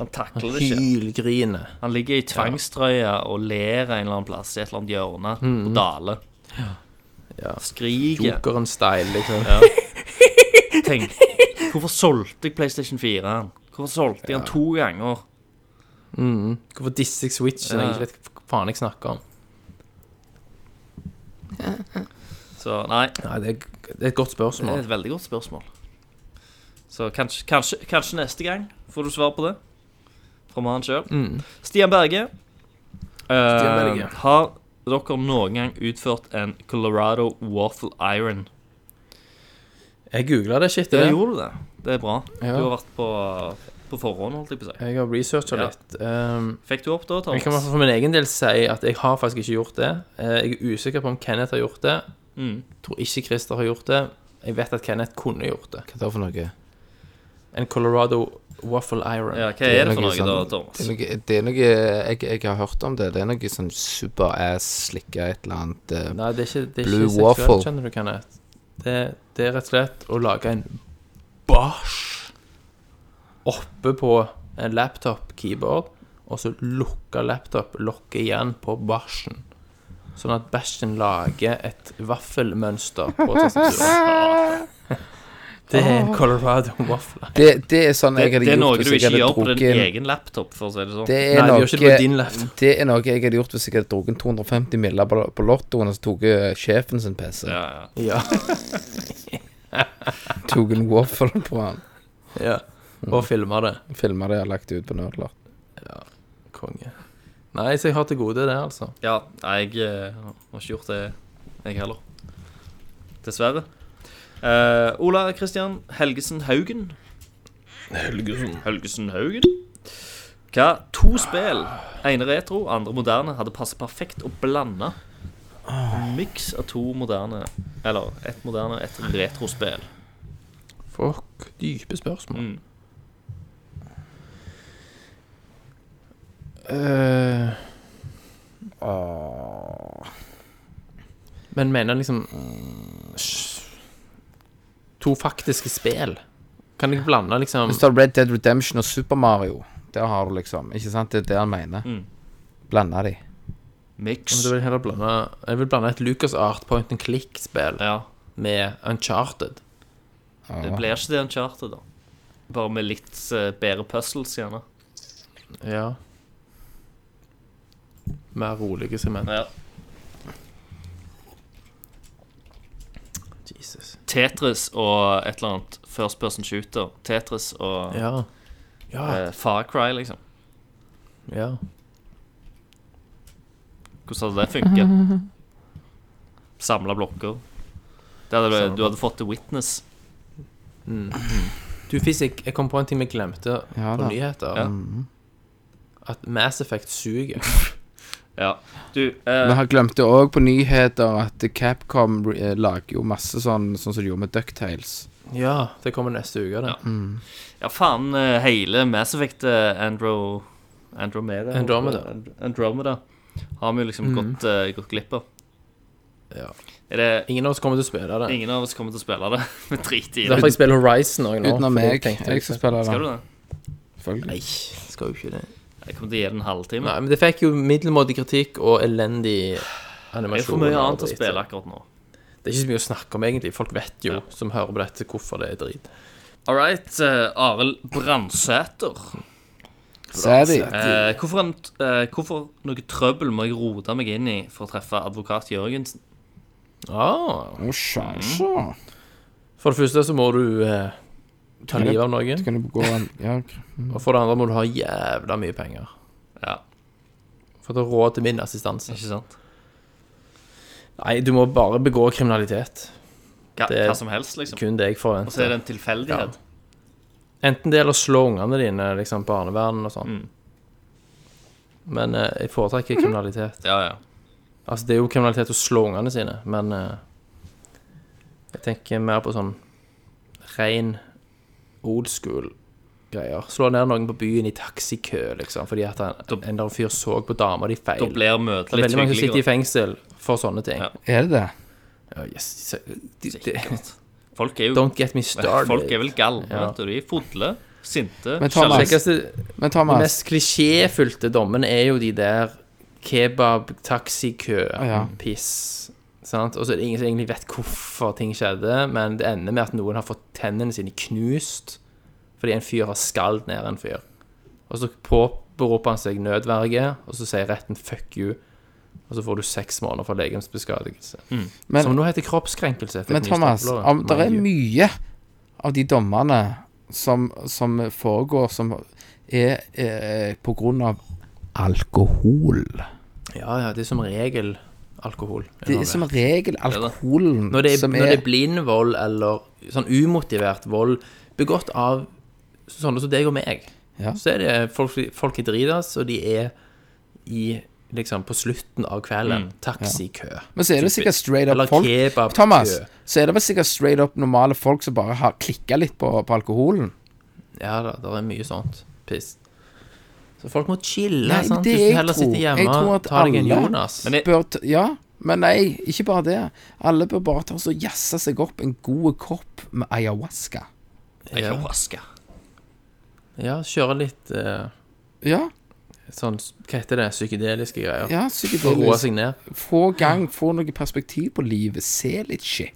[SPEAKER 6] Han takler det ikke.
[SPEAKER 7] Hylgrine.
[SPEAKER 6] Han ligger i tvangstrøya og ler en eller annen plass i et eller annet hjørne på Dale.
[SPEAKER 7] Mhm. Ja.
[SPEAKER 6] Skriker.
[SPEAKER 7] Jokeren-style, liksom.
[SPEAKER 6] Tenk, hvorfor solgte jeg PlayStation 4? han? Hvorfor solgte jeg den to ganger?
[SPEAKER 7] Hvorfor disser jeg Switchen?
[SPEAKER 6] Ja.
[SPEAKER 7] Jeg vet ikke hva faen jeg snakker om.
[SPEAKER 6] Så nei,
[SPEAKER 7] Nei, det er, det er et godt
[SPEAKER 6] det er
[SPEAKER 7] spørsmål.
[SPEAKER 6] et veldig godt spørsmål. Så kanskje, kanskje, kanskje neste gang får du svar på det fra mannen sjøl.
[SPEAKER 7] Mm.
[SPEAKER 6] Stian Berge. eh,
[SPEAKER 7] Stian Berge.
[SPEAKER 6] har dere noen gang utført en Colorado Waffle Iron?
[SPEAKER 7] Jeg googla det shit.
[SPEAKER 6] Ja,
[SPEAKER 7] Det.
[SPEAKER 6] gjorde du det. Det er bra.
[SPEAKER 7] Ja.
[SPEAKER 6] Du har vært på, på forhånd, holdt jeg på å si.
[SPEAKER 7] Jeg har researcha
[SPEAKER 6] Ja.
[SPEAKER 7] litt. Um,
[SPEAKER 6] Fikk du opp da,
[SPEAKER 7] jeg kan i hvert
[SPEAKER 6] Thomas?
[SPEAKER 7] fall for min egen del si at jeg har faktisk ikke gjort det. Eh, Jeg er usikker på om Kenneth har gjort det.
[SPEAKER 6] Mm.
[SPEAKER 7] Tror ikke Christer har gjort det. Jeg vet at Kenneth kunne gjort det.
[SPEAKER 8] Hva er det for noe?
[SPEAKER 7] En Colorado Waffle Iron.
[SPEAKER 6] Ja, hva er det for noe da,
[SPEAKER 8] sånn- Det
[SPEAKER 6] Thomas?
[SPEAKER 8] er noe, det er noe jeg, jeg har hørt om det. Det er noe sånn superass slikka et eller annet eh,
[SPEAKER 7] Nei, det er ikke, det er
[SPEAKER 8] Blue
[SPEAKER 7] ikke seksuelt,
[SPEAKER 8] waffle.
[SPEAKER 7] skjønner du, Kenneth. Det, det er rett og slett å lage en bæsj oppe på en laptop-keyboard, og så lukke laptop-lokket igjen på bæsjen. Sånn at bæsjen lager et vaffelmønster på tastaturet. Det er en Colorado waffle.
[SPEAKER 8] det, det er sånn
[SPEAKER 6] Det,
[SPEAKER 8] jeg hadde
[SPEAKER 6] det er noe
[SPEAKER 8] gjort
[SPEAKER 6] du
[SPEAKER 8] hvis jeg
[SPEAKER 6] ikke
[SPEAKER 8] hadde
[SPEAKER 6] gjør på din
[SPEAKER 8] drukket en-
[SPEAKER 6] egen laptop, for å si det sånn.
[SPEAKER 8] Det
[SPEAKER 7] Nei,
[SPEAKER 8] er
[SPEAKER 7] du gjør ikke det på din
[SPEAKER 8] noe
[SPEAKER 7] laptop.
[SPEAKER 8] Det er noe jeg hadde gjort hvis jeg hadde drukket 250 miller på, på lottoen, og så tok jeg sjefen sin PC.
[SPEAKER 6] Ja, ja.
[SPEAKER 7] Ja.
[SPEAKER 8] Tok en waffle på han.
[SPEAKER 7] ja. Og filmer det.
[SPEAKER 8] Filma det og lagt det ut på Nerdlert.
[SPEAKER 7] Konge. Nei, så jeg har til gode det, altså.
[SPEAKER 6] ja nei, jeg eh, har ikke gjort det, jeg heller. Dessverre. Eh, Ola Kristian Helgesen Haugen. Helgesen. Haugen. Hva to spill, ene retro, andre moderne, hadde passet perfekt å blande? En miks av to moderne Eller ett moderne, ett retrospill.
[SPEAKER 7] Fuck, dype spørsmål.
[SPEAKER 6] Mm.
[SPEAKER 7] Eh. Men mener han liksom Sj. To faktiske spill? Kan jeg blande liksom
[SPEAKER 8] Hvis du har Red Dead Redemption og Super Mario, der har du liksom Ikke sant? Det er det han mener.
[SPEAKER 6] Mm.
[SPEAKER 8] Blanda de.
[SPEAKER 7] Ja, men
[SPEAKER 6] Miks.
[SPEAKER 7] da vil jeg, heller blande, jeg vil blande et Lucas Art Point and Click-spill
[SPEAKER 6] Ja.
[SPEAKER 7] med Uncharted.
[SPEAKER 6] Det blir ikke det Uncharted, da. Bare med litt eh, bedre puzzles, gjerne.
[SPEAKER 7] Ja. Mer rolige segment.
[SPEAKER 6] Ja.
[SPEAKER 7] Jesus.
[SPEAKER 6] Tetris og et eller annet first person shooter. Tetris og
[SPEAKER 7] Ja. Ja.
[SPEAKER 6] eh, Far Cry, liksom.
[SPEAKER 7] ja.
[SPEAKER 6] Hvordan hadde det funket? Samla blokker. Det hadde, du hadde fått The Witness.
[SPEAKER 7] Du, Fizz, jeg, jeg kom på en ting vi glemte
[SPEAKER 9] Ja
[SPEAKER 7] på
[SPEAKER 9] da.
[SPEAKER 7] nyheter.
[SPEAKER 6] Ja.
[SPEAKER 7] At Mass Effect suger.
[SPEAKER 6] Ja. Du,
[SPEAKER 8] Vi
[SPEAKER 6] eh,
[SPEAKER 8] har glemt det òg på nyheter at Capcom eh, lager jo masse sånn sånn som de gjorde med Ducktales.
[SPEAKER 7] Ja, det kommer neste uke, det.
[SPEAKER 6] ja, faen eh, hele Mass Effect eh, Andro... Andromeda?
[SPEAKER 7] Andromeda.
[SPEAKER 6] And- Andromeda har vi jo liksom gått, eh, gått glipp av.
[SPEAKER 7] Ja.
[SPEAKER 6] Er det
[SPEAKER 7] Ingen av oss kommer til å spille det.
[SPEAKER 6] ingen av oss kommer til å spille det? Vi driter i det.
[SPEAKER 7] Derfor jeg spiller Horizon òg nå.
[SPEAKER 8] Utenom
[SPEAKER 7] fordi jeg
[SPEAKER 8] meg.
[SPEAKER 7] tenkte-
[SPEAKER 8] Jeg skal spille
[SPEAKER 6] Skal du
[SPEAKER 8] det.
[SPEAKER 6] det?
[SPEAKER 8] Selvfølgelig.
[SPEAKER 7] Nei, skal jo ikke det.
[SPEAKER 6] Jeg kommer til å gi det en halvtime.
[SPEAKER 7] Nei, men det fikk jo middelmådig kritikk og elendig
[SPEAKER 6] Det er
[SPEAKER 7] animasjon.
[SPEAKER 6] for mye
[SPEAKER 7] og
[SPEAKER 6] annet å
[SPEAKER 7] drit.
[SPEAKER 6] spille akkurat nå.
[SPEAKER 7] Det er ikke så mye å snakke om, egentlig. Folk vet jo,
[SPEAKER 6] Ja.
[SPEAKER 7] som hører på dette, hvorfor det er drit.
[SPEAKER 6] All right, eh, Arild Brandsæter.
[SPEAKER 8] Sædi.
[SPEAKER 6] Eh, hvorfor, en, eh, hvorfor noe trøbbel må jeg rote meg inn i for å treffe advokat Jørgensen?
[SPEAKER 7] Ah,
[SPEAKER 8] Å, sjanse.
[SPEAKER 7] for det første så må du eh, ta
[SPEAKER 8] Kan jeg-
[SPEAKER 7] livet av noen.
[SPEAKER 8] Kan du gå an Ja, ok.
[SPEAKER 7] Og for det andre må du ha jævla mye penger.
[SPEAKER 6] Ja,
[SPEAKER 7] For det er råd til min assistanse.
[SPEAKER 6] ikke sant?
[SPEAKER 7] Nei, du må bare begå kriminalitet.
[SPEAKER 6] Hva,
[SPEAKER 7] Det-
[SPEAKER 6] hva som helst, liksom.
[SPEAKER 7] Kun det jeg
[SPEAKER 6] Og så er
[SPEAKER 7] forventer.
[SPEAKER 6] det en tilfeldighet.
[SPEAKER 7] Enten det eller slå ungene dine, liksom barnevernet
[SPEAKER 6] Mm.
[SPEAKER 7] og sånn. Men eh, jeg foretrekker kriminalitet.
[SPEAKER 6] Ja, ja.
[SPEAKER 7] Altså, det er jo kriminalitet å slå ungene sine, men eh, jeg tenker mer på sånn ren old school-greier. Slå ned noen på byen i taxikø, liksom, fordi at han,
[SPEAKER 6] Da-
[SPEAKER 7] en eller annen fyr så på dama di feil.
[SPEAKER 6] Da blir møtet
[SPEAKER 7] det er
[SPEAKER 6] litt
[SPEAKER 7] veldig mange som sitter i
[SPEAKER 6] hyggeligere.
[SPEAKER 7] fengsel for sånne ting.
[SPEAKER 6] Ja.
[SPEAKER 8] Er det det?
[SPEAKER 7] Ja, yes, så- de, de,
[SPEAKER 6] Folk er jo
[SPEAKER 7] don't get me started.
[SPEAKER 6] Folk er vel galne,
[SPEAKER 7] Ja.
[SPEAKER 6] vet du. De er fodle, sinte,
[SPEAKER 8] Men Thomas-
[SPEAKER 6] sjalu.
[SPEAKER 7] Sikkert,
[SPEAKER 8] Men
[SPEAKER 7] de
[SPEAKER 8] Thomas,
[SPEAKER 7] mest klisjéfylte dommene er jo de der kebab, taxikø,
[SPEAKER 8] ja.
[SPEAKER 7] piss. Sant? Og så er det ingen som egentlig vet hvorfor ting skjedde, men det ender med at noen har fått tennene sine knust fordi en fyr har skalt ned en fyr. Og så påberoper han seg nødverge, og så sier retten 'fuck you', og så får du seks måneder for legemsbeskadigelse.
[SPEAKER 8] Men-
[SPEAKER 7] som nå heter kroppskrenkelse. etter den
[SPEAKER 8] men
[SPEAKER 7] nye
[SPEAKER 8] Thomas
[SPEAKER 7] straffeloven,
[SPEAKER 8] om det er
[SPEAKER 7] mind you.
[SPEAKER 8] mye av de dommene som, som foregår, som er, er på grunn av alkohol.
[SPEAKER 7] Ja, ja, det er som regel alkohol.
[SPEAKER 8] Det er som regel alkoholen
[SPEAKER 7] Når det er,
[SPEAKER 8] som
[SPEAKER 7] når det
[SPEAKER 8] er
[SPEAKER 7] er blind vold eller sånn umotivert vold begått av sånne som deg og meg,
[SPEAKER 8] Ja.
[SPEAKER 7] så er det folk, folk er dritas, og de er i liksom på slutten av kvelden. Taxikø.
[SPEAKER 8] Men så er det
[SPEAKER 7] typisk.
[SPEAKER 8] sikkert straight up
[SPEAKER 7] Eller
[SPEAKER 8] Mm, folk
[SPEAKER 7] kebabkø.
[SPEAKER 8] Thomas, så er det vel sikkert straight up normale folk som bare har klikka litt på, på alkoholen.
[SPEAKER 7] Ja da, det er mye sånt piss. Så folk må chille.
[SPEAKER 8] Nei, men
[SPEAKER 7] sant?
[SPEAKER 8] det
[SPEAKER 7] Du skal
[SPEAKER 8] jeg
[SPEAKER 7] heller sitte
[SPEAKER 8] tror- jeg
[SPEAKER 7] hjemme
[SPEAKER 8] tror at
[SPEAKER 7] og ta deg en
[SPEAKER 8] alle-
[SPEAKER 7] Jonas.
[SPEAKER 6] Men jeg-
[SPEAKER 8] Bør t ja, men nei, ikke bare det. Alle bør bare ta og så jazze seg opp en god kopp med ayahuasca.
[SPEAKER 7] ja,
[SPEAKER 6] Ayahuasca.
[SPEAKER 7] ja, kjøre litt eh,
[SPEAKER 8] Ja,
[SPEAKER 7] sånn Hva heter det? Psykedeliske greier.
[SPEAKER 8] ja
[SPEAKER 7] For å roe
[SPEAKER 8] psykedelisk.
[SPEAKER 7] seg ned.
[SPEAKER 8] Få gang, få noe perspektiv på livet. Se litt shit.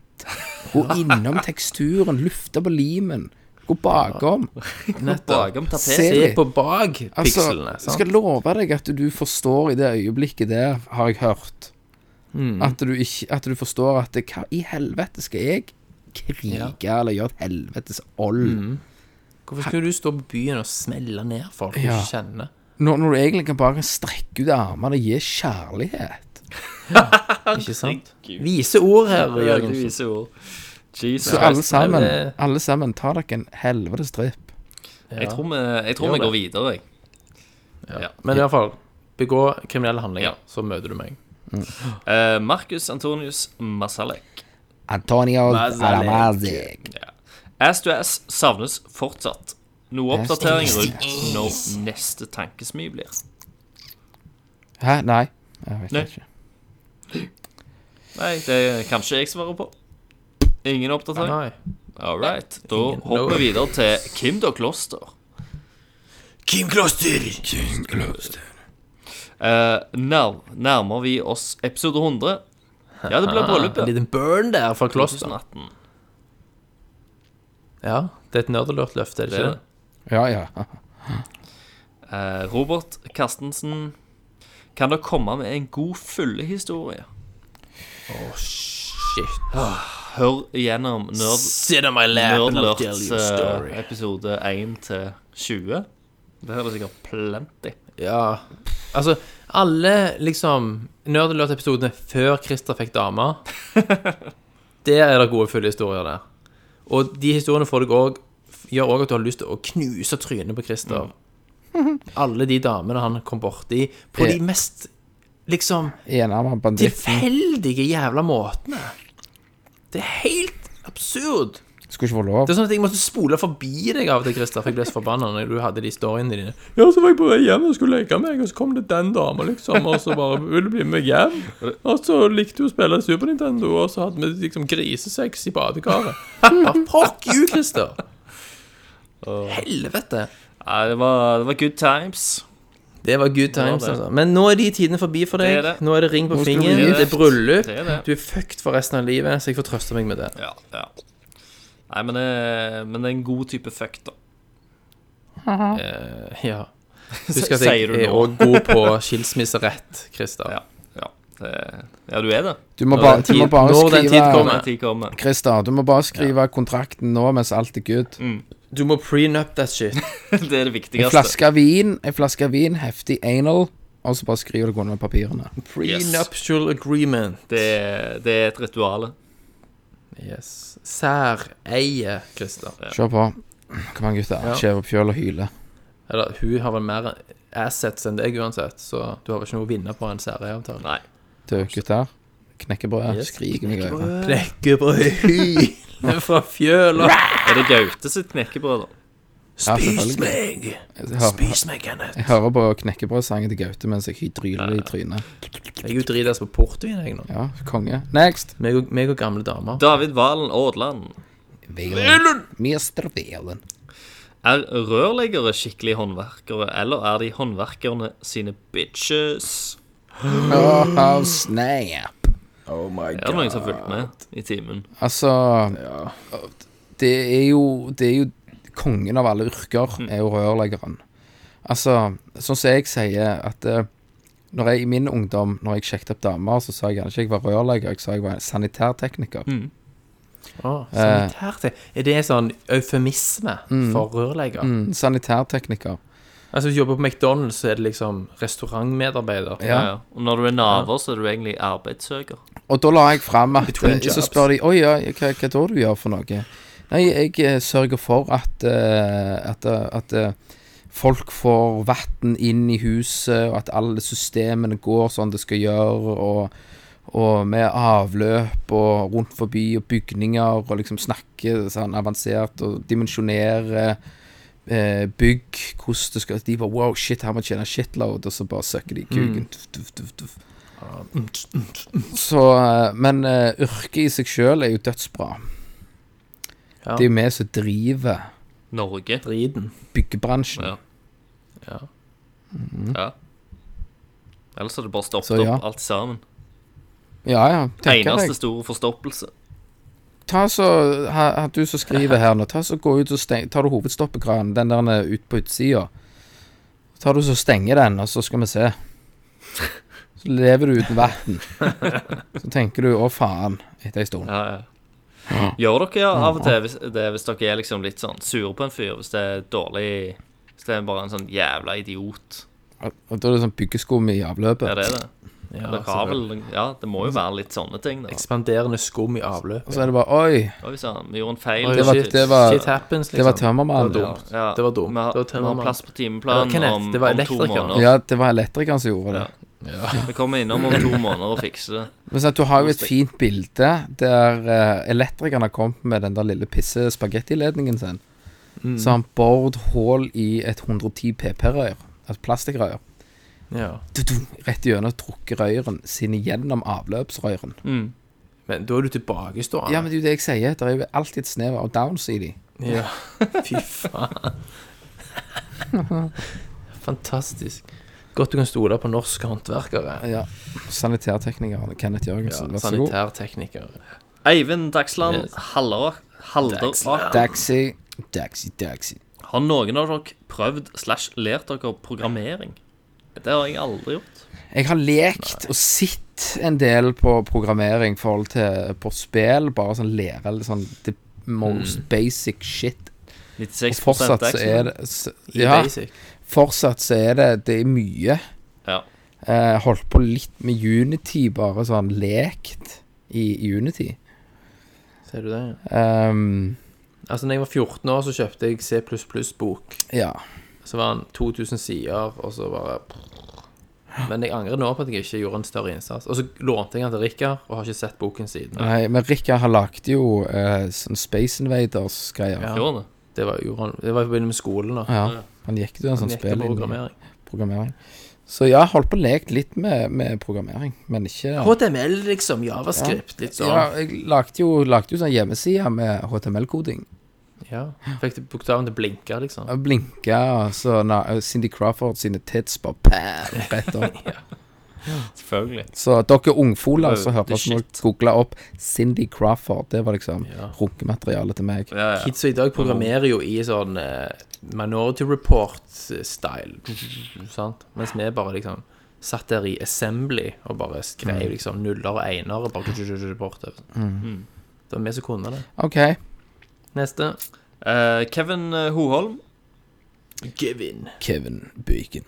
[SPEAKER 8] Gå innom teksturen, lufte på limen. Gå bakom.
[SPEAKER 7] Nettopp.
[SPEAKER 6] Bakom
[SPEAKER 8] Se
[SPEAKER 6] tapetet.
[SPEAKER 7] Se
[SPEAKER 8] litt.
[SPEAKER 7] på bak
[SPEAKER 8] Altså,
[SPEAKER 7] pikslene.
[SPEAKER 8] jeg skal love deg at du forstår i det øyeblikket der, har jeg hørt. At, du ikke, at du forstår at det, hva i helvete skal jeg krige eller gjøre et helvetes old
[SPEAKER 7] Hvorfor skulle du stå på byen og smelle ned folk du
[SPEAKER 8] Ja.
[SPEAKER 7] ikke kjenner?
[SPEAKER 8] når, når du egentlig kan bare strekke ut armene og gi kjærlighet.
[SPEAKER 7] Ikke sant? Vise ord
[SPEAKER 6] Ja,
[SPEAKER 7] her,
[SPEAKER 6] du
[SPEAKER 7] Jørgensen.
[SPEAKER 6] viser ord. Jesus
[SPEAKER 8] Så alle
[SPEAKER 6] Christ.
[SPEAKER 8] sammen,
[SPEAKER 7] det-
[SPEAKER 8] alle sammen, ta dere en helvetes tripp.
[SPEAKER 6] Jeg tror vi, jeg tror
[SPEAKER 7] Gjør
[SPEAKER 6] vi går
[SPEAKER 7] det.
[SPEAKER 6] videre, jeg.
[SPEAKER 7] Men i hvert fall, begå kriminelle handlinger,
[SPEAKER 6] Ja.
[SPEAKER 7] så møter du meg.
[SPEAKER 6] Eh, Marcus Antonius Masalek.
[SPEAKER 8] Antonio
[SPEAKER 7] Mazalek.
[SPEAKER 8] Aramazic.
[SPEAKER 6] Ass to ass savnes fortsatt. Noe oppdatering rundt når neste tankesmi blir.
[SPEAKER 8] Hæ, nei. Jeg vet
[SPEAKER 6] Nei.
[SPEAKER 8] ikke.
[SPEAKER 6] Nei, det kan ikke jeg svare på. Ingen oppdatering?
[SPEAKER 7] Nei.
[SPEAKER 6] All right. Da
[SPEAKER 7] Ingen.
[SPEAKER 6] hopper vi videre til Kim da Kloster.
[SPEAKER 7] Kim Kloster!
[SPEAKER 6] Eh, nær, nærmer vi oss episode 100? Ja, det blir bryllup,
[SPEAKER 7] En
[SPEAKER 6] ja.
[SPEAKER 7] liten burn der fra Kloster.
[SPEAKER 6] 2018.
[SPEAKER 7] Ja, det er et nerdelørt løfte, er det
[SPEAKER 6] Det
[SPEAKER 7] ikke
[SPEAKER 6] er
[SPEAKER 7] det?
[SPEAKER 6] det.
[SPEAKER 8] Ja, ja.
[SPEAKER 6] Eh, Robert Carstensen, kan dere komme med en god fyllehistorie?
[SPEAKER 7] Shit.
[SPEAKER 6] Hør gjennom Nerd...
[SPEAKER 7] Sit on my lap and I'll tell
[SPEAKER 6] Nerdlerts
[SPEAKER 7] you a story.
[SPEAKER 6] eh, episode 1 til 20. Det er det sikkert plenty.
[SPEAKER 7] Ja. Altså, alle liksom Nerdelørt-episodene før Christer fikk dame Der er det gode fulle historier der. Og de historiene får deg òg gjør òg at du har lyst til å knuse trynet på Christer. Alle de damene han kom borti, på de
[SPEAKER 8] Ja.
[SPEAKER 7] mest liksom
[SPEAKER 8] Enarma banditt.
[SPEAKER 7] tilfeldige jævla måtene. Det er helt absurd.
[SPEAKER 8] Skulle ikke få lov.
[SPEAKER 7] Det er sånn at Jeg måtte spole forbi deg av og til, Christer, for jeg ble så forbanna når du hadde de storyene dine. Ja, så var jeg på vei hjem og skulle leke meg, og så kom det den dama, liksom, og så bare ville bli med meg hjem. Og så likte hun å spille Super Nintendo, og så hadde vi liksom grisesex i badekaret. Bare, Fuck you, Christer! Helvete.
[SPEAKER 6] Nei, det var, det var good times.
[SPEAKER 7] Det var good times,
[SPEAKER 6] Det var det.
[SPEAKER 7] altså. Men nå er de tidene forbi for deg.
[SPEAKER 6] Det er det.
[SPEAKER 7] Nå er det ring på
[SPEAKER 8] skal du
[SPEAKER 7] fingeren,
[SPEAKER 6] bli
[SPEAKER 7] det er
[SPEAKER 6] gift.
[SPEAKER 7] bryllup.
[SPEAKER 6] Det er det.
[SPEAKER 7] Du er fucked for resten av livet, så jeg får trøste meg med det.
[SPEAKER 6] Ja, ja. Nei, men det, men det er en god type fuck, da.
[SPEAKER 7] Ja. Husk at jeg
[SPEAKER 6] Sier du
[SPEAKER 7] er
[SPEAKER 6] nå.
[SPEAKER 7] òg god på skilsmisserett, Christer.
[SPEAKER 6] Ja, ja, det, ja du er det.
[SPEAKER 8] Du må,
[SPEAKER 7] Når den
[SPEAKER 8] bare- du må
[SPEAKER 7] tid-
[SPEAKER 8] bare
[SPEAKER 7] når den tid
[SPEAKER 6] Når
[SPEAKER 7] kommer.
[SPEAKER 8] skrive
[SPEAKER 6] den tid kommer.
[SPEAKER 8] Christer, du må bare skrive kontrakten nå mens alt er good.
[SPEAKER 7] Mm, Du må prenup that shit.
[SPEAKER 6] Det er det
[SPEAKER 8] En
[SPEAKER 6] viktigste.
[SPEAKER 8] flaske vin, en flaske vin, heftig anal, og så bare skriver du under papirene.
[SPEAKER 7] Prenuptial agreement.
[SPEAKER 6] Det, er- det er et ritual.
[SPEAKER 7] Yes. Særeie, Christer.
[SPEAKER 8] Se på. Hvor mange gutter
[SPEAKER 7] Ja.
[SPEAKER 8] skjever opp fjøl og hyler.
[SPEAKER 7] Eller, hun har vel mer assets enn deg uansett, så du har vel ikke noe å vinne på en særeieavtale.
[SPEAKER 6] Nei.
[SPEAKER 8] Døde gutter. Knekkebrød.
[SPEAKER 7] Yes.
[SPEAKER 8] Skriker meg i øret.
[SPEAKER 7] Knekkebrød fra fjøla.
[SPEAKER 6] Er det Gaute sitt knekkebrød, da?
[SPEAKER 8] Ja,
[SPEAKER 7] Spis
[SPEAKER 8] selvfølgelig.
[SPEAKER 7] meg!
[SPEAKER 8] Jeg hører,
[SPEAKER 7] Spis meg, Kenneth.
[SPEAKER 8] jeg hører på knekkebrødsangen til Gaute mens jeg dryler det i trynet.
[SPEAKER 7] Jeg er jo dritas på portvin, jeg nå.
[SPEAKER 8] Ja, konge. Next!
[SPEAKER 7] Meg og, meg og gamle damer.
[SPEAKER 6] David Valen Aadland.
[SPEAKER 8] Mr. Velen.
[SPEAKER 6] Er rørleggere skikkelig håndverkere, eller er de håndverkerne sine bitches?
[SPEAKER 8] Oh, oh, snap.
[SPEAKER 6] Er det noen som har fulgt med i timen?
[SPEAKER 8] Altså det, er jo, det er jo kongen av alle yrker, er jo rørleggeren. Altså, sånn som jeg sier at eh, når jeg, I min ungdom, når jeg sjekket opp damer, så sa jeg gjerne ikke jeg var rørlegger, jeg sa jeg var sanitærtekniker.
[SPEAKER 7] Å,
[SPEAKER 6] Eh.
[SPEAKER 7] sanitærte. Er det en sånn eufemisme for rørlegger?
[SPEAKER 8] Mm, sanitærtekniker.
[SPEAKER 7] Altså, hvis du jobber på McDonald's, så er det liksom restaurantmedarbeider.
[SPEAKER 6] Ja. ja. Og når du er naver, så er du egentlig arbeidssøker.
[SPEAKER 8] Og da la jeg fram at eh,
[SPEAKER 7] Between
[SPEAKER 8] Så
[SPEAKER 7] jobs.
[SPEAKER 8] spør de Oi, ja, hva, hva da du gjør for noe? Nei, jeg eh, sørger for at eh, At, eh, at eh, folk får vann inn i huset, og at alle systemene går sånn det skal gjøre, og, og med avløp og rundt forbi og bygninger, og liksom snakke sånn avansert og dimensjonere eh, bygg, hvordan det skal De bare Wow, shit, her må jeg tjene shitload, og så bare søker de i
[SPEAKER 7] Mm.
[SPEAKER 8] kuken. Tuff, tuff, tuff, tuff. Så, eh, men eh, yrket i seg sjøl er jo dødsbra.
[SPEAKER 7] Ja.
[SPEAKER 8] Det er jo vi som driver
[SPEAKER 6] Norge.
[SPEAKER 7] Driten.
[SPEAKER 8] byggebransjen.
[SPEAKER 6] Ja. Ja. ja. Ellers hadde det bare stoppet
[SPEAKER 8] Så ja.
[SPEAKER 6] opp alt sammen.
[SPEAKER 8] Ja ja. tenker
[SPEAKER 6] Eneste
[SPEAKER 8] jeg.
[SPEAKER 6] store forstoppelse.
[SPEAKER 8] Ta så, ha, ha, Du som skriver her nå, ta så gå ut og steng, tar du hovedstoppekranen, den der nede ut på utsida. Tar du så stenger den, og så skal vi se. Så lever du uten vann. Så tenker du å faen, etter ei stund.
[SPEAKER 6] Ja, ja. Gjør dere ja, av og til hvis, det, hvis dere er liksom litt sånn sure på en fyr, hvis det er dårlig Hvis det er bare en sånn jævla idiot.
[SPEAKER 8] Og, og da er det sånn byggeskum i avløpet.
[SPEAKER 6] Ja, det er det.
[SPEAKER 7] Ja,
[SPEAKER 6] Dere har vel Ja, det må jo være litt sånne ting, da.
[SPEAKER 7] Ekspanderende skum i avløp.
[SPEAKER 8] Og så er det bare Oi,
[SPEAKER 6] Oi sann, vi gjorde en feil.
[SPEAKER 7] Oi,
[SPEAKER 8] det var,
[SPEAKER 7] shit.
[SPEAKER 8] det var,
[SPEAKER 7] Shit happens, liksom.
[SPEAKER 8] det var tømmermannen.
[SPEAKER 7] Det var dumt.
[SPEAKER 6] Ja,
[SPEAKER 7] Det var dumt.
[SPEAKER 6] Vi har,
[SPEAKER 7] Det var tømmermann.
[SPEAKER 6] vi har plass på
[SPEAKER 7] Det var
[SPEAKER 6] timeplanen
[SPEAKER 7] Kenneth.
[SPEAKER 6] om,
[SPEAKER 7] Det var
[SPEAKER 6] om to
[SPEAKER 7] elektriker.
[SPEAKER 6] måneder.
[SPEAKER 8] Ja, det var elektrikeren som gjorde det.
[SPEAKER 6] Vi kommer innom om to måneder og fikser det.
[SPEAKER 8] Men sant, Du har jo et fint bilde der eh, elektrikeren har kommet med den der lille pisse spagettiledningen sin. Så har han bored hull i et 110 PP-rør, et plastikkrør,
[SPEAKER 7] Ja.
[SPEAKER 8] Du-du, rett gjennom og trukket røyren sin gjennom avløpsrøyren.
[SPEAKER 7] Men da er du tilbakestående.
[SPEAKER 8] Ja, men det er jo det jeg sier. Det er jo alltid et snev av downs i de.
[SPEAKER 7] Ja. Fy faen. Fantastisk. Godt du kan stole på norske håndverkere.
[SPEAKER 8] Ja. Sanitærteknikeren Kenneth Jørgensen,
[SPEAKER 7] Ja,
[SPEAKER 8] vær så god.
[SPEAKER 7] sanitærteknikere.
[SPEAKER 6] Eivind Dagsland
[SPEAKER 7] Yes.
[SPEAKER 6] Hallerak. Halderak.
[SPEAKER 8] Daxi, daxi, daxi.
[SPEAKER 6] Har noen av dere prøvd slash lært dere programmering? Det har jeg aldri gjort.
[SPEAKER 8] Jeg har lekt og sett en del på programmering i forhold til på spill. Bare sånn lære eller sånn the most
[SPEAKER 7] Mm.
[SPEAKER 8] basic shit. Og
[SPEAKER 6] 96
[SPEAKER 8] fortsatt så
[SPEAKER 6] Dagsland.
[SPEAKER 8] er det s-
[SPEAKER 7] I
[SPEAKER 8] Ja,
[SPEAKER 7] basic.
[SPEAKER 8] fortsatt så er det Det er mye.
[SPEAKER 6] Ja.
[SPEAKER 8] Eh, holdt på litt med Unity, bare sånn lekt i Unity.
[SPEAKER 7] Ser du det? ja?
[SPEAKER 8] Ehm,
[SPEAKER 7] Altså, når jeg var 14 år, så kjøpte jeg C++-bok.
[SPEAKER 8] Ja.
[SPEAKER 7] Så var den 2000 sider, og så bare Men jeg angrer nå på at jeg ikke gjorde en større innsats. Og så lånte jeg den til Rikard, og har ikke sett boken siden.
[SPEAKER 8] Nei, men Rikard har lagd jo eh, sånn Space Invaders-greier.
[SPEAKER 7] Ja.
[SPEAKER 6] Gjorde det.
[SPEAKER 7] Det var, jo- det var i forbindelse med skolen, da.
[SPEAKER 8] Ja. Han gikk jo
[SPEAKER 7] Han
[SPEAKER 8] en sånn
[SPEAKER 7] gikk
[SPEAKER 8] spill
[SPEAKER 7] til
[SPEAKER 8] inn i
[SPEAKER 7] programmering.
[SPEAKER 8] programmering. Så ja, holdt på å leke litt med, med programmering, men ikke
[SPEAKER 7] HTML, liksom. Javascript, litt sånn.
[SPEAKER 8] Ja, jeg lagde jo, lagde jo sånn hjemmeside med HTML-koding.
[SPEAKER 7] Ja. Fikk det- bokstaven til å blinke, liksom.
[SPEAKER 8] Jeg Blinka, og så na, Cindy Crawford sine tits bare pæl, rett opp.
[SPEAKER 6] Selvfølgelig.
[SPEAKER 8] Så dere ungfoler som hører
[SPEAKER 6] Det er
[SPEAKER 8] på, så må
[SPEAKER 6] shit.
[SPEAKER 8] google opp Cindy Crawford. Det var liksom
[SPEAKER 7] Ja.
[SPEAKER 8] runkematerialet til meg.
[SPEAKER 6] Ja, ja.
[SPEAKER 7] Kidsa i dag programmerer jo i sånn eh, Minority Report-style, sant? Mens vi bare liksom satt der i assembly og bare
[SPEAKER 6] Mm.
[SPEAKER 7] skrev liksom nuller og enere bare bortover.
[SPEAKER 8] Mm.
[SPEAKER 7] Det var vi som kunne det.
[SPEAKER 8] OK.
[SPEAKER 7] Neste.
[SPEAKER 6] Eh, Kevin eh, Hoholm,
[SPEAKER 7] Givin.
[SPEAKER 8] Kevin Bacon.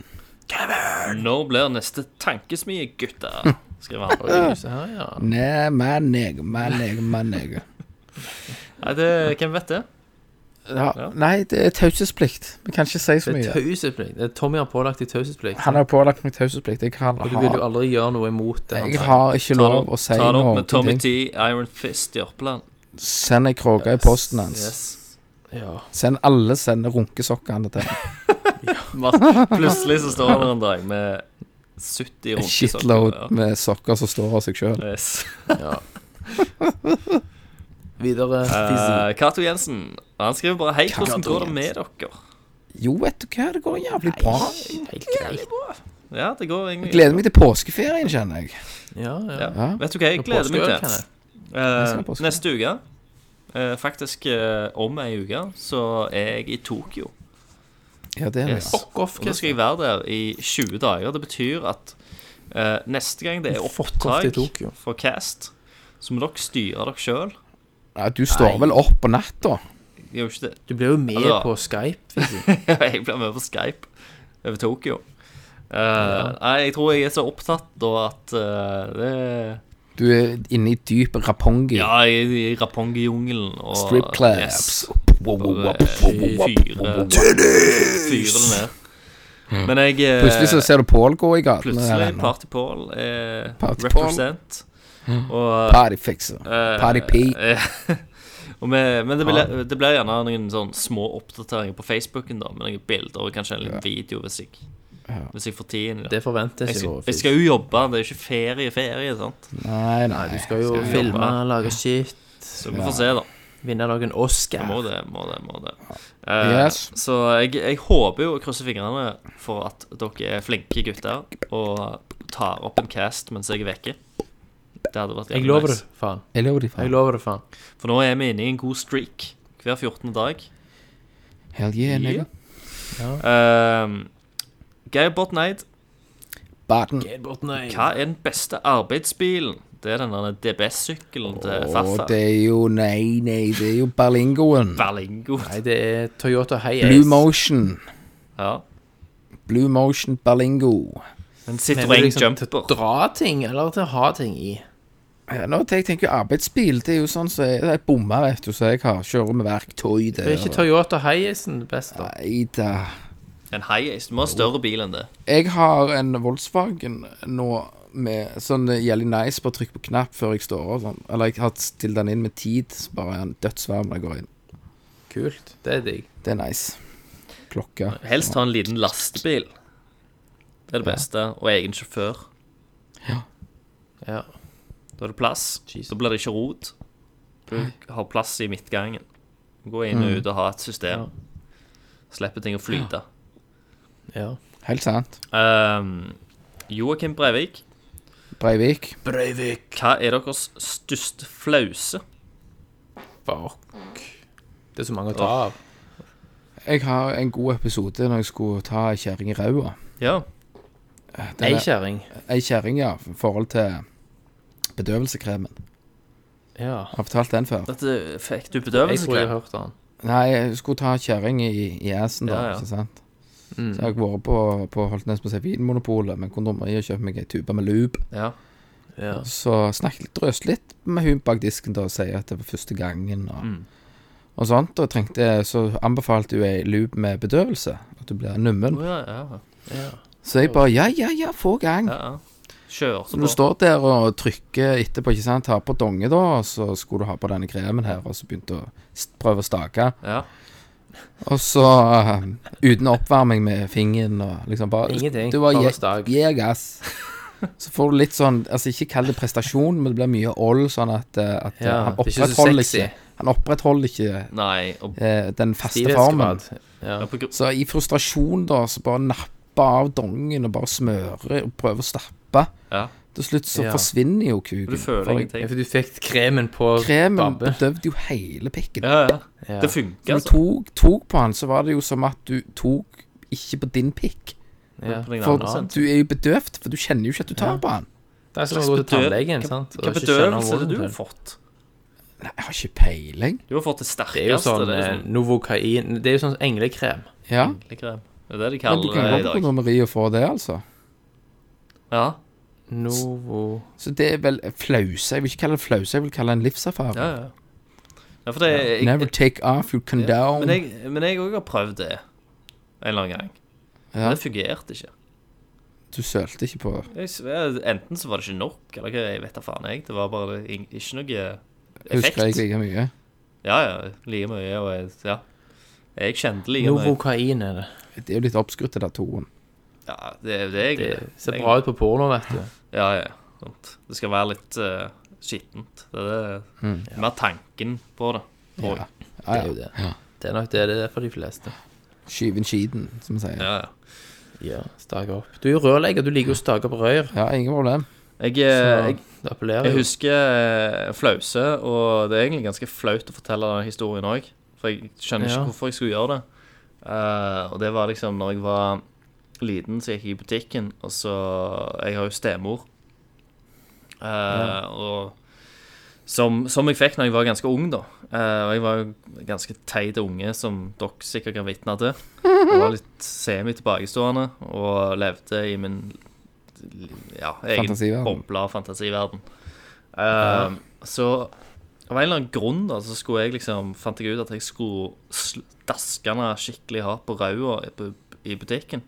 [SPEAKER 6] når blir neste tankesmie,
[SPEAKER 8] Hm.
[SPEAKER 6] gutter? Skriver han.
[SPEAKER 8] Ah.
[SPEAKER 7] Oi, se her, ja.
[SPEAKER 8] Nei, men jeg, men jeg, men jeg.
[SPEAKER 6] Nei, det, hvem vet det?
[SPEAKER 8] Ja. Nei, det er taushetsplikt. Vi kan ikke si så
[SPEAKER 7] Det er
[SPEAKER 8] mye.
[SPEAKER 7] taushetsplikt. Det er Tommy har pålagt deg taushetsplikt.
[SPEAKER 8] Han har pålagt meg taushetsplikt. Jeg kan
[SPEAKER 7] Og du vil jo
[SPEAKER 8] ha
[SPEAKER 7] aldri gjøre noe imot det. han
[SPEAKER 8] jeg
[SPEAKER 7] sier.
[SPEAKER 8] har ikke
[SPEAKER 6] Ta det
[SPEAKER 8] lov
[SPEAKER 6] opp-
[SPEAKER 8] å si
[SPEAKER 6] ta det opp
[SPEAKER 8] noe.
[SPEAKER 6] med Tommy
[SPEAKER 8] ting.
[SPEAKER 6] T, Iron Fist, Jørpeland.
[SPEAKER 8] Send ei kråke i posten hans.
[SPEAKER 6] Yes.
[SPEAKER 7] Ja.
[SPEAKER 8] Send alle sender runkesokkene til ham.
[SPEAKER 6] Mart- Plutselig så står han en dag med 70
[SPEAKER 8] En
[SPEAKER 6] runkesokker.
[SPEAKER 8] shitload
[SPEAKER 6] Ja.
[SPEAKER 8] med sokker som står av seg sjøl.
[SPEAKER 6] Yes.
[SPEAKER 7] Videre.
[SPEAKER 6] Eh, Cato Jensen, han skriver bare Hei, hvordan går det med dere?
[SPEAKER 8] Jo, vet du hva, det går jævlig bra.
[SPEAKER 7] Helt greit.
[SPEAKER 6] Ja, det går egentlig
[SPEAKER 8] Jeg gleder meg til påskeferien, kjenner jeg.
[SPEAKER 7] Ja, ja.
[SPEAKER 6] Ja. Vet du hva jeg gleder meg
[SPEAKER 7] Påskeøl,
[SPEAKER 6] til?
[SPEAKER 7] kan jeg.
[SPEAKER 6] Eh,
[SPEAKER 8] skal på påske.
[SPEAKER 6] neste uke, eh, faktisk eh, om ei uke, så er jeg i Tokyo.
[SPEAKER 8] Ja, det er det.
[SPEAKER 6] Yes.
[SPEAKER 8] ja.
[SPEAKER 7] Fuck off,
[SPEAKER 6] Og da skal jeg være der i 20 dager. Det betyr at eh, neste gang det er
[SPEAKER 7] Fuck off til
[SPEAKER 6] opptak
[SPEAKER 7] Tokyo.
[SPEAKER 6] for Cast, så må dere styre dere sjøl.
[SPEAKER 8] Ja, du står vel opp på natta?
[SPEAKER 6] Jeg gjør jo ikke det.
[SPEAKER 7] Du blir jo med
[SPEAKER 6] Altså-
[SPEAKER 7] på Skype.
[SPEAKER 6] Jeg blir med på Skype over Tokyo. Eh, Nei, jeg tror jeg er så opptatt da at eh, det
[SPEAKER 8] Du er inne i dyp rapongi.
[SPEAKER 6] Ja, jeg er i Rapongi-jungelen og
[SPEAKER 8] Strip clubs.
[SPEAKER 6] Yes.
[SPEAKER 8] Wow, wow, wow.
[SPEAKER 6] Bare, eh, Fyre Fyre det ned. Men jeg eh,
[SPEAKER 8] Plutselig så ser du Pål gå i gatene. her
[SPEAKER 6] Plutselig
[SPEAKER 8] ennå.
[SPEAKER 6] Party Paul er
[SPEAKER 8] Party Paul.
[SPEAKER 6] represent. Og,
[SPEAKER 8] Partyfixer.
[SPEAKER 6] eh,
[SPEAKER 8] Party P.
[SPEAKER 6] og vi, men det blir, det blir gjerne noen sånn små oppdateringer på Facebooken, da, med noen bilder og kanskje en liten video hvis jeg, hvis jeg får tiden. i det.
[SPEAKER 7] Det forventes
[SPEAKER 6] Jeg
[SPEAKER 7] jo.
[SPEAKER 6] skal, jeg skal jo jobbe, det er jo ikke ferie, ferie, sant.
[SPEAKER 8] Nei, nei.
[SPEAKER 7] Du skal jo filme, lage shit,
[SPEAKER 6] Så vi får se, da.
[SPEAKER 7] vinne noen Oscar.
[SPEAKER 6] Jeg må det, må det, må det. Eh,
[SPEAKER 8] Yes.
[SPEAKER 6] Så jeg, jeg håper jo og krysser fingrene for at dere er flinke gutter og tar opp en cast mens jeg er vekke. Det hadde vært
[SPEAKER 7] Jeg
[SPEAKER 6] jævlig
[SPEAKER 7] lover det,
[SPEAKER 6] nice.
[SPEAKER 7] faen.
[SPEAKER 8] Jeg lover de
[SPEAKER 7] Jeg
[SPEAKER 8] faen.
[SPEAKER 7] lover det, faen.
[SPEAKER 6] For nå er vi inne i en god streak hver 14. dag.
[SPEAKER 8] Hell yeah, nigga.
[SPEAKER 6] Ehm, Geir Botneid,
[SPEAKER 8] Barton.
[SPEAKER 6] hva er den beste arbeidsbilen? Det er denne DBS-sykkelen
[SPEAKER 7] eh,
[SPEAKER 6] til
[SPEAKER 8] Å,
[SPEAKER 6] farfar.
[SPEAKER 8] det er jo Nei, nei, det er jo Berlingoen.
[SPEAKER 6] Berlingo.
[SPEAKER 7] Nei, det er Toyota Hiace.
[SPEAKER 8] Blue Motion.
[SPEAKER 6] Ja.
[SPEAKER 8] Blue Motion Berlingo.
[SPEAKER 6] En
[SPEAKER 7] Men
[SPEAKER 6] Citroën
[SPEAKER 7] det er liksom Til å
[SPEAKER 6] Jumper.
[SPEAKER 7] dra ting, eller til å ha ting i.
[SPEAKER 8] Ja, Eh, nå tenker jeg tenker jo arbeidsbil. Det er jo sånn som så jeg bommer, vet du, så jeg har kjører med verktøy
[SPEAKER 7] Det
[SPEAKER 8] der.
[SPEAKER 7] er ikke Toyota Hiacen best, da.
[SPEAKER 8] Nei da.
[SPEAKER 6] En Hiace. Du må ha større bil enn det.
[SPEAKER 8] Jeg har en Volkswagen nå med sånn jævlig nice, bare trykk på knapp før jeg står og sånn. Eller jeg har stilt den inn med tid, så bare er den dødsvarm når jeg går inn.
[SPEAKER 7] Kult. Det er digg.
[SPEAKER 8] Det er nice. Klokka.
[SPEAKER 6] Helst ha en liten lastebil. Det er det beste. Og egen sjåfør.
[SPEAKER 7] Ja.
[SPEAKER 6] Da er det plass.
[SPEAKER 7] Jesus.
[SPEAKER 6] Da blir det ikke rot. Du har plass i midtgangen. Gå inn
[SPEAKER 7] Mm.
[SPEAKER 6] og ut og ha et system. Slippe ting å flyte.
[SPEAKER 7] ja.
[SPEAKER 8] Helt sant.
[SPEAKER 6] Um, Joakim Brevik,
[SPEAKER 8] Breivik.
[SPEAKER 6] hva er deres største flause?
[SPEAKER 7] Fuck. Det er så mange å ta av.
[SPEAKER 8] Jeg har en god episode når jeg skulle ta ei kjerring i ræva.
[SPEAKER 6] Ja.
[SPEAKER 7] Ei kjerring.
[SPEAKER 8] Ei kjerring, ja, i forhold til bedøvelseskremen.
[SPEAKER 7] Ja.
[SPEAKER 8] Har jeg fortalt den før?
[SPEAKER 6] Dette fikk du
[SPEAKER 7] Jeg tror jeg
[SPEAKER 6] bedøvelsesklem.
[SPEAKER 7] har hørt den.
[SPEAKER 8] Nei, jeg skulle ta kjerring i, i assen, da.
[SPEAKER 6] Ja, Mm. ja.
[SPEAKER 8] Ikke sant? Så jeg har vært på, på Holtnes på å si Vinmonopolet med kondomeriet og kjøpt meg ei tube med lube.
[SPEAKER 6] Ja.
[SPEAKER 7] Ja.
[SPEAKER 6] Mm.
[SPEAKER 8] Så snakket drøst litt med hun bak disken da og sier at det var første gangen. Og, og sånt, og trengte, så anbefalte hun ei loop med bedøvelse, at du blir nummen.
[SPEAKER 6] Å, ja, ja,
[SPEAKER 8] Så jeg bare ja, ja, ja, få gang.
[SPEAKER 6] ja, ja. Kjør
[SPEAKER 8] Så
[SPEAKER 6] så
[SPEAKER 8] du
[SPEAKER 6] bra.
[SPEAKER 8] står der og trykker etterpå, ikke sant, har på donge da, og så skulle du ha på denne kremen her, og så begynte å s- prøve å stake.
[SPEAKER 6] Ja.
[SPEAKER 8] Og så eh, uten oppvarming med fingeren og liksom bare
[SPEAKER 7] Ingenting,
[SPEAKER 8] Du var
[SPEAKER 7] bare
[SPEAKER 8] je-
[SPEAKER 7] stag.
[SPEAKER 8] jegas. Så får du litt sånn Altså, ikke kall det prestasjon, men det blir mye ål, sånn at, eh, at eh,
[SPEAKER 7] Ja,
[SPEAKER 8] han
[SPEAKER 7] det er ikke så
[SPEAKER 8] opprettholder
[SPEAKER 7] sexy.
[SPEAKER 8] ikke, han opprettholder ikke
[SPEAKER 6] Nei, og
[SPEAKER 8] eh, den faste formen.
[SPEAKER 7] Stivhetsgrad. Ja.
[SPEAKER 6] ja, på gr-
[SPEAKER 8] Så i frustrasjon, da, så bare napper av dongen og bare smører og prøver å stappe.
[SPEAKER 6] Ja.
[SPEAKER 8] Til slutt så
[SPEAKER 7] Ja.
[SPEAKER 8] forsvinner jo kuken.
[SPEAKER 6] Du føler
[SPEAKER 8] For
[SPEAKER 7] Ja,
[SPEAKER 6] ingenting.
[SPEAKER 7] For du fikk kremen på
[SPEAKER 8] Kremen
[SPEAKER 7] babbe.
[SPEAKER 8] bedøvde jo hele pikken.
[SPEAKER 6] Ja, ja.
[SPEAKER 7] Ja.
[SPEAKER 6] Det funker,
[SPEAKER 8] Når du
[SPEAKER 6] altså.
[SPEAKER 8] tok, tok på han, så var det jo som at du tok ikke på din pikk.
[SPEAKER 7] Ja.
[SPEAKER 6] På den
[SPEAKER 8] For
[SPEAKER 6] andre siden.
[SPEAKER 8] du er jo bedøvt, for du kjenner jo ikke at du tar på han.
[SPEAKER 7] Det er som å gå til tannlegen,
[SPEAKER 6] Hva-
[SPEAKER 7] sant. og
[SPEAKER 6] Hva
[SPEAKER 7] ikke skjønne
[SPEAKER 6] bedøvelse er det du
[SPEAKER 7] hvordan
[SPEAKER 6] har fått?
[SPEAKER 8] Nei, jeg har ikke peiling.
[SPEAKER 6] Du har fått det
[SPEAKER 7] Det er jo
[SPEAKER 6] sterkeste.
[SPEAKER 7] sånn,
[SPEAKER 6] Det er
[SPEAKER 7] eh,
[SPEAKER 6] sånn
[SPEAKER 7] Novocain Det er jo sånn englekrem.
[SPEAKER 8] Ja,
[SPEAKER 6] englekrem. Det er det de
[SPEAKER 8] men du
[SPEAKER 6] kaller det
[SPEAKER 8] kan gå
[SPEAKER 6] Mm. i
[SPEAKER 8] på
[SPEAKER 6] dag.
[SPEAKER 8] kondomeriet og få det, altså.
[SPEAKER 6] Ja,
[SPEAKER 7] Novo
[SPEAKER 8] Så det er vel flause. Jeg vil ikke kalle det flause, jeg vil kalle det en livserfaring.
[SPEAKER 6] ja, ja. ja for det jeg,
[SPEAKER 8] Never take off your condom.
[SPEAKER 6] Men jeg- men jeg òg har prøvd det en eller annen gang.
[SPEAKER 8] Ja.
[SPEAKER 6] Men det fungerte ikke.
[SPEAKER 8] Du sølte ikke på
[SPEAKER 6] Jeg, s- jeg- enten så var det ikke nok, eller hva, jeg vet da faen. jeg Det var bare ing- ikke noe
[SPEAKER 8] Husker jeg
[SPEAKER 6] effekt.
[SPEAKER 8] like mye.
[SPEAKER 6] Ja, ja. Like mye. Og jeg, ja. jeg kjente like mye.
[SPEAKER 7] Novocain er det.
[SPEAKER 8] Det er jo litt oppskrutt, det der toen.
[SPEAKER 6] Ja, det er det
[SPEAKER 7] Det
[SPEAKER 6] jeg
[SPEAKER 7] ser bra ut på porno, vet du.
[SPEAKER 6] Ja, ja. Sant. Det skal være litt eh, skittent. Det er det, mer tanken på det. tror jeg.
[SPEAKER 8] Mm. Ja,
[SPEAKER 7] Det er jo
[SPEAKER 8] ja.
[SPEAKER 7] det. Det er nok det det er for de fleste.
[SPEAKER 8] Skyve inn skiten, som vi sier.
[SPEAKER 6] Ja, ja.
[SPEAKER 7] Ja, stake opp. Du er jo rørlegger, du liker jo å stake opp rør.
[SPEAKER 8] Ja, ingen problem.
[SPEAKER 6] Jeg, eh, jeg,
[SPEAKER 7] Det appellerer
[SPEAKER 6] jeg
[SPEAKER 7] jo.
[SPEAKER 6] husker eh, flause, og det er egentlig ganske flaut å fortelle den historien òg. For jeg skjønner ikke
[SPEAKER 7] Ja.
[SPEAKER 6] hvorfor jeg skulle gjøre det. Eh, og det var liksom når jeg var liten, så gikk jeg i butikken, og så Jeg har jo stemor. Eh, Og som, som jeg fikk når jeg var ganske ung, da. Eh, og jeg var jo ganske teit unge, som dere sikkert kan vitne til. Jeg var litt semi-tilbakestående og levde i min ja, egen
[SPEAKER 8] Fantasiverden.
[SPEAKER 6] boble av fantasiverden. Eh, Så av en eller annen grunn da, så skulle jeg liksom, fant jeg ut at jeg skulle sl- daske henne skikkelig hardt på ræva i bu- i butikken.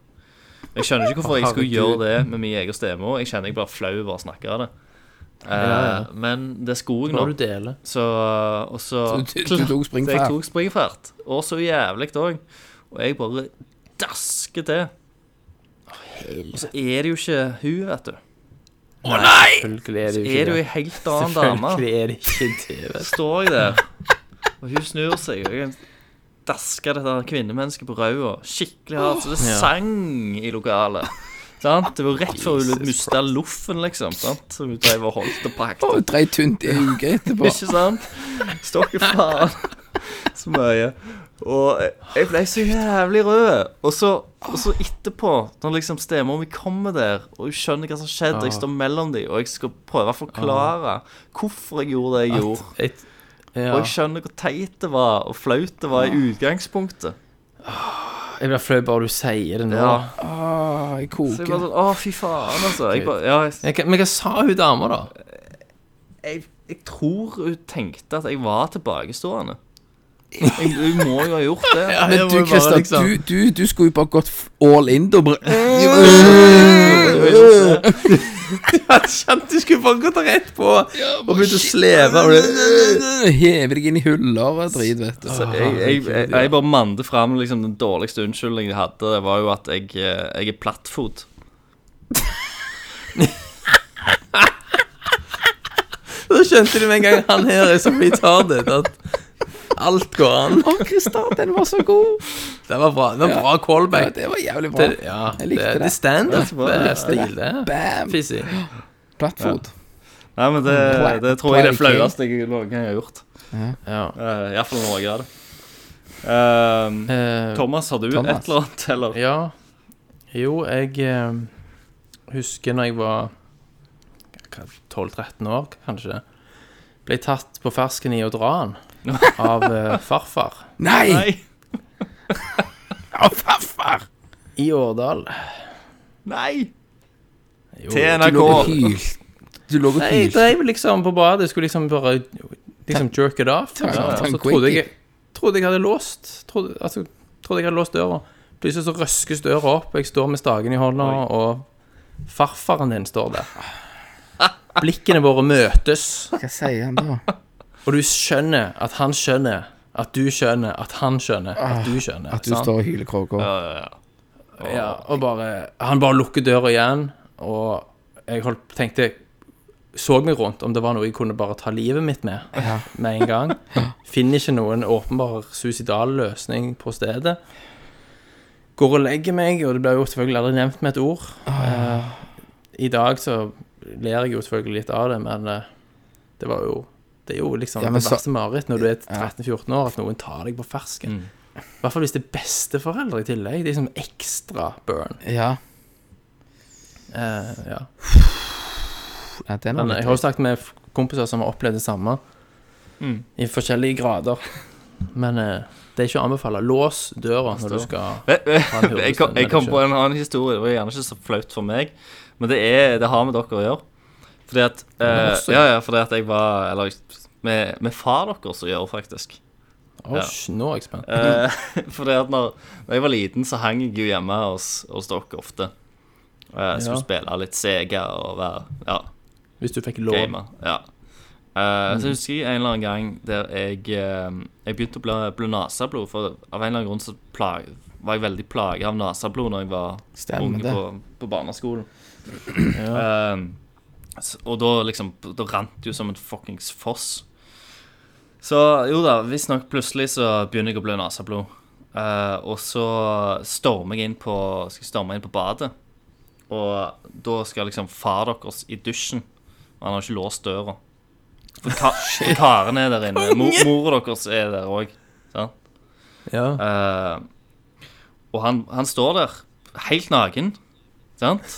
[SPEAKER 6] Jeg skjønner ikke hvorfor jeg skulle gjøre det med min egen stemme. også. Jeg kjenner jeg blir flau over å snakke av det. Eh,
[SPEAKER 7] Ja, ja.
[SPEAKER 6] Men det skulle jeg
[SPEAKER 7] Når
[SPEAKER 6] nå.
[SPEAKER 7] du deler.
[SPEAKER 6] Så, og så
[SPEAKER 8] Du- du- du tok springfart.
[SPEAKER 6] Så Jeg tok springfart. Og så jævlig òg. Og jeg bare dasker til. Og så er det jo ikke hun, vet du.
[SPEAKER 7] Selvfølgelig er det
[SPEAKER 6] Så
[SPEAKER 7] jo
[SPEAKER 6] er det
[SPEAKER 7] ikke
[SPEAKER 6] jo
[SPEAKER 7] det.
[SPEAKER 6] ei helt annen dame.
[SPEAKER 7] Selvfølgelig er det ikke det. vet
[SPEAKER 6] Så står jeg der, og hun snur seg. Og jeg dasker dette kvinnemennesket på ræva skikkelig hardt, så det
[SPEAKER 7] Ja.
[SPEAKER 6] sang i lokalet. Sant? Det var rett før hun mista loffen, liksom. Sant? Så hun drev og holdt og pakket.
[SPEAKER 8] Å, drei tynt i en uke etterpå.
[SPEAKER 6] Ikke sant? Stokke faen så mye. Og jeg- jeg ble så jævlig rød. Og så, og så etterpå, når liksom stemor mi kommer der, og hun skjønner hva som skjedde, jeg står mellom dem, og jeg skal prøve å forklare hvorfor jeg gjorde det jeg gjorde,
[SPEAKER 7] du. Jeg- Ja.
[SPEAKER 6] og jeg skjønner hvor teit det var, og flaut det var i utgangspunktet
[SPEAKER 7] Jeg blir flau bare du sier det nå.
[SPEAKER 6] Ja.
[SPEAKER 8] Ah, jeg
[SPEAKER 6] Så jeg bare
[SPEAKER 8] koker.
[SPEAKER 6] sånn Å, fy faen, altså. Jeg bare, ja, jeg,
[SPEAKER 7] Jeg kan- Men hva sa hun dama, da?
[SPEAKER 6] jeg, jeg tror hun tenkte at jeg var tilbakestående. Jeg, hun må jo liksom- ha gjort det.
[SPEAKER 8] Men du, Christer, du, du, du skulle jo bare gått f- all in, da. Bare
[SPEAKER 7] Jeg skjønte du skulle bare gått rett på og begynt å sleve. Og det,
[SPEAKER 8] heve deg inn i huller og drit, vet du.
[SPEAKER 6] Så jeg, jeg, jeg, jeg bare mande fram liksom, den dårligste unnskyldningen jeg hadde. Det var jo at jeg, eh, jeg er plattfot.
[SPEAKER 7] da skjønte du med en gang han her er så retarded at alt går an.
[SPEAKER 8] Å, Christer, den var så god.
[SPEAKER 7] Det var bra. Det var bra
[SPEAKER 8] Ja,
[SPEAKER 7] callback.
[SPEAKER 8] det var jævlig bra.
[SPEAKER 7] Det, ja,
[SPEAKER 8] Jeg
[SPEAKER 7] det,
[SPEAKER 8] likte
[SPEAKER 7] det er
[SPEAKER 8] det.
[SPEAKER 7] standup-stil, det.
[SPEAKER 8] Bam!
[SPEAKER 7] Fizzy.
[SPEAKER 8] Plattfot.
[SPEAKER 6] Nei, men det, det tror jeg er det flaueste jeg noen gang har gjort.
[SPEAKER 7] Ja.
[SPEAKER 6] Uh, Iallfall noe av det. Eh,
[SPEAKER 7] Eh,
[SPEAKER 6] Thomas, har du
[SPEAKER 8] Thomas.
[SPEAKER 6] et eller annet, eller?
[SPEAKER 7] ja. Jo, jeg eh, husker når jeg var hva, 12-13 år, kanskje, ble tatt på fersken i å dra han av eh, farfar
[SPEAKER 8] Nei!
[SPEAKER 6] Nei!
[SPEAKER 7] i Årdal.
[SPEAKER 6] Nei!
[SPEAKER 7] Jo,
[SPEAKER 6] Til
[SPEAKER 8] Du
[SPEAKER 6] NRK.
[SPEAKER 8] lå og hylte. Du lå og
[SPEAKER 7] Nei, jeg
[SPEAKER 8] hylte.
[SPEAKER 7] drev liksom på badet, skulle liksom bare liksom jerk it off.
[SPEAKER 8] Ta-
[SPEAKER 7] liksom.
[SPEAKER 8] ta en
[SPEAKER 7] Og så
[SPEAKER 8] quickie.
[SPEAKER 7] trodde jeg, Trodde jeg hadde låst. Trodde, altså, trodde jeg hadde låst døra. Plutselig så røskes døra opp, og jeg står med staken i hånda, og farfaren din står der. Blikkene våre møtes,
[SPEAKER 10] Hva sier han da?
[SPEAKER 7] og du skjønner at han skjønner at du skjønner at han skjønner at du skjønner.
[SPEAKER 10] Ah, At du står og hyler kråker.
[SPEAKER 7] Ja, og bare Han bare lukker døra igjen, og jeg holdt, tenkte Så meg rundt om det var noe jeg kunne bare ta livet mitt med med en gang. Finner ikke noen åpenbar suicidal løsning på stedet. Går og legger meg, og det blir jo selvfølgelig aldri nevnt med et ord. Eh, I dag så ler jeg jo selvfølgelig litt av det, men eh, det var jo Det er jo liksom
[SPEAKER 10] Ja, men
[SPEAKER 7] det
[SPEAKER 10] så-
[SPEAKER 7] verste mareritt når du er 13-14 år, at noen tar deg på fersken.
[SPEAKER 10] Mm.
[SPEAKER 7] I hvert fall hvis det er besteforeldre i tillegg. Det er liksom ekstra burn.
[SPEAKER 10] Ja.
[SPEAKER 7] Eh, ja.
[SPEAKER 10] ja det er
[SPEAKER 7] Men
[SPEAKER 10] noe
[SPEAKER 7] jeg har jo snakket med f- kompiser som har opplevd det samme, i forskjellige grader. Men eh, det er ikke å anbefale. Lås døra når du skal
[SPEAKER 6] Vet-
[SPEAKER 7] Han hører
[SPEAKER 6] Eh, Jeg kom,
[SPEAKER 7] stemmen,
[SPEAKER 6] jeg kom
[SPEAKER 7] ikke?
[SPEAKER 6] på en annen historie. Det var gjerne ikke så flaut for meg, men det, er, det har med dere å gjøre. Fordi at eh,
[SPEAKER 7] også-
[SPEAKER 6] Ja, ja, fordi at jeg var Eller med, med far deres å gjøre, faktisk.
[SPEAKER 7] Åh, sj, nå er jeg spent.
[SPEAKER 6] Eh, Fordi at når, når jeg var liten, så hang jeg jo hjemme hos, hos dere ofte. Og jeg skulle
[SPEAKER 7] Ja.
[SPEAKER 6] spille litt Sega og være ja,
[SPEAKER 7] Hvis du fikk lov.
[SPEAKER 6] gamer. Ja. Eh, Så husker jeg en eller annen gang der jeg, eh, jeg begynte å bli, bli nasablod. For av en eller annen grunn så plag, var jeg veldig plaget av nasablod når jeg var
[SPEAKER 10] Stemmer
[SPEAKER 6] ung
[SPEAKER 10] det.
[SPEAKER 6] på, på barneskolen. Eh, s- og da liksom Da rant det jo som en fuckings foss. Så jo da, visstnok plutselig så begynner jeg å blø naseblod. Eh, og så stormer jeg inn på Skal jeg storme inn på badet. Og da skal liksom far deres i dusjen. Og han har ikke låst døra. For ka for karen er der inne. Mor, mora deres er der òg.
[SPEAKER 7] Ja.
[SPEAKER 6] Eh, og han, han står der, helt naken, sant?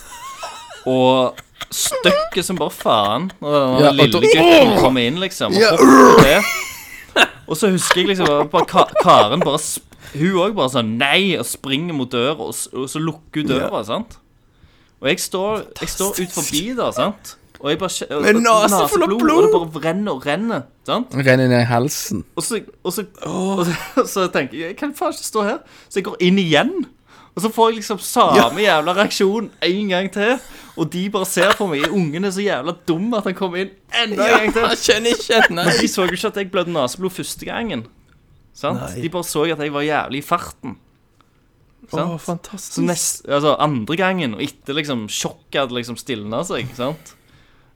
[SPEAKER 6] Og støkker som bare faen når den
[SPEAKER 10] Ja, og
[SPEAKER 6] lille
[SPEAKER 10] da-
[SPEAKER 6] gutten kommer inn, liksom. Og, hopper til. og så husker jeg liksom bare, bare ka- Karen bare sp- Hun òg bare sånn nei, og springer mot døra, og, s- og så lukker hun døra, sant? Og jeg står, jeg står ut forbi der, sant? Og jeg bare kje- og-
[SPEAKER 7] Med
[SPEAKER 6] og-
[SPEAKER 7] nase full av
[SPEAKER 6] naseblod, Og
[SPEAKER 7] blod.
[SPEAKER 6] det bare renner og renner, sant?
[SPEAKER 10] Renner ned i halsen.
[SPEAKER 6] Og så, og så, og så, og så tenker jeg Jeg kan faen ikke stå her. Så jeg går inn igjen. Og så får jeg liksom samme jævla reaksjon en gang til. Og de bare ser på meg. Ungen er så jævla dum at han kommer inn enda en gang til.
[SPEAKER 7] Jeg skjønner ikke et nei.
[SPEAKER 6] Men de så jo ikke at jeg blødde naseblod første gangen. Sant? De bare så at jeg var jævlig i farten.
[SPEAKER 7] Åh,
[SPEAKER 6] Sant?
[SPEAKER 7] fantastisk.
[SPEAKER 6] Så nest, altså andre gangen, og etter liksom sjokket hadde liksom stilna seg, sant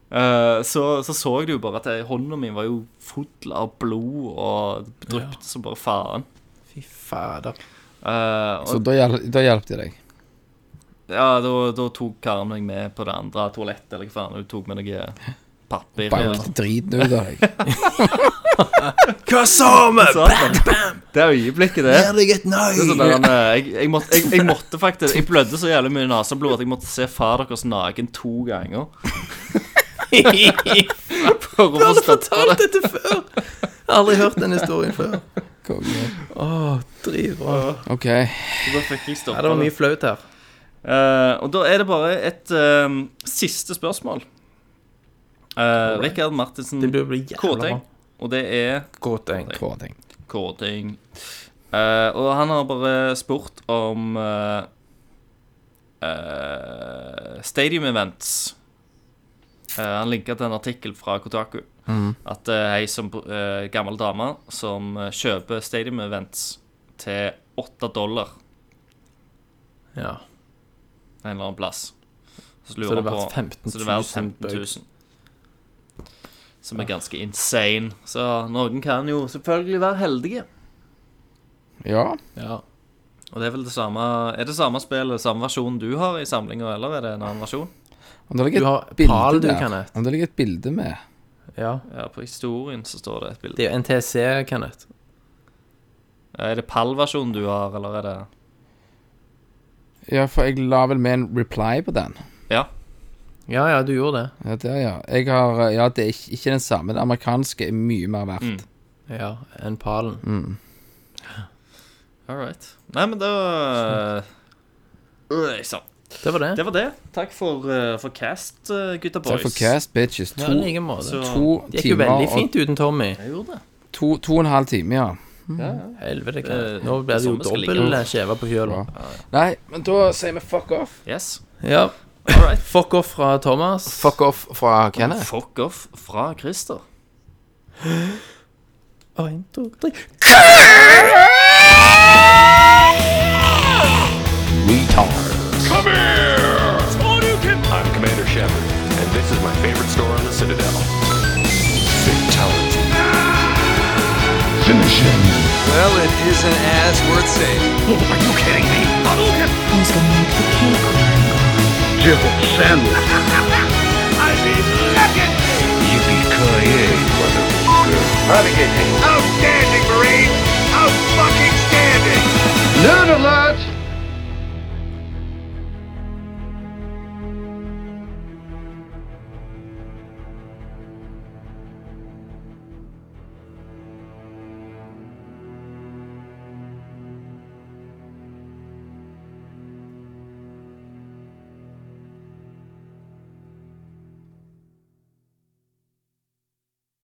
[SPEAKER 6] Eh, så, så så du jo bare at jeg, hånda mi var jo full av blod og dryppet som bare faen.
[SPEAKER 7] Fy fader.
[SPEAKER 6] Eh,
[SPEAKER 10] Så
[SPEAKER 6] og
[SPEAKER 10] da, hjel da hjelper de deg.
[SPEAKER 6] ja, da, da tok Karen meg med på det andre toalettet, eller hva faen. Hun tok med noe papir.
[SPEAKER 10] Banket driten ut av deg.
[SPEAKER 7] Hva sa vi?
[SPEAKER 6] Så, det øyeblikket der
[SPEAKER 7] Er jeg et nei?
[SPEAKER 6] Det er sånn der, eh, jeg, jeg, måtte, jeg, jeg måtte faktisk Jeg blødde så jævlig mye naseblod at jeg måtte se far deres naken to ganger. For å
[SPEAKER 7] Har du
[SPEAKER 6] forstå
[SPEAKER 7] fortalt dette før? Jeg har aldri hørt den historien før.
[SPEAKER 10] Konge.
[SPEAKER 7] Åh, dritbra.
[SPEAKER 10] OK.
[SPEAKER 6] Da fikk jeg
[SPEAKER 7] Ja,
[SPEAKER 6] stoppa
[SPEAKER 7] det var
[SPEAKER 6] det.
[SPEAKER 7] mye flaut her.
[SPEAKER 6] Eh, og da er det bare et eh, siste spørsmål. Uh, Rikard Martinsen
[SPEAKER 7] Det blir bli jævla
[SPEAKER 6] Kåting. Og det er
[SPEAKER 7] Kåting.
[SPEAKER 10] Kåting.
[SPEAKER 6] Kåting. Eh, og han har bare spurt om eh, eh, Stadium Events. Eh, han linka til en artikkel fra Kotaku.
[SPEAKER 7] Mm.
[SPEAKER 6] At det er ei som, eh, gammel dame som eh, kjøper Stadium Events til åtte dollar
[SPEAKER 7] Ja.
[SPEAKER 6] en eller annen plass. Så,
[SPEAKER 7] Så
[SPEAKER 6] lurer
[SPEAKER 7] det er
[SPEAKER 6] han på-
[SPEAKER 7] verdt 15
[SPEAKER 6] Så det er verdt 15 000. Som er ganske insane. Så noen kan jo selvfølgelig være heldige.
[SPEAKER 10] Ja.
[SPEAKER 7] Ja.
[SPEAKER 6] Og det er vel det samme Er det samme spillet, samme versjon du har i samlinga, eller er det en annen versjon?
[SPEAKER 10] Om det ligger
[SPEAKER 7] Du
[SPEAKER 10] et
[SPEAKER 7] har
[SPEAKER 10] bilde
[SPEAKER 7] pal, du,
[SPEAKER 10] der.
[SPEAKER 7] Kenneth.
[SPEAKER 10] Om det ligger et bilde med
[SPEAKER 7] Ja.
[SPEAKER 6] Ja, på historien så står det et bilde.
[SPEAKER 7] Det er jo NTC, Kenneth.
[SPEAKER 6] Er det PAL-versjonen du har, eller er det
[SPEAKER 10] Ja, for jeg la vel med en reply på den.
[SPEAKER 6] Ja.
[SPEAKER 7] Ja, ja, du gjorde det.
[SPEAKER 10] Ja, der, ja. Jeg har eh, Ja, det er ikke, ikke den samme. Den amerikanske er mye mer verdt.
[SPEAKER 7] Mm. Ja, enn palen.
[SPEAKER 6] All right. Nei, men da Øh, Sånn.
[SPEAKER 7] Det var det.
[SPEAKER 6] Det var det. Takk for, eh, for cast, eh, gutta
[SPEAKER 10] Takk
[SPEAKER 6] boys.
[SPEAKER 10] for cast, bitches.
[SPEAKER 7] Ja, i
[SPEAKER 10] To,
[SPEAKER 7] like måte.
[SPEAKER 6] Så
[SPEAKER 10] to
[SPEAKER 7] Det gikk jo
[SPEAKER 10] timer
[SPEAKER 7] veldig
[SPEAKER 10] og
[SPEAKER 7] fint uten Tommy.
[SPEAKER 6] jeg gjorde det.
[SPEAKER 10] to, to og en halv time, ja.
[SPEAKER 7] Helvete,
[SPEAKER 6] Det-
[SPEAKER 7] hva- nå blir det
[SPEAKER 6] sånn
[SPEAKER 7] jo
[SPEAKER 6] det skal ligge.
[SPEAKER 7] dobbel skjeve på kjølen.
[SPEAKER 8] Nei, men da sier vi fuck off.
[SPEAKER 6] Yes.
[SPEAKER 7] Ja.
[SPEAKER 6] Alright.
[SPEAKER 7] Fuck off fra Thomas.
[SPEAKER 8] Fuck off fra Kenneth.
[SPEAKER 6] Fuck off fra Christer.
[SPEAKER 7] En, to, tre.
[SPEAKER 4] Come here! I'm Commander Shepard, and this is my favorite store on the Citadel. Fatality.
[SPEAKER 2] Finish him.
[SPEAKER 3] Well, it isn't as worth saying.
[SPEAKER 4] Are you kidding me?
[SPEAKER 2] Jibble sandwich.
[SPEAKER 4] I mean, look at me!
[SPEAKER 2] Yippee-ki-yay, motherfucker.
[SPEAKER 4] Outstanding!